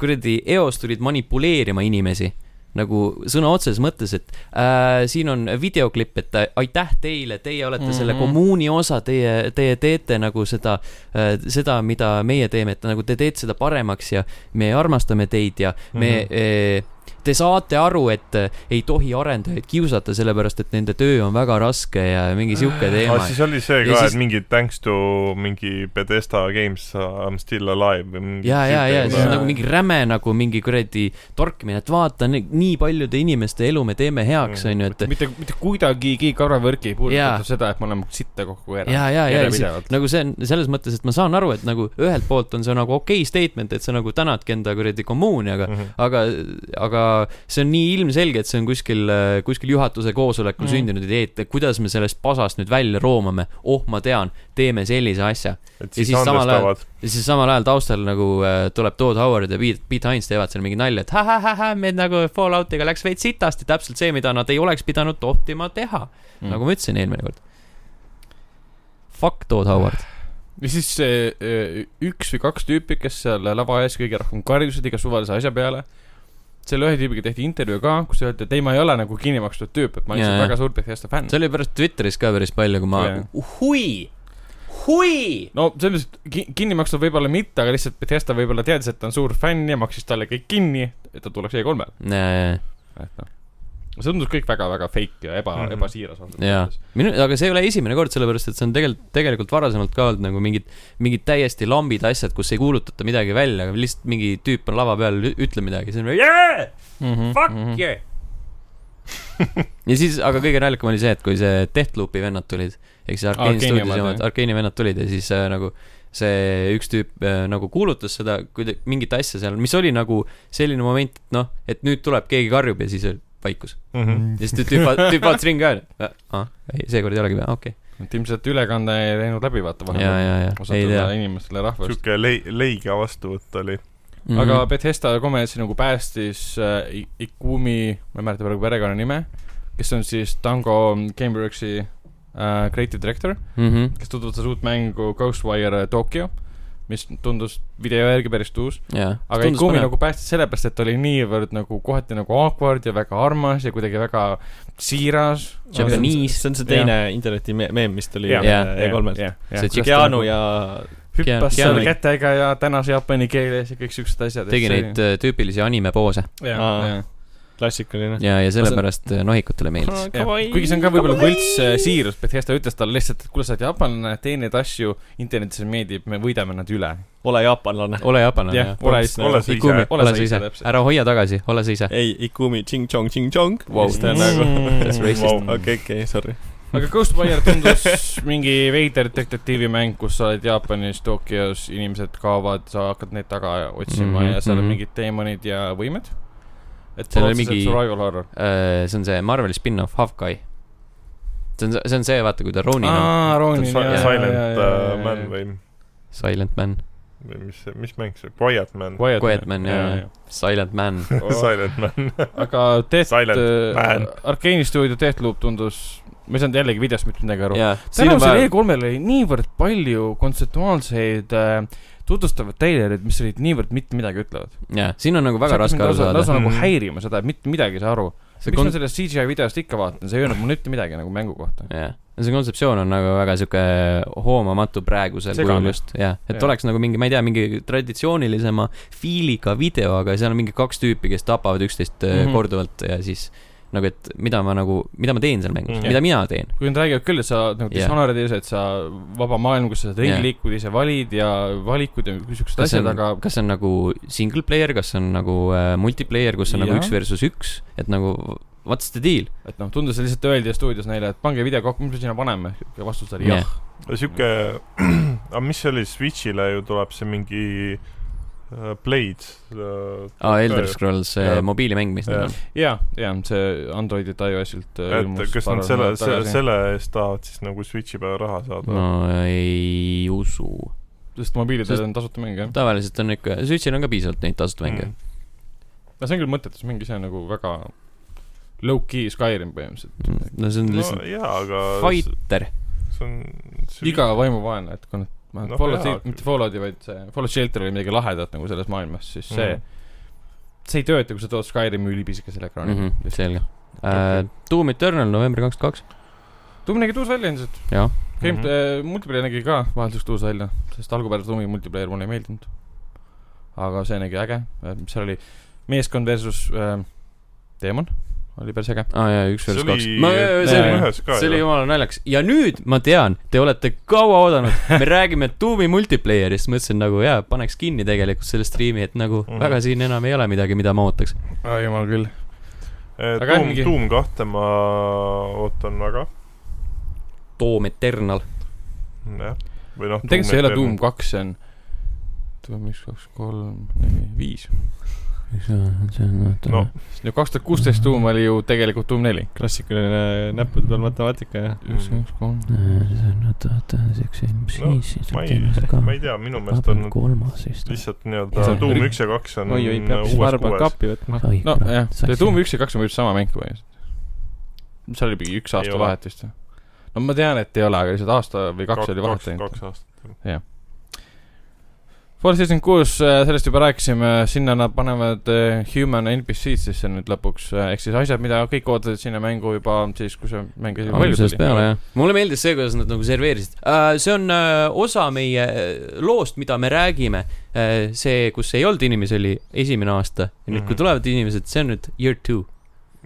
[SPEAKER 1] kuradi eos tulid manipuleerima inimesi nagu sõna otseses mõttes , et äh, siin on videoklipp , et äh, aitäh teile , teie olete mm -hmm. selle
[SPEAKER 2] Mhm.
[SPEAKER 1] kommuuni osa , teie , teie teete nagu seda äh, , seda , mida meie teeme , et nagu te teete seda paremaks ja me armastame teid ja me mm ,
[SPEAKER 4] Mhm.
[SPEAKER 1] -hmm. Te saate aru , et äh, ei tohi arendajaid kiusata , sellepärast et nende töö on väga raske ja mingi sihuke teema
[SPEAKER 4] aga . Ah, siis oli see
[SPEAKER 1] Ja
[SPEAKER 4] ka ,
[SPEAKER 1] siis-
[SPEAKER 4] et mingi thanks to mingi Bethesda games I m still alive või mingi
[SPEAKER 1] ja , ja , ja
[SPEAKER 4] sihuke-
[SPEAKER 1] siis on
[SPEAKER 2] Jaa.
[SPEAKER 1] nagu mingi räme nagu mingi kuradi torkimine , et vaata , nii paljude inimeste elu me teeme heaks ,
[SPEAKER 4] Mm.
[SPEAKER 1] onju , et
[SPEAKER 2] mitte , mitte kuidagigi karvavõrk ei puuduta
[SPEAKER 1] Jaa.
[SPEAKER 2] seda , et me oleme sitta kokku ära .
[SPEAKER 1] ja , ja , ja see,
[SPEAKER 2] järjepidevalt .
[SPEAKER 1] nagu see on selles mõttes , et ma saan aru , et nagu ühelt poolt on see nagu okei okay statement , et sa nagu tänadki enda kuradi kommuuni , aga ,
[SPEAKER 4] Mhm.
[SPEAKER 1] aga , aga see on nii ilmselge , et see on kuskil , kuskil juhatuse koosolekul
[SPEAKER 5] Mhm.
[SPEAKER 1] mm. sündinud idee , et kuidas me sellest pasast nüüd välja roomame . oh , ma tean , teeme sellise asja .
[SPEAKER 4] et
[SPEAKER 1] Ja
[SPEAKER 4] siis
[SPEAKER 1] siis samal ajal-
[SPEAKER 4] andestavad .
[SPEAKER 1] ja siis samal ajal taustal nagu äh, tuleb Todd Howard ja Pete , Pete Hines teevad seal mingi nalja , et ha-ha-ha-ha , meil nagu Falloutiga läks veits sitasti , täpselt see , mida nad ei oleks pidanud tohtima teha mm. . nagu ma ütlesin eelmine kord . Fuck Todd Howard .
[SPEAKER 2] ja siis see eh, üks või kaks tüüpi , kes seal lava ees kõige rohkem karjusid iga suvalise asja peale . selle ühe tüübiga tehti intervjuu ka , kus öeldi , et ei , ma ei ole nagu kinni makstud tüüp , et ma olen
[SPEAKER 1] Jaa,
[SPEAKER 2] lihtsalt
[SPEAKER 1] jaa.
[SPEAKER 2] väga suur Bethesda fänn .
[SPEAKER 1] see oli pärast Twitteris ka päris palju , kui ma
[SPEAKER 2] Jaa. ,
[SPEAKER 1] hui , hui .
[SPEAKER 2] no selles mõttes ki- kinni makstud võib-olla mitte , aga lihtsalt Bethesda võib-olla teadis , et ta on suur fänn ja maksis talle kõik kinni , et ta tuleks E E3-le . noh, see tundus kõik väga-väga fake ja eba mm ,
[SPEAKER 4] Mhm.
[SPEAKER 2] -hmm. ebasiiras olnud .
[SPEAKER 1] jaa , minu , aga see ei ole esimene kord , sellepärast et see on tegelikult , tegelikult varasemalt ka olnud nagu mingid , mingid täiesti lambid asjad , kus ei kuulutata midagi välja , aga lihtsalt mingi tüüp on lava peal , ütleb midagi , siis on nagu, yeah! fuck mm -hmm. yeah . ja siis , aga kõige naljakam oli see , et kui see Deathloopi vennad tulid , ehk siis Arkeeni
[SPEAKER 2] Arkeeni omad,
[SPEAKER 1] stuudios omad ,
[SPEAKER 2] jah.
[SPEAKER 1] Arkeeni vennad tulid ja siis äh, nagu see üks tüüp äh, nagu kuulutas seda , kuida- , mingit asja seal , mis oli nagu selline moment , et noh , et nüüd tuleb , keegi karjub ja siis oli vaikus .
[SPEAKER 4] Mhm.
[SPEAKER 1] ja siis tüüp , tüüp vaatas ringi ka , aa , ei , seekord ei olegi vaja , okei .
[SPEAKER 2] et ilmselt ülekanne ei läinud läbi , vaata
[SPEAKER 1] ja ,
[SPEAKER 2] vahepeal .
[SPEAKER 1] ja , ja , ei
[SPEAKER 2] osadele
[SPEAKER 1] tea .
[SPEAKER 2] inimestele rahvast .
[SPEAKER 4] sihuke lei- , leige vastuvõtt oli .
[SPEAKER 1] Mhm.
[SPEAKER 2] aga Bethesda komedis nagu päästis äh, I- Ikumi , ma ei mäleta praegu perekonnanime , kes on siis Tango Cambridge'i äh, creative director ,
[SPEAKER 1] mhmh ,
[SPEAKER 2] kes tutvustas uut mängu Ghostwire Tokyo , mis tundus video järgi päris uus ,
[SPEAKER 1] jaa .
[SPEAKER 2] aga Ikumi põnev. . nagu päästis sellepärast , et ta oli niivõrd nagu kohati nagu awkward ja väga armas ja kuidagi väga siiras .
[SPEAKER 1] Japanese ,
[SPEAKER 5] see on see teine interneti me- meem , mis tuli E
[SPEAKER 4] Jah.
[SPEAKER 1] Jah.
[SPEAKER 5] E3-lt .
[SPEAKER 1] See
[SPEAKER 2] see
[SPEAKER 5] Keanu ja
[SPEAKER 1] Keanu-
[SPEAKER 2] hüppas seal
[SPEAKER 1] Keanu-
[SPEAKER 2] kätega ja tänas jaapani keeles ja kõik siuksed asjad .
[SPEAKER 1] tegi neid äh, tüüpilisi anime poose
[SPEAKER 5] Aa.
[SPEAKER 2] jaa .
[SPEAKER 5] klassikaline .
[SPEAKER 1] ja , ja sellepärast äh, nohikutele meeldis .
[SPEAKER 2] Jah. kuigi see on ka võib-olla võlts äh, siirus , Bethesda ütles talle lihtsalt , et kuule , sa oled jaapanlane , tee neid asju , internetis meeldib , me võidame nad üle .
[SPEAKER 5] ole jaapanlane .
[SPEAKER 1] ole jaapanlane ,
[SPEAKER 2] jah
[SPEAKER 1] jah ,.
[SPEAKER 2] ole
[SPEAKER 4] ole
[SPEAKER 2] lihtsalt ,
[SPEAKER 4] sa
[SPEAKER 1] Ikumi
[SPEAKER 4] ise .,
[SPEAKER 1] ole sa ise , ära hoia tagasi , ole sa ise .
[SPEAKER 5] ei , Ikumi Ching-Chong , Ching-Chong
[SPEAKER 1] Wow. Mm.
[SPEAKER 5] wow. . ta on nagu ,
[SPEAKER 1] That's racist.
[SPEAKER 5] okei , okei , sorry .
[SPEAKER 2] aga Ghostwire tundus mingi veider detektiivimäng , kus sa oled Jaapanis , Tokyos , inimesed kaovad , sa hakkad neid taga otsima mm
[SPEAKER 1] Mhm,
[SPEAKER 2] -hmm. ja seal on
[SPEAKER 1] mhm.
[SPEAKER 2] mingid teemonid ja võimed . et
[SPEAKER 1] Seal
[SPEAKER 2] seal
[SPEAKER 1] oli
[SPEAKER 2] on mingi
[SPEAKER 1] mingi-
[SPEAKER 2] survival horror .
[SPEAKER 1] Äh, see on see Marveli spin-off Hawkeye . see on , see on see , vaata , kui ta Ronin on ,
[SPEAKER 2] aa , Ronin , jaa , jaa ,
[SPEAKER 4] Silent äh, Man . või ,
[SPEAKER 1] Silent Man ,
[SPEAKER 4] või mis , mis mäng see , Quiet Man .
[SPEAKER 1] Quiet Man, jaa, jaa. Silent Man .
[SPEAKER 4] Silent Man .
[SPEAKER 2] aga Death
[SPEAKER 4] Silent Man. ,
[SPEAKER 2] Arkeeni stuudio Deathloop tundus , ma ei saanud jällegi videost mitte midagi aru .
[SPEAKER 1] jaa ,
[SPEAKER 2] tänasel E3-l E oli niivõrd palju kontseptuaalseid äh, tutvustavaid treilereid , mis olid niivõrd mitte midagi ütlevad .
[SPEAKER 1] jaa , siin on nagu väga raske aru saada .
[SPEAKER 2] lausa nagu
[SPEAKER 4] Mhm.
[SPEAKER 2] häirima seda , et mitte midagi ei saa aru .
[SPEAKER 1] see
[SPEAKER 2] miks kon... ma
[SPEAKER 1] kon- ,
[SPEAKER 2] sellest CGI videost ikka vaatan , see ei öelnud mulle mitte midagi nagu mängu kohta .
[SPEAKER 1] jaa , see kontseptsioon on nagu väga sihuke hoomamatu praegusel
[SPEAKER 2] Segane.
[SPEAKER 1] kujul just , jah . et
[SPEAKER 2] Jaa.
[SPEAKER 1] oleks nagu mingi , ma ei tea , mingi traditsioonilisema fiiliga video , aga seal on mingi kaks tüüpi , kes tapavad üksteist äh,
[SPEAKER 2] Mhm.
[SPEAKER 1] korduvalt ja siis nagu , et mida ma nagu , mida ma teen seal mängus ,
[SPEAKER 4] Mhm.
[SPEAKER 1] mida mina teen .
[SPEAKER 2] kui nad räägivad küll , et sa oled nagu
[SPEAKER 1] Jah.
[SPEAKER 2] dishonored'is , et sa vaba maailm , kus sa saad ringi
[SPEAKER 1] Jah.
[SPEAKER 2] liikuda , ise valid ja valikud ja siuksed
[SPEAKER 1] kas see
[SPEAKER 2] asjad ,
[SPEAKER 1] on ,
[SPEAKER 2] aga
[SPEAKER 1] kas see on nagu single player , kas see on nagu äh, multiplayer , kus on ja. nagu
[SPEAKER 2] Jah.
[SPEAKER 1] üks versus üks , et nagu what's the deal ?
[SPEAKER 2] et noh , tundus , et lihtsalt öeldi stuudios neile , et pange video kokku , mis me sinna paneme ja vastus oli jah .
[SPEAKER 4] sihuke , aga mis see oli , Switch'ile ju tuleb see mingi äh, Blade äh,
[SPEAKER 1] aa , Ah, Elder Scrolls , see
[SPEAKER 4] Jaa.
[SPEAKER 1] mobiilimäng , mis neil
[SPEAKER 4] Jaa.
[SPEAKER 1] on .
[SPEAKER 2] ja , ja see Androidilt , iOS-ilt äh,
[SPEAKER 4] et
[SPEAKER 2] ilmus
[SPEAKER 4] kas
[SPEAKER 2] paar
[SPEAKER 4] nad selle ,
[SPEAKER 2] nädalat
[SPEAKER 4] selle ,
[SPEAKER 2] tagasi.
[SPEAKER 4] selle eest tahavad siis nagu Switch'i peale raha saada
[SPEAKER 1] no ei usu .
[SPEAKER 2] sest mobiilidel
[SPEAKER 1] Sest-
[SPEAKER 2] on tasuta mäng jah .
[SPEAKER 1] tavaliselt on ikka , Switch'il on ka piisavalt neid tasuta mänge
[SPEAKER 4] Mhm.
[SPEAKER 1] mm. .
[SPEAKER 2] no see on küll mõttetus mäng , see on nagu väga low-key Skyrim põhimõtteliselt .
[SPEAKER 1] no see on
[SPEAKER 4] no
[SPEAKER 1] lihtsalt no,
[SPEAKER 4] jaa , aga s-
[SPEAKER 1] fighter .
[SPEAKER 4] see on see
[SPEAKER 2] iga vaimuvaenlane , et kui nad ,
[SPEAKER 4] No
[SPEAKER 2] noh , Fallout
[SPEAKER 4] jaa, ,
[SPEAKER 2] mitte Fallouti , vaid see Fallout Shelter oli midagi lahedat nagu selles maailmas , siis see
[SPEAKER 4] Mhm.
[SPEAKER 2] mm. , see ei tööta , kui sa tood Skyrimi ülipisikesele ekraanile
[SPEAKER 1] Mhm,
[SPEAKER 2] mm . -hmm.
[SPEAKER 1] selge . äh, Doom Eternal november kakskümmend kaks .
[SPEAKER 2] Doom nägi tuus välja ilmselt .
[SPEAKER 1] Jah.
[SPEAKER 2] Game
[SPEAKER 4] Mhm.
[SPEAKER 2] mm , -hmm. multiplayer nägi ka vahelduseks tuus välja , sest algupärast Doomi multiplayer mulle ei meeldinud . aga see nägi äge , mis seal oli , meeskond versus äh, teemon , oli päris äge .
[SPEAKER 1] aa jaa , üks
[SPEAKER 4] see
[SPEAKER 1] versus kaks
[SPEAKER 4] oli .
[SPEAKER 1] ma , see oli
[SPEAKER 2] jaa.
[SPEAKER 4] ühes ka
[SPEAKER 1] see oli
[SPEAKER 4] ju .
[SPEAKER 1] jumala naljakas ja nüüd ma tean , te olete kaua oodanud , me räägime Doomi multiplayer'ist , mõtlesin nagu jaa , paneks kinni tegelikult selle striimi , et nagu mm
[SPEAKER 4] Mhm.
[SPEAKER 1] -hmm. väga siin enam ei ole midagi , mida ma ootaks .
[SPEAKER 2] aa jumal küll . aga
[SPEAKER 4] Äh, Doom ,
[SPEAKER 2] mingi-
[SPEAKER 4] Doom kahte ma ootan väga ,
[SPEAKER 1] Doom Eternal ,
[SPEAKER 4] jah . või noh .
[SPEAKER 2] tegelikult see ei ole Doom . kaks , see on Doom üks , kaks , kolm , neli , viis .
[SPEAKER 4] No.
[SPEAKER 2] no kaks tuhat kuusteist tuum oli ju tegelikult tuum neli .
[SPEAKER 5] klassikaline näppude peal matemaatika ja
[SPEAKER 2] üks , kaks , kolm .
[SPEAKER 1] Äh,
[SPEAKER 4] ma ei , ma ei tea , minu meelest on nad
[SPEAKER 1] kolmas vist .
[SPEAKER 4] lihtsalt
[SPEAKER 2] See
[SPEAKER 4] nii-öelda
[SPEAKER 2] on
[SPEAKER 4] tuum
[SPEAKER 2] ri-
[SPEAKER 4] üks ja kaks on
[SPEAKER 5] oi-oi ,
[SPEAKER 4] äh,
[SPEAKER 5] peab siis
[SPEAKER 4] uues
[SPEAKER 5] varba
[SPEAKER 4] kuues .
[SPEAKER 5] kappi võtma .
[SPEAKER 2] nojah , see tuum üks ja kaks on põhimõtteliselt sama mäng põhimõtteliselt . seal oli mingi üks
[SPEAKER 4] Ei
[SPEAKER 2] aasta
[SPEAKER 4] ole.
[SPEAKER 2] vahet vist või ? no ma tean , et ei ole , aga lihtsalt aasta või kaks oli vahet ainult .
[SPEAKER 4] kaks aastat .
[SPEAKER 2] Fall season kuus , sellest juba rääkisime , sinna nad panevad äh, human NPC-d sisse nüüd lõpuks , ehk siis asjad , mida kõik ootasid sinna mängu juba siis , kui see mäng oli
[SPEAKER 1] algusest peale . jah . mulle meeldis see , kuidas nad nagu serveerisid uh, . see on uh, osa meie äh, loost , mida me räägime uh, . see , kus ei olnud inimesi , oli esimene aasta . ja nüüd , kui
[SPEAKER 4] Mhm.
[SPEAKER 1] tulevad inimesed , see on nüüd year two .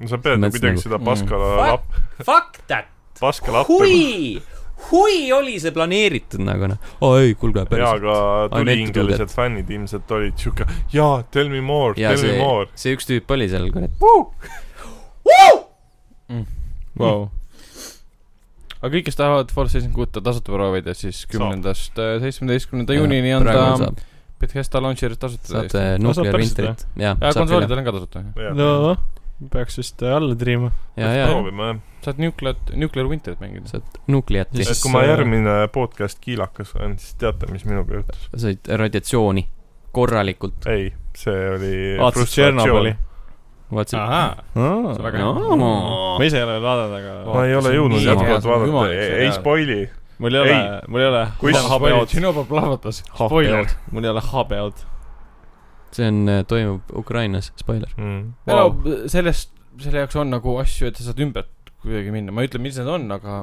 [SPEAKER 4] no sa pead ju
[SPEAKER 1] Mõtlesin
[SPEAKER 4] kuidagi
[SPEAKER 1] nagu-
[SPEAKER 4] seda
[SPEAKER 2] Mm.
[SPEAKER 4] Paskala lap- ,
[SPEAKER 1] Fuck that ,
[SPEAKER 4] Paskala appi .
[SPEAKER 1] hui , hui oli see planeeritud nagu noh . oi , kuulge ,
[SPEAKER 4] jaa ,
[SPEAKER 1] päriselt . I
[SPEAKER 4] aga
[SPEAKER 1] meant to do
[SPEAKER 4] tulihingelised fännid ilmselt olid siuke , jaa , tell me more ,
[SPEAKER 1] ja
[SPEAKER 4] tell me
[SPEAKER 1] see
[SPEAKER 4] more .,
[SPEAKER 1] see üks tüüp oli seal , kurat .
[SPEAKER 5] Vau ,
[SPEAKER 2] aga kõik , kes tahavad Fall season kuut tasuta proovida , siis kümnendast äh, seitsmeteistkümnenda juunini on ta
[SPEAKER 1] saab ,
[SPEAKER 2] Bethesda launcher'is tasuta
[SPEAKER 1] saate
[SPEAKER 2] täiesti .
[SPEAKER 1] äh, Nuclear
[SPEAKER 5] saab
[SPEAKER 1] Winterit . ja ,
[SPEAKER 2] ja
[SPEAKER 1] saab küll ,
[SPEAKER 2] konsoolidel on ka tasuta .
[SPEAKER 5] no peaks vist äh, alla triima .
[SPEAKER 1] ja , ja ,
[SPEAKER 4] proovime jah .
[SPEAKER 2] saad Nuclear , Nuclear Winterit mängida .
[SPEAKER 1] saad Nucleati ,
[SPEAKER 5] Siis-
[SPEAKER 4] et kui ma
[SPEAKER 5] äh,
[SPEAKER 4] järgmine podcast kiilakas olen , siis teate , mis minuga juhtus .
[SPEAKER 1] said radiatsiooni korralikult .
[SPEAKER 4] ei , see oli
[SPEAKER 5] vaatasid Tšernobõli
[SPEAKER 4] frustratsioon ..
[SPEAKER 1] vaatasid ,
[SPEAKER 2] see on
[SPEAKER 5] ma
[SPEAKER 2] väga hea
[SPEAKER 1] No. .
[SPEAKER 5] ise ei ole veel vaadanud , aga
[SPEAKER 4] ma ei ole jõudnud
[SPEAKER 2] Nii
[SPEAKER 4] jätkuvalt
[SPEAKER 2] hea,
[SPEAKER 4] vaadata
[SPEAKER 2] jumal, ,
[SPEAKER 4] ei
[SPEAKER 2] see
[SPEAKER 4] ei
[SPEAKER 2] hea.
[SPEAKER 4] spoili .
[SPEAKER 5] mul ei ole
[SPEAKER 4] Ei. ,
[SPEAKER 5] mul ei ole
[SPEAKER 4] Kui sa
[SPEAKER 5] HBO-d ,
[SPEAKER 2] Tšernobõl plahvatas .
[SPEAKER 5] Spoiler. mul ei ole HBO-d .
[SPEAKER 1] see on , toimub Ukrainas , spoiler .
[SPEAKER 4] Hmm.
[SPEAKER 2] no sellest , selle jaoks on nagu asju , et sa saad ümbert kuidagi minna , ma ei ütle , mis need on , aga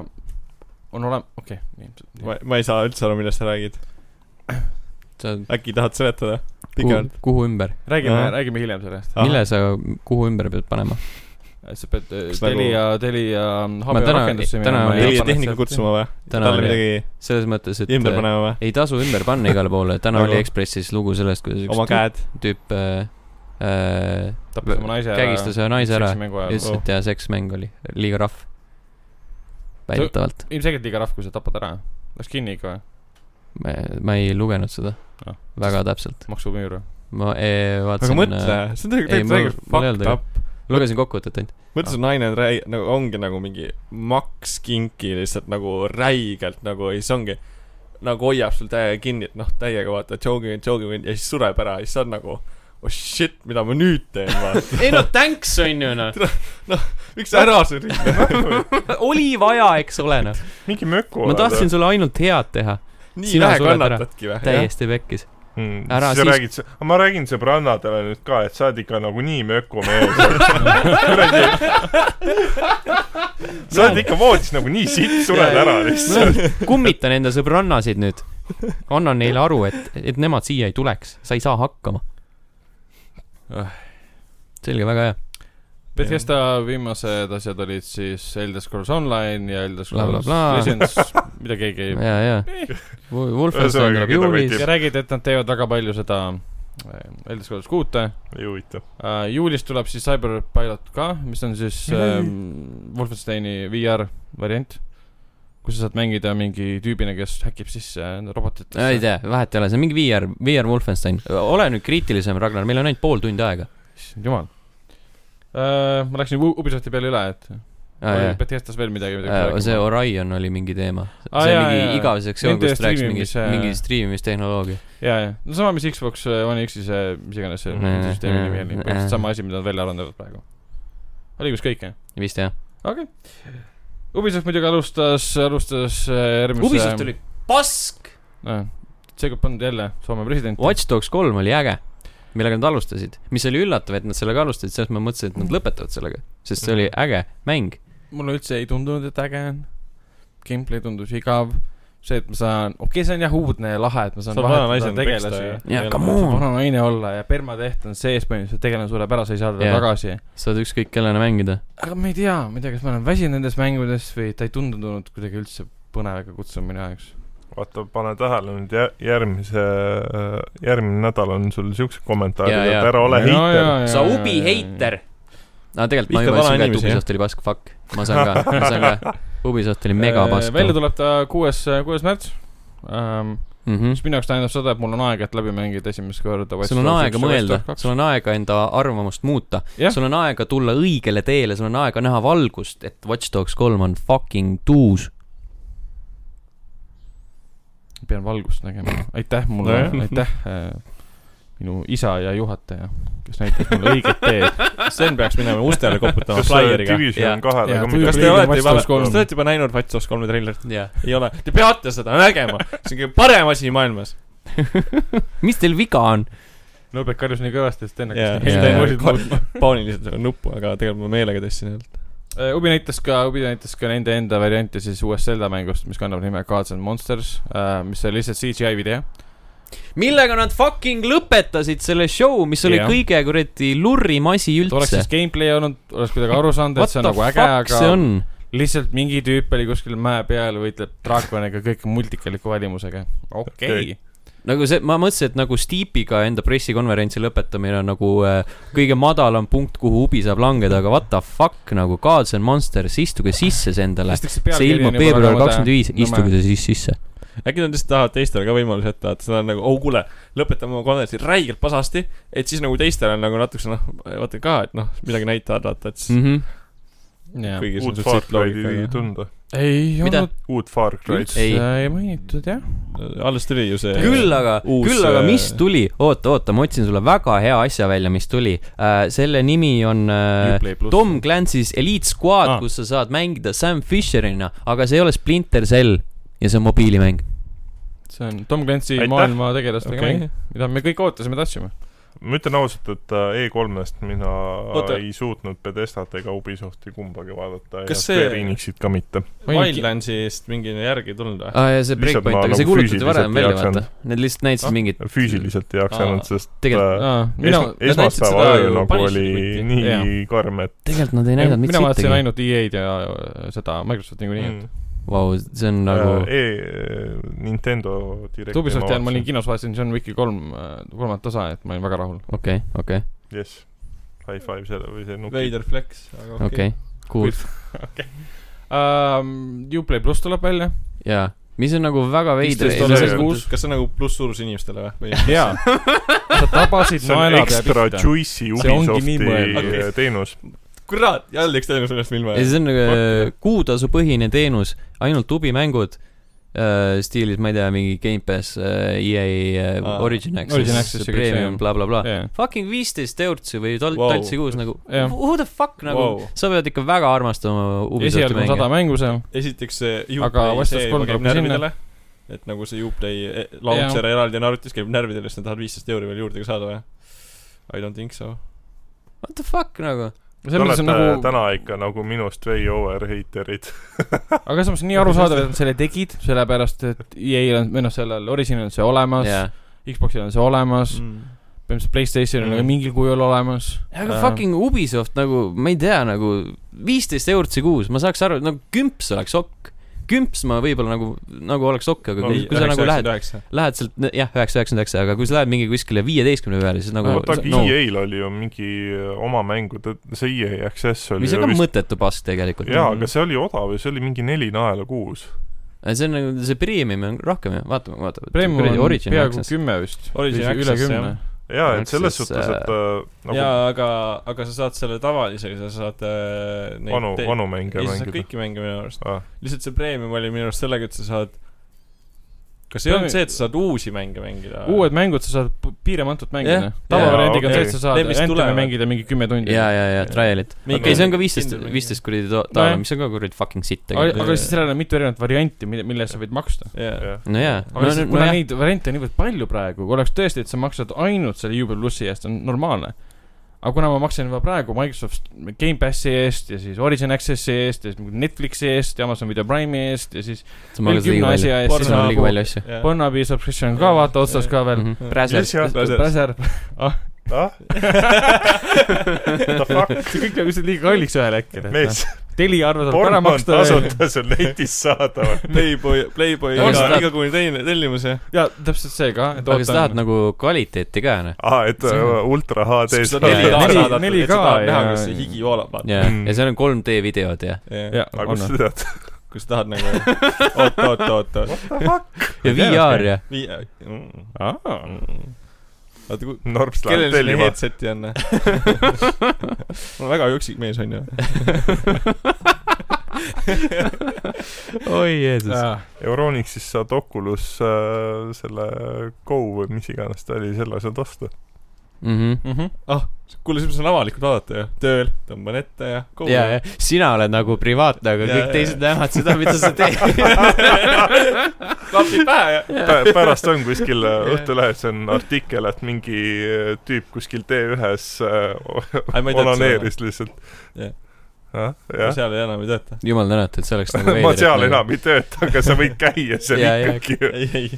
[SPEAKER 2] on olema , okei okay, .
[SPEAKER 5] ma , ma ei saa üldse aru , millest sa räägid .
[SPEAKER 1] sa oled
[SPEAKER 5] äkki tahad seletada ?
[SPEAKER 1] kuhu,
[SPEAKER 5] pikemalt .
[SPEAKER 1] kuhu ümber ,
[SPEAKER 2] räägime
[SPEAKER 5] Ahah. ,
[SPEAKER 2] räägime hiljem sellest .
[SPEAKER 5] Ahah.
[SPEAKER 1] mille sa kuhu ümber pead panema ?
[SPEAKER 2] sa pead äh,
[SPEAKER 5] Kas nagu-
[SPEAKER 2] Telia , Telia
[SPEAKER 1] Ma
[SPEAKER 2] HBO
[SPEAKER 1] täna-
[SPEAKER 2] rakendusse
[SPEAKER 1] täna
[SPEAKER 2] minema
[SPEAKER 1] oli-
[SPEAKER 2] ja
[SPEAKER 5] Heli
[SPEAKER 2] paned
[SPEAKER 5] tehniku
[SPEAKER 2] sealt-
[SPEAKER 5] kutsuma või ?
[SPEAKER 1] Täna
[SPEAKER 5] talle
[SPEAKER 1] oli-
[SPEAKER 5] midagi
[SPEAKER 1] selles mõttes , et
[SPEAKER 5] ümber
[SPEAKER 1] äh,
[SPEAKER 5] panema või ?
[SPEAKER 1] ei tasu ümber panna igale poole , täna
[SPEAKER 5] Nagu-
[SPEAKER 1] oli Ekspressis lugu sellest , kuidas
[SPEAKER 5] oma
[SPEAKER 1] üks
[SPEAKER 5] käed .
[SPEAKER 1] tüüp- tüüp äh, äh,
[SPEAKER 2] tappis oma naise ära .
[SPEAKER 1] kägistas ühe naise ära ja ütles ,
[SPEAKER 5] Oh.
[SPEAKER 2] ära .
[SPEAKER 1] et jaa , seksmäng oli liiga rahv . väidetavalt ,
[SPEAKER 2] ilmselgelt liiga rahv , kui sa tapad ära . Läks kinni ikka või ?
[SPEAKER 1] ma ei lugenud seda
[SPEAKER 2] Ah.
[SPEAKER 1] väga täpselt ,
[SPEAKER 2] maksumüür või ?
[SPEAKER 1] ma eh,
[SPEAKER 5] aga
[SPEAKER 1] vaatasin .
[SPEAKER 5] mõtle , see on
[SPEAKER 1] ei,
[SPEAKER 5] tegelikult
[SPEAKER 1] mul-
[SPEAKER 5] täiega
[SPEAKER 1] mul ei olnud
[SPEAKER 5] fucked
[SPEAKER 1] ega-
[SPEAKER 5] up .
[SPEAKER 1] lugesin kokkuvõtet ainult .
[SPEAKER 5] mõtle , see naine on räi- , nagu ongi nagu mingi maks kinki lihtsalt nagu räigelt nagu ja siis ongi nagu hoiab sul täiega kinni , et noh , täiega vaata , joking and joking and ja siis sureb ära ja siis sa oled nagu oh shit , mida ma nüüd teen , vaata .
[SPEAKER 1] ei no thanks on ju noh ,
[SPEAKER 5] miks sa ära surid ?
[SPEAKER 1] oli vaja , eks ole noh .
[SPEAKER 4] mingi möku
[SPEAKER 1] ma tahtsin sulle ainult head teha ,
[SPEAKER 5] nii
[SPEAKER 1] Sina
[SPEAKER 5] vähe
[SPEAKER 1] sured ära.
[SPEAKER 5] kannatadki või ?
[SPEAKER 1] täiesti pekkis .
[SPEAKER 4] mm,
[SPEAKER 1] Ära
[SPEAKER 4] siis sa
[SPEAKER 1] siis-
[SPEAKER 4] räägid , ma räägin sõbrannadele nüüd ka , et sa oled ikka nagunii mökumees . kuradi . sa oled ikka voodis nagunii , siit sured ära lihtsalt .
[SPEAKER 1] kummitan enda sõbrannasid nüüd . annan neile aru , et , et nemad siia ei tuleks , sa ei saa hakkama .
[SPEAKER 2] Ah.
[SPEAKER 1] selge , väga hea .
[SPEAKER 2] Bethesda viimased asjad olid siis Elder Scrolls Online ja Elder
[SPEAKER 1] Bla, bla,
[SPEAKER 2] Scrolls
[SPEAKER 1] bla.
[SPEAKER 2] Legends , mida keegi ei
[SPEAKER 1] ja , ja . Wolfenstein
[SPEAKER 4] Ühesõnaga,
[SPEAKER 1] tuleb
[SPEAKER 4] keda
[SPEAKER 1] juulis
[SPEAKER 4] võeti-
[SPEAKER 2] ja räägiti , et nad teevad väga palju seda äh, Elder Scrolls kuute .
[SPEAKER 4] ei huvita .
[SPEAKER 2] Äh, juulis tuleb siis Cyberpilot ka , mis on siis
[SPEAKER 1] Mhm.
[SPEAKER 2] äh, Wolfensteini VR variant , kus sa saad mängida mingi tüübina , kes häkib sisse robotitesse .
[SPEAKER 1] ei tea , vahet ei ole , see on mingi VR , VR Wolfenstein . ole nüüd kriitilisem , Ragnar , meil on ainult pool tundi aega .
[SPEAKER 2] issand jumal äh, . ma läksin U- Ubisofti peale üle , et oli Bethesdas veel midagi , midagi
[SPEAKER 1] see . Orion oli mingi teema .
[SPEAKER 2] Aa,
[SPEAKER 1] see
[SPEAKER 2] jaa,
[SPEAKER 1] on mingi
[SPEAKER 2] jaa.
[SPEAKER 1] igav sektsioon ,
[SPEAKER 2] Nende
[SPEAKER 1] kus ta rääkis mingist
[SPEAKER 2] striimimise- ,
[SPEAKER 1] mingi striimimistehnoloogia .
[SPEAKER 2] ja , ja , no sama , mis Xbox äh, One X-i see , mis iganes see
[SPEAKER 1] Mm,
[SPEAKER 2] süsteemi
[SPEAKER 1] mm,
[SPEAKER 2] nimi oli ,
[SPEAKER 1] mm.
[SPEAKER 2] põhimõtteliselt sama asi , mida nad välja arendavad praegu . oli vist kõik , jah ?
[SPEAKER 1] vist jah ?
[SPEAKER 2] okei okay. . Ubisoft muidugi alustas , alustas äh, järgmise .
[SPEAKER 1] Ubisoft oli pask .
[SPEAKER 2] äh, . seekord polnud jälle Soome president .
[SPEAKER 1] Watch Dogs kolm oli äge , millega nad alustasid , mis oli üllatav , et nad sellega alustasid , selles ma mõtlesin , et nad lõpetavad sellega , sest see oli äge mäng .
[SPEAKER 2] mulle üldse ei tundunud , et äge on . Gameplay tundus igav . see , et ma saan , okei okay, , see on jah uudne ja lahe , et ma saan
[SPEAKER 5] Saad vana naisena
[SPEAKER 2] vahetada
[SPEAKER 5] peksta,
[SPEAKER 2] tegelasi
[SPEAKER 5] jah. .
[SPEAKER 1] jaa , come on ,
[SPEAKER 2] vana naine olla ja permateht on sees põhimõtteliselt , tegelane sureb ära , sa ei saa teda
[SPEAKER 1] Jah.
[SPEAKER 2] tagasi .
[SPEAKER 1] saad ükskõik kellena mängida .
[SPEAKER 2] aga ma ei tea , ma ei tea , kas ma olen väsinud nendes mängudes või ta ei tundunud kuidagi üldse põnev ega kutsuv minu jaoks .
[SPEAKER 4] vaata , pane tähele nüüd jä- järgmise , järgmine nädal on sul siuksed
[SPEAKER 1] Jaa,
[SPEAKER 4] kommentaarid ,
[SPEAKER 1] jaa.
[SPEAKER 4] et ära ole heiter .
[SPEAKER 1] sa ubi heiter ! aa , tegelikult ma
[SPEAKER 5] Vihkad
[SPEAKER 1] juba
[SPEAKER 5] vana
[SPEAKER 1] ütlesin ka , et Ubisoft
[SPEAKER 5] inimesi,
[SPEAKER 1] oli pask , fuck . ma saan ka ,
[SPEAKER 2] Äh,
[SPEAKER 1] ma saan ka . Ubisoft oli megapask .
[SPEAKER 2] välja tuleb ta kuues , kuues märts ähm, .
[SPEAKER 1] mm . -hmm.
[SPEAKER 2] mis minu jaoks tähendab seda , et mul on aega , et läbi mängida esimest korda .
[SPEAKER 1] sul on aega mõelda , sul on aega enda arvamust muuta
[SPEAKER 2] Jah. ,
[SPEAKER 1] sul on aega tulla õigele teele , sul on aega näha valgust , et Watch Dogs kolm on fucking tuus .
[SPEAKER 2] pean valgust nägema , aitäh mulle
[SPEAKER 3] Nojah. ,
[SPEAKER 2] aitäh äh, minu isa ja juhataja , kes näitas mulle õiget teed .
[SPEAKER 5] Sten peaks minema ustele koputama
[SPEAKER 4] kas äh,
[SPEAKER 5] flyeriga .
[SPEAKER 4] Division kahele ka
[SPEAKER 2] Jaa,
[SPEAKER 5] kas
[SPEAKER 4] midagi
[SPEAKER 5] te
[SPEAKER 2] Legion Watch
[SPEAKER 5] olete juba ,
[SPEAKER 2] Dogs
[SPEAKER 5] kas te
[SPEAKER 2] kolm.
[SPEAKER 5] olete juba näinud Watch Dogs kolme treilerit ?
[SPEAKER 1] jah .
[SPEAKER 5] ei ole , te peate seda nägema , see on kõige parem asi maailmas .
[SPEAKER 1] mis teil viga on ?
[SPEAKER 2] Nõbek karjus nii kõvasti , et Sten
[SPEAKER 5] jaa ,
[SPEAKER 2] hakkas
[SPEAKER 1] Jaa.
[SPEAKER 5] Sten
[SPEAKER 2] yeah.
[SPEAKER 5] võttis mul paaniliselt nagu nuppu , aga tegelikult ma meelega tõstsin jälle .
[SPEAKER 2] Äh, Ubi näitas ka , Ubi näitas ka nende enda varianti siis uuest Zelda mängust , mis kannab nime Gods and Monsters , mis oli lihtsalt CGI video .
[SPEAKER 1] millega nad fucking lõpetasid selle show , mis oli
[SPEAKER 2] Jah.
[SPEAKER 1] kõige kuradi lurrim asi
[SPEAKER 2] oleks
[SPEAKER 1] üldse
[SPEAKER 2] siis . gameplay olnud , oleks kuidagi aru saanud , et
[SPEAKER 1] What
[SPEAKER 2] see
[SPEAKER 1] the
[SPEAKER 2] on nagu äge ,
[SPEAKER 1] fuck see
[SPEAKER 2] aga
[SPEAKER 1] on ?
[SPEAKER 2] lihtsalt mingi tüüp oli kuskil mäe peal , võitleb draakoniga kõik multikaliku välimusega . okei okay.
[SPEAKER 4] Okei. ,
[SPEAKER 1] nagu see , ma mõtlesin , et nagu Steepiga enda pressikonverentsi lõpetamine on nagu äh, kõige madalam punkt , kuhu Ubi saab langeda , aga what the fuck nagu Gods and Monsters , istuge sisse see endale . see ilmub veebruar
[SPEAKER 2] nagu
[SPEAKER 1] kakskümmend viis , istuge see siis sisse .
[SPEAKER 5] äkki nad lihtsalt tahavad teistele ka võimaluse jätta , et seda on nagu , oh kuule , lõpetame oma konverentsi räigelt pasasti , et siis nagu teistel on nagu natukene noh , vaata ka , et noh , midagi näitada , vaata ,
[SPEAKER 1] Mm.
[SPEAKER 5] et siis
[SPEAKER 1] Mhm.
[SPEAKER 2] jah .
[SPEAKER 5] kõigil
[SPEAKER 4] uut
[SPEAKER 5] on noh.
[SPEAKER 4] Far
[SPEAKER 5] siukseid
[SPEAKER 4] Cry'd ei
[SPEAKER 5] loogikaid .
[SPEAKER 4] tunda .
[SPEAKER 2] ei
[SPEAKER 1] Mida?
[SPEAKER 2] olnud
[SPEAKER 4] uut Far Cry'd .
[SPEAKER 2] üldse
[SPEAKER 1] Ei.
[SPEAKER 2] ei. mainitud jah .
[SPEAKER 5] alles tuli ju see .
[SPEAKER 1] küll aga ,
[SPEAKER 5] uus,
[SPEAKER 1] küll aga ,
[SPEAKER 5] äh,
[SPEAKER 1] mis tuli , oota , oota , ma otsin sulle väga hea asja välja , mis tuli äh, . selle nimi on äh, Tom Clancy's Elite Squad ah.
[SPEAKER 2] Aa. ,
[SPEAKER 1] kus sa saad mängida Sam Fisherina , aga see ei ole Splinter Cell ja see on mobiilimäng .
[SPEAKER 2] see on Tom Clancy
[SPEAKER 4] Aitäh.
[SPEAKER 2] maailma tegelastega
[SPEAKER 5] Okei.
[SPEAKER 2] okay. mäng , mida me kõik ootasime , tahtsime .
[SPEAKER 4] ma ütlen ausalt , et äh, E3-st mina
[SPEAKER 5] Oota.
[SPEAKER 4] Oota. ei suutnud Pedestat ega Ubisofti kumbagi vaadata ja
[SPEAKER 5] Kas see-
[SPEAKER 4] Square Enixit ka mitte .
[SPEAKER 5] Wildlandsist mingi järgi ei tulnud või ?
[SPEAKER 1] aa ah, ja see
[SPEAKER 4] Lihtsalt
[SPEAKER 1] Breakpoint ,
[SPEAKER 4] ma
[SPEAKER 1] aga see
[SPEAKER 4] nagu
[SPEAKER 1] kuulutati
[SPEAKER 4] füüsiliselt
[SPEAKER 1] varem
[SPEAKER 4] ei
[SPEAKER 1] välja ,
[SPEAKER 4] jaksanud.
[SPEAKER 1] vaata . Need lihtsalt näitasid ah. mingit ,
[SPEAKER 4] füüsiliselt ei
[SPEAKER 5] Aa.
[SPEAKER 4] jaksanud , sest äh,
[SPEAKER 1] Tegelikult-
[SPEAKER 2] mina ,
[SPEAKER 4] es- esmaspäeva öö nagu oli
[SPEAKER 2] Jaa.
[SPEAKER 4] nii karm , et
[SPEAKER 1] tegelikult nad ei
[SPEAKER 2] mina
[SPEAKER 1] näidanud mitte
[SPEAKER 2] vaatasin
[SPEAKER 1] sittagi .
[SPEAKER 2] ainult EA-d ja äh, seda Microsofti niikuinii mm. .
[SPEAKER 1] Vau , see on nagu
[SPEAKER 4] Äh, e- , Nintendo direkti
[SPEAKER 2] Ubisofti ajal ma olin . kinos , vaatasin John Wicki kolm , kolmandat osa , et ma olin väga rahul .
[SPEAKER 1] okei , okei ,
[SPEAKER 4] jess , high five selle või see nuki .
[SPEAKER 5] veider flex , aga okei okay.
[SPEAKER 1] okei , cool
[SPEAKER 2] Um, Uplay pluss tuleb välja .
[SPEAKER 1] jaa . mis on nagu väga veider
[SPEAKER 5] 15 .
[SPEAKER 4] dollarit.
[SPEAKER 5] kuus , kas see on nagu plussurus inimestele või ?
[SPEAKER 2] jaa . sa tabasid
[SPEAKER 4] see on
[SPEAKER 2] naela pea
[SPEAKER 4] ekstra
[SPEAKER 2] pihta .
[SPEAKER 4] juicy
[SPEAKER 2] See ongi nii
[SPEAKER 4] Ubisofti
[SPEAKER 2] mõeldud.
[SPEAKER 4] teenus .
[SPEAKER 5] kurat , jälle üks teine sellest ilma
[SPEAKER 1] ei , see on nagu äh, kuutasupõhine teenus , ainult tubimängud äh, stiilis , ma ei tea , mingi Gamepass äh, , EA äh,
[SPEAKER 5] Aa,
[SPEAKER 1] Origin
[SPEAKER 2] Origin
[SPEAKER 1] Access
[SPEAKER 2] Access , ja kõik see,
[SPEAKER 1] Premium
[SPEAKER 2] jah. ,
[SPEAKER 1] blablabla .
[SPEAKER 2] jaa ,
[SPEAKER 1] Fucking viisteist eurtsi või tol-
[SPEAKER 5] Wow. ,
[SPEAKER 1] taltsi kuus nagu ,
[SPEAKER 2] Jah.
[SPEAKER 1] who the fuck nagu
[SPEAKER 5] Wow.
[SPEAKER 1] wow. , sa pead ikka väga armastama Ubisofti
[SPEAKER 2] esialgu on sada
[SPEAKER 1] mänge .
[SPEAKER 2] mängu seal .
[SPEAKER 5] esiteks see
[SPEAKER 2] Aga
[SPEAKER 5] Uplay
[SPEAKER 2] Watch Dogs
[SPEAKER 5] see
[SPEAKER 2] kolm
[SPEAKER 5] juba käib
[SPEAKER 2] tuleb ka sinna.
[SPEAKER 5] närvidele , et nagu see Uplay eh, launcher eraldi on arvutis , käib närvidele , siis nad tahavad viisteist euri veel juurde ka saada või ? I don't think so .
[SPEAKER 1] What the fuck nagu ,
[SPEAKER 4] Te
[SPEAKER 2] selles mõttes
[SPEAKER 4] olete
[SPEAKER 2] on nagu ,
[SPEAKER 4] täna ikka nagu minust way over heiterid .
[SPEAKER 2] aga samas nii arusaadav , et nad selle tegid , sellepärast et EA-l on , või noh , sellel Originil on see olemas
[SPEAKER 1] jaa
[SPEAKER 2] yeah. .. Xboxil on see olemas mm. ,
[SPEAKER 5] Mm.
[SPEAKER 2] põhimõtteliselt Playstationil on
[SPEAKER 5] Mm.
[SPEAKER 2] ka mingil kujul olemas .
[SPEAKER 1] aga
[SPEAKER 2] Jaa.
[SPEAKER 1] fucking Ubisoft nagu , ma ei tea , nagu viisteist eurtsi kuus , ma saaks aru , nagu kümps oleks okk . kümps ma võib-olla nagu , nagu oleks okk , aga
[SPEAKER 4] No,
[SPEAKER 1] kui, kui sa nagu lähed ,.
[SPEAKER 5] üheksa .
[SPEAKER 1] lähed sealt , jah , üheksa , üheksakümmend üheksa , aga kui sa lähed mingi kuskile viieteistkümne peale , siis nagu
[SPEAKER 4] no vaata ,
[SPEAKER 1] no,
[SPEAKER 4] EA-l oli ju mingi äh, oma mängu , see E EA Access oli
[SPEAKER 1] mis on
[SPEAKER 4] ju
[SPEAKER 1] ka
[SPEAKER 4] vist ,
[SPEAKER 1] mõttetu pask tegelikult .
[SPEAKER 4] jaa , aga see oli odav ja see oli mingi neli naela kuus .
[SPEAKER 1] see on nagu , see premium on rohkem ju , vaatame , vaatame .
[SPEAKER 2] Premium on peaaegu . kümme vist .
[SPEAKER 5] Origin
[SPEAKER 2] üle
[SPEAKER 5] Access,
[SPEAKER 2] kümne
[SPEAKER 5] jah. .
[SPEAKER 4] jaa , et selles
[SPEAKER 1] Access,
[SPEAKER 4] suhtes , et äh, nagu
[SPEAKER 5] jaa , aga , aga sa saad selle tavalisega , sa saad äh, neid
[SPEAKER 4] vanu
[SPEAKER 5] te- ,
[SPEAKER 4] vanu mänge
[SPEAKER 5] ei , sa
[SPEAKER 4] mängida .
[SPEAKER 5] saad
[SPEAKER 4] Ah,
[SPEAKER 5] kõiki mänge minu arust
[SPEAKER 4] Aa. .
[SPEAKER 5] lihtsalt see premium oli minu arust sellega , et sa saad kas ei
[SPEAKER 2] Premium-
[SPEAKER 5] olnud see , et sa saad uusi mänge mängida ?
[SPEAKER 2] uued mängud sa saad pu- piiramatult mängida
[SPEAKER 5] Jah.
[SPEAKER 2] yeah. . tavavariandiga on
[SPEAKER 4] Jaa,
[SPEAKER 2] see , et sa saad
[SPEAKER 5] Need, mis
[SPEAKER 2] Anthemi
[SPEAKER 5] tulevad.
[SPEAKER 2] mängida mingi kümme tundi .
[SPEAKER 1] ja , ja , ja trial'id .
[SPEAKER 5] Mingi-
[SPEAKER 1] okei , see on ka viisteist
[SPEAKER 5] kindel- ,
[SPEAKER 1] viisteist kuradi to- taala ,
[SPEAKER 2] Nojah.
[SPEAKER 1] mis on ka kuradi fucking sitt
[SPEAKER 2] aga
[SPEAKER 1] tegelikult .
[SPEAKER 2] aga siis sellel on mitu erinevat varianti , mille , mille eest sa võid maksta .
[SPEAKER 5] jaa .
[SPEAKER 1] no jaa .
[SPEAKER 2] aga lihtsalt no, , kuna no, neid variante on niivõrd palju praegu , kui oleks tõesti , et sa maksad ainult selle Uber plussi eest , on normaalne . aga kuna ma maksan juba praegu Microsoft Gamepassi eest ja siis Origin Accessi eest ja siis Netflixi eest ja Amazon Video Prime'i eest ja siis
[SPEAKER 1] sa magad
[SPEAKER 2] veel
[SPEAKER 1] liiga palju ,
[SPEAKER 2] kümne asja eest , siis nagu
[SPEAKER 1] sul on
[SPEAKER 2] on
[SPEAKER 1] liiga
[SPEAKER 5] Pornhub.
[SPEAKER 1] palju asju .
[SPEAKER 2] Pornabi subscription ka vaata otsas ka veel .
[SPEAKER 1] Mhm.
[SPEAKER 5] Präser.
[SPEAKER 4] Yes, jah.
[SPEAKER 5] Präser.
[SPEAKER 2] Präser ,
[SPEAKER 4] ah , the fuck ,
[SPEAKER 2] see kõik läheb lihtsalt liiga kalliks ühel hetkel .
[SPEAKER 4] mees ,
[SPEAKER 2] teliarve saab ära
[SPEAKER 4] porno on
[SPEAKER 2] maksta veel .
[SPEAKER 4] tasuta seal netis saadaval .
[SPEAKER 5] Playboy , Playboy
[SPEAKER 1] Aga
[SPEAKER 5] iga
[SPEAKER 1] seda- ,
[SPEAKER 5] igakuine teine tellimus jah .
[SPEAKER 2] ja täpselt see ka , et
[SPEAKER 1] aga sa tahad
[SPEAKER 2] ootan .
[SPEAKER 1] nagu kvaliteeti ka , noh .
[SPEAKER 4] aa , et äh, ultra HD
[SPEAKER 5] sa
[SPEAKER 1] neli-
[SPEAKER 5] tahad
[SPEAKER 2] neli-
[SPEAKER 5] saada-
[SPEAKER 2] neli
[SPEAKER 5] et sa
[SPEAKER 2] ka
[SPEAKER 5] tahad
[SPEAKER 2] ja-
[SPEAKER 5] näha , kas see higi voolab , vaata .
[SPEAKER 1] ja ,
[SPEAKER 4] Mm.
[SPEAKER 1] ja seal on 3D videod ja .
[SPEAKER 5] jah ,
[SPEAKER 2] ja ,
[SPEAKER 4] aga
[SPEAKER 2] on
[SPEAKER 4] kust . Nagu sa tead ?
[SPEAKER 5] kui sa tahad nagu , oot , oot , oot , oot .
[SPEAKER 1] ja VR ja .
[SPEAKER 5] nii , mm.
[SPEAKER 4] aa ,
[SPEAKER 5] oota , kui ,
[SPEAKER 4] Norps
[SPEAKER 5] kellel
[SPEAKER 4] läheb
[SPEAKER 5] selle
[SPEAKER 4] tellima .
[SPEAKER 5] headset'i on ? ma olen väga üksik mees , onju .
[SPEAKER 1] oi Jeesus .
[SPEAKER 4] Euronixis saad Oculus äh, selle Go või mis iganes ta oli , selle saad osta .
[SPEAKER 1] Mhm.
[SPEAKER 2] Mhm.
[SPEAKER 5] kuule , siis ma saan avalikult vaadata ju , tööl tõmban ette ja .
[SPEAKER 1] ja , ja sina oled nagu privaatne , aga
[SPEAKER 5] Ja,
[SPEAKER 1] kõik
[SPEAKER 5] ja.
[SPEAKER 1] teised näevad seda , mida sa teed .
[SPEAKER 5] klapid pähe ja .
[SPEAKER 4] pärast on kuskil äh, Õhtulehes on artikkel , et mingi äh, tüüp kuskil T1-s äh,
[SPEAKER 5] ei , ma ei tea , et
[SPEAKER 4] onaneeris lihtsalt .
[SPEAKER 5] Jah. see
[SPEAKER 4] jah ,
[SPEAKER 5] seal ei enam ei tööta .
[SPEAKER 1] jumal tänatud , see oleks nagu
[SPEAKER 4] ma seal . enam ei tööta , aga sa võid käia seal
[SPEAKER 1] Jaa, jaa.
[SPEAKER 4] ikkagi .
[SPEAKER 5] ei , ei ,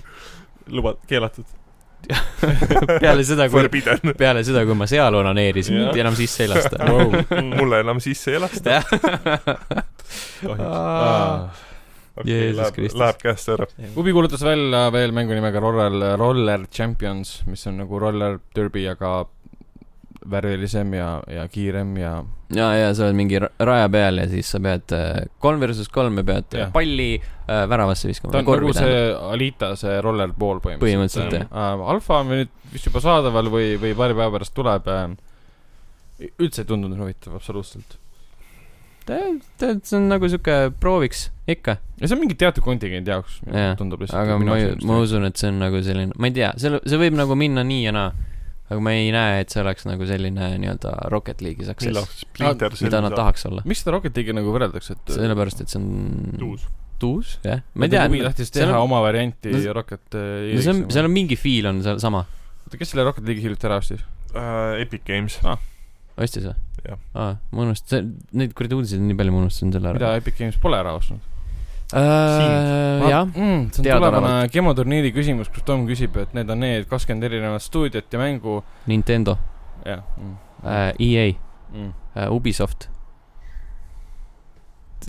[SPEAKER 5] luba , keelatud .
[SPEAKER 1] peale seda , kui ,
[SPEAKER 4] Forbidden ,
[SPEAKER 1] peale seda , kui ma seal onaneerisin ,
[SPEAKER 5] Jah.
[SPEAKER 1] mind enam sisse ei lasta
[SPEAKER 5] Wow.
[SPEAKER 4] mulle enam sisse ei lasta .
[SPEAKER 1] Jeesus Kristus.
[SPEAKER 4] Läheb käest ära .
[SPEAKER 2] Ubi kuulutas välja veel mängu nimega Roller , Roller Champions , mis on nagu roller derby , aga värvilisem ja , ja kiirem ja
[SPEAKER 1] ja , ja sa oled mingi ra- raja peal ja siis sa pead äh, kolm versus kolm ja pead
[SPEAKER 2] Jah.
[SPEAKER 1] palli äh, väravasse
[SPEAKER 2] ta
[SPEAKER 1] viskama
[SPEAKER 2] on . nagu see Alita , see rollerball
[SPEAKER 1] Põhimõtteliselt,
[SPEAKER 2] põhimõtteliselt . jah . Äh, Alfa on nüüd vist juba saadaval või , või paari päeva pärast tuleb . üldse ei tundunud huvitav , absoluutselt .
[SPEAKER 1] tead , see on nagu sihuke prooviks ikka ,
[SPEAKER 2] ja see on mingi teatud kontingendi jaoks
[SPEAKER 1] Jaa, ,
[SPEAKER 2] tundub lihtsalt .
[SPEAKER 1] aga ma , ma . usun , et see on nagu selline , ma ei tea , see , see võib nagu minna nii ja naa . aga ma ei näe , et see oleks nagu selline nii-öelda Rocket League'i
[SPEAKER 4] millal
[SPEAKER 1] success ,
[SPEAKER 4] Splinter
[SPEAKER 1] mida
[SPEAKER 4] Cell
[SPEAKER 1] nad tahaks olla .
[SPEAKER 2] miks seda Rocket League'i nagu võrreldakse , et
[SPEAKER 1] sellepärast , et see on
[SPEAKER 4] uus .
[SPEAKER 1] tuus , jah . ma ei tea ,
[SPEAKER 2] Ubi tahtis
[SPEAKER 1] seal
[SPEAKER 2] teha
[SPEAKER 1] on-
[SPEAKER 2] oma varianti
[SPEAKER 1] no see-
[SPEAKER 2] Rocket äh,
[SPEAKER 1] no see on , seal
[SPEAKER 2] League'is .
[SPEAKER 1] on mingi feel on seal sama ,
[SPEAKER 2] kes selle Rocket League'i hiljuti ära ostis ?
[SPEAKER 4] Äh, Epic Games .
[SPEAKER 1] Ah. ostis või ?
[SPEAKER 4] Jah.
[SPEAKER 1] aa , ma unustasin , neid kuradi uudiseid on nii palju , ma unustasin selle ära .
[SPEAKER 2] mida Epic Games pole ära ostnud ?
[SPEAKER 1] äh, ? jah ,
[SPEAKER 2] mm, . see on
[SPEAKER 1] Teadaolevalt.
[SPEAKER 2] tulevane gemoturniiri küsimus , kus Tom küsib , et need on need kakskümmend erinevat stuudiot ja mängu .
[SPEAKER 1] Nintendo
[SPEAKER 2] jah mm, ,
[SPEAKER 1] äh, , EA
[SPEAKER 2] mm. ,
[SPEAKER 1] äh, , Ubisoft .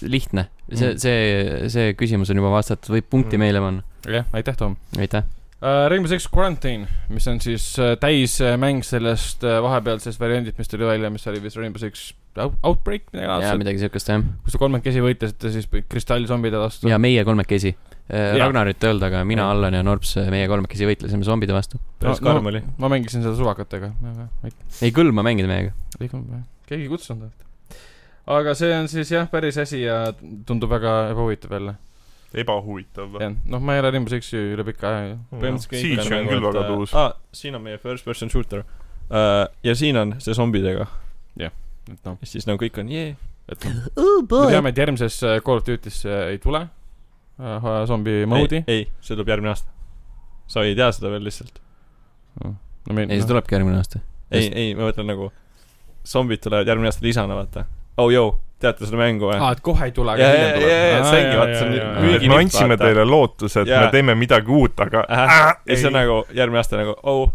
[SPEAKER 1] lihtne , see
[SPEAKER 2] Mm. ,
[SPEAKER 1] see , see küsimus on juba vastatud , võib punkti
[SPEAKER 4] Mm.
[SPEAKER 1] meile panna ,
[SPEAKER 2] jah , aitäh , Tom
[SPEAKER 1] aitäh .
[SPEAKER 2] uh, . Rainbow Six Quarantine , mis on siis uh, täismäng sellest uh, vahepealsest variandist , mis tuli välja , mis oli vist Rainbow Six Out- Outbreak , midagi
[SPEAKER 1] ja
[SPEAKER 2] laadset ,
[SPEAKER 1] midagi siukest jah ,
[SPEAKER 2] kus te kolmekesi võitlesite siis kristallzombide vastu .
[SPEAKER 1] ja meie kolmekesi . Ragnarit ei olnud , aga mina ,
[SPEAKER 2] Jah.
[SPEAKER 1] Allan ja Norps , meie kolmekesi võitlesime zombide vastu .
[SPEAKER 5] päris karm oli .
[SPEAKER 2] ma mängisin seda suvakatega , väga , väga
[SPEAKER 1] ei kõlba mängida meiega .
[SPEAKER 2] liigume või ? keegi ei kutsunud alati . aga see on siis jah , päris asi ja tundub väga ebahuvitav jälle .
[SPEAKER 4] ebahuvitav .
[SPEAKER 2] jah , noh , ma ei ole Rainbow Sixi üle pika aja ju .
[SPEAKER 4] Siege on nagu, äh, küll väga tuus .
[SPEAKER 5] aa , siin on meie first person shooter uh, . ja siin on see zombidega .
[SPEAKER 2] et noh ,
[SPEAKER 5] ja siis nagu kõik on jee .
[SPEAKER 2] et noh. me teame , et järgmises äh, Call of Duty's äh, ei tule äh, zombi mode'i .
[SPEAKER 5] ei , see tuleb järgmine aasta . sa ei tea seda veel lihtsalt .
[SPEAKER 2] no me noh.
[SPEAKER 1] ei , see tulebki järgmine aasta .
[SPEAKER 5] ei , ei , ma mõtlen nagu , zombid tulevad järgmine aasta lisana , vaata . oh joo , teate seda mängu või ?
[SPEAKER 2] aa , et kohe ei tule ,
[SPEAKER 5] ja ,
[SPEAKER 2] aga
[SPEAKER 5] ja ,
[SPEAKER 2] hiljem
[SPEAKER 5] ja , ja , see ongi ,
[SPEAKER 2] tuleb .
[SPEAKER 5] vaata , see
[SPEAKER 2] jaa, jaa.
[SPEAKER 5] on
[SPEAKER 4] me
[SPEAKER 5] müüginipp ,
[SPEAKER 4] andsime teile lootuse , et
[SPEAKER 5] Jaa.
[SPEAKER 4] me teeme midagi uut , aga
[SPEAKER 5] Ahah.
[SPEAKER 4] äh,
[SPEAKER 5] ja siis on
[SPEAKER 4] ei ,
[SPEAKER 5] nagu järgmine aasta nagu oh ,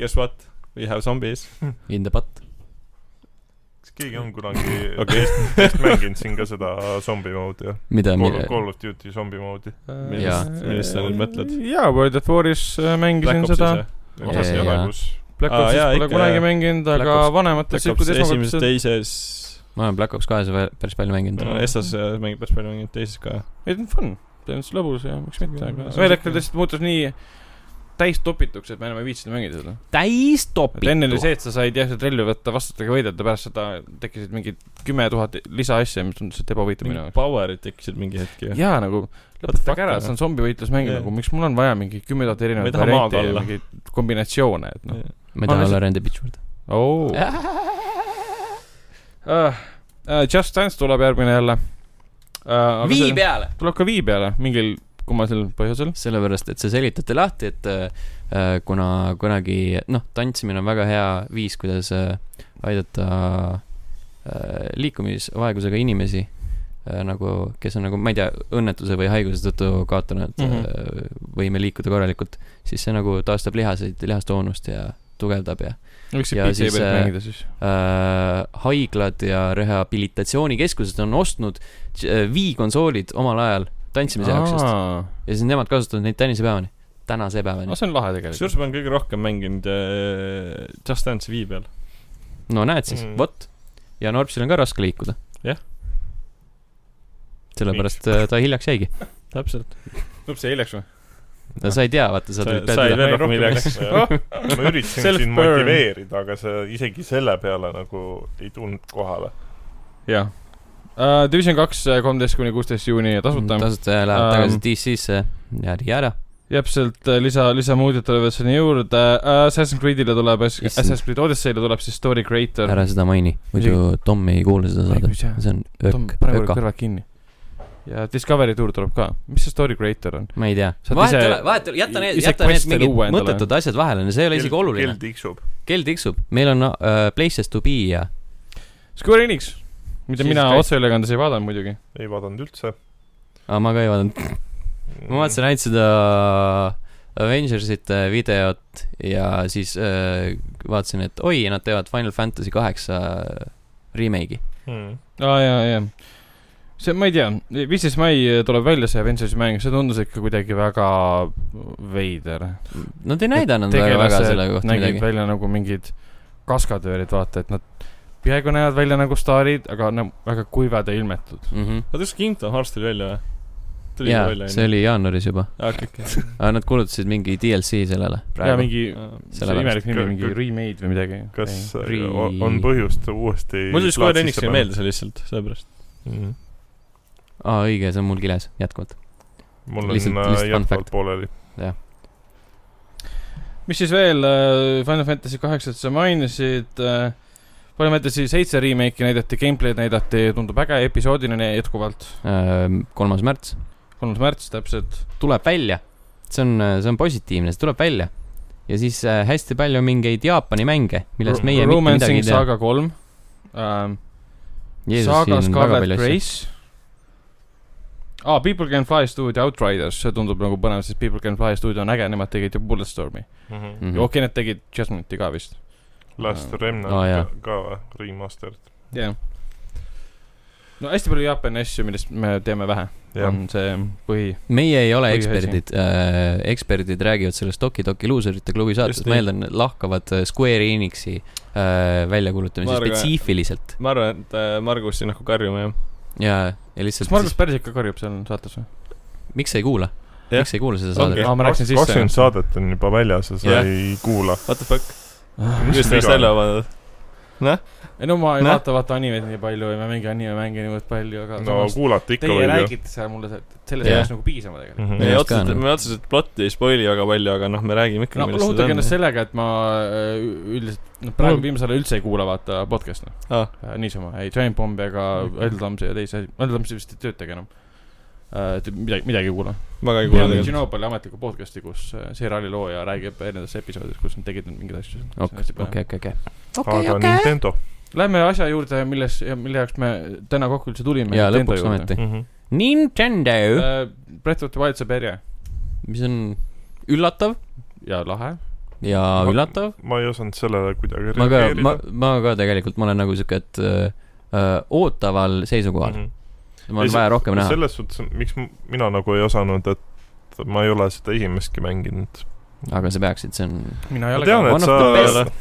[SPEAKER 5] guess what , we have zombies .
[SPEAKER 1] In the butt .
[SPEAKER 4] kas keegi on kunagi okay.
[SPEAKER 5] Okei.
[SPEAKER 4] Eest mänginud siin ka seda zombi moodi , jah ?
[SPEAKER 1] mida ,
[SPEAKER 4] Call of Duty zombi moodi .
[SPEAKER 1] Jaa.
[SPEAKER 5] millest , millest sa nüüd mõtled ?
[SPEAKER 2] jaa , World of Waris äh, mängisin seda .
[SPEAKER 4] osas
[SPEAKER 1] Jaa,
[SPEAKER 4] ei ole
[SPEAKER 1] jaa. ,
[SPEAKER 4] kus .
[SPEAKER 2] Black
[SPEAKER 5] Aa,
[SPEAKER 2] Opsis
[SPEAKER 5] jaa,
[SPEAKER 2] pole
[SPEAKER 5] ikka,
[SPEAKER 2] kunagi
[SPEAKER 5] jah.
[SPEAKER 2] mänginud ,
[SPEAKER 1] Black
[SPEAKER 2] aga
[SPEAKER 1] Ops-
[SPEAKER 2] vanemad
[SPEAKER 5] Black Ops
[SPEAKER 2] tsüklid
[SPEAKER 5] esimeses ,
[SPEAKER 2] esmakordselt .
[SPEAKER 5] teises ,
[SPEAKER 1] ma olen Black Ops kahes vä- päris palju mänginud .
[SPEAKER 5] Essas mängib päris palju , mängib teises ka .
[SPEAKER 2] ei , ta on fun , ta on siis lõbus ja miks mitte , aga
[SPEAKER 5] see on
[SPEAKER 2] ühel hetkel
[SPEAKER 5] siuke-
[SPEAKER 2] lihtsalt muutus nii täis topituks , et me enam ei viitsinud mängida seda .
[SPEAKER 1] täis
[SPEAKER 2] et enne oli
[SPEAKER 1] topitu .
[SPEAKER 2] see , et sa said jah , sealt relvi võtta , vastutega võidelda , pärast seda tekkisid mingi kümme tuhat lisaasja , mis tundus , et ebahuvitav minu
[SPEAKER 5] mingid
[SPEAKER 2] jaoks .
[SPEAKER 5] power'id tekkisid mingi hetk ju .
[SPEAKER 2] jaa , nagu
[SPEAKER 5] fuck,
[SPEAKER 2] lõpetage ära ,
[SPEAKER 5] noh.
[SPEAKER 2] see on zombivõitlusmäng
[SPEAKER 5] Jah.
[SPEAKER 2] yeah. nagu , miks mul on vaja mingi kümme tuhat
[SPEAKER 5] Ma ei
[SPEAKER 2] erinevat
[SPEAKER 5] taha maad
[SPEAKER 2] varianti ja
[SPEAKER 5] olla.
[SPEAKER 2] mingeid kombinatsioone , et noh . Oh.
[SPEAKER 1] ma
[SPEAKER 2] Ma
[SPEAKER 1] ei taha
[SPEAKER 2] olen
[SPEAKER 1] olla rände bitch word .
[SPEAKER 2] oo . Ah, Just Dance tuleb järgmine jälle .
[SPEAKER 1] vii . peale .
[SPEAKER 2] tuleb ka vii peale mingil kummalisel põhjusel .
[SPEAKER 1] sellepärast , et sa selgitate lahti , et äh, kuna kunagi , noh , tantsimine on väga hea viis , kuidas äh, aidata äh, liikumisvaegusega inimesi äh, nagu , kes on nagu , ma ei tea , õnnetuse või haiguse tõttu kaotanud mm
[SPEAKER 2] Mhm.
[SPEAKER 1] -hmm. võime liikuda korralikult , siis see nagu taastab lihaseid , lihastoonust ja tugevdab ja
[SPEAKER 2] võiks
[SPEAKER 1] Ja
[SPEAKER 2] siit
[SPEAKER 1] siis,
[SPEAKER 2] PC pealt
[SPEAKER 1] äh,
[SPEAKER 2] mängida siis .
[SPEAKER 1] äh, haiglad ja rehabilitatsioonikeskused on ostnud äh, Wii konsoolid omal ajal tantsimise jaoks just
[SPEAKER 2] aga
[SPEAKER 1] ja siis nemad kasutavad neid tänisepäevani , tänase päevani .
[SPEAKER 2] see on lahe tegelikult .
[SPEAKER 5] kusjuures ma olen kõige rohkem mänginud äh, Just Dance'i vii peal .
[SPEAKER 1] no näed siis
[SPEAKER 4] Mm.
[SPEAKER 1] mm. , vot . ja Norpsil on ka raske liikuda .
[SPEAKER 5] Jah.
[SPEAKER 1] sellepärast äh, ta hiljaks jäigi .
[SPEAKER 5] täpselt .
[SPEAKER 2] tuleb see hiljaks või ?
[SPEAKER 1] sa ei tea , vaata , sa
[SPEAKER 5] Sa-
[SPEAKER 1] tulid Mm.
[SPEAKER 5] sa ei
[SPEAKER 1] pead üle .
[SPEAKER 5] veel rohkem hiljaks.
[SPEAKER 4] Oh. ma üritasin sind
[SPEAKER 5] Self-burn.
[SPEAKER 4] motiveerida , aga sa isegi selle peale nagu ei tulnud kohale .
[SPEAKER 2] jah . Ah, Division kaks , kolmteist kuni kuusteist juuni tasuta .
[SPEAKER 1] Mm, tasuta ja läheb tagasi
[SPEAKER 2] Ähm.
[SPEAKER 1] DC-sse ja nii ära .
[SPEAKER 2] täpselt , äh, lisa , lisamuudid tulevad sinna juurde uh, . Assassin's Creed'ile tuleb ,
[SPEAKER 1] Issand.
[SPEAKER 2] Assassin's Creed Odyssey'le tuleb siis story creator .
[SPEAKER 1] ära seda maini , muidu Tom ei kuule seda saadet . see on öök ,
[SPEAKER 2] pane
[SPEAKER 1] öka .
[SPEAKER 2] kõrvad kinni . ja Discovery Tour tuleb ka . mis see story creator on ?
[SPEAKER 1] ma ei tea .
[SPEAKER 2] Saad
[SPEAKER 1] vahet
[SPEAKER 2] ise-
[SPEAKER 1] ei ole , vahet ei ole , jäta need ,
[SPEAKER 2] ise
[SPEAKER 1] jäta need
[SPEAKER 2] quest'e luua
[SPEAKER 1] mingid
[SPEAKER 2] endale.
[SPEAKER 1] mõttetud asjad vahele , see ei ole isegi oluline
[SPEAKER 4] kell . tiksub .
[SPEAKER 1] kell tiksub , meil on uh, Places to be ja
[SPEAKER 2] Square Enix , mida
[SPEAKER 1] Siis
[SPEAKER 2] mina
[SPEAKER 1] kõik-
[SPEAKER 2] otseülekandes ei vaadanud muidugi .
[SPEAKER 4] ei vaadanud üldse .
[SPEAKER 1] ah, , ma ka ei vaadanud , ma vaatasin ainult seda Avengersite äh, videot ja siis äh, vaatasin , et oi , nad teevad Final Fantasy kaheksa äh, remake'i .
[SPEAKER 4] mm. .
[SPEAKER 2] aa , jaa , jaa . see , ma ei tea , viisteist mai äh, tuleb välja see Avengersi mäng , see tundus ikka kuidagi väga veider .
[SPEAKER 1] Nad ei näidanud väga, väga selle kohta
[SPEAKER 2] nägid
[SPEAKER 1] midagi .
[SPEAKER 2] välja nagu mingid kaskadöörid , vaata , et nad peaaegu näevad välja nagu staarid , aga no väga kuivad ja ilmetud .
[SPEAKER 1] Mm -hmm.
[SPEAKER 5] oota , kas Kingdom Hearts tuli välja või ? tuli
[SPEAKER 1] jaa
[SPEAKER 5] juba , välja ,
[SPEAKER 1] see
[SPEAKER 5] onju ?
[SPEAKER 1] oli jaanuaris juba ,
[SPEAKER 5] aa , kõik jah . Ah,
[SPEAKER 1] aga nad kuulutasid mingi DLC sellele
[SPEAKER 2] ja
[SPEAKER 1] praegu .
[SPEAKER 2] mingi , see
[SPEAKER 1] Sellepärast.
[SPEAKER 2] imelik nimi ,
[SPEAKER 4] Kõ-
[SPEAKER 2] mingi
[SPEAKER 4] kõ-
[SPEAKER 2] remade või midagi .
[SPEAKER 4] kas
[SPEAKER 1] Ei.
[SPEAKER 4] ei, on põhjust uuesti ?
[SPEAKER 5] mul tuli Square Enix ei meeldi see lihtsalt , sellepärast .
[SPEAKER 4] mm. .
[SPEAKER 1] aa , õige , see on mul kiles jätkuvalt .
[SPEAKER 4] mul on
[SPEAKER 1] Lihtsalt-
[SPEAKER 4] lihtsalt,
[SPEAKER 1] lihtsalt
[SPEAKER 4] lihtsalt
[SPEAKER 1] fun fact.
[SPEAKER 4] jätkuvalt pooleli .
[SPEAKER 2] mis siis veel , Final Fantasy kaheksat sa mainisid , Final Fantasy seitse remake'i näidati , gameplay'd näidati , tundub äge , episoodiline jätkuvalt ,
[SPEAKER 1] Äh, kolmas märts
[SPEAKER 2] kolmas märts täpselt .
[SPEAKER 1] tuleb välja . see on , see on positiivne , see tuleb välja . ja siis äh, hästi palju mingeid Jaapani mänge , millest meie mitte midagi ei
[SPEAKER 2] Romancing
[SPEAKER 1] tea .
[SPEAKER 2] Saga kolm ähm, ,
[SPEAKER 1] Jeesus ,
[SPEAKER 2] Saga
[SPEAKER 1] siin on väga
[SPEAKER 2] Scarlet
[SPEAKER 1] palju asju .
[SPEAKER 2] Grace . aa , People Can Fly stuudio Outriders , see tundub nagu põnev , sest People Can Fly stuudio on äge , nemad tegid ju Bulletstormi .
[SPEAKER 1] Mhm.
[SPEAKER 2] okei , nad tegid Judgment'i ka vist .
[SPEAKER 4] Last
[SPEAKER 2] Ah.
[SPEAKER 4] Remnant
[SPEAKER 1] Aa, jaa.
[SPEAKER 4] ka, ka või? remastered .
[SPEAKER 2] jah . no hästi palju Jaapani asju , millest me teame vähe ,
[SPEAKER 4] jah ,
[SPEAKER 1] Mm.
[SPEAKER 2] on see põhi
[SPEAKER 1] meie ei ole
[SPEAKER 2] Oi,
[SPEAKER 1] eksperdid , eksperdid räägivad sellest Toki Toki luuserite klubi saates
[SPEAKER 5] Just ,
[SPEAKER 1] ma
[SPEAKER 5] nii.
[SPEAKER 1] eeldan , lahkavad äh, Square Enixi äh, väljakuulutamise
[SPEAKER 5] Marga-
[SPEAKER 1] spetsiifiliselt
[SPEAKER 5] ma arvan , et äh, Margus siin hakkab karjuma jah .
[SPEAKER 1] ja , ja
[SPEAKER 2] kas
[SPEAKER 1] lihtsalt
[SPEAKER 2] Margus
[SPEAKER 1] siis,
[SPEAKER 2] päris ikka karjub seal saates või ?
[SPEAKER 1] miks sa ei kuula ,
[SPEAKER 5] Jah.
[SPEAKER 1] miks sa ei kuula seda saadet
[SPEAKER 2] Aa, ma rääkisin sisse.
[SPEAKER 4] kakskümmend saadet on juba väljas ja sa
[SPEAKER 5] Jah.
[SPEAKER 4] yeah. ei kuula .
[SPEAKER 5] What the fuck ?
[SPEAKER 4] Mis
[SPEAKER 5] just
[SPEAKER 4] viga
[SPEAKER 5] ennast
[SPEAKER 4] on?
[SPEAKER 5] välja vaadanud .
[SPEAKER 2] ei no ma ei
[SPEAKER 5] Näh.
[SPEAKER 2] vaata , vaata animeid nii palju ja ma ei mängi animemänge niivõrd palju , aga
[SPEAKER 4] no
[SPEAKER 2] samas
[SPEAKER 4] kuulata ikka
[SPEAKER 2] teie
[SPEAKER 4] võib ju .
[SPEAKER 2] räägite seal mulle , selles
[SPEAKER 1] Jah.
[SPEAKER 2] ei oleks nagu piisama tegelikult .
[SPEAKER 4] Mhm.
[SPEAKER 5] ei
[SPEAKER 1] Jah, ka
[SPEAKER 5] otseselt ,
[SPEAKER 1] on.
[SPEAKER 5] me otseselt plotti ei spoil'i väga palju , aga noh , me räägime ikka
[SPEAKER 2] no lohutage ennast . sellega , et ma äh, üldiselt , noh praegu
[SPEAKER 1] Mul-
[SPEAKER 2] viimasel ajal üldse ei kuula vaata podcast'e
[SPEAKER 5] Ah,
[SPEAKER 2] Äh, niisama , ei Giant Bombi ega
[SPEAKER 1] Mm.
[SPEAKER 2] Eldamsi ja teisi , Eldamsi vist ei töötagi enam . et midagi , midagi ei kuula .
[SPEAKER 5] väga ei kuule tegelikult .
[SPEAKER 2] Tšernobõli ametlikku podcast'i , kus äh, seriaali looja räägib erinevates episoodides , kus nad tegid mingeid asju .
[SPEAKER 1] okei , okei , okei .
[SPEAKER 4] aga Nintendo .
[SPEAKER 2] Lähme asja juurde , milles , mille jaoks me täna kokku üldse tulime .
[SPEAKER 1] ja lõpuks . ometi .
[SPEAKER 4] Mhm.
[SPEAKER 1] Nintendo ,
[SPEAKER 2] Breath of the Wild saab järje
[SPEAKER 1] mis on üllatav
[SPEAKER 2] ja lahe .
[SPEAKER 1] ja üllatav .
[SPEAKER 4] ma ei osanud sellele kuidagi
[SPEAKER 1] ma ka ,
[SPEAKER 4] reageerida
[SPEAKER 1] ma , ma ka tegelikult , ma olen nagu sihuke , et äh, ootaval seisukohal mm ,
[SPEAKER 4] Mhm.
[SPEAKER 1] -hmm. mul on
[SPEAKER 4] Ei,
[SPEAKER 1] vaja rohkem näha .
[SPEAKER 4] selles suhtes , miks m- mina nagu ei osanud , et ma ei ole seda esimestki mänginud .
[SPEAKER 1] aga sa peaksid , see on
[SPEAKER 2] mina ei
[SPEAKER 4] ma
[SPEAKER 2] ole
[SPEAKER 4] tean ,
[SPEAKER 1] One
[SPEAKER 4] et
[SPEAKER 1] of the
[SPEAKER 4] sa
[SPEAKER 1] best. ,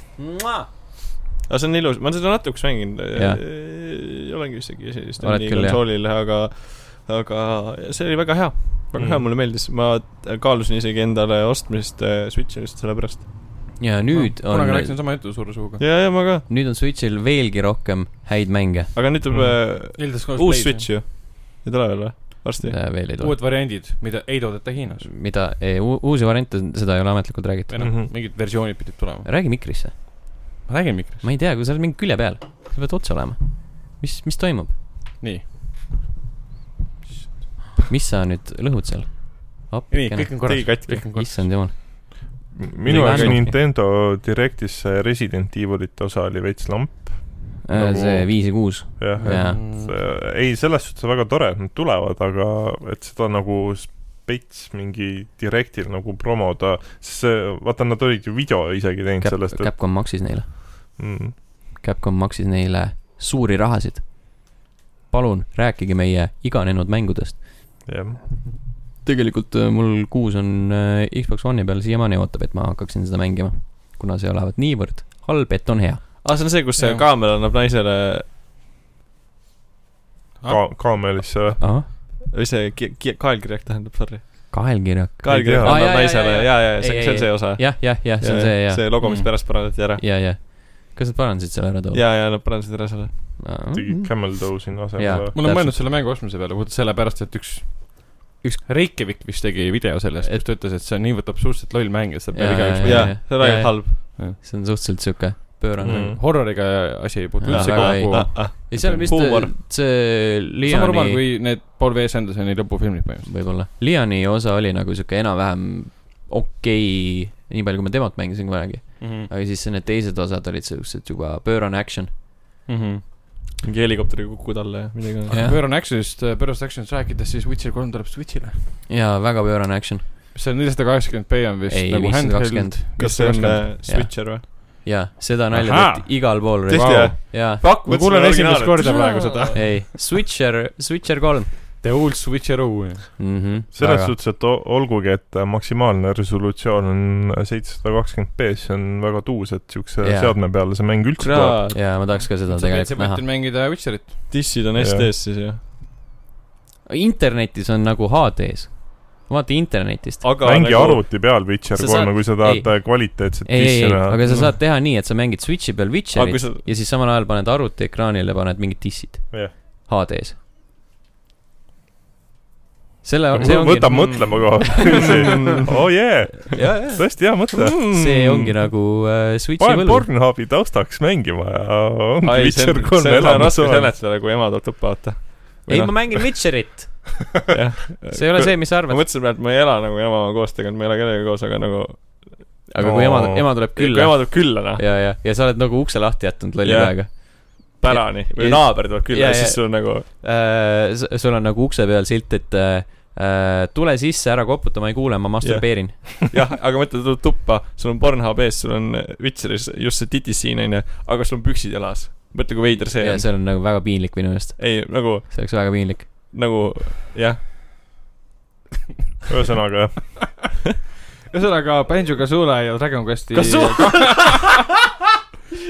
[SPEAKER 5] aga see on ilus , ma olen seda natukene mänginud
[SPEAKER 1] Jah. .
[SPEAKER 5] olengi isegi sellist
[SPEAKER 1] Oled küll, jah.
[SPEAKER 5] konsoolil , aga , aga see oli väga hea , väga mm. hea ,
[SPEAKER 4] Mm.
[SPEAKER 5] mulle meeldis , ma kaalusin isegi endale ostmist äh, Switchi lihtsalt sellepärast .
[SPEAKER 1] Ah. ja nüüd
[SPEAKER 2] on . kunagi
[SPEAKER 1] on ,
[SPEAKER 2] rääkisin sama juttu suure suuga .
[SPEAKER 5] ja , ja ma ka ,
[SPEAKER 1] nüüd on Switch'il veelgi rohkem häid mänge .
[SPEAKER 5] aga nüüd tuleb mm. äh, uus Switch . ju . ei tule veel või ? varsti .
[SPEAKER 1] veel ei tule .
[SPEAKER 2] uued variandid , mida ei toodeta Hiinas .
[SPEAKER 1] mida , uusi variante , seda ei ole ametlikult räägitud .
[SPEAKER 2] või noh
[SPEAKER 4] Mhm. ,
[SPEAKER 2] mingid versioonid pidid tulema .
[SPEAKER 1] räägi mikrisse .
[SPEAKER 2] ma räägin mikris .
[SPEAKER 1] ma ei tea , kui sa oled mingi külje peal , sa pead otse olema . mis , mis toimub ?
[SPEAKER 2] nii ,
[SPEAKER 1] mis sa nüüd lõhud seal ?
[SPEAKER 2] nii , kõik on korras
[SPEAKER 5] tegi . katki .
[SPEAKER 2] kõik on korras .
[SPEAKER 1] issand jumal .
[SPEAKER 4] minu jaoks
[SPEAKER 1] Nintendo.
[SPEAKER 4] Nintendo Directis see Resident Evilite osa oli veits lamp , Nagu-
[SPEAKER 1] Äh, see viis ja kuus .
[SPEAKER 4] jah .
[SPEAKER 1] Jaa.
[SPEAKER 4] äh, ei , selles suhtes on väga tore , et nad tulevad , aga et seda nagu spets mingi Directil nagu promoda , sest see , vaata , nad olid ju video isegi teinud Cap, sellest , et
[SPEAKER 1] Capcom maksis neile .
[SPEAKER 4] mm,
[SPEAKER 1] Capcom maksis neile suuri rahasid . palun rääkige meie iganenud mängudest .
[SPEAKER 4] jah ,
[SPEAKER 1] tegelikult äh, mul kuus on äh, Xbox One'i peal siiamaani ootab , et ma hakkaksin seda mängima , kuna see olevat niivõrd halb , et on hea .
[SPEAKER 5] aa , Ah, see on see , kus see
[SPEAKER 2] Jah.
[SPEAKER 5] kaamera annab naisele
[SPEAKER 4] ka- , kaamelisse või ?
[SPEAKER 1] ahah ,
[SPEAKER 5] või see ki- ki- kaelkirjak tähendab , sorry .
[SPEAKER 1] kaelkirjak .
[SPEAKER 5] kaelkirjak
[SPEAKER 1] Aa,
[SPEAKER 5] annab
[SPEAKER 1] Ah, jaa, jaa,
[SPEAKER 5] naisele
[SPEAKER 1] jaa,
[SPEAKER 5] ja , ja ,
[SPEAKER 1] Ei,
[SPEAKER 5] ja see ,
[SPEAKER 1] ei,
[SPEAKER 5] see on
[SPEAKER 1] ei.
[SPEAKER 5] see osa .
[SPEAKER 1] jah , jah , jah , see on see , Mm. jah .
[SPEAKER 5] see logo , mis pärast parandati ära .
[SPEAKER 1] ja , ja . kas nad parandasid selle ära mm, too ?
[SPEAKER 5] ja , ja nad parandasid ära selle .
[SPEAKER 4] tegi Camel Toe sinna
[SPEAKER 1] Mhm. Jaa.
[SPEAKER 4] asemele .
[SPEAKER 2] ma olen
[SPEAKER 1] Täpselt.
[SPEAKER 2] mõelnud selle mängu ostmise peale , puhtalt sellepärast , et üks , üks Reikjavik vist tegi video sellest , kus ta ütles , et see on niivõrd absurdselt loll mäng , et seda peab igaüks
[SPEAKER 1] Jaa,
[SPEAKER 5] jaa
[SPEAKER 1] jaa. ,
[SPEAKER 5] see on väga
[SPEAKER 1] Jaa,
[SPEAKER 5] halb .
[SPEAKER 1] see on suhteliselt sihuke pöörane mm. .
[SPEAKER 2] mängima . horroriga asi ei puutu
[SPEAKER 1] Jaa,
[SPEAKER 2] üldse
[SPEAKER 1] väga ei-
[SPEAKER 2] kokku .
[SPEAKER 5] Ah,
[SPEAKER 1] ei , seal vist äh,
[SPEAKER 5] Huumor.
[SPEAKER 1] see
[SPEAKER 2] sama rumal
[SPEAKER 1] Leoni ,
[SPEAKER 2] kui need Paul V. Sandersoni lõpufilmid põhimõtteliselt .
[SPEAKER 1] võib-olla , Leoni osa oli nagu sihuke enam-vähem okei okay, , nii palju , kui ma temalt mängisin kunagi .
[SPEAKER 5] Mm-hmm.
[SPEAKER 1] aga siis need teised osad olid siuksed juba pöörane action .
[SPEAKER 2] Mhm.
[SPEAKER 5] Mm-hmm. mingi helikopteriga kukud alla ja midagi .
[SPEAKER 1] Jah.
[SPEAKER 2] pöörane action'ist , pöörast action'ist rääkides , siis Witcher kolm tuleb Switch'ile .
[SPEAKER 1] jaa , väga pöörane action .
[SPEAKER 2] see on nelisada kaheksakümmend P on vist
[SPEAKER 1] ei ,
[SPEAKER 2] nagu
[SPEAKER 1] viissada
[SPEAKER 2] handheld .
[SPEAKER 1] kakskümmend .
[SPEAKER 5] kas see on äh, Switcher või ?
[SPEAKER 1] jaa , seda nalja
[SPEAKER 4] Ahaa!
[SPEAKER 1] tehti igal pool .
[SPEAKER 5] Tõesti, jah?
[SPEAKER 1] jaa ,
[SPEAKER 5] Fuck
[SPEAKER 2] ma kuulen esimest . korda praegu seda .
[SPEAKER 1] ei , Switcher , Switcher kolm
[SPEAKER 2] The old Switcheroo .
[SPEAKER 1] mm .
[SPEAKER 5] Mhm.
[SPEAKER 1] -hmm,
[SPEAKER 4] selles suhtes , et o- olgugi , et äh, maksimaalne resolutsioon on seitsesada kakskümmend B , see on väga tuus , et siukse
[SPEAKER 1] Jaa.
[SPEAKER 4] yeah. seadme peale see mäng üldse tuleb .
[SPEAKER 5] kurat ,
[SPEAKER 1] jaa , ma tahaks ka seda
[SPEAKER 2] sa pead , sa
[SPEAKER 1] tegelikult näha
[SPEAKER 2] pead . mängida
[SPEAKER 5] äh,
[SPEAKER 2] Witcherit .
[SPEAKER 5] dissid on
[SPEAKER 4] Jah.
[SPEAKER 5] SD-s siis ju .
[SPEAKER 1] internetis on nagu HD-s . vaata internetist .
[SPEAKER 5] aga
[SPEAKER 4] mängi nagu... . arvuti peal Witcher
[SPEAKER 1] Sa
[SPEAKER 4] kolme
[SPEAKER 1] saad- ,
[SPEAKER 4] kui sa tahad ei. kvaliteetset
[SPEAKER 1] ei , ei ,
[SPEAKER 4] dissi
[SPEAKER 1] ei ,
[SPEAKER 4] näha .
[SPEAKER 1] aga sa saad teha nii , et sa mängid Switch'i peal
[SPEAKER 5] aga
[SPEAKER 1] Witcherit
[SPEAKER 5] kui sa ,
[SPEAKER 1] ja siis samal ajal paned arvutiekraanile , paned mingid dissid
[SPEAKER 4] Jah.
[SPEAKER 1] HD-s . selle , see
[SPEAKER 4] Võ-
[SPEAKER 1] ongi ,
[SPEAKER 4] võta Oh, mõtlema kohe . oo jee , tõesti hea mõte .
[SPEAKER 5] Mm.
[SPEAKER 1] see ongi nagu äh, Switch'i
[SPEAKER 4] panen
[SPEAKER 1] võlu .
[SPEAKER 4] Pornhubi taustaks mängima ja ongi
[SPEAKER 5] ai , see
[SPEAKER 4] Witcher
[SPEAKER 5] on ,
[SPEAKER 4] kolme
[SPEAKER 5] see on
[SPEAKER 4] elamus
[SPEAKER 5] raske
[SPEAKER 4] olemas .
[SPEAKER 5] seletada , kui ema tuleb tuppa , vaata .
[SPEAKER 1] ei , ma mängin Witcherit ,
[SPEAKER 5] jah .
[SPEAKER 1] see ei ole see , mis sa
[SPEAKER 5] ma
[SPEAKER 1] arvad .
[SPEAKER 5] mõtlesin , et ma ei ela nagu emaga koos tegelikult , ma ei ela kellegagi koos , aga nagu
[SPEAKER 1] aga kui ema
[SPEAKER 4] No. ,
[SPEAKER 1] ema tuleb
[SPEAKER 5] kui ema
[SPEAKER 1] külla
[SPEAKER 5] tuleb külla , noh ,
[SPEAKER 1] ja , ja , ja sa oled nagu ukse lahti jätnud lolli
[SPEAKER 5] Jah.
[SPEAKER 1] käega .
[SPEAKER 5] pärani või
[SPEAKER 1] ja-
[SPEAKER 5] naaber tuleb
[SPEAKER 1] ja-
[SPEAKER 5] külla ja
[SPEAKER 1] ja-
[SPEAKER 5] siis sul on nagu ,
[SPEAKER 1] sul on nagu ukse peal silt , et äh, äh, tule sisse , ära koputa , ma ei kuule , ma masturbeerin .
[SPEAKER 5] jah , aga mõtle , tuleb tuppa , sul on Pornhub ees , sul on eh, Witcheris just see titissiin , onju , aga sul on püksid jalas . mõtle , kui veider see
[SPEAKER 1] ja
[SPEAKER 5] on .
[SPEAKER 1] see on nagu väga piinlik minu meelest ,
[SPEAKER 5] ei , nagu ,
[SPEAKER 1] see oleks väga piinlik .
[SPEAKER 5] nagu jah ,
[SPEAKER 4] ühesõnaga jah ,
[SPEAKER 2] ühesõnaga Banjo Kazoola ja Dragon Questi .
[SPEAKER 5] Kazoo-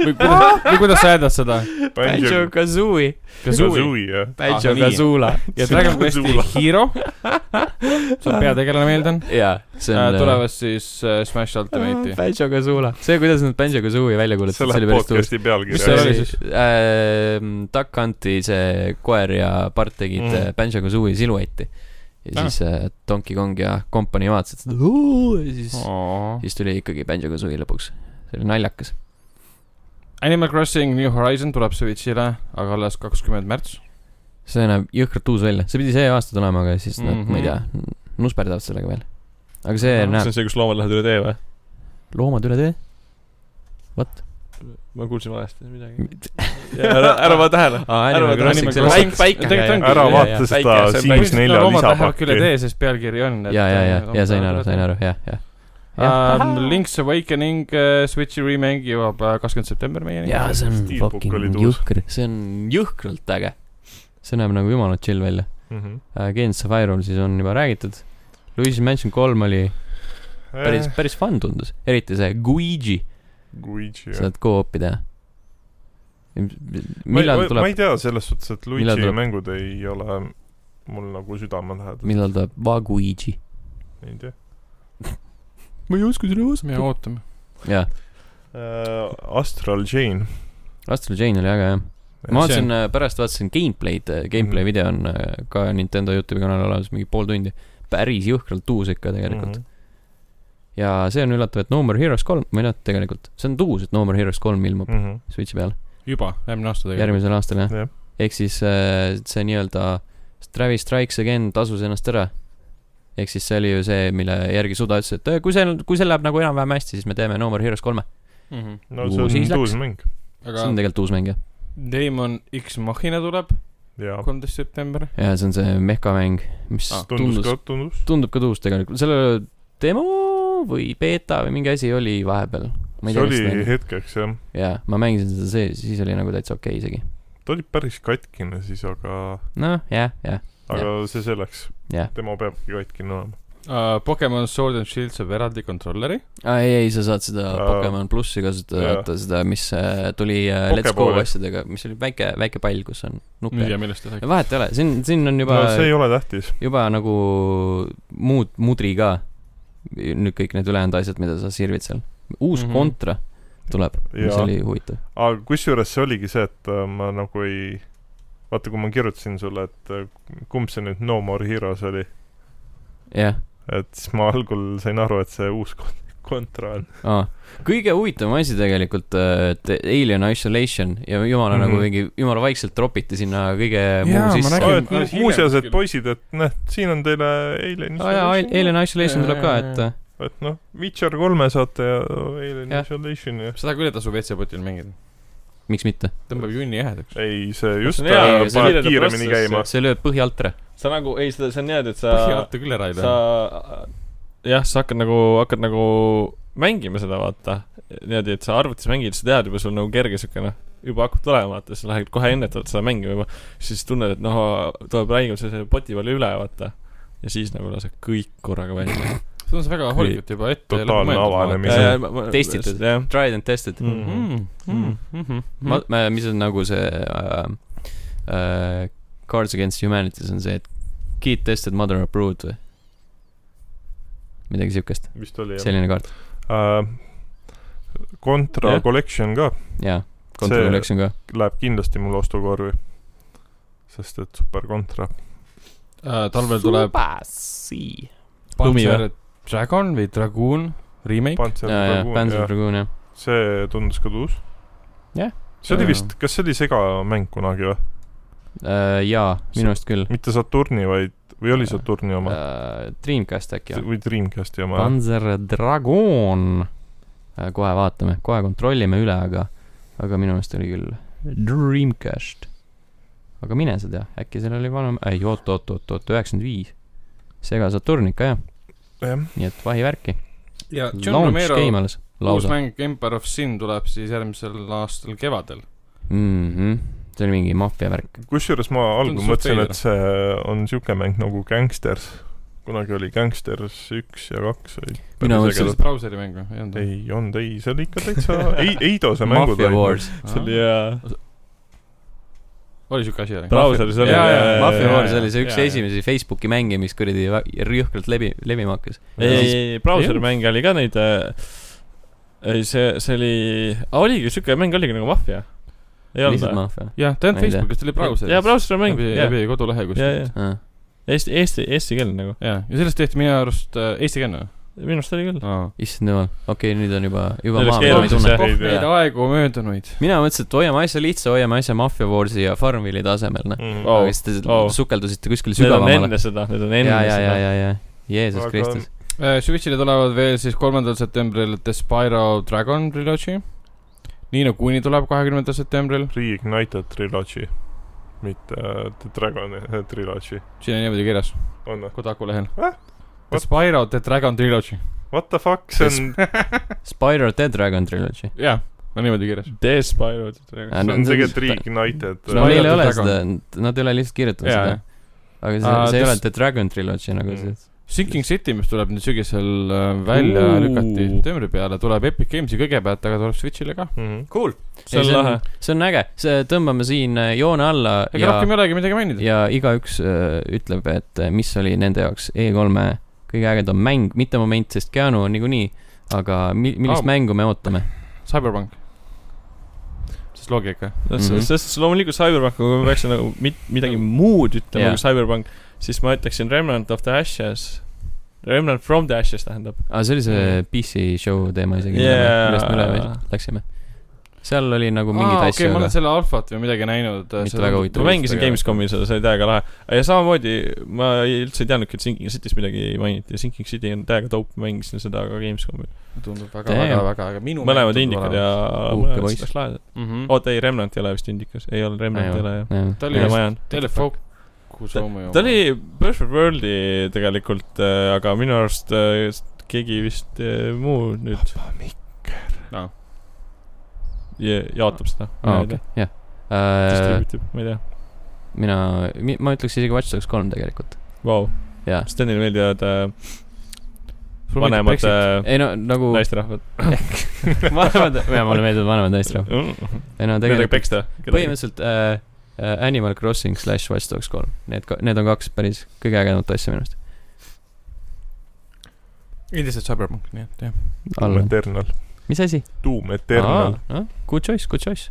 [SPEAKER 2] või kuidas , või kuidas sa hääldad seda ?
[SPEAKER 4] Banjo
[SPEAKER 1] Kazooie ,
[SPEAKER 4] Kazooie jah .
[SPEAKER 5] Ah,
[SPEAKER 2] Banjo
[SPEAKER 1] Kazuula .
[SPEAKER 2] ja Dragon Questi Hero . see on peategelane , ma eeldan .
[SPEAKER 1] jaa , see on . äh,
[SPEAKER 2] tulevad siis äh, Smash Ultimate'i .
[SPEAKER 1] Banjo Kazuula , see , kuidas nad Banjo Kazooie välja
[SPEAKER 4] see
[SPEAKER 1] kuulutasid , see
[SPEAKER 4] läheb
[SPEAKER 1] oli päris tuus .
[SPEAKER 4] podcast'i pealkirja .
[SPEAKER 2] Mis seal oli? siis?
[SPEAKER 1] Duck Hunti see koer ja part tegid
[SPEAKER 4] Mm.
[SPEAKER 1] mm. Banjo Kazooie silueti . ja
[SPEAKER 2] Ah.
[SPEAKER 1] siis äh, Donkey Kong ja kompanii vaatasid seda ja siis , siis tuli ikkagi Banjo Kazooie lõpuks . see oli naljakas .
[SPEAKER 2] Animal Crossing New Horizon tuleb Switch'ile , aga alles kakskümmend märts .
[SPEAKER 1] see näeb jõhkralt uus välja , see pidi see aasta tulema , aga siis nad mm , -hmm.
[SPEAKER 2] Mhm.
[SPEAKER 1] ma ei tea , nusperdavad sellega veel . aga see
[SPEAKER 5] Noh, see
[SPEAKER 1] no, näeb
[SPEAKER 5] on see , kus loomad lähevad üle tee või ?
[SPEAKER 1] loomad üle tee . What ?
[SPEAKER 5] ma kuulsin valesti midagi . ära , ära pane tähele . Animal Crossing,
[SPEAKER 1] sellest .
[SPEAKER 5] päike
[SPEAKER 2] tegelikult
[SPEAKER 4] ära
[SPEAKER 1] Jaa,
[SPEAKER 4] vaata
[SPEAKER 1] jaa,
[SPEAKER 4] seda
[SPEAKER 5] väike, see on
[SPEAKER 4] Sims
[SPEAKER 5] päris-
[SPEAKER 4] nelja
[SPEAKER 2] küll ei
[SPEAKER 4] lisapakki .
[SPEAKER 2] tee , sest pealkiri on .
[SPEAKER 1] ja , ja , ja , ja sain aru , sain aru , jah , jah .
[SPEAKER 2] Um, Link's Awakening uh, Switchi remake jõuab äh, kakskümmend september meieni .
[SPEAKER 1] ja see on
[SPEAKER 4] Steelbook oli
[SPEAKER 1] fucking
[SPEAKER 4] tuus.
[SPEAKER 1] jõhker , see on jõhkralt äge . see näeb nagu jumala chill välja .
[SPEAKER 4] Mhm.
[SPEAKER 1] Against the Fire'l siis on juba räägitud . Luigi's Mansion kolm oli päris ,
[SPEAKER 4] Eh.
[SPEAKER 1] päris fun tundus , eriti see Guigi ,
[SPEAKER 4] Luigi jah .
[SPEAKER 1] saad co-op'i teha . millal
[SPEAKER 4] ma
[SPEAKER 1] tuleb ,
[SPEAKER 4] ei tea selles suhtes , et
[SPEAKER 1] Millal
[SPEAKER 4] Luigi
[SPEAKER 1] tuleb?
[SPEAKER 4] mängud ei ole mul nagu südamelähedased ,
[SPEAKER 1] millal tuleb Vaguigi ?
[SPEAKER 4] ei tea .
[SPEAKER 2] ma ei oska selle vastu . me ootame .
[SPEAKER 1] jaa ,
[SPEAKER 4] Eh, Astral Chain ,
[SPEAKER 1] Astral Chain oli väga hea .
[SPEAKER 4] See
[SPEAKER 1] ma vaatasin , pärast vaatasin gameplay'd ,
[SPEAKER 2] Mhm.
[SPEAKER 1] gameplay video on äh, ka Nintendo Youtube'i kanalil olemas mingi pool tundi . päris jõhkralt uus ikka tegelikult .
[SPEAKER 2] Mhm.
[SPEAKER 1] ja see on üllatav , et No More Heroes kolm , või noh , tegelikult see on tuus , et No More Heroes kolm
[SPEAKER 2] Mhm.
[SPEAKER 1] ilmub Switch'i peal
[SPEAKER 2] juba , järgmine aasta tegelikult .
[SPEAKER 1] järgmisel aastal jah
[SPEAKER 4] Mhm, Jah.
[SPEAKER 1] ja. . ehk siis äh, see nii-öelda Travis Strikes Again tasus ennast ära . ehk siis see oli ju see , mille järgi Suda ütles , et äh, kui see , kui see läheb nagu enam-vähem hästi , siis me teeme No More Heroes kolme .
[SPEAKER 2] Mhm.
[SPEAKER 4] no
[SPEAKER 1] Uu,
[SPEAKER 4] see
[SPEAKER 1] siis
[SPEAKER 4] on
[SPEAKER 1] läks.
[SPEAKER 4] uus mäng
[SPEAKER 1] see on
[SPEAKER 2] aga
[SPEAKER 1] tegelikult uus mäng jah .
[SPEAKER 2] Demon X Machina tuleb
[SPEAKER 4] ja
[SPEAKER 2] kolmteist september .
[SPEAKER 1] ja see on see mehkamäng , mis ah,
[SPEAKER 2] Ah,
[SPEAKER 1] tundus,
[SPEAKER 4] tundus
[SPEAKER 1] tundus ,
[SPEAKER 4] ka , tundus .
[SPEAKER 1] tundub ka tuus tegelikult , selle demo või beeta või mingi asi oli vahepeal . ma ei
[SPEAKER 4] see
[SPEAKER 1] tea , mis
[SPEAKER 4] oli
[SPEAKER 1] ta oli .
[SPEAKER 4] hetkeks jah ,
[SPEAKER 1] jaa , ma mängisin seda sees , siis oli nagu täitsa okei okay isegi .
[SPEAKER 4] ta oli päris katkine siis , aga ,
[SPEAKER 1] noh , jah , jah .
[SPEAKER 4] aga see selleks ,
[SPEAKER 1] Jah.
[SPEAKER 4] tema peabki katkine olema .
[SPEAKER 2] uh, . Pokemon Sword and Shield saab eraldi kontrolleri .
[SPEAKER 1] aa Ah, ei , ei , sa saad seda
[SPEAKER 4] Aa.
[SPEAKER 1] Pokemon plussi kasutada ,
[SPEAKER 4] Jaa.
[SPEAKER 1] vaata seda , mis äh, tuli äh, Let's Go
[SPEAKER 4] Pokeballi.
[SPEAKER 1] asjadega , mis oli väike , väike pall , kus on nuppe .
[SPEAKER 2] ja millest ta räägib ?
[SPEAKER 1] vahet ei ole , siin , siin on juba
[SPEAKER 4] no see ei ole tähtis .
[SPEAKER 1] juba nagu muud mudri ka . nüüd kõik need ülejäänud asjad , mida sa sirvid seal . uus mm
[SPEAKER 2] Mhm.
[SPEAKER 1] -hmm. kontra tuleb , mis
[SPEAKER 4] Jaa.
[SPEAKER 1] oli huvitav .
[SPEAKER 4] aga kusjuures see oligi see , et äh, ma nagu ei , vaata , kui ma kirjutasin sulle , et äh, kumb see nüüd No More Heroes oli ,
[SPEAKER 1] jah ,
[SPEAKER 4] et siis ma algul sain aru , et see uus kon- kontra on .
[SPEAKER 1] aa . kõige huvitavam asi tegelikult , et Alien Isolation ja jumala mm -hmm.
[SPEAKER 4] Mhm.
[SPEAKER 1] nagu mingi , jumala vaikselt tropiti sinna kõige
[SPEAKER 2] Jaa,
[SPEAKER 1] muu
[SPEAKER 2] ma
[SPEAKER 1] sisse .
[SPEAKER 2] nägin.
[SPEAKER 1] aa
[SPEAKER 2] alles hiljem
[SPEAKER 4] muuseas , et
[SPEAKER 2] kuskil.
[SPEAKER 4] poisid , et näed , siin on teile Alien
[SPEAKER 1] jaa ,
[SPEAKER 4] Isolation ,
[SPEAKER 1] Alien Isolation tuleb ka , et
[SPEAKER 4] et noh , Witcher kolme saate ja Alien
[SPEAKER 1] Jah.
[SPEAKER 4] Isolation ja
[SPEAKER 2] seda küll ei tasu WC-potil mängida .
[SPEAKER 1] miks mitte .
[SPEAKER 2] tõmbab junni ehedaks .
[SPEAKER 4] ei , see just
[SPEAKER 5] on hea,
[SPEAKER 4] äh,
[SPEAKER 1] aga see
[SPEAKER 4] paneb
[SPEAKER 5] viidete
[SPEAKER 4] kiiremini
[SPEAKER 5] protsess,
[SPEAKER 4] käima .
[SPEAKER 1] see lööb põhja alt ära .
[SPEAKER 5] sa nagu , ei , seda , see on niimoodi , et sa ,
[SPEAKER 2] põhja alt ta küll ära ei
[SPEAKER 5] sa
[SPEAKER 2] lähe .,
[SPEAKER 5] jah , sa hakkad nagu , hakkad nagu mängima seda , vaata . niimoodi , et sa arvutis mängid , sa tead juba , sul on nagu kerge siukene , juba hakkab tulema , vaata , sa lähed kohe ennetavalt seda mängima juba . siis tunned , et noh , tuleb räigelt see , see poti peal üle , vaata . ja siis nagu lased kõik korraga välja .
[SPEAKER 2] see on see väga hoolikalt juba ette .
[SPEAKER 4] Totaalne avanemine. Mis-
[SPEAKER 1] Testitud.
[SPEAKER 5] jah .
[SPEAKER 1] Tried and tested mm .
[SPEAKER 5] Mhm.
[SPEAKER 2] Mm-hmm.
[SPEAKER 1] ma , ma , mis on nagu see äh, äh, Cards Against Humanity's on see , et Kid Tested Mother Approved või ? midagi siukest ,
[SPEAKER 4] vist oli jah .
[SPEAKER 1] selline kaart ,
[SPEAKER 4] Äh, Contra
[SPEAKER 1] Jah.
[SPEAKER 4] Collection ka
[SPEAKER 1] jaa . Control
[SPEAKER 4] See-
[SPEAKER 1] Collection ka ,
[SPEAKER 4] läheb kindlasti mul ostukorvi . sest et super Contra .
[SPEAKER 2] talvel tuleb
[SPEAKER 5] Lumi
[SPEAKER 2] Panzer Dragon või Dragoon remake .
[SPEAKER 4] Panzer
[SPEAKER 1] jaa , jaa ,
[SPEAKER 4] Dragoon
[SPEAKER 1] Panzer
[SPEAKER 4] ja
[SPEAKER 1] Dragoon jah .
[SPEAKER 4] see tundus ka tuus .
[SPEAKER 1] Jah.
[SPEAKER 4] see oli
[SPEAKER 1] Jaa.
[SPEAKER 4] vist , kas see oli segamäng kunagi või ?
[SPEAKER 1] Äh, jaa , minu arust küll .
[SPEAKER 4] mitte Saturni , vaid , või oli
[SPEAKER 1] Jaa.
[SPEAKER 4] Saturni oma ?
[SPEAKER 1] äh, Dreamcast äkki või ?
[SPEAKER 4] või Dreamcasti oma ?
[SPEAKER 1] Panzer Dragoon . Äh, kohe vaatame , kohe kontrollime üle , aga , aga minu meelest oli küll Dreamcast . aga mine sa tea , äkki seal oli vanem , ei oot , oot , oot , oot , üheksakümmend viis . sega Saturn ikka jah ,
[SPEAKER 4] jah ,
[SPEAKER 1] nii et vahi värki .
[SPEAKER 2] ja John
[SPEAKER 1] launch
[SPEAKER 2] Romero
[SPEAKER 1] game alles ,
[SPEAKER 2] uus
[SPEAKER 1] lausa .
[SPEAKER 2] mäng Emperor of Sin tuleb siis järgmisel aastal kevadel .
[SPEAKER 1] Mhm. see oli mingi maffia värk .
[SPEAKER 4] kusjuures ma algul
[SPEAKER 2] Tundus suht
[SPEAKER 4] mõtlesin ,
[SPEAKER 2] veider.
[SPEAKER 4] et see on siuke mäng nagu Gangsters . kunagi oli Gangsters üks ja kaks olid .
[SPEAKER 1] Mina
[SPEAKER 2] see
[SPEAKER 1] mõtlesin-
[SPEAKER 2] oli see brauseri mäng või ? ei olnud või ?
[SPEAKER 4] ei olnud , ei , see oli ikka täitsa ei , Eidose mängud
[SPEAKER 1] Mafia
[SPEAKER 4] olid .
[SPEAKER 1] Wars ,
[SPEAKER 5] see oli jaa
[SPEAKER 2] oli siuke asi oli .
[SPEAKER 5] brauseris oli
[SPEAKER 2] Jaa, jaa,
[SPEAKER 1] Mafia
[SPEAKER 2] jaa,
[SPEAKER 1] Wars
[SPEAKER 2] jaa,
[SPEAKER 1] oli see üks
[SPEAKER 2] jaa, jaa.
[SPEAKER 1] esimesi Facebooki mänge , mis kuradi vä- rõhkralt levi , levima hakkas .
[SPEAKER 5] ei ,
[SPEAKER 1] Ja
[SPEAKER 5] ei ,
[SPEAKER 1] siis-
[SPEAKER 5] ei , brauserimänge oli ka neid äh, . ei , see , see oli , oligi siuke mäng oligi nagu Mafia . ei olnud
[SPEAKER 1] lihtsalt
[SPEAKER 5] või ?
[SPEAKER 1] maffia .
[SPEAKER 2] jah , ta ei
[SPEAKER 1] Ma
[SPEAKER 2] olnud
[SPEAKER 1] ei tea.
[SPEAKER 2] Facebookis , ta oli brauseris .
[SPEAKER 5] jaa , brauserimäng ,
[SPEAKER 2] läbi ,
[SPEAKER 5] jaa ,
[SPEAKER 2] läbi kodulehe
[SPEAKER 5] jaa ,
[SPEAKER 2] kuskil .
[SPEAKER 5] jaa . Eesti , Eesti , eestikeelne nagu ,
[SPEAKER 2] jaa , ja sellest tehti minu arust äh, eestikeelne
[SPEAKER 5] minu arust oli küll .
[SPEAKER 2] või ?
[SPEAKER 1] issand jumal , okei okay, , nüüd on juba , juba
[SPEAKER 5] Nüüd läks
[SPEAKER 1] maa peal , ma ei
[SPEAKER 5] keeruliseks,
[SPEAKER 1] tunne
[SPEAKER 5] jah. .
[SPEAKER 2] oh , neid aegu möödunuid .
[SPEAKER 1] mina mõtlesin , et hoiame asja lihtsa , hoiame asja Mafia Warsi ja Farmville'i tasemel , noh .
[SPEAKER 4] Mm.
[SPEAKER 5] Oh,
[SPEAKER 1] aga siis te
[SPEAKER 5] oh.
[SPEAKER 1] sukeldusite kuskile
[SPEAKER 5] Need on
[SPEAKER 1] sügavamale .
[SPEAKER 5] enne seda , need on enne
[SPEAKER 1] ja , ja , ja ,
[SPEAKER 5] seda .
[SPEAKER 1] ja , ja , Jeesus
[SPEAKER 4] Aga-
[SPEAKER 1] Kristus .
[SPEAKER 2] Äh, Switch'ile tulevad veel siis kolmandal septembril The Spyro Dragon Trilogy . Nino Kuni tuleb kahekümnendal septembril ,
[SPEAKER 4] Reignited Trilogy , mitte äh, The Dragon äh, Trilogy .
[SPEAKER 2] siin on niimoodi kirjas ,
[SPEAKER 4] on või ?
[SPEAKER 2] Kodaku lehel
[SPEAKER 4] Eh? .
[SPEAKER 2] The Spyro The Dragon Trilogy ,
[SPEAKER 4] What the fuck , see on ,
[SPEAKER 1] Spyro the Dragon Trilogy .
[SPEAKER 2] jaa , on niimoodi kirjas .
[SPEAKER 5] Death Spyro .
[SPEAKER 1] Ah,
[SPEAKER 4] see
[SPEAKER 1] no-
[SPEAKER 4] on tegelikult Reignited .
[SPEAKER 1] no neil ei
[SPEAKER 2] the
[SPEAKER 1] ole
[SPEAKER 2] Dragon.
[SPEAKER 1] seda , nad ei ole lihtsalt kirjutanud
[SPEAKER 2] jaa
[SPEAKER 1] seda ., aga see ,
[SPEAKER 2] Ah,
[SPEAKER 1] see ei ole
[SPEAKER 2] tõs-
[SPEAKER 1] the Dragon Trilogy nagu see .
[SPEAKER 2] Sinking City , mis tuleb nüüd sügisel äh, välja
[SPEAKER 5] Ooh.
[SPEAKER 2] lükati septembri peale , tuleb Epic Games'i kõigepealt , aga tuleb Switch'ile
[SPEAKER 4] äh,
[SPEAKER 2] ka .
[SPEAKER 4] mhm.
[SPEAKER 1] Cool .
[SPEAKER 5] see on lahe .
[SPEAKER 1] see on äge , see , tõmbame siin äh, joone alla
[SPEAKER 2] ega
[SPEAKER 1] ja ,
[SPEAKER 2] rohkem ei olegi midagi mainida .
[SPEAKER 1] ja igaüks äh, ütleb , et äh, mis oli nende jaoks E3-e kõige ägedam mäng , mitte moment , sest Keanu on niikuinii , aga mi- , millist
[SPEAKER 2] Ah.
[SPEAKER 1] mängu me ootame ?
[SPEAKER 2] Cyberpunk . siis loogika .
[SPEAKER 1] Mhm.
[SPEAKER 5] selles suhtes loomulikult Cyberpunk , kui ma peaksin nagu mit- , midagi muud
[SPEAKER 1] Jaa.
[SPEAKER 5] ütlema kui Cyberpunk , siis ma ütleksin Remnant of the Ashes . Remnant from the Ashes tähendab .
[SPEAKER 1] aa , see oli see PC show teema isegi
[SPEAKER 5] Jaa.
[SPEAKER 1] yeah. , millest me üle veel läksime . seal oli nagu mingeid ah, asju
[SPEAKER 2] okay, ,
[SPEAKER 1] okay, ,
[SPEAKER 2] ma olen
[SPEAKER 1] aga
[SPEAKER 2] selle alfat või midagi näinud . äh,
[SPEAKER 1] Mitte väga huvitav.
[SPEAKER 5] ma mängisin . Gamescomi seda , see oli täiega lahe . ja samamoodi ma ei- üldse ei teadnudki , et Sinking City's midagi mainiti ja Sinking City on täiega dope , mängisin seda ka Gamescomil .
[SPEAKER 2] tundub väga ,
[SPEAKER 1] Damn.
[SPEAKER 2] väga , väga , aga minu .
[SPEAKER 5] mõlemad indikad ja .
[SPEAKER 1] Uhke
[SPEAKER 5] mõlemad
[SPEAKER 1] poiss.
[SPEAKER 5] päris lahedad .
[SPEAKER 2] oot ,
[SPEAKER 5] oota , ei , Remnant ei ole vist indikas , ei ole , Remnant
[SPEAKER 1] Ei
[SPEAKER 5] ei ole jah .
[SPEAKER 1] jah.
[SPEAKER 2] ta oli
[SPEAKER 5] ja
[SPEAKER 1] Jah.
[SPEAKER 5] ma
[SPEAKER 2] vist ,
[SPEAKER 5] jään .
[SPEAKER 2] ta oli fookus homme ju .
[SPEAKER 5] ta oli Perfect World'i tegelikult , aga minu arust äh, keegi vist äh, muu nüüd
[SPEAKER 2] Aa.
[SPEAKER 5] ja, jaotab seda .
[SPEAKER 1] aa , okei , Äh, jah .
[SPEAKER 5] distributeerib , ma ei tea .
[SPEAKER 1] mina , ma ütleks isegi Watch Dogs kolm tegelikult ,
[SPEAKER 5] Vau ,
[SPEAKER 1] jaa .
[SPEAKER 5] Stenile meeldivad äh,
[SPEAKER 2] Sul meeldib
[SPEAKER 5] vanemad
[SPEAKER 2] Brexit?
[SPEAKER 5] äh,
[SPEAKER 1] ei no nagu ,
[SPEAKER 5] naisterahvad .
[SPEAKER 1] vanemad , jaa , mulle meeldivad vanemad naisterahvad . ei no
[SPEAKER 5] Mm. Nendega
[SPEAKER 1] tegelikult
[SPEAKER 5] peksta .
[SPEAKER 1] põhimõtteliselt äh, äh, Animal Crossing slash Watch Dogs kolm , need , need on kaks päris kõige ägedamat asja minu arust .
[SPEAKER 2] endiselt Cyberpunk , nii et jah .
[SPEAKER 4] Doom Eternal ,
[SPEAKER 1] mis asi ?
[SPEAKER 4] Doom Eternal .
[SPEAKER 1] Good choice , good choice .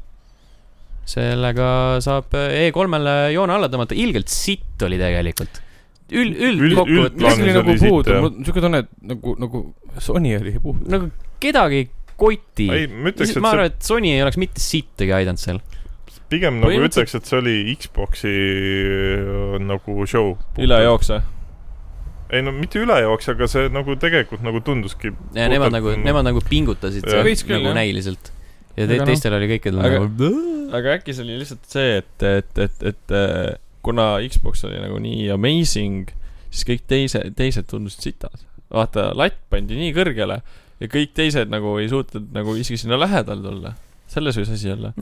[SPEAKER 1] sellega saab äh, E3-le joone alla tõmmata , ilgelt sitt oli tegelikult . üld ,
[SPEAKER 4] Üld-
[SPEAKER 1] üldkokkuvõttes
[SPEAKER 4] üldplaan-
[SPEAKER 2] midagi
[SPEAKER 4] oli
[SPEAKER 2] oli nagu
[SPEAKER 4] siit,
[SPEAKER 2] puudu ,
[SPEAKER 4] jah.
[SPEAKER 2] mul on siuke tunne , et nagu , nagu Sony oli puudu .
[SPEAKER 1] nagu kedagi ei koti .
[SPEAKER 4] ei , ma ütleks , et
[SPEAKER 1] ma
[SPEAKER 4] see
[SPEAKER 1] arvan , et Sony ei oleks mitte sittagi aidanud seal .
[SPEAKER 4] pigem nagu
[SPEAKER 1] põhimõtteliselt-
[SPEAKER 4] ütleks , et see oli Xboxi äh, nagu show .
[SPEAKER 5] üle . jookse .
[SPEAKER 4] ei no mitte ülejooks , aga see nagu tegelikult nagu tunduski .
[SPEAKER 1] ja nemad nagu , nemad nagu pingutasid
[SPEAKER 4] Jah.
[SPEAKER 1] seal
[SPEAKER 2] Veits küll,
[SPEAKER 1] nagu
[SPEAKER 2] jah.
[SPEAKER 1] näiliselt . ja
[SPEAKER 2] Aga
[SPEAKER 1] te,
[SPEAKER 2] noh.
[SPEAKER 1] teistel oli kõikidel
[SPEAKER 5] Aga-
[SPEAKER 1] nagu .
[SPEAKER 5] aga äkki see oli lihtsalt see , et , et , et , et äh, kuna Xbox oli nagu nii amazing , siis kõik teise , teised tundusid sitad . vaata , latt pandi nii kõrgele ja kõik teised nagu ei suutnud nagu isegi sinna lähedal tulla . selles võis asi olla .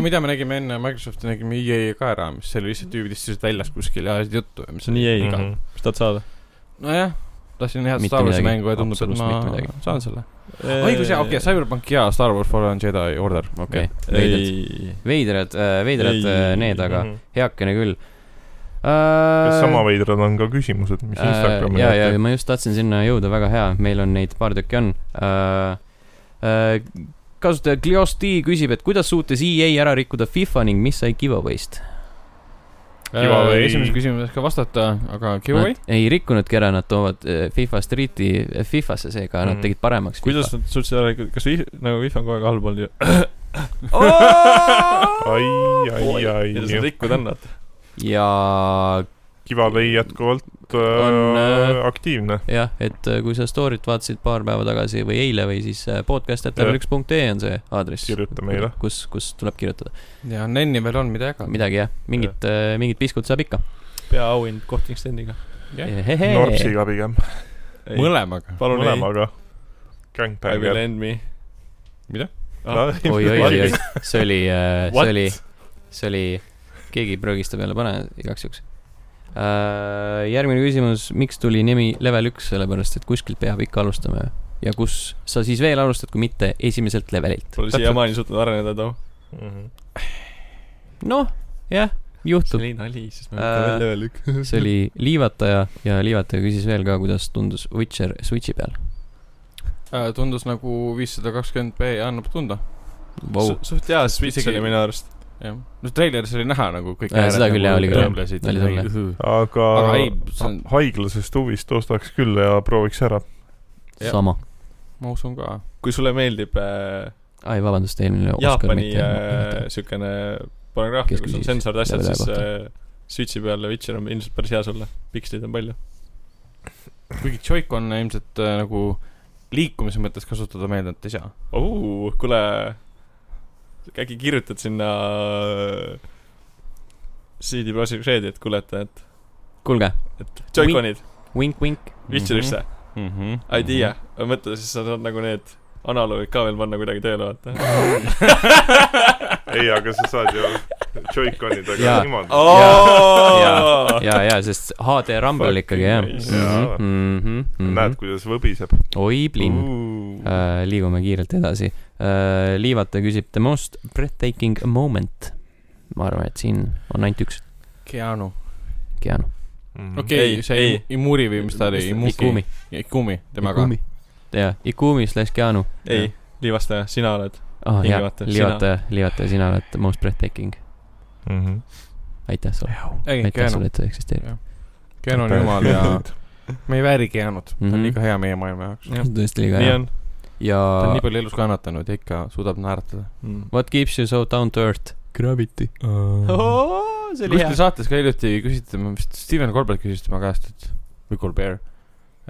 [SPEAKER 2] mida me nägime enne Microsofti , nägime EA ka ära , mis oli lihtsalt tüübid istusid väljas kuskil ja ajasid juttu ja mis
[SPEAKER 5] see on EA ka mm ,
[SPEAKER 4] Mhm.
[SPEAKER 5] -hmm. mis tahad saada ?
[SPEAKER 2] on nojah , tahtsin head
[SPEAKER 1] Mitte
[SPEAKER 2] Star Warsi
[SPEAKER 1] midagi.
[SPEAKER 2] mängu ja tundub , et
[SPEAKER 1] Absoluutselt mitte
[SPEAKER 2] ma
[SPEAKER 1] midagi.
[SPEAKER 2] saan selle . Ah, õigus jaa , okei ,. Cyberpunk ja Star Wars Fallen Jedi Order , okei
[SPEAKER 1] okei , veidrad ,
[SPEAKER 5] ei ,
[SPEAKER 1] veidrad , veidrad
[SPEAKER 5] Ei.
[SPEAKER 1] äh, need , aga heakene küll . Äh,
[SPEAKER 4] kas mhm. sama veidrad on ka küsimused , mis Instagrami
[SPEAKER 1] ja , ja , ja Äh, ma just tahtsin sinna jõuda , väga hea , meil on neid paar tükki on äh, . Äh, kasutaja Gliosti küsib , et kuidas suutis EA ära rikkuda FIFA ning mis sai giveaway'st ?
[SPEAKER 4] Giveaway.
[SPEAKER 2] esimese küsimusega vastata , aga giveaway ?
[SPEAKER 1] ei rikkunudki ära , nad toovad äh, FIFA Street'i äh, FIFA-sse , seega mm.
[SPEAKER 4] Mhm.
[SPEAKER 1] nad tegid paremaks .
[SPEAKER 5] kuidas nad suutsid ära , kas vi- , nagu Vihma on kogu aeg allpool ju .
[SPEAKER 4] ai , ai ,
[SPEAKER 5] ja sa
[SPEAKER 4] ai ,
[SPEAKER 5] rikkud annad .
[SPEAKER 1] ja
[SPEAKER 4] Giveaway jätkuvalt äh,
[SPEAKER 1] On, äh,
[SPEAKER 4] aktiivne .
[SPEAKER 1] jah , et äh, kui sa story't vaatasid paar päeva tagasi või eile või siis äh, podcast.level1.ee e on see aadress ,
[SPEAKER 4] kirjuta meile .
[SPEAKER 1] kus , kus tuleb kirjutada .
[SPEAKER 2] ja Nenni veel on , mida jagada .
[SPEAKER 1] midagi jah , mingit , mingit piskut saab ikka .
[SPEAKER 5] peaauhind kohtunik Steniga .
[SPEAKER 4] Norpsiga pigem ,
[SPEAKER 2] mõlemaga .
[SPEAKER 5] palun ei ,
[SPEAKER 4] mõlemaga .
[SPEAKER 5] I will
[SPEAKER 4] Gangbanger .,
[SPEAKER 5] end me . Ah,
[SPEAKER 2] mida ? Ah,
[SPEAKER 1] oi , oi , oi , oi
[SPEAKER 4] Ah,
[SPEAKER 1] see oli ,
[SPEAKER 5] What?
[SPEAKER 1] see oli , see oli , keegi prügistab jälle , pane igaks juhuks . järgmine küsimus , miks tuli nimi level üks , sellepärast et kuskilt peab ikka alustama ju. ja kus sa siis veel alustad , kui mitte esimeselt levelilt .
[SPEAKER 5] Pole siiamaani suutnud areneda too .
[SPEAKER 4] Mhm.
[SPEAKER 1] noh , jah , juhtub .
[SPEAKER 5] oli nali , siis
[SPEAKER 1] ma mõtlen välja
[SPEAKER 5] veel üks .
[SPEAKER 1] see oli liivataja ja liivataja küsis veel ka , kuidas tundus Witcher Switchi peal
[SPEAKER 2] tundus nagu viissada kakskümmend B annab tunda .
[SPEAKER 1] wow. .
[SPEAKER 5] suht hea Switch
[SPEAKER 2] Isegi-
[SPEAKER 5] oli minu arust .
[SPEAKER 2] jah , no treileris oli näha nagu kõik
[SPEAKER 1] Jaa, seda küll, jaa, oli küll. Oli
[SPEAKER 2] küll .
[SPEAKER 4] aga
[SPEAKER 2] aga ei , see on ,
[SPEAKER 4] haiglasest huvist ostaks küll ja prooviks ära .
[SPEAKER 2] Jah.
[SPEAKER 1] sama .
[SPEAKER 2] ma usun ka .
[SPEAKER 5] kui sulle meeldib äh,
[SPEAKER 1] ai , vabandust , eelmine Oscar
[SPEAKER 5] Jaapani
[SPEAKER 1] mitte
[SPEAKER 5] äh, . siukene pornograafia ,
[SPEAKER 1] Kes
[SPEAKER 5] kus on
[SPEAKER 1] küsis
[SPEAKER 5] sensorid asjad ,
[SPEAKER 1] selle
[SPEAKER 5] siis
[SPEAKER 1] kohta?
[SPEAKER 5] äh, Switchi peal Witcher on ilmselt päris hea sulle . pikslid on palju .
[SPEAKER 2] kuigi Joy-Con'e ilmselt äh, nagu liikumise mõttes kasutada meeldivalt ei saa .
[SPEAKER 5] kuule , äkki kirjutad sinna äh, CD Projekt Redi , et kuule , et , et ,
[SPEAKER 1] kuulge ,
[SPEAKER 5] et Joy-Conid
[SPEAKER 1] vink-vink .
[SPEAKER 5] Witcherisse .
[SPEAKER 1] Mhm.
[SPEAKER 2] Mhm.
[SPEAKER 5] ei tea
[SPEAKER 2] idea .
[SPEAKER 5] mm -hmm. , mõtle siis sa saad nagu need analoogid ka veel panna kuidagi tööle , vaata .
[SPEAKER 4] ei , aga sa saad ju Joy-Conidega
[SPEAKER 1] Jaa.
[SPEAKER 4] niimoodi .
[SPEAKER 2] Ah.
[SPEAKER 1] ja , ja, ja , sest HD Rumble
[SPEAKER 5] Fucking
[SPEAKER 1] ikkagi jah
[SPEAKER 5] nice.
[SPEAKER 4] Jaa.
[SPEAKER 1] mm -hmm.
[SPEAKER 2] Mhm.
[SPEAKER 4] näed ,. kuidas võbiseb .
[SPEAKER 1] oi , plinn .
[SPEAKER 2] Äh.
[SPEAKER 1] Uh, liigume kiirelt edasi uh, . Liivata küsib the most breathtaking moment . ma arvan , et siin on ainult üks
[SPEAKER 2] Mhm. Keanu .
[SPEAKER 1] Keanu .
[SPEAKER 4] Mhm.
[SPEAKER 2] okei ,
[SPEAKER 5] Ei,
[SPEAKER 2] see
[SPEAKER 5] ei.
[SPEAKER 2] Imuri või mis ta oli ,
[SPEAKER 1] Ikumi
[SPEAKER 2] Imuki .. Ikumi , temaga .
[SPEAKER 1] jaa , Ikumi slaš Keanu .
[SPEAKER 5] ei , liivastaja , sina oled .
[SPEAKER 1] oh jah ,
[SPEAKER 5] Liivataja, sina.
[SPEAKER 1] Liivataja , Liivataja , sina oled the most breathtaking .
[SPEAKER 4] Mhm.
[SPEAKER 1] aitäh sulle .
[SPEAKER 2] ei ,
[SPEAKER 1] aitäh
[SPEAKER 2] Keanu
[SPEAKER 1] sulle ,. et sa eksisteerid .
[SPEAKER 2] Keanu on jumal ja me ei vääri Keanut . ta on
[SPEAKER 1] Mhm.
[SPEAKER 2] liiga hea meie maailma jaoks .
[SPEAKER 5] Jah.
[SPEAKER 1] tõesti liiga
[SPEAKER 5] nii
[SPEAKER 1] hea .
[SPEAKER 5] on
[SPEAKER 1] ja
[SPEAKER 2] ta on nii palju elus kannatanud ja ikka suudab naeratada .
[SPEAKER 5] mm. .
[SPEAKER 1] what keeps you so down to earth ? Gravity .
[SPEAKER 2] Äh.
[SPEAKER 1] see oli hea
[SPEAKER 2] kuskil . saates ka hiljuti küsiti , ma vist , Steven Colbert küsis tema käest , et , või Colbert ,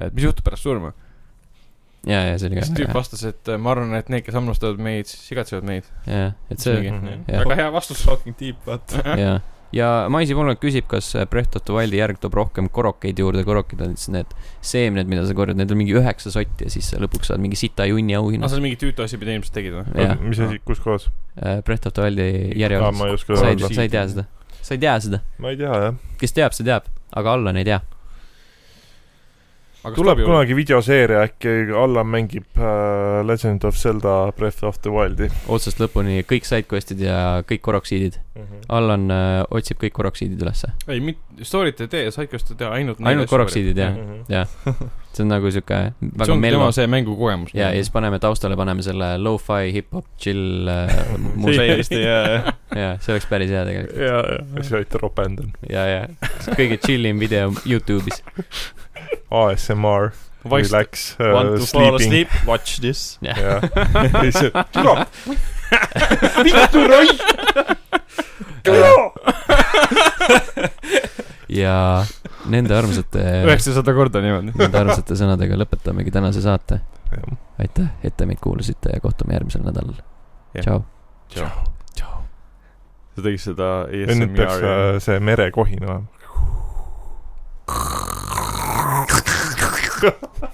[SPEAKER 2] et mis juhtub pärast surma .
[SPEAKER 1] jaa , jaa , see oli
[SPEAKER 2] ja siis
[SPEAKER 1] ka
[SPEAKER 2] tüüp . vastas , et äh, ma arvan , et need , kes hammustavad meid , siis igatsevad meid .
[SPEAKER 1] jaa , et see
[SPEAKER 2] Mhm.
[SPEAKER 1] Jah.
[SPEAKER 5] väga hea vastus , fucking deep , vaata .
[SPEAKER 1] ja , ja Maisi Polnak küsib , kas Brecht of the Wildi järg toob rohkem korokeid juurde , korokid on siis need seemned , mida sa korjad , need on mingi üheksa sotti ja siis sa lõpuks saad mingi sita junni
[SPEAKER 2] no
[SPEAKER 1] auhinna .
[SPEAKER 2] Ah, see on mingi tüütu asi , mida inimesed tegid või ?
[SPEAKER 1] jah ,
[SPEAKER 4] mis asi , kus kohas ?
[SPEAKER 1] Äh, Brecht of the Wildi
[SPEAKER 4] ma
[SPEAKER 1] järjekorras .
[SPEAKER 4] ei oska
[SPEAKER 1] sa ei
[SPEAKER 4] öelda ,.
[SPEAKER 1] sa ei tea seda , sa ei tea seda ,
[SPEAKER 4] ma ei tea jah .
[SPEAKER 1] kes teab , see teab , aga Allan ei tea .
[SPEAKER 4] tuleb kunagi videoseeria , äkki Allan mängib äh, Legend of Zelda Breath of the Wildi
[SPEAKER 1] otsast lõpuni kõik sidequest'id ja kõik koroksiidid .
[SPEAKER 2] Ah,
[SPEAKER 4] mm . -hmm.
[SPEAKER 1] Allan äh, otsib kõik koroksiidid ülesse .
[SPEAKER 2] ei , mitte , story't ei tee , sidecast'e ei tee , ainult .
[SPEAKER 1] ainult koroksiidid jah ,
[SPEAKER 4] Mm -hmm.
[SPEAKER 1] see on nagu siuke
[SPEAKER 2] Mhm. see
[SPEAKER 1] väga
[SPEAKER 2] on
[SPEAKER 1] melu
[SPEAKER 2] tema . see mängukogemus .
[SPEAKER 1] ja , ja siis paneme taustale , paneme selle lo-fi hip-hop chill äh, muusika .
[SPEAKER 5] täiesti ja ,
[SPEAKER 1] ja see oleks päris hea tegelikult .
[SPEAKER 4] ja , ja siis olite ropendan .
[SPEAKER 1] ja , ja kõige chill im video Youtube'is .
[SPEAKER 4] ASMR ,
[SPEAKER 5] vaikselt .
[SPEAKER 4] relax
[SPEAKER 5] Want
[SPEAKER 4] uh, ,
[SPEAKER 5] to fall
[SPEAKER 4] sleeping .
[SPEAKER 5] asleep , watch this .
[SPEAKER 4] jah , ei see , türa ,
[SPEAKER 1] ja nende armsate ,
[SPEAKER 2] üheksasada korda niimoodi .
[SPEAKER 1] nende armsate sõnadega lõpetamegi tänase saate
[SPEAKER 4] Jah. .
[SPEAKER 1] aitäh ette meid kuulasite ja kohtume järgmisel nädalal .
[SPEAKER 2] Jah.
[SPEAKER 1] tšau .
[SPEAKER 2] sa tegid seda
[SPEAKER 4] ja nüüd peaks
[SPEAKER 2] ASMR-i
[SPEAKER 4] äh, see merekohin olema .